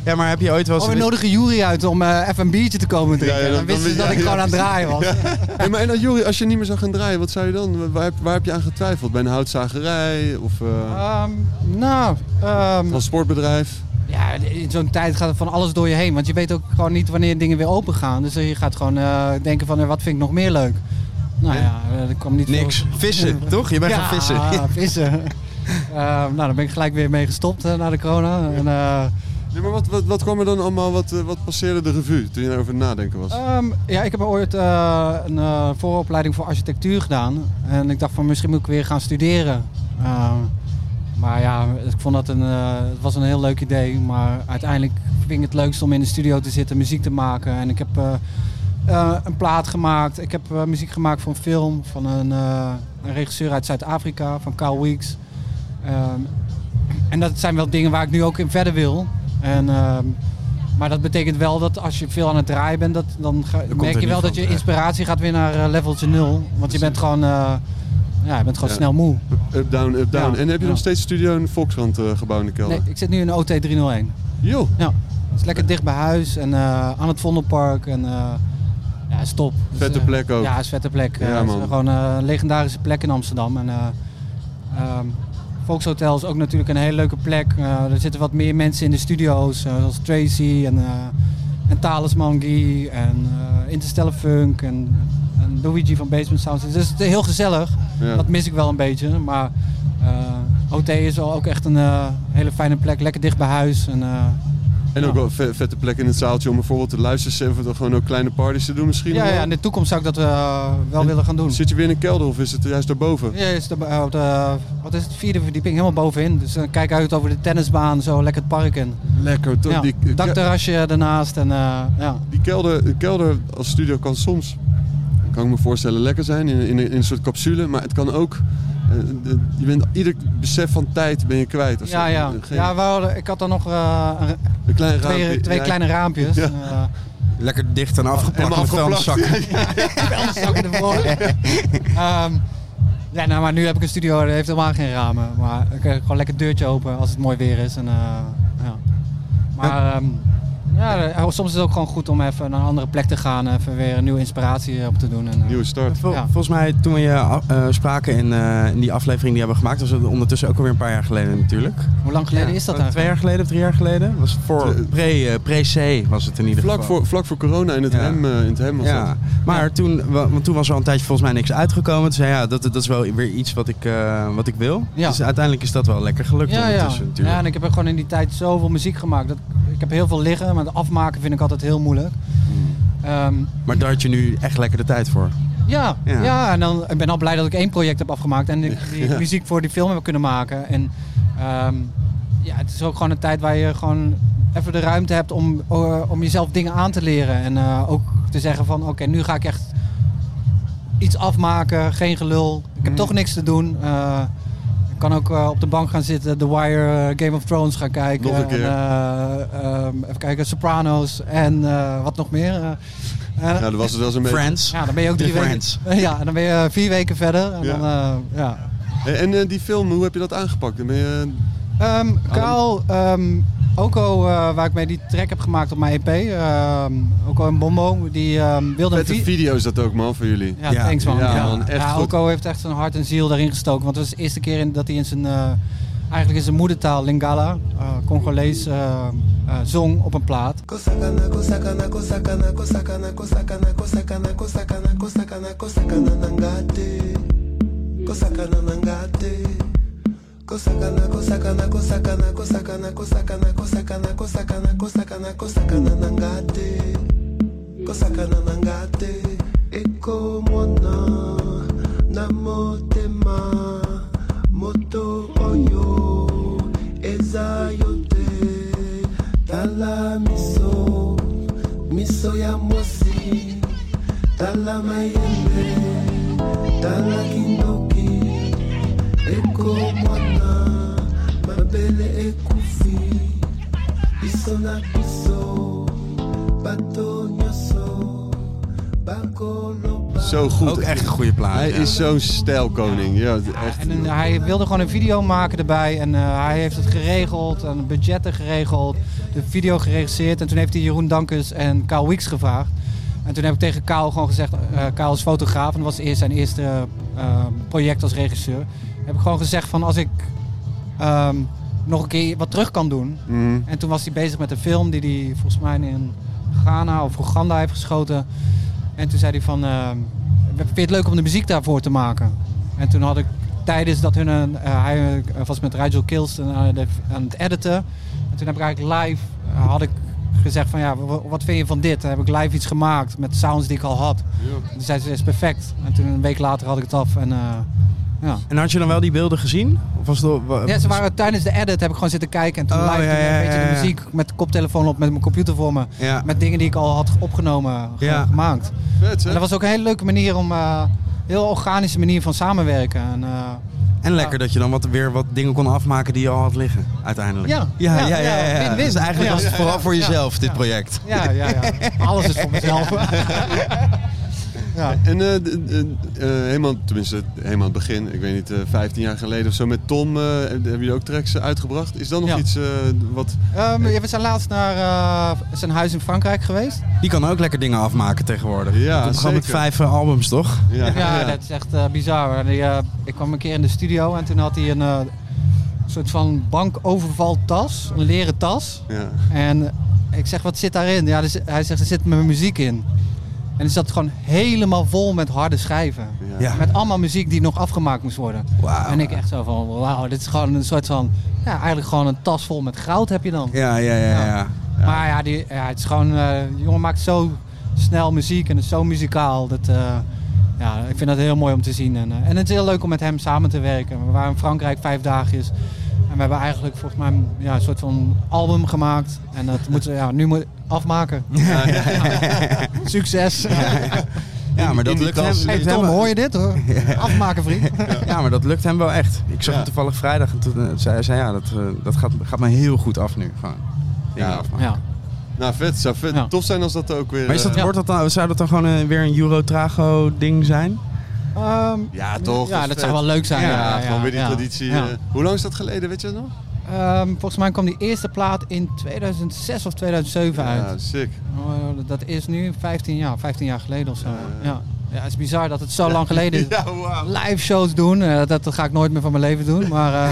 [SPEAKER 19] Ja.
[SPEAKER 1] maar heb je ooit wel eens...
[SPEAKER 19] Oh, we nodigen Jury uit om eh, even een biertje te komen drinken. En dan wisten ze dat ik gewoon aan het draaien was.
[SPEAKER 2] Hey, maar en dan, Jori, als je niet meer zou gaan draaien, wat zou je dan? Waar, heb- waar heb je aan getwijfeld? Bij een houtzagerij of eh
[SPEAKER 19] Ehm, nou, ehm,
[SPEAKER 2] een sportbedrijf?
[SPEAKER 19] ja, in zo'n tijd gaat er van alles door je heen. Want je weet ook gewoon niet wanneer dingen weer open gaan. Dus je gaat gewoon eh, denken van, eh, wat vind ik nog meer leuk? Nou ja, eh, er kwam niet
[SPEAKER 1] Niks.
[SPEAKER 19] veel-
[SPEAKER 1] Vissen, toch? Je bent
[SPEAKER 19] ja,
[SPEAKER 1] gaan vissen.
[SPEAKER 19] Ja, vissen. Ehm, nou, daar ben ik gelijk weer mee gestopt eh, na de corona. En, eh,
[SPEAKER 2] Nee, maar wat, wat, wat kwam er dan allemaal? Wat, eh, wat passeerde de revue toen je daarover aan het nadenken was?
[SPEAKER 19] Ehm, ja, ik heb ooit eh, een eh, vooropleiding voor architectuur gedaan. En ik dacht van misschien moet ik weer gaan studeren. Ehm, maar ja, ik vond dat een, eh, het was een heel leuk idee. Maar uiteindelijk vind ik het leukst om in de studio te zitten, muziek te maken. En ik heb eh, eh, een plaat gemaakt. Ik heb eh, muziek gemaakt voor een film van een, eh, een regisseur uit Zuid-Afrika, van Carl Weeks. Ehm, en dat zijn wel dingen waar ik nu ook in verder wil. En, ehm, maar dat betekent wel dat als je veel aan het draaien bent, dat, dan ga-
[SPEAKER 1] komt
[SPEAKER 19] merk
[SPEAKER 1] er
[SPEAKER 19] je wel
[SPEAKER 1] niet
[SPEAKER 19] dat
[SPEAKER 1] van
[SPEAKER 19] je
[SPEAKER 1] terecht.
[SPEAKER 19] inspiratie gaat weer naar eh, leveltje nul. Want je bent gewoon, eh, ja, je bent gewoon
[SPEAKER 2] Ja.
[SPEAKER 19] snel moe.
[SPEAKER 2] Up, down, up, down.
[SPEAKER 19] Ja,
[SPEAKER 2] en heb je
[SPEAKER 19] ja.
[SPEAKER 2] nog steeds studio in Volkskrant eh, gebouw in de kelder?
[SPEAKER 19] Nee, ik zit nu in OT 301.
[SPEAKER 2] Jo.
[SPEAKER 19] Ja, het is lekker dicht bij huis en eh, aan het Vondelpark en eh, ja, is top. Dus,
[SPEAKER 2] Vette
[SPEAKER 19] eh,
[SPEAKER 2] plek ook.
[SPEAKER 19] Ja, is vette plek.
[SPEAKER 2] Ja,
[SPEAKER 19] Eh, het is
[SPEAKER 2] man.
[SPEAKER 19] gewoon eh, een legendarische plek in Amsterdam. En, eh, ehm, Volkshotel is ook natuurlijk een hele leuke plek. Eh, er zitten wat meer mensen in de studio's, eh, zoals Tracy en, eh en Talisman Guy en eh Interstellar Funk en, en Luigi van Basement Sounds. Dus het is heel gezellig.
[SPEAKER 2] Ja.
[SPEAKER 19] Dat mis ik wel een beetje, maar eh, OT is wel ook echt een eh, hele fijne plek, lekker dicht bij huis. En, eh,
[SPEAKER 2] En ook wel ve- vette plek in het zaaltje om bijvoorbeeld te luisteren en gewoon ook kleine parties te doen misschien?
[SPEAKER 19] ja, ja, in de toekomst zou ik dat eh, wel willen gaan doen.
[SPEAKER 2] Zit je weer in een kelder of is het juist daarboven?
[SPEAKER 19] Ja, is de, eh, op de- wat is het, vierde verdieping, helemaal bovenin. Dus dan kijk uit over de tennisbaan, zo lekker het park in.
[SPEAKER 2] Lekker, toch?
[SPEAKER 19] Ja,
[SPEAKER 2] Die-
[SPEAKER 19] dakterrasje daarnaast en eh, ja.
[SPEAKER 2] Die kelder, de kelder als studio kan soms, kan ik me voorstellen, lekker zijn in, in, in een soort capsule. Maar het kan ook, eh, de- je bent, ieder besef van tijd ben je kwijt. Of zo.
[SPEAKER 19] Ja, ja.
[SPEAKER 2] Geen-
[SPEAKER 19] ja we hadden- ik had dan nog eh, een-
[SPEAKER 2] Een klein
[SPEAKER 19] twee,
[SPEAKER 2] raampje.
[SPEAKER 19] twee
[SPEAKER 2] Ja, ik-
[SPEAKER 19] kleine raampjes.
[SPEAKER 2] Ja.
[SPEAKER 19] En, eh,
[SPEAKER 1] Lekker dicht en afgeplakt
[SPEAKER 2] Helemaal
[SPEAKER 1] met vuilniszak.
[SPEAKER 2] afgeplakt.
[SPEAKER 19] vuilniszakken ervoor. Ehm, ja, nou, maar nu heb ik een studio, die heeft helemaal geen ramen. Maar ik heb gewoon lekker het deurtje open als het mooi weer is. En, eh, ja. Maar ehm, ja, eh, soms is het ook gewoon goed om even naar een andere plek te gaan. Even weer een nieuwe inspiratie op te doen. En, eh,
[SPEAKER 2] Nieuwe start.
[SPEAKER 1] Vol- Volgens mij toen we je eh, spraken in, eh, in die aflevering die hebben we gemaakt, was het ondertussen ook alweer een paar jaar geleden natuurlijk. Eh,
[SPEAKER 19] Hoe lang geleden is dat
[SPEAKER 1] Twee
[SPEAKER 19] eigenlijk?
[SPEAKER 1] jaar geleden, drie jaar geleden? Was het voor pre, eh, pre-C was het in ieder
[SPEAKER 2] Vlak
[SPEAKER 1] geval.
[SPEAKER 2] voor, vlak voor corona in het, hem, eh, in het hem was
[SPEAKER 1] ja,
[SPEAKER 2] dat.
[SPEAKER 1] maar toen, wa- want toen was er al een tijdje volgens mij niks uitgekomen. Toen zei ja, dat, dat is wel weer iets wat ik, eh, wat ik wil.
[SPEAKER 19] Ja.
[SPEAKER 1] Dus uiteindelijk is dat wel lekker gelukt
[SPEAKER 19] ja, ja.
[SPEAKER 1] ondertussen natuurlijk.
[SPEAKER 19] ja, en ik heb er gewoon in die tijd zoveel muziek gemaakt. Dat, ik heb heel veel liggen, maar het afmaken vind ik altijd heel moeilijk.
[SPEAKER 1] Hmm.
[SPEAKER 19] Ehm,
[SPEAKER 1] Maar daar had je nu echt lekker de tijd voor.
[SPEAKER 19] Ja,
[SPEAKER 1] Ja.
[SPEAKER 19] ja. en dan, ik ben al blij dat ik één project heb afgemaakt en die, die
[SPEAKER 1] Ja.
[SPEAKER 19] muziek voor die film heb kunnen maken. En ehm, ja, het is ook gewoon een tijd waar je gewoon even de ruimte hebt om, eh, om jezelf dingen aan te leren. En eh, ook te zeggen van oké, nu ga ik echt iets afmaken, geen gelul. Ik
[SPEAKER 2] Mhm.
[SPEAKER 19] heb toch niks te doen. Eh, ik kan ook eh, op de bank gaan zitten, The Wire, eh, Game of Thrones gaan kijken.
[SPEAKER 2] Nog een keer.
[SPEAKER 19] En, eh, ehm, even kijken, Sopranos en eh, wat nog meer. eh. Eh,
[SPEAKER 2] Ja, dat was het wel zo'n beetje. Friends.
[SPEAKER 19] Ja, dan ben je ook drie
[SPEAKER 2] Friends.
[SPEAKER 19] weken. Ja, dan ben je eh, vier weken verder. En
[SPEAKER 2] Ja.
[SPEAKER 19] dan, eh, ja.
[SPEAKER 2] En, en, eh, die film, hoe heb je dat aangepakt? Dan Ben je, Oh.
[SPEAKER 19] Ehm, Kaal, ehm, Oko, eh, waar ik mee die track heb gemaakt op mijn EP, ehm, Oko en Bombo, die ehm, wilde een
[SPEAKER 2] vette
[SPEAKER 19] vi-
[SPEAKER 2] video is dat ook man, voor jullie.
[SPEAKER 19] Ja, thanks man.
[SPEAKER 2] Ja, man, echt
[SPEAKER 19] Ja,
[SPEAKER 2] goed.
[SPEAKER 19] Oko heeft echt zijn hart en ziel daarin gestoken. Want het was de eerste keer in, dat hij in zijn, eh, eigenlijk in zijn moedertaal, Lingala, eh, Congolees, eh, eh, zong op een plaat.
[SPEAKER 7] Kosakana, kosakana, kosakana, kosakana, kosakana, kosakana, kosakana, kosakana, kosakana, nangate. Kosakana, nangate. Eko mwana, na motema. Moto oyo, eza yote. Tala miso, miso ya mwasi. Tala mayembe, tala kindoki. Eko mwana, mabele ekufi biso na biso bato nyonso bakoloba
[SPEAKER 2] Zo goed. Ook echt een goede plaat. Hij
[SPEAKER 7] ja.
[SPEAKER 2] is zo'n stijlkoning. Ja, echt.
[SPEAKER 19] En eh, hij wilde gewoon een video maken erbij. En eh, hij heeft het geregeld. En budgetten geregeld. De video geregisseerd. En toen heeft hij Jeroen Dankens en Kaal Weeks gevraagd. En toen heb ik tegen Kaal gewoon gezegd... eh Kaal is fotograaf. En dat was eerst zijn eerste eh, project als regisseur. Heb ik gewoon gezegd van... Als ik ehm, nog een keer wat terug kan doen...
[SPEAKER 2] Mhm.
[SPEAKER 19] En toen was hij bezig met een film die hij volgens mij in Ghana of Oeganda heeft geschoten. En toen zei hij van, eh, vind je het leuk om de muziek daarvoor te maken? En toen had ik tijdens dat hun, een- eh, hij eh, was met Rigel Kilsten aan, de- aan het editen. En toen heb ik eigenlijk live, eh, had ik gezegd van ja, wa- wat vind je van dit? Dan heb ik live iets gemaakt met sounds die ik al had. En toen zei ze, is perfect. En toen een week later had ik het af en eh, ja.
[SPEAKER 1] En had je dan wel die beelden gezien? Of was het, wa-
[SPEAKER 19] Ja, ze waren tijdens de edit heb ik gewoon zitten kijken en toen live
[SPEAKER 1] Ehm, Oh, ja,
[SPEAKER 19] toen
[SPEAKER 1] ja,
[SPEAKER 19] een beetje
[SPEAKER 1] ja, ja.
[SPEAKER 19] de muziek met de koptelefoon op, met mijn computer voor me.
[SPEAKER 1] Ja.
[SPEAKER 19] Met dingen die ik al had opgenomen, ge-
[SPEAKER 1] Ja.
[SPEAKER 19] gemaakt.
[SPEAKER 2] Vet,
[SPEAKER 19] en dat was ook een hele leuke manier om, eh, heel organische manier van samenwerken. En, eh,
[SPEAKER 1] En lekker dat je dan wat, weer wat dingen kon afmaken die je al had liggen, uiteindelijk.
[SPEAKER 19] Ja.
[SPEAKER 1] ja, ja.
[SPEAKER 19] Ja,
[SPEAKER 1] ja, ja,
[SPEAKER 19] ja, win-win.
[SPEAKER 1] Dus eigenlijk
[SPEAKER 19] Ja.
[SPEAKER 1] was het vooral voor
[SPEAKER 19] Ja.
[SPEAKER 1] jezelf, dit project.
[SPEAKER 19] ja, ja, ja. Alles is voor mezelf. Ehm,
[SPEAKER 2] En eh, d- d- eh, helemaal, tenminste helemaal aan het begin, ik weet niet, eh 15 jaar geleden of zo met Tom, eh, hebben jullie ook tracks eh, uitgebracht? Is dat nog
[SPEAKER 19] Ja.
[SPEAKER 2] iets eh, wat...
[SPEAKER 19] Ehm, we zijn laatst naar eh, zijn huis in Frankrijk geweest.
[SPEAKER 1] Die kan ook lekker dingen afmaken tegenwoordig.
[SPEAKER 2] Ja,
[SPEAKER 1] Die komt gewoon met
[SPEAKER 2] zeker.
[SPEAKER 1] vijf eh, albums, toch?
[SPEAKER 19] Ja, dat is echt eh, bizar. En die, eh, ik kwam een keer in de studio en toen had hij een eh, soort van bankovervaltas, een leren tas.
[SPEAKER 2] Ja.
[SPEAKER 19] En ik zeg, wat zit daarin? Ja, dus hij zegt, er zit mijn muziek in. En die zat gewoon helemaal vol met harde schijven.
[SPEAKER 1] Ja.
[SPEAKER 19] Met allemaal muziek die nog afgemaakt moest worden. En ik echt zo van, wauw, dit is gewoon een soort van... Ja, eigenlijk gewoon een tas vol met goud heb je dan.
[SPEAKER 1] Ja, ja, ja, ja.
[SPEAKER 19] Maar ja, die, ja het is gewoon... eh, die jongen maakt zo snel muziek en het is zo muzikaal. Dat, eh, ja, ik vind dat heel mooi om te zien. En, eh, en het is heel leuk om met hem samen te werken. We waren in Frankrijk vijf dagjes. En we hebben eigenlijk volgens mij ja, een soort van album gemaakt. En dat moeten we ja, nu moet afmaken. Ja. Succes.
[SPEAKER 1] Ja, maar dat lukt hem.
[SPEAKER 19] Hey,
[SPEAKER 1] lukt hem
[SPEAKER 19] Tom,
[SPEAKER 1] wel.
[SPEAKER 19] hoor je dit hoor? Afmaken, vriend.
[SPEAKER 1] Ja, maar dat lukt hem wel echt. Ik zag hem toevallig vrijdag en toen eh, zei hij, zei, ja, dat, eh, dat gaat, gaat me heel goed af nu. Gewoon. Dingen afmaken.
[SPEAKER 2] Nou, vet. Zou vet, tof zijn als dat ook weer...
[SPEAKER 1] Maar is dat,
[SPEAKER 2] eh,
[SPEAKER 1] wordt dat dan, zou dat dan gewoon eh, weer een Euro-Trago-ding zijn?
[SPEAKER 19] Ehm,
[SPEAKER 2] Ja, toch?
[SPEAKER 19] Ja, dat
[SPEAKER 2] vet.
[SPEAKER 19] zou wel leuk zijn.
[SPEAKER 2] Ja,
[SPEAKER 19] Ja, ja,
[SPEAKER 2] gewoon weer die
[SPEAKER 19] ja.
[SPEAKER 2] traditie.
[SPEAKER 19] Ja.
[SPEAKER 2] eh, hoe lang is dat geleden, weet je dat nog?
[SPEAKER 19] Ehm, volgens mij kwam die eerste plaat in 2006 of 2007 uit.
[SPEAKER 2] Ja, sick.
[SPEAKER 19] Oh, dat is nu 15 jaar, 15 jaar geleden of zo. ja. ja, het is bizar dat het zo lang geleden is.
[SPEAKER 2] Ja, wauw.
[SPEAKER 19] Live shows doen, eh, dat, dat ga ik nooit meer van mijn leven doen. Maar eh,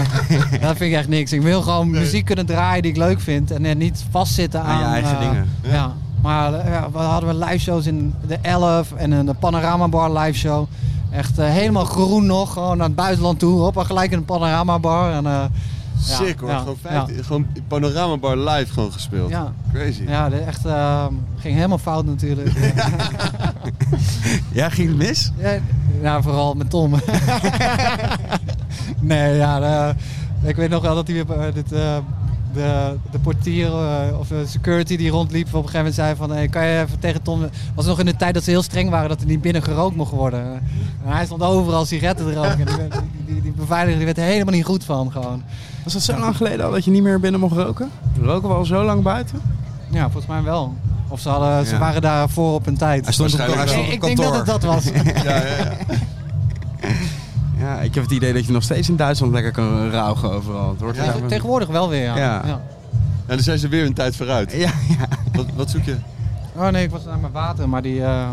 [SPEAKER 19] dat vind ik echt niks. Ik wil gewoon muziek kunnen draaien die ik leuk vind. En eh, niet vastzitten aan...
[SPEAKER 1] Aan je eigen
[SPEAKER 19] eh,
[SPEAKER 1] dingen.
[SPEAKER 19] Ja. Maar eh, ja, we hadden we live shows in de 11 en een Panorama Bar live show. Echt eh, helemaal groen nog, gewoon naar het buitenland toe. Hoppa, gelijk in een Panorama Bar. En, eh, ja,
[SPEAKER 2] Sick hoor.
[SPEAKER 19] ja,
[SPEAKER 2] gewoon,
[SPEAKER 19] ja.
[SPEAKER 2] 15 gewoon Panorama Bar live gewoon gespeeld.
[SPEAKER 19] Ja.
[SPEAKER 2] Crazy.
[SPEAKER 19] Ja, dit echt, eh, ging helemaal fout natuurlijk.
[SPEAKER 1] Ja, ging het mis?
[SPEAKER 19] Ja, nou, vooral met Tom. nee, ja, de- ik weet nog wel dat hij weer, eh, dit, eh, de, de portier eh, of de security die rondliep op een gegeven moment zei van hey, kan je even tegen Tom... was nog in de tijd dat ze heel streng waren dat er niet binnen gerookt mocht worden. En hij stond overal sigaretten te roken. En die, werd- die, die, die beveiliger die werd er helemaal niet goed van gewoon.
[SPEAKER 1] Was dat zo lang geleden al dat je niet meer binnen mocht roken? Roken we al zo lang buiten?
[SPEAKER 19] Ja, volgens mij wel. Of ze, hadden, ze
[SPEAKER 1] Ja.
[SPEAKER 19] waren daar voor op hun tijd.
[SPEAKER 1] Hij stond op- hij stond op
[SPEAKER 19] Ik denk dat het dat
[SPEAKER 1] kantoor.
[SPEAKER 19] was.
[SPEAKER 1] Ja, ja, ja. Ja, ik heb het idee dat je nog steeds in Duitsland lekker kan rauwen overal. Het hoort
[SPEAKER 19] Ja,
[SPEAKER 1] er
[SPEAKER 19] te-
[SPEAKER 1] daar-
[SPEAKER 19] tegenwoordig wel weer, ja.
[SPEAKER 1] Ja.
[SPEAKER 19] Ja.
[SPEAKER 2] Nou, dan zijn ze weer een tijd vooruit.
[SPEAKER 1] Ja, ja.
[SPEAKER 2] Wat, wat zoek je?
[SPEAKER 19] Oh nee, ik was naar mijn water, maar die, eh,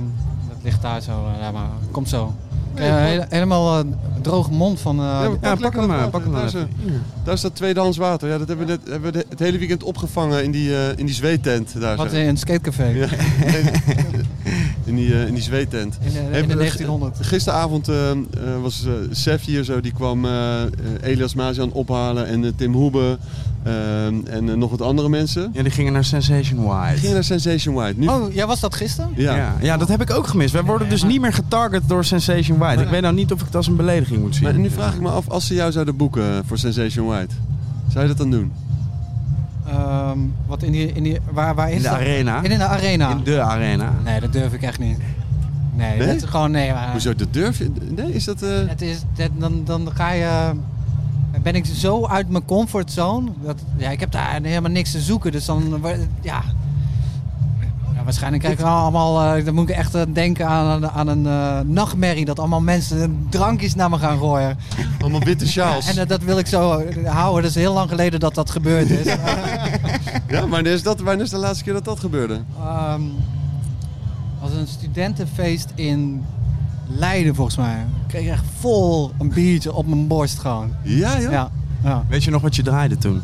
[SPEAKER 19] dat ligt daar zo. eh, ja, maar komt zo. Ik, eh,
[SPEAKER 2] Nee,
[SPEAKER 19] hele- helemaal eh, droge mond van... eh,
[SPEAKER 2] Ja, maar
[SPEAKER 19] de-
[SPEAKER 2] lekker dat water. Daar is, eh, Daar is dat tweedehands water. Ja, dat hebben we, net, hebben we de- het hele weekend opgevangen in die, eh, in die zweettent. Daar
[SPEAKER 19] Wat
[SPEAKER 2] zo.
[SPEAKER 19] in een skatecafé.
[SPEAKER 2] Ja. in die, eh, in die zweettent.
[SPEAKER 19] In de- in de
[SPEAKER 2] Hebben we-
[SPEAKER 19] 1900.
[SPEAKER 2] Gisteravond eh, eh, was eh, Sef hier zo. Die kwam eh, eh, Elias Mazian ophalen en eh, Tim Hoebe. eh, en eh, nog wat andere mensen.
[SPEAKER 1] Ja, die gingen naar Sensation Wide.
[SPEAKER 2] Gingen naar Sensation Wide. Nu,
[SPEAKER 19] Oh, jij was dat gisteren?
[SPEAKER 1] Ja. Ja, dat heb ik ook gemist. Wij worden dus niet meer getarget door Sensation Wide. Ik weet nou niet of ik het als een belediging moet zien.
[SPEAKER 2] Maar nu vraag ik me af, als ze jou zouden boeken voor Sensation White, zou je dat dan doen?
[SPEAKER 19] Ehm, wat in die, in die, waar, waar is
[SPEAKER 2] In de
[SPEAKER 19] dat?
[SPEAKER 2] arena.
[SPEAKER 19] In, de arena.
[SPEAKER 2] In de arena.
[SPEAKER 19] Nee, dat durf ik echt niet. Nee,
[SPEAKER 2] Nee?
[SPEAKER 19] dat is gewoon eh, nee. Maar,
[SPEAKER 2] Hoezo, dat durf je? Nee, is dat... eh,
[SPEAKER 19] Het is, dat- dan, dan ga je... eh, Ben ik zo uit mijn comfortzone. Dat, ja, ik heb daar helemaal niks te zoeken. Dus dan... wa- Ja. Ja, waarschijnlijk krijg ik dan allemaal... eh, dan moet ik echt eh, denken aan, een- aan een eh, nachtmerrie. Dat allemaal mensen drankjes naar me gaan gooien.
[SPEAKER 2] Allemaal witte sjaals.
[SPEAKER 19] Ja, en dat, dat wil ik zo eh, houden. Dat is heel lang geleden dat dat gebeurd is. Eh,
[SPEAKER 2] Ja, maar is dat, wanneer is de laatste keer dat dat gebeurde?
[SPEAKER 19] Ehm was een studentenfeest in Leiden volgens mij. Ik kreeg echt vol een biertje op mijn borst gewoon.
[SPEAKER 2] Ja, joh?
[SPEAKER 19] Ja.
[SPEAKER 1] Weet je nog wat je draaide toen?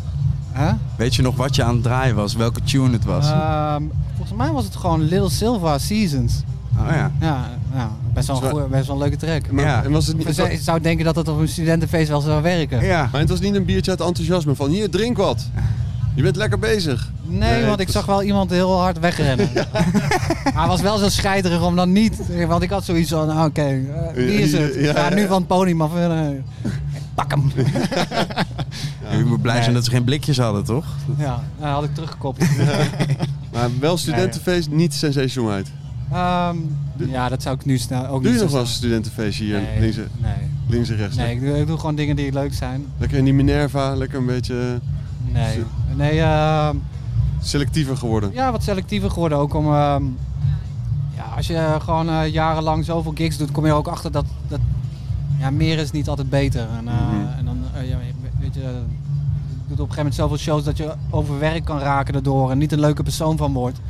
[SPEAKER 19] Hè?
[SPEAKER 1] Weet je nog wat je aan het draaien was? Welke tune het was?
[SPEAKER 19] Ehm, volgens mij was het gewoon Little Silva Seasons.
[SPEAKER 1] oh ja.
[SPEAKER 19] Ja, ja, best wel een
[SPEAKER 2] Zo-
[SPEAKER 19] goeie- best wel een leuke track.
[SPEAKER 2] Maar- Ja. en was het niet-
[SPEAKER 19] Ik zou- ik zou denken dat het op een studentenfeest wel zou werken.
[SPEAKER 2] Maar het was niet een biertje uit enthousiasme van, hier, drink wat. Je bent lekker bezig.
[SPEAKER 19] Nee, want ik zag wel iemand heel hard wegrennen. Maar het was wel zo scheiterig om dan niet... Want ik had zoiets van, ah, oké, eh, wie is het?
[SPEAKER 1] Ja, ja,
[SPEAKER 19] Ja,
[SPEAKER 1] ja.
[SPEAKER 19] nu van het podium af. eh, nee. Pak hem.
[SPEAKER 1] Ik moet blij zijn dat ze geen blikjes hadden, toch?
[SPEAKER 19] Ja, nou, had ik teruggekoppeld.
[SPEAKER 2] Maar wel studentenfeest, niet Sensation White.
[SPEAKER 19] Ehm, ja, dat zou ik nu snel ook
[SPEAKER 2] Doe je
[SPEAKER 19] niet
[SPEAKER 2] nog
[SPEAKER 19] zo
[SPEAKER 2] wel eens studentenfeestje hier
[SPEAKER 19] Nee,
[SPEAKER 2] links, en-
[SPEAKER 19] nee.
[SPEAKER 2] links en rechts?
[SPEAKER 19] Nee, ik doe, ik doe gewoon dingen die leuk zijn.
[SPEAKER 2] Lekker in die Minerva, lekker een beetje...
[SPEAKER 19] Nee. Nee, ehm,
[SPEAKER 2] Selectiever geworden.
[SPEAKER 19] ja, wat selectiever geworden ook om... ehm, ja, als je gewoon eh, jarenlang zoveel gigs doet, kom je er ook achter dat, dat ja, meer is niet altijd beter. En, eh, en dan, eh, ja, weet je, je doet op een gegeven moment zoveel shows dat je overwerk kan raken daardoor en niet een leuke persoon van wordt.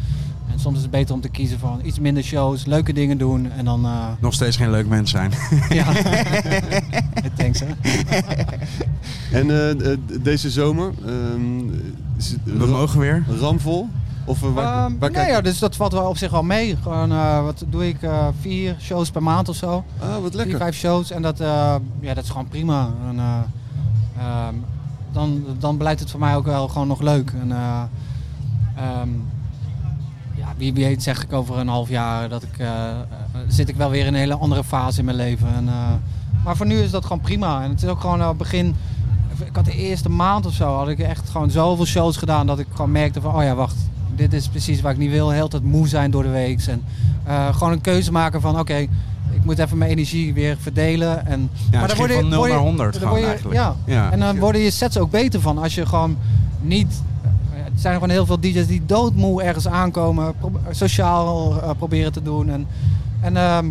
[SPEAKER 19] En soms is het beter om te kiezen van iets minder shows, leuke dingen doen en dan... eh,
[SPEAKER 1] Nog steeds geen leuk mens zijn.
[SPEAKER 19] ja. Thanks, hè.
[SPEAKER 2] En eh, eh, deze zomer... ehm, is het-
[SPEAKER 1] We mogen weer.
[SPEAKER 2] Ramvol? Of eh, waar,
[SPEAKER 19] Ehm,
[SPEAKER 2] waar
[SPEAKER 19] nou
[SPEAKER 2] kijk je-
[SPEAKER 19] ja, dus dat valt wel op zich wel mee. Gewoon, eh, wat doe ik? eh, vier shows per maand of zo.
[SPEAKER 2] Ah, wat lekker.
[SPEAKER 19] Vier, vijf shows. En dat, eh, ja, dat is gewoon prima. En, eh, ehm, dan, dan blijft het voor mij ook wel gewoon nog leuk. En, eh, ehm, ja, wie weet zeg ik over een half jaar dat ik, eh, eh, zit ik wel weer in een hele andere fase in mijn leven. En, eh, maar voor nu is dat gewoon prima. En het is ook gewoon eh, begin... Ik had de eerste maand of zo had ik echt gewoon zoveel shows gedaan dat ik gewoon merkte van oh ja wacht, dit is precies waar ik niet wil. Heel tijd moe zijn door de week. En eh, gewoon een keuze maken van oké, ik moet even mijn energie weer verdelen. En,
[SPEAKER 1] het ging
[SPEAKER 19] word je-
[SPEAKER 1] van nul
[SPEAKER 19] word je-
[SPEAKER 1] naar 100
[SPEAKER 19] dan
[SPEAKER 1] gewoon
[SPEAKER 19] word je-
[SPEAKER 1] eigenlijk.
[SPEAKER 19] Ja.
[SPEAKER 1] Ja.
[SPEAKER 19] en dan worden je sets ook beter van als je gewoon niet... eh, Er zijn gewoon heel veel DJ's die doodmoe ergens aankomen, pro- sociaal eh, proberen te doen. En, en ehm,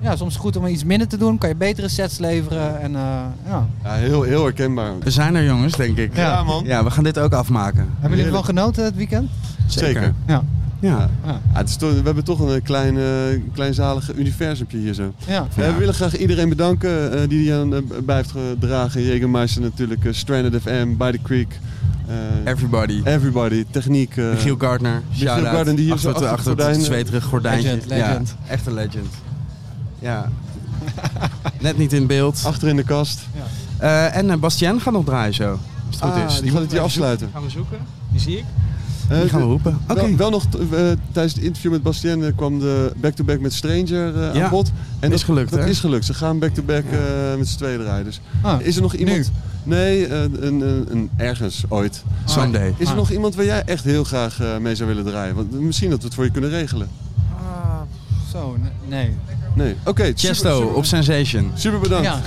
[SPEAKER 19] ja, soms goed om iets minder te doen, kan je betere sets leveren. En, eh, ja.
[SPEAKER 2] Ja, heel, heel herkenbaar.
[SPEAKER 1] We zijn er jongens, denk ik.
[SPEAKER 19] Ja, man.
[SPEAKER 1] Ja, we gaan dit ook afmaken.
[SPEAKER 19] Hebben jullie ervan genoten het weekend?
[SPEAKER 2] Zeker. Ah,
[SPEAKER 19] Ja.
[SPEAKER 1] Ja.
[SPEAKER 19] Ja.
[SPEAKER 2] het is toch- we hebben toch een klein, eh, kleinzalig universumpje hier zo.
[SPEAKER 19] Ja.
[SPEAKER 2] Eh, we willen graag iedereen bedanken eh, die aan eh, bij heeft gedragen. Jägermeister natuurlijk, eh, Stranded FM, By the Creek. eh,
[SPEAKER 1] everybody.
[SPEAKER 2] Everybody, techniek. eh,
[SPEAKER 1] Michiel Gardner.
[SPEAKER 2] Michiel
[SPEAKER 1] shout-out.
[SPEAKER 2] Gardner die hier
[SPEAKER 1] achter,
[SPEAKER 2] zo
[SPEAKER 1] het-
[SPEAKER 2] achter,
[SPEAKER 1] achter
[SPEAKER 2] het
[SPEAKER 1] het
[SPEAKER 2] gordijn-
[SPEAKER 1] zweterige gordijntje.
[SPEAKER 2] Legend, legend.
[SPEAKER 1] Ja, echt een legend. Ja. Net niet in beeld.
[SPEAKER 2] Achter in de kast.
[SPEAKER 1] Eh, en eh, Bastien gaat nog draaien zo. Als het goed
[SPEAKER 2] Ah,
[SPEAKER 1] is.
[SPEAKER 2] die gaat het hier
[SPEAKER 1] we
[SPEAKER 2] afsluiten.
[SPEAKER 1] Gaan we zoeken. Die zie ik.
[SPEAKER 2] Eh,
[SPEAKER 1] die gaan we
[SPEAKER 2] de-
[SPEAKER 1] roepen. Oké.
[SPEAKER 2] Wel, wel nog, t- eh, tijdens het interview met Bastien eh, kwam de back-to-back met Stranger eh,
[SPEAKER 1] Ja,
[SPEAKER 2] aan bod. En
[SPEAKER 1] is gelukt,
[SPEAKER 2] Dat
[SPEAKER 1] hè?
[SPEAKER 2] is gelukt. Ze gaan back-to-back eh, met z'n tweeën draaien. Dus
[SPEAKER 1] Ah,
[SPEAKER 2] is er nog iemand... Nee, eh, een, een, een ergens, ooit.
[SPEAKER 1] Someday.
[SPEAKER 2] Is er
[SPEAKER 1] Ah.
[SPEAKER 2] nog iemand waar jij echt heel graag eh, mee zou willen draaien? Want misschien dat we het voor je kunnen regelen.
[SPEAKER 19] Ah, Zo, ne- nee.
[SPEAKER 2] Nee. Oké, super-
[SPEAKER 1] Chesto
[SPEAKER 2] super-
[SPEAKER 1] op Sensation.
[SPEAKER 2] Super bedankt.
[SPEAKER 19] Ja.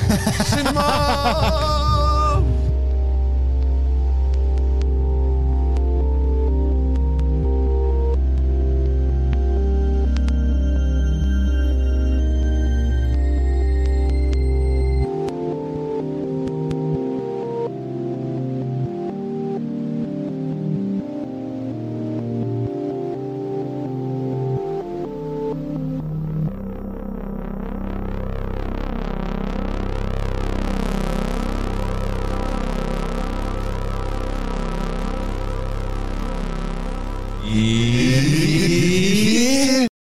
[SPEAKER 15] Die